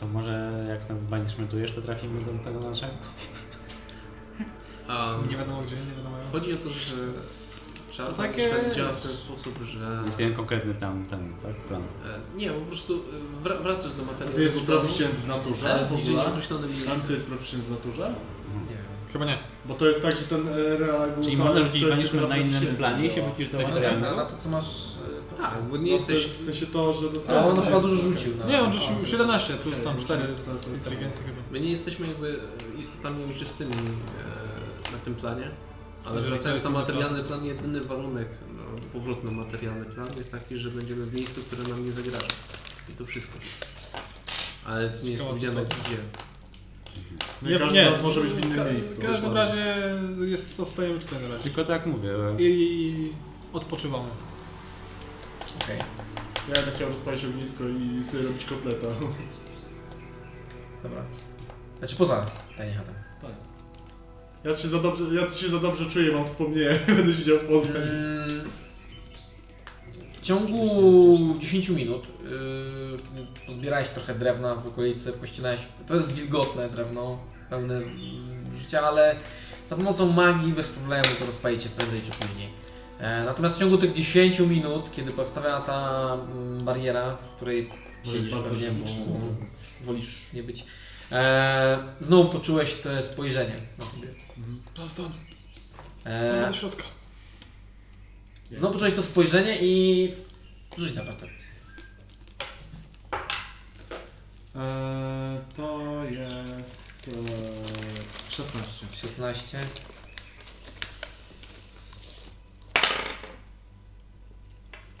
To może jak nas zbanishmentujesz, to trafimy do tego naszego? A Nie wiadomo gdzie, nie wiadomo jak. chodzi o to, że czar Tak Takie- Takie... działa w ten sposób, że... Jest jeden konkretny tam, ten, tak, plan. E, Nie, po prostu e, wra- wracasz do A materiału. ty jesteś domu, proficient w naturze Ale w w niczym ogóle? nieokreślonym Ramsey miejscu. jest proficient w naturze? Chyba nie. Bo to jest tak, że ten e, No reagut... Czyli to można jest rzucić tylko banishment na innym proficiency planie i się działa. wrócisz do Tak, tak, na, na materiału? to co masz. e, Tak, bo nie No, w jesteś... sensie- w sensie to, że dostałem... A on chyba dużo rzucił. No, no. na- Tak, Nie, on rzucił 17, plus tam Okej, 4 to jest- z inteligencji chyba. My nie jesteśmy jakby e, istotami ojczystymi e, na tym planie, ale Jeżeli wracając to na jest materialny plan, jedyny warunek no, do powrotu na materialny plan jest taki, że będziemy w miejscu, które nam nie zagraża. I to wszystko. Ale to nie jest Ciekawa powiedziane sytuacja. gdzie. No i każdy z nas może być w innym Ka- miejscu. W każdym dokładnie. razie jest, zostajemy tutaj na razie. Tylko tak mówię. e, I odpoczywamy. Okej. Ja będę chciał rozpalić ognisko i sobie robić kotleta. Dobra. Znaczy poza tanie chatę. Ja się za dobrze, ja się za dobrze czuję, mam wspomnienie, będę siedział w Poznań. Mm, W ciągu 10 minut, yy, kiedy pozbierałeś trochę drewna w okolicy, pościnałeś, to jest wilgotne drewno, pełne mm, życia, ale za pomocą magii bez problemu to rozpalicie prędzej czy później. E, Natomiast w ciągu tych 10 minut, kiedy powstała ta mm, bariera, w której Może siedzisz bardzo pewnie, bo życzliwy. wolisz nie być, e, znowu poczułeś to spojrzenie na sobie. Mhm. Zostań. E, Do środka. Znowu poczułeś to spojrzenie i rzuć na percepcję. Eee, to jest... Eee, 16. 16.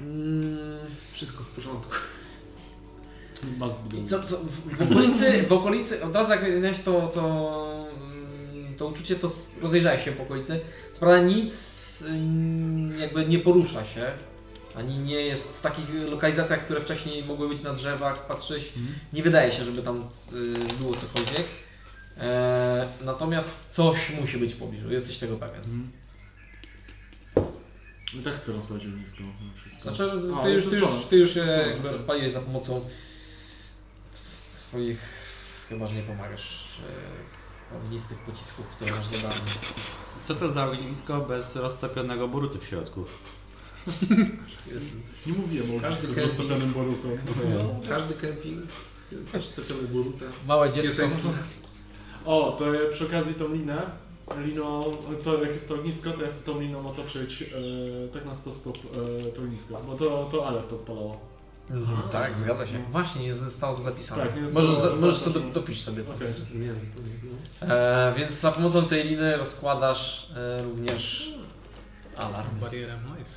Mm, Wszystko w porządku. Must be I done. co, co w, w okolicy, w okolicy, od razu jak miałeś to, to, mm, to uczucie, to s- rozejrzałeś się po okolicy. Co prawda nic mm, jakby nie porusza się, ani nie jest w takich lokalizacjach, które wcześniej mogły być na drzewach, patrzyłeś, nie wydaje się, żeby tam y, było cokolwiek. E, natomiast coś musi być w pobliżu, jesteś tego pewien. Mhm. I tak chcę rozpalić ognisko, no wszystko. Znaczy, A, ty, już, już ty, jest już, plan. ty już się plan, jakby tak. rozpaliłeś za pomocą s- swoich, chyba że nie pomagasz, e, ognistych pocisków, które masz zadane. Co to za ognisko bez roztopionego boruty w środku? Nie mówiłem o Każdy No. ognisku z chętnie- roztopionym borutą. Każdy kemping jest zaszczepiony burutę. Małe dziecko. Mhm. O, to ja przy okazji tą linę, liną, to jak jest to ognisko, to ja chcę tą liną otoczyć e, tak na 100 stóp e, to ognisko, bo to, to Alef to odpalało. Mhm, tak, zgadza się. Właśnie, nie zostało to zapisane. Tak, nie zostało, możesz za, tak, możesz sobie, tak. dopisz sobie. Okej. Nie, zupełnie. No. E, więc za pomocą tej liny rozkładasz e, również alarm. Barierę, no nice.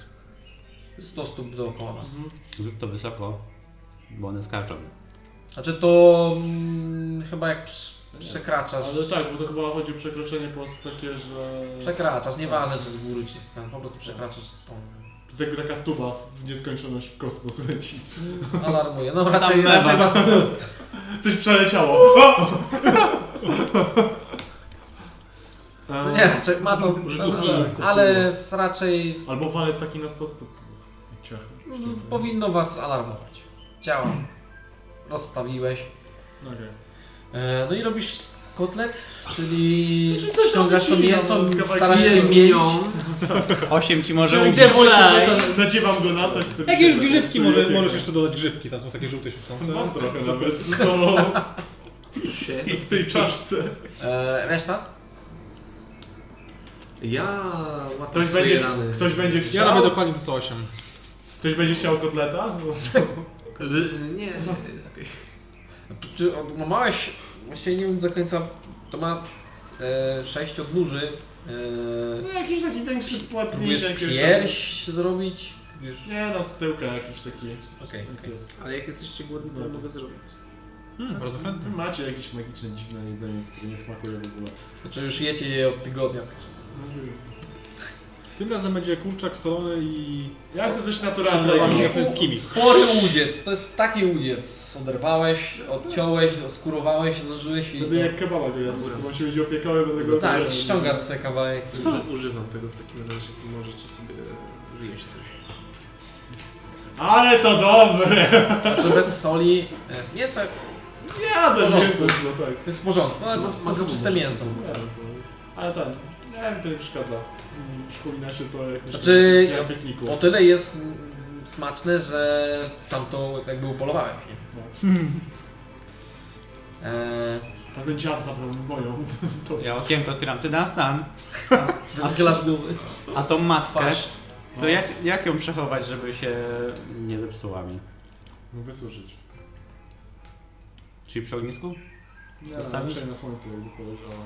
100 stóp dookoła was. Zrób to wysoko, bo one skaczą. Znaczy to mm, chyba jak prz- przekraczasz... Ale tak, bo to chyba chodzi o przekroczenie po prostu takie, że... Przekraczasz, nieważne Tak. czy z góry, czy z tam, po prostu przekraczasz tą. To jest jakby taka tuba w nieskończoność w kosmos leci. Alarmuje. No raczej, mewa. raczej was. Coś przeleciało. O! Ehm, No nie, raczej ma to. Ale raczej Albo walec taki na 100 stóp. Ciach. w- powinno was alarmować. Działa. Rozstawiłeś. Okej. E, No i robisz Kotlet, czyli tam ściągasz to wycina, mięso, no, z kawałek starasz się mięsa. mieć. Osiem ci może Czyli ubić. gdzie wolaj? Nadziewam go na coś sobie. Jakieś siedzę. grzybki Sobie może, pięknie. możesz jeszcze dodać grzybki, tam są takie żółte świecące. Mam trochę nawet. No, Się. w tej czaszce. E, reszta? Ja łatam Ktoś swoje będzie, rany. ktoś będzie Ja robię chciał. dokładnie to co 8. Ktoś będzie chciał kotleta? No. L- Nie, nie, jest okej. Czy odłamałeś, właściwie nie wiem do końca, to ma e, sześć odnóży. No E, jakiś taki większy płatnik, próbujesz jakiś pierś zrobić? Wiesz, tam- Nie no, z tyłka jakiś taki. okej, okej. Jest. Ale jak jesteście głodni, to Znowu. mogę zrobić. Bardzo chętnie. Wy Macie jakieś magiczne, dziwne jedzenie, które nie smakuje w ogóle. Znaczy już jecie je od tygodnia. Tym razem będzie kurczak solony i... Ja chcę coś Przyprawami naturalnego. japońskimi. Spory łudziec, to jest taki łudziec. Oderwałeś, odciąłeś, skurowałeś, złożyłeś i... Będę jak kebaba wyjadł, bo się będzie opiekały, będę go Tak, ściągasz sobie kawałek. Uży- Używam tego w takim razie, to możecie sobie zjeść coś. Ale to dobre! Znaczy bez soli... e, Mięso Ja to nie porządku. chcę, no tak. jest w porządku, ale Co, to ma- jest po prostu ma- czyste mięso. Tak, Ale ten, nie wiem, to nie przeszkadza. Mm, Przypomina się to jak Znaczy, na pikniku. O tyle jest mm, smaczne, że sam to jakby upolowałeś. Nie? Eee, A ten dziad zabrał mi moją. Ja okienko otwieram, ty nas tam, Wychylasz głowy. a tą matkę, Twarz. to jak, jak ją przechować, żeby się nie zepsuła mi? No wysuszyć. Czyli przy ognisku? Nie, Zostawić? raczej na słońcu jakby powiedziała.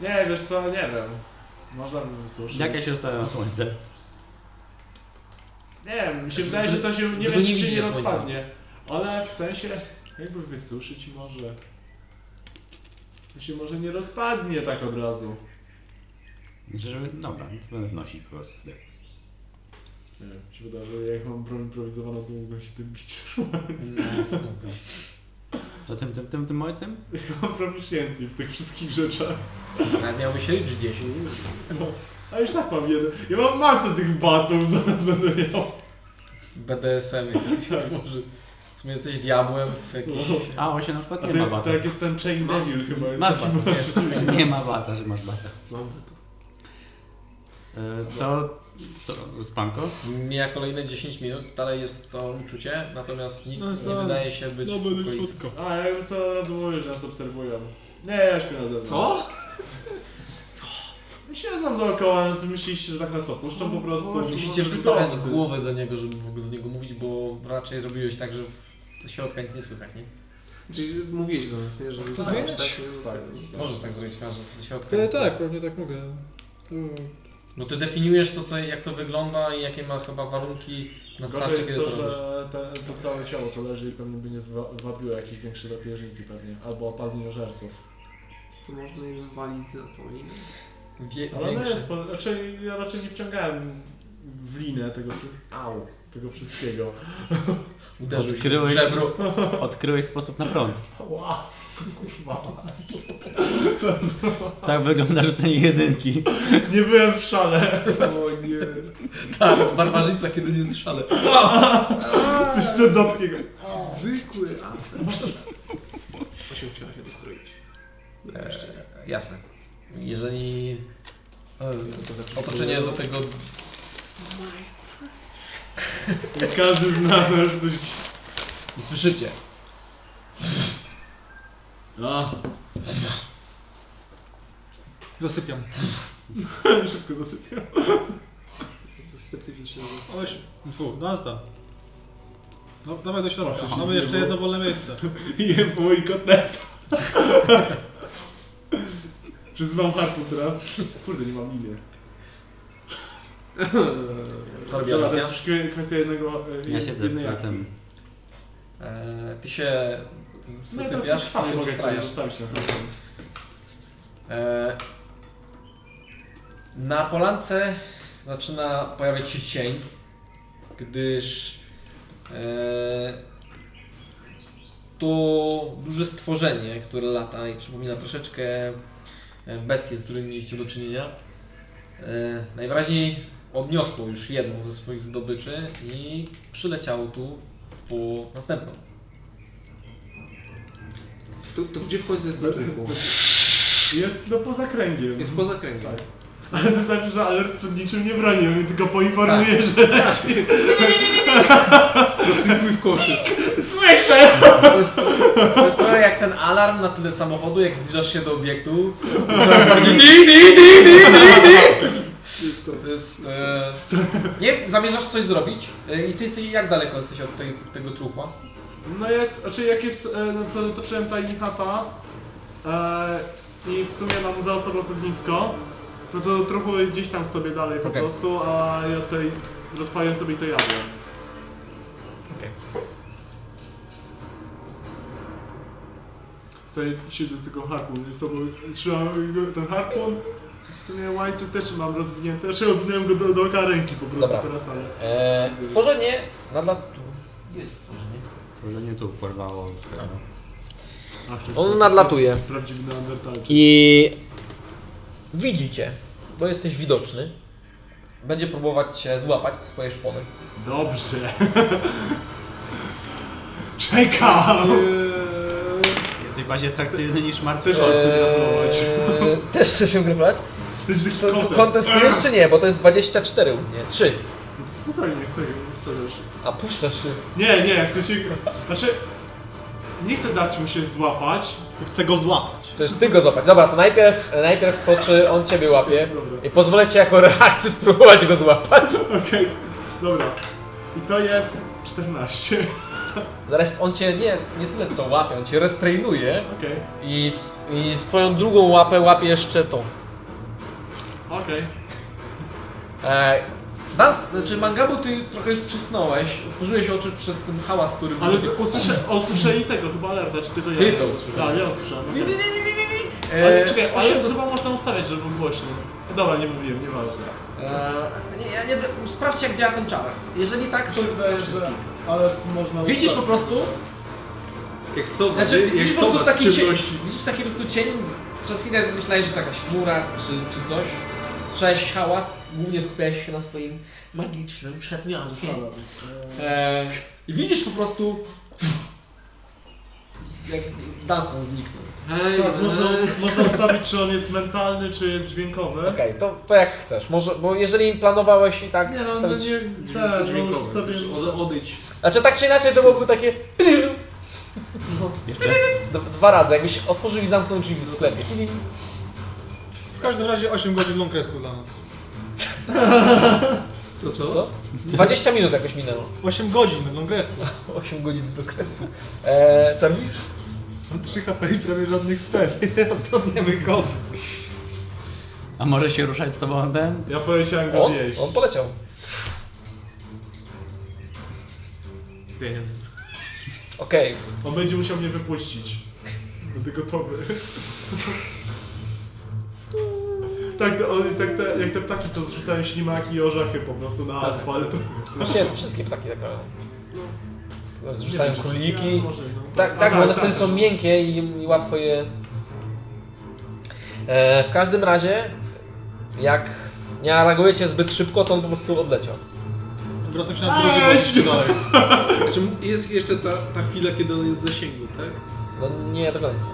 Nie, wiesz co, nie wiem. Można by wysuszyć. Jak ja się dostanę na słońce? Nie wiem, mi się wydaje, że to się nie Tylko wiem, nie czy się nie widzicie słońca. rozpadnie. Ale w sensie, jakby wysuszyć może. To się może nie rozpadnie tak od razu. Żeby, dobra, to będę wnosić po prostu. Nie wiem, mi się wydaje, że jak mam broń improwizowaną, to mógłbym się tym bić. Mm, To tym, tym, tym, tym, moim tym? Mam proficiency w tych wszystkich rzeczach. Nawet miałbyś liczyć 10. A już tak mam jeden. Ja mam masę tych batów, zaraz będę miał. BDSM jakiś Tak. otworzy. W sumie jesteś diabłem w jakiejś... A, on się na przykład A nie ty, ma bata. No. to jak jest ten Chain Devil chyba jest Masz taki bata. Nie ma bata, że masz bata. Mam E, To, co, spanko? Mija kolejne 10 minut, dalej jest to uczucie, natomiast nic No, nie znam. wydaje się być No w będę okolicy. słodko. A ja już co raz mówię, że nas obserwują. Nie, ja śpię na zewnątrz. Co? My Siedzą dookoła, no to myślicie, że tak nas opuszczą po prostu. no, Musicie wystawiać głowę do niego, żeby w ogóle do niego mówić, bo raczej zrobiłeś tak, że w- z środka nic nie słychać, nie? Czyli mówiłeś do nas, nie? Że zostajesz tak? no, Tak. Możesz tak zrobić, każdy z środka. E, nic nie- tak, pewnie tak mogę. To- No ty definiujesz to, co, jak to wygląda i jakie ma chyba warunki na Gorzej starcie, jest kiedy to, to robisz. że te, to całe ciało to leży i pewnie by nie zwa- wabiło jakichś większych drapieżniki pewnie. Albo opadniożerców. To można je wywalić za to i... Wie, Ale no większe. jest, po- znaczy ja raczej nie wciągałem w linę tego wszystkiego. Au, tego wszystkiego. Uderzył się w Odkryłeś- żebro. Odkryłeś sposób na prąd. Ła, kurwa. Tak wygląda rzucenie jedynki. Nie byłem w szale. O nie. Tak, z barbarzyńca, kiedy nie jest w szale. Coś do dotkniego. Zwykły after. Osiem chciała się dostroić. E, jasne. Jeżeli e, otoczenie Otoczenie do tego Jak każdy z nas aż coś... i słyszycie. A, Zasypiam. szybko zasypiam. To specyficzne jest. 8. Fu, no zostaw. No dawaj do środka, Proszę, mamy żeby jeszcze nie było. jedno wolne miejsce. I jem po moim kotletu. Przyzywam harpu teraz. Kurde, nie mam imię. Co robi Dobra, to Alicja? jest już kwestia jednego, e, Ja siedzę jednej na akcji. tym. E, ty się No i teraz zasypiasz, harpę ty się mogę sobie dostrajasz. zostawić na harpę. E, Na polance zaczyna pojawiać się cień, gdyż e, to duże stworzenie, które lata i przypomina troszeczkę e, bestie, z którymi mieliście do czynienia. E, Najwyraźniej odniosło już jedną ze swoich zdobyczy i przyleciało tu po następną. To, to gdzie w końcu jest ratunku? Jest no poza kręgiem. Jest poza kręgiem. Tak. Ale to znaczy, że alert przed niczym nie broni, on mnie tylko poinformuje, Tak. że leci. Dosypuj Tak. w koszyc. Słyszę! To jest, to jest trochę jak ten alarm na tyle samochodu, jak zbliżasz się do obiektu. Coraz bardziej di, di, di, di, di, di. To jest... E... Nie, zamierzasz coś zrobić E, i ty jesteś, jak daleko jesteś od tej, tego truchła? No jest, znaczy jak jest, e, na przykład otoczyłem Tiny Hata e, i w sumie mam za sobą lotnisko, to to trochę jest gdzieś tam sobie dalej po Okej. prostu, a ja tutaj rozpaliłem sobie i to jadę. Sobie siedzę w tylko harpun, ze sobą trzymam go- ten harpun. W sumie łańcuch też mam rozwinięty, znaczy owinąłem go do, do oka ręki po prostu Dobra. teraz, ale... E, stworzenie nadal... Jest stworzenie. To nie tu porwało. Ach, On to- nadlatuje. Prawdziwy neandertalczyk. I widzicie, bo jesteś widoczny. Będzie próbować cię złapać w swoje szpony. Dobrze. Czekam! Jesteś bardziej atrakcyjny niż martwy. Też mam sobie gratulować. Eee, E, też chcesz się grapplować? To jest taki To kontest. kontestujesz czy nie? Bo to jest 24 u mnie. 3. No to Spokojnie, chcę, chcę też. A puszczasz się. Nie, nie, chcę się... Znaczy... Nie chcę dać mu się złapać. Chcę go złapać. Chcesz ty go złapać. Dobra, to najpierw, najpierw to, czy on ciebie łapie. Dobra. I pozwolę ci jako reakcję spróbować go złapać. Okej, dobra. I to jest 14. Zaraz on cię nie, nie tyle co łapie, on cię restrainuje. Okej, I w, I w twoją drugą łapę łapie jeszcze tą. okej. Eee, Nas, E, znaczy Mangabu ty trochę już przysnąłeś, otworzyłeś oczy przez ten hałas, który był. Ale z, usłyszę, usłyszeli tego chyba alerta, czy tylko ja? Ty to usłyszałeś. Tak, ja usłyszałem. Ni, ni, ni, okej. ni, ni, ni, ni. Ale E, czekaj, osiem 8 dos- chyba można ustawiać, żeby był głośny. Dobra, nie mówiłem, nieważne. E, nie, ja nie, sprawdźcie jak działa ten czar. Jeżeli tak, to wszystkich. Ale można Widzisz po prostu, Jak sowa, znaczy jak widzisz po sowa prostu z taki cień, ciemności. widzisz taki po prostu cień, przez chwilę myślałeś, że to jakaś chmura czy, czy coś. Słyszałeś hałas, głównie skupiałeś się na swoim magicznym przedmiocie. E, I widzisz po prostu, jak Dunstan zniknął. Hej, Tak, można, można ustawić, czy on jest mentalny, czy jest dźwiękowy. Okej, to, to jak chcesz. Może, bo jeżeli planowałeś i tak. Nie, no, no wstawić- nie, tak, no już ustawiłem. Odejdź. Znaczy tak czy inaczej to byłoby takie. No. D- Dwa razy, jakbyś otworzył i zamknął drzwi w sklepie. W każdym razie 8 godzin long restu dla nas. Co, co? Co? 20 minut jakoś minęło. 8 godzin long restu. 8 godzin do kresu. Eee, co robisz? Mam 3 HP i prawie żadnych spell. Ja stąd nie wychodzę. A może się ruszać z tobą ten? Ja powiedziałem go On, zjeść. on poleciał. Damn. Okej. On będzie musiał mnie wypuścić. Będę gotowy. tak, to on jest jak te, jak te ptaki, co zrzucają ślimaki i orzechy po prostu na Tak. asfalt. Właściwie to wszystkie ptaki tak robią. Zrzucają Nie wiem, czy- króliki. ja może, no. Tak, tak, bo one wtedy są miękkie i, i łatwo je. E, w każdym razie, jak nie reagujecie zbyt szybko, to on po prostu odleciał. Wracam się na drugą godzin dalej. Znaczy, jest jeszcze ta, ta chwila, kiedy on jest w zasięgu, tak? No nie do końca.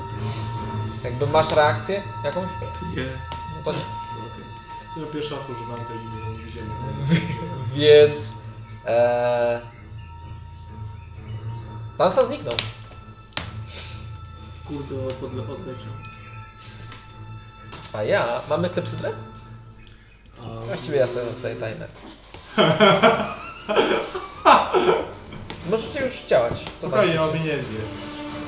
Jakby masz reakcję jakąś? Nie. No to nie. Okej. Ja pierwszy raz używałem tej linii, bo nie widziałem. Więc. E... Dansa zniknął. Kurde, podle odleciał. A ja. Mamy klepsydrę? A Właściwie ja sobie rozdaję timer. Możecie już działać. Co tam Spokojnie, on chcecie? mnie nie zje.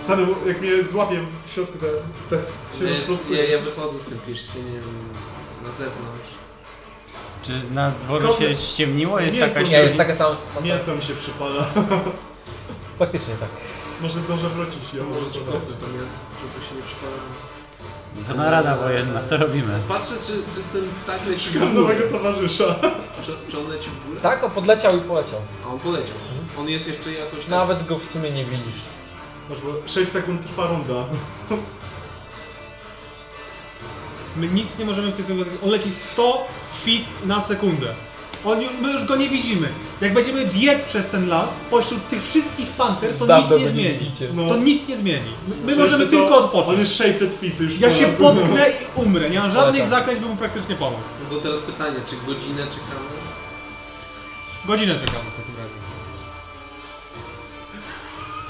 Stanę, jak mnie złapie w środku, to, to się wiesz, rozprostuje. ja, ja wychodzę z tym pierścieniem na zewnątrz. Czy na dworze Kropla- się ściemniło? Jest Nie jakaś... są- Nie, jest takie samo. samo- Mięso mi się przypala. Faktycznie tak. Może zdążę wrócić ją. Może ci kopnę to mięso, żeby się nie przypalało. tak- To narada wojenna, co robimy? Patrzę, czy, czy ten ptak leci w Szukam górę. nowego towarzysza. Czy, czy on leci w górę? Tak, on podleciał i poleciał. A on poleciał. On jest jeszcze jakoś tak- tam... Nawet go w sumie nie widzisz. Masz, bo 6 sekund trwa runda. My nic nie możemy w tej sytuacji. On leci 100 feet na sekundę. On, ju- my już go nie widzimy. Jak będziemy biec przez ten las, pośród tych wszystkich panter, to Dawno nic nie go nie zmieni. widzicie. To nic nie zmieni. My możemy to- tylko On odpocząć. jest 600 feet już. No. Ja ponad. się potknę i umrę. Nie mam żadnych Polecam. zaklęć, by mu praktycznie pomóc. No to teraz pytanie, czy godzinę czekamy? Godzinę czekamy w takim razie.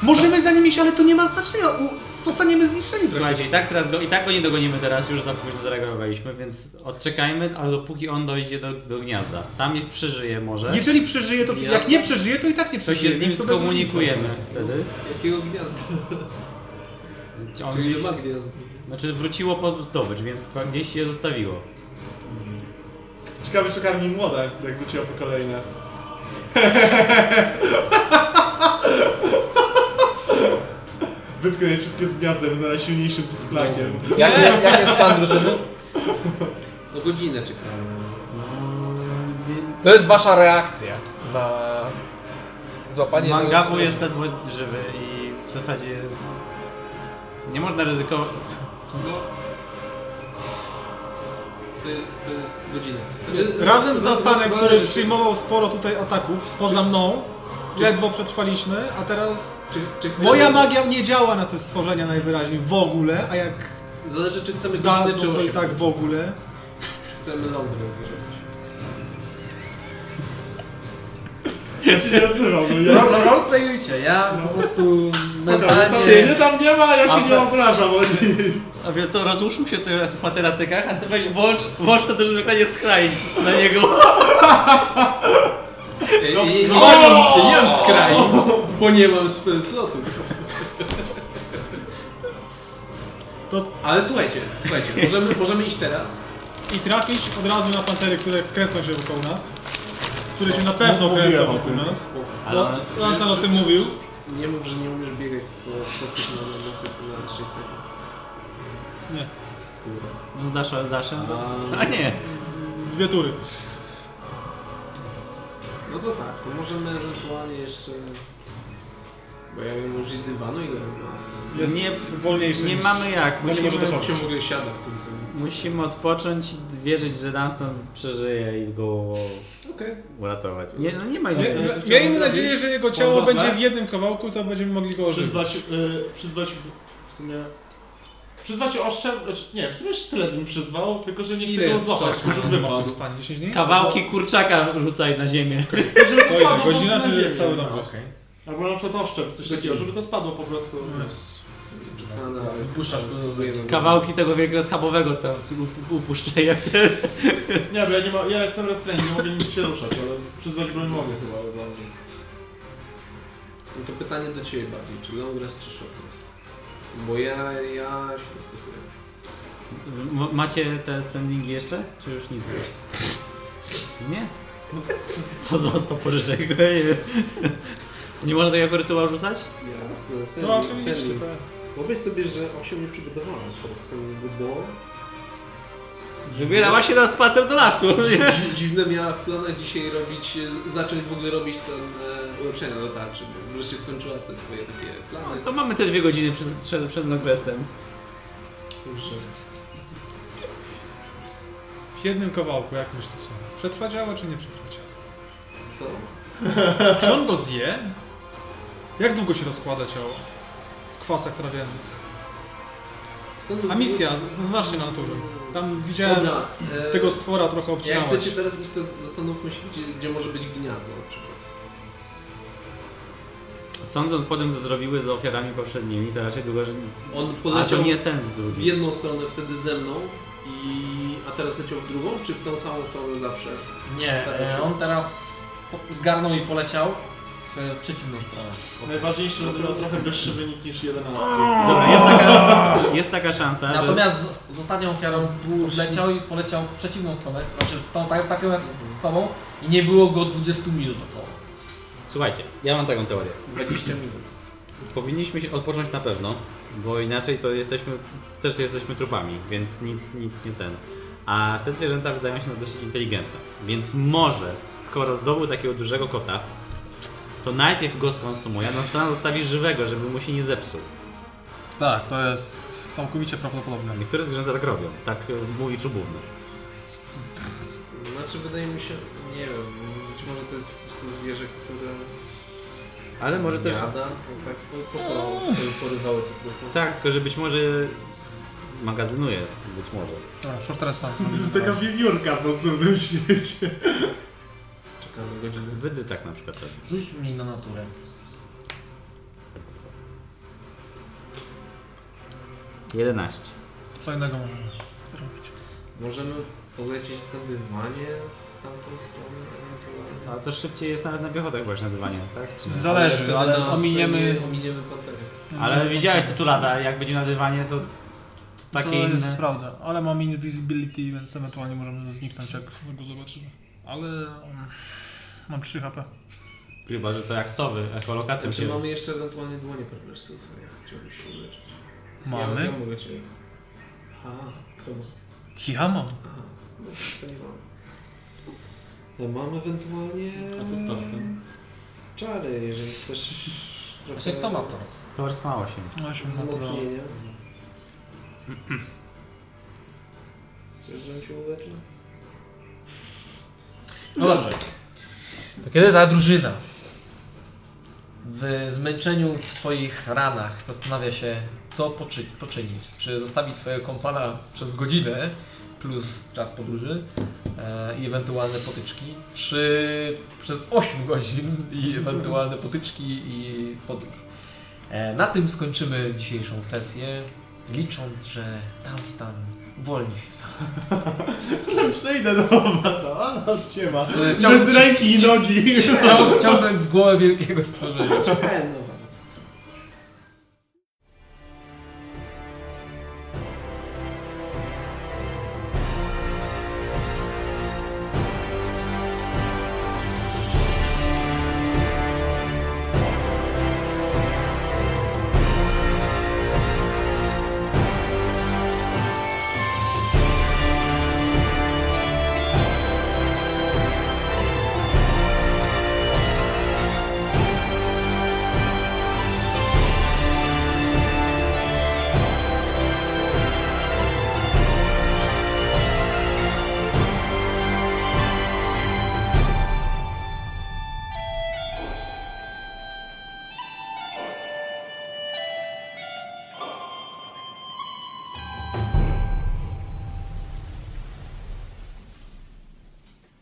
Możemy za nim iść, ale to nie ma znaczenia. U- Zostaniemy zniszczeni w Słuchajcie, i tak, teraz go, i tak go nie dogonimy teraz, już za późno zareagowaliśmy, więc odczekajmy, ale dopóki on dojdzie do, do gniazda. Tam nie przeżyje może. Jeżeli przeżyje, to przy- Ja- jak nie przeżyje, to i tak nie To się przeżyje. z nim więc to bez skomunikujemy wtedy. Jakiego gniazda? On, Czy nie ma gniazda? znaczy wróciło po zdobycz, więc gdzieś je zostawiło. Ciekawe, czy karmi młoda, jak wróciła po kolejne. Wypchnę je wszystkie z gniazdem na najsilniejszym pisklakiem. Jak, jak, jak jest plan drużyny? No godzinę czekamy. To jest wasza reakcja na złapanie tego Mangabu stworzenia. jest ledwo żywy i w zasadzie nie można ryzykować. To jest, to jest godzina. Znaczy, sensu. Razem z Nastanem, zależy, który czy- przyjmował sporo tutaj ataków, poza mną, ledwo przetrwaliśmy, a teraz... Czy, czy chcemy, Moja magia nie działa na te stworzenia najwyraźniej w ogóle, a jak Zależy, czy chcemy godzinę, zdadzą, czy to i osiem. tak w ogóle. Czy chcemy long rest zrobić. Ja się nie odzywam, no ja... No. Ro- ro- Roleplayujcie, ja po prostu Tam, mentalnie... mnie tam nie ma, ja się nie obrażam, oni... A więc co, rozłóżmy się tutaj na tych materacykach, a ty weź włącz, włącz to dużym ekranie skraj na niego. Ej, no, nie, nie, mam, nie mam skraj, bo nie mam spell slotów. To Ale słuchajcie, słuchajcie, możemy, możemy iść teraz? I trafić od razu na pantery, które kręcą się wokół nas. Które się na pewno No, mówiłem kręcą o wokół tym. nas. Ale one- Anton No, o tym mówił. Nie mów, że nie umiesz biegać 100 stopni na, na, sekund- na 6 sekund. Nie, Kurwa. No Dasza, Dasza. A nie. dwie tury. No to tak, to możemy ewentualnie jeszcze... Bo ja wiem, użyć dywanu ile u nas... Jest Nie- wolniejszy. Nie niż- mamy jak. No nie może Musimy, też Się w ogóle siada w tym... tym. musimy odpocząć i wierzyć, że Dunstan przeżyje i go Okej. uratować. Nie, no nie ma Nie, innego. nie- Miejmy nadzieję, że jego ciało Pomocne? będzie w jednym kawałku, to będziemy mogli go ożywić. Przyzwać, y, przyzwać w sumie... Przyzwać oszczęd... znaczy, Nie, w sumie tyle bym przyzwał, tylko że nie chcę go złapać, może wypadł. stanie? 10 dni? Kawałki kurczaka rzucaj na ziemię. Chcę, żeby to To ile? spadło po Godzina prostu na czy ziemię. cały rok? Albo na przykład oszczep, coś takiego, żeby to spadło po prostu. Przestanę, ale Puszczasz do- spróbujemy. Kawałki tego wielkiego schabowego tam u- upuszczaj jak te. Nie, bo ja, nie ma, ja jestem restrained, nie mogę nim się ruszać, ale przyzwać broń mogę chyba. ale- No to pytanie do Ciebie bardziej, czy long rest, czy short rest? Bo ja, ja się nie stosuję. M- Macie te sendingi jeszcze? Czy już nic? Nie? No, Co za to pożyczek? Nie można tego rytuału rzucać? Jasne, No, serio, oczywiście. serio. Wyobraź sobie, że 8 nie przygotowałem, teraz sobie nie było. Wybierała się na spacer do lasu. No nie? Dzi- Dziwne miała w planach dzisiaj robić, e, zacząć w ogóle robić ten e, ulepszenia do tarczy, bo wreszcie skończyła te swoje takie plany. No, to mamy te dwie godziny przed, przed, przed Nogrestem. Kurczę. W jednym kawałku, jak myślicie? Przetrwa ciało, czy nie przetrwa ciało? Co? Czy on go zje? Jak długo się rozkłada ciało? W kwasach trawiennych. Skąd w A ogóle- misja, znacznie na naturze. Tam widziałem Dobra, e, tego stwora trochę jak obcinałeś. chcecie teraz iść, to zastanówmy się, gdzie, gdzie może być gniazdo na przykład. Sądząc po tym, co zrobiły z ofiarami poprzednimi, to raczej długo, że... On A to poleciał nie ten z w drugi. jedną stronę wtedy ze mną, i, a teraz leciał w drugą, czy w tą samą stronę zawsze? Nie, e, on teraz po- zgarnął i poleciał w przeciwną stronę. Najważniejsze, żeby miał trochę wyższy wynik niż 11. Dobra, jest taka, jest taka szansa, że... Natomiast z, z ostatnią ofiarą tu leciał i poleciał w przeciwną stronę, znaczy w tą tak, taką jak z tobą i nie było go 20 minut około. Słuchajcie, ja mam taką teorię. 20 minut. Powinniśmy się odpocząć na pewno, bo inaczej to jesteśmy, też jesteśmy trupami, więc nic, nic nie ten. A te zwierzęta wydają się nam dosyć inteligentne, więc może, skoro zdobył takiego dużego kota, to najpierw go skonsumuje, a następnie zostawi żywego, żeby mu się nie zepsuł. Tak, to jest całkowicie prawdopodobne. e, Niektóre zwierzęta tak robią, tak y, mówi czubówny. Znaczy, Znaczy wydaje mi się, nie wiem, być może to jest po prostu zwierzę, które Ale może też... zjada. No tak, po, po co, po co by porywały te trupy? Tak, tylko że być może magazynuje, być może. A, short resta. To jest taka wiewiórka po prostu w tym świecie. Czekamy godzinę. Wydy tak na przykład robi. Rzuć mi na naturę. Jedenaście. Co innego możemy. Możemy polecieć na dywanie w tamtą stronę ewentualnie. Ale No, to szybciej jest nawet na piechotę właśnie na dywanie, tak? Czy nie? Zależy, wtedy ale nas ominiemy... nie- ominiemy panterę. Ale widziałeś tu lada, jak będzie na dywanie, to, to takie to jest inne. prawda, ale mam invisibility, więc ewentualnie możemy zniknąć jak go zobaczymy. Ale mm, mam 3 HP. Chyba, że to jak sowy, ekolokacją Znaczy się... mamy jeszcze ewentualnie dłonie perwersyjne, ja chciałbym się uleczyć. Mamy? Ja, ja mogę cię... Aha, kto ma? Ja mam. Aha, no to nie mam. Ja mam ewentualnie... A co z torsem? Czary, jeżeli chcesz trochę... Właśnie kto ma teraz? Tors ma 8. Osiem naturalnie. Wzmocnienie. Chcesz, żebym się uleczył? No dobrze. To kiedy ta drużyna w zmęczeniu w swoich ranach zastanawia się, co poczy- poczynić? Czy zostawić swojego kompana przez godzinę plus czas podróży e, i ewentualne potyczki, czy przez 8 godzin i ewentualne potyczki i podróż? E, na tym skończymy dzisiejszą sesję, licząc, że Dunstan uwolni się sam. Przejdę do was, a no siema. Z- Bez ręki i nogi. Cią- Ciągnąć z głowy wielkiego stworzenia. E, no.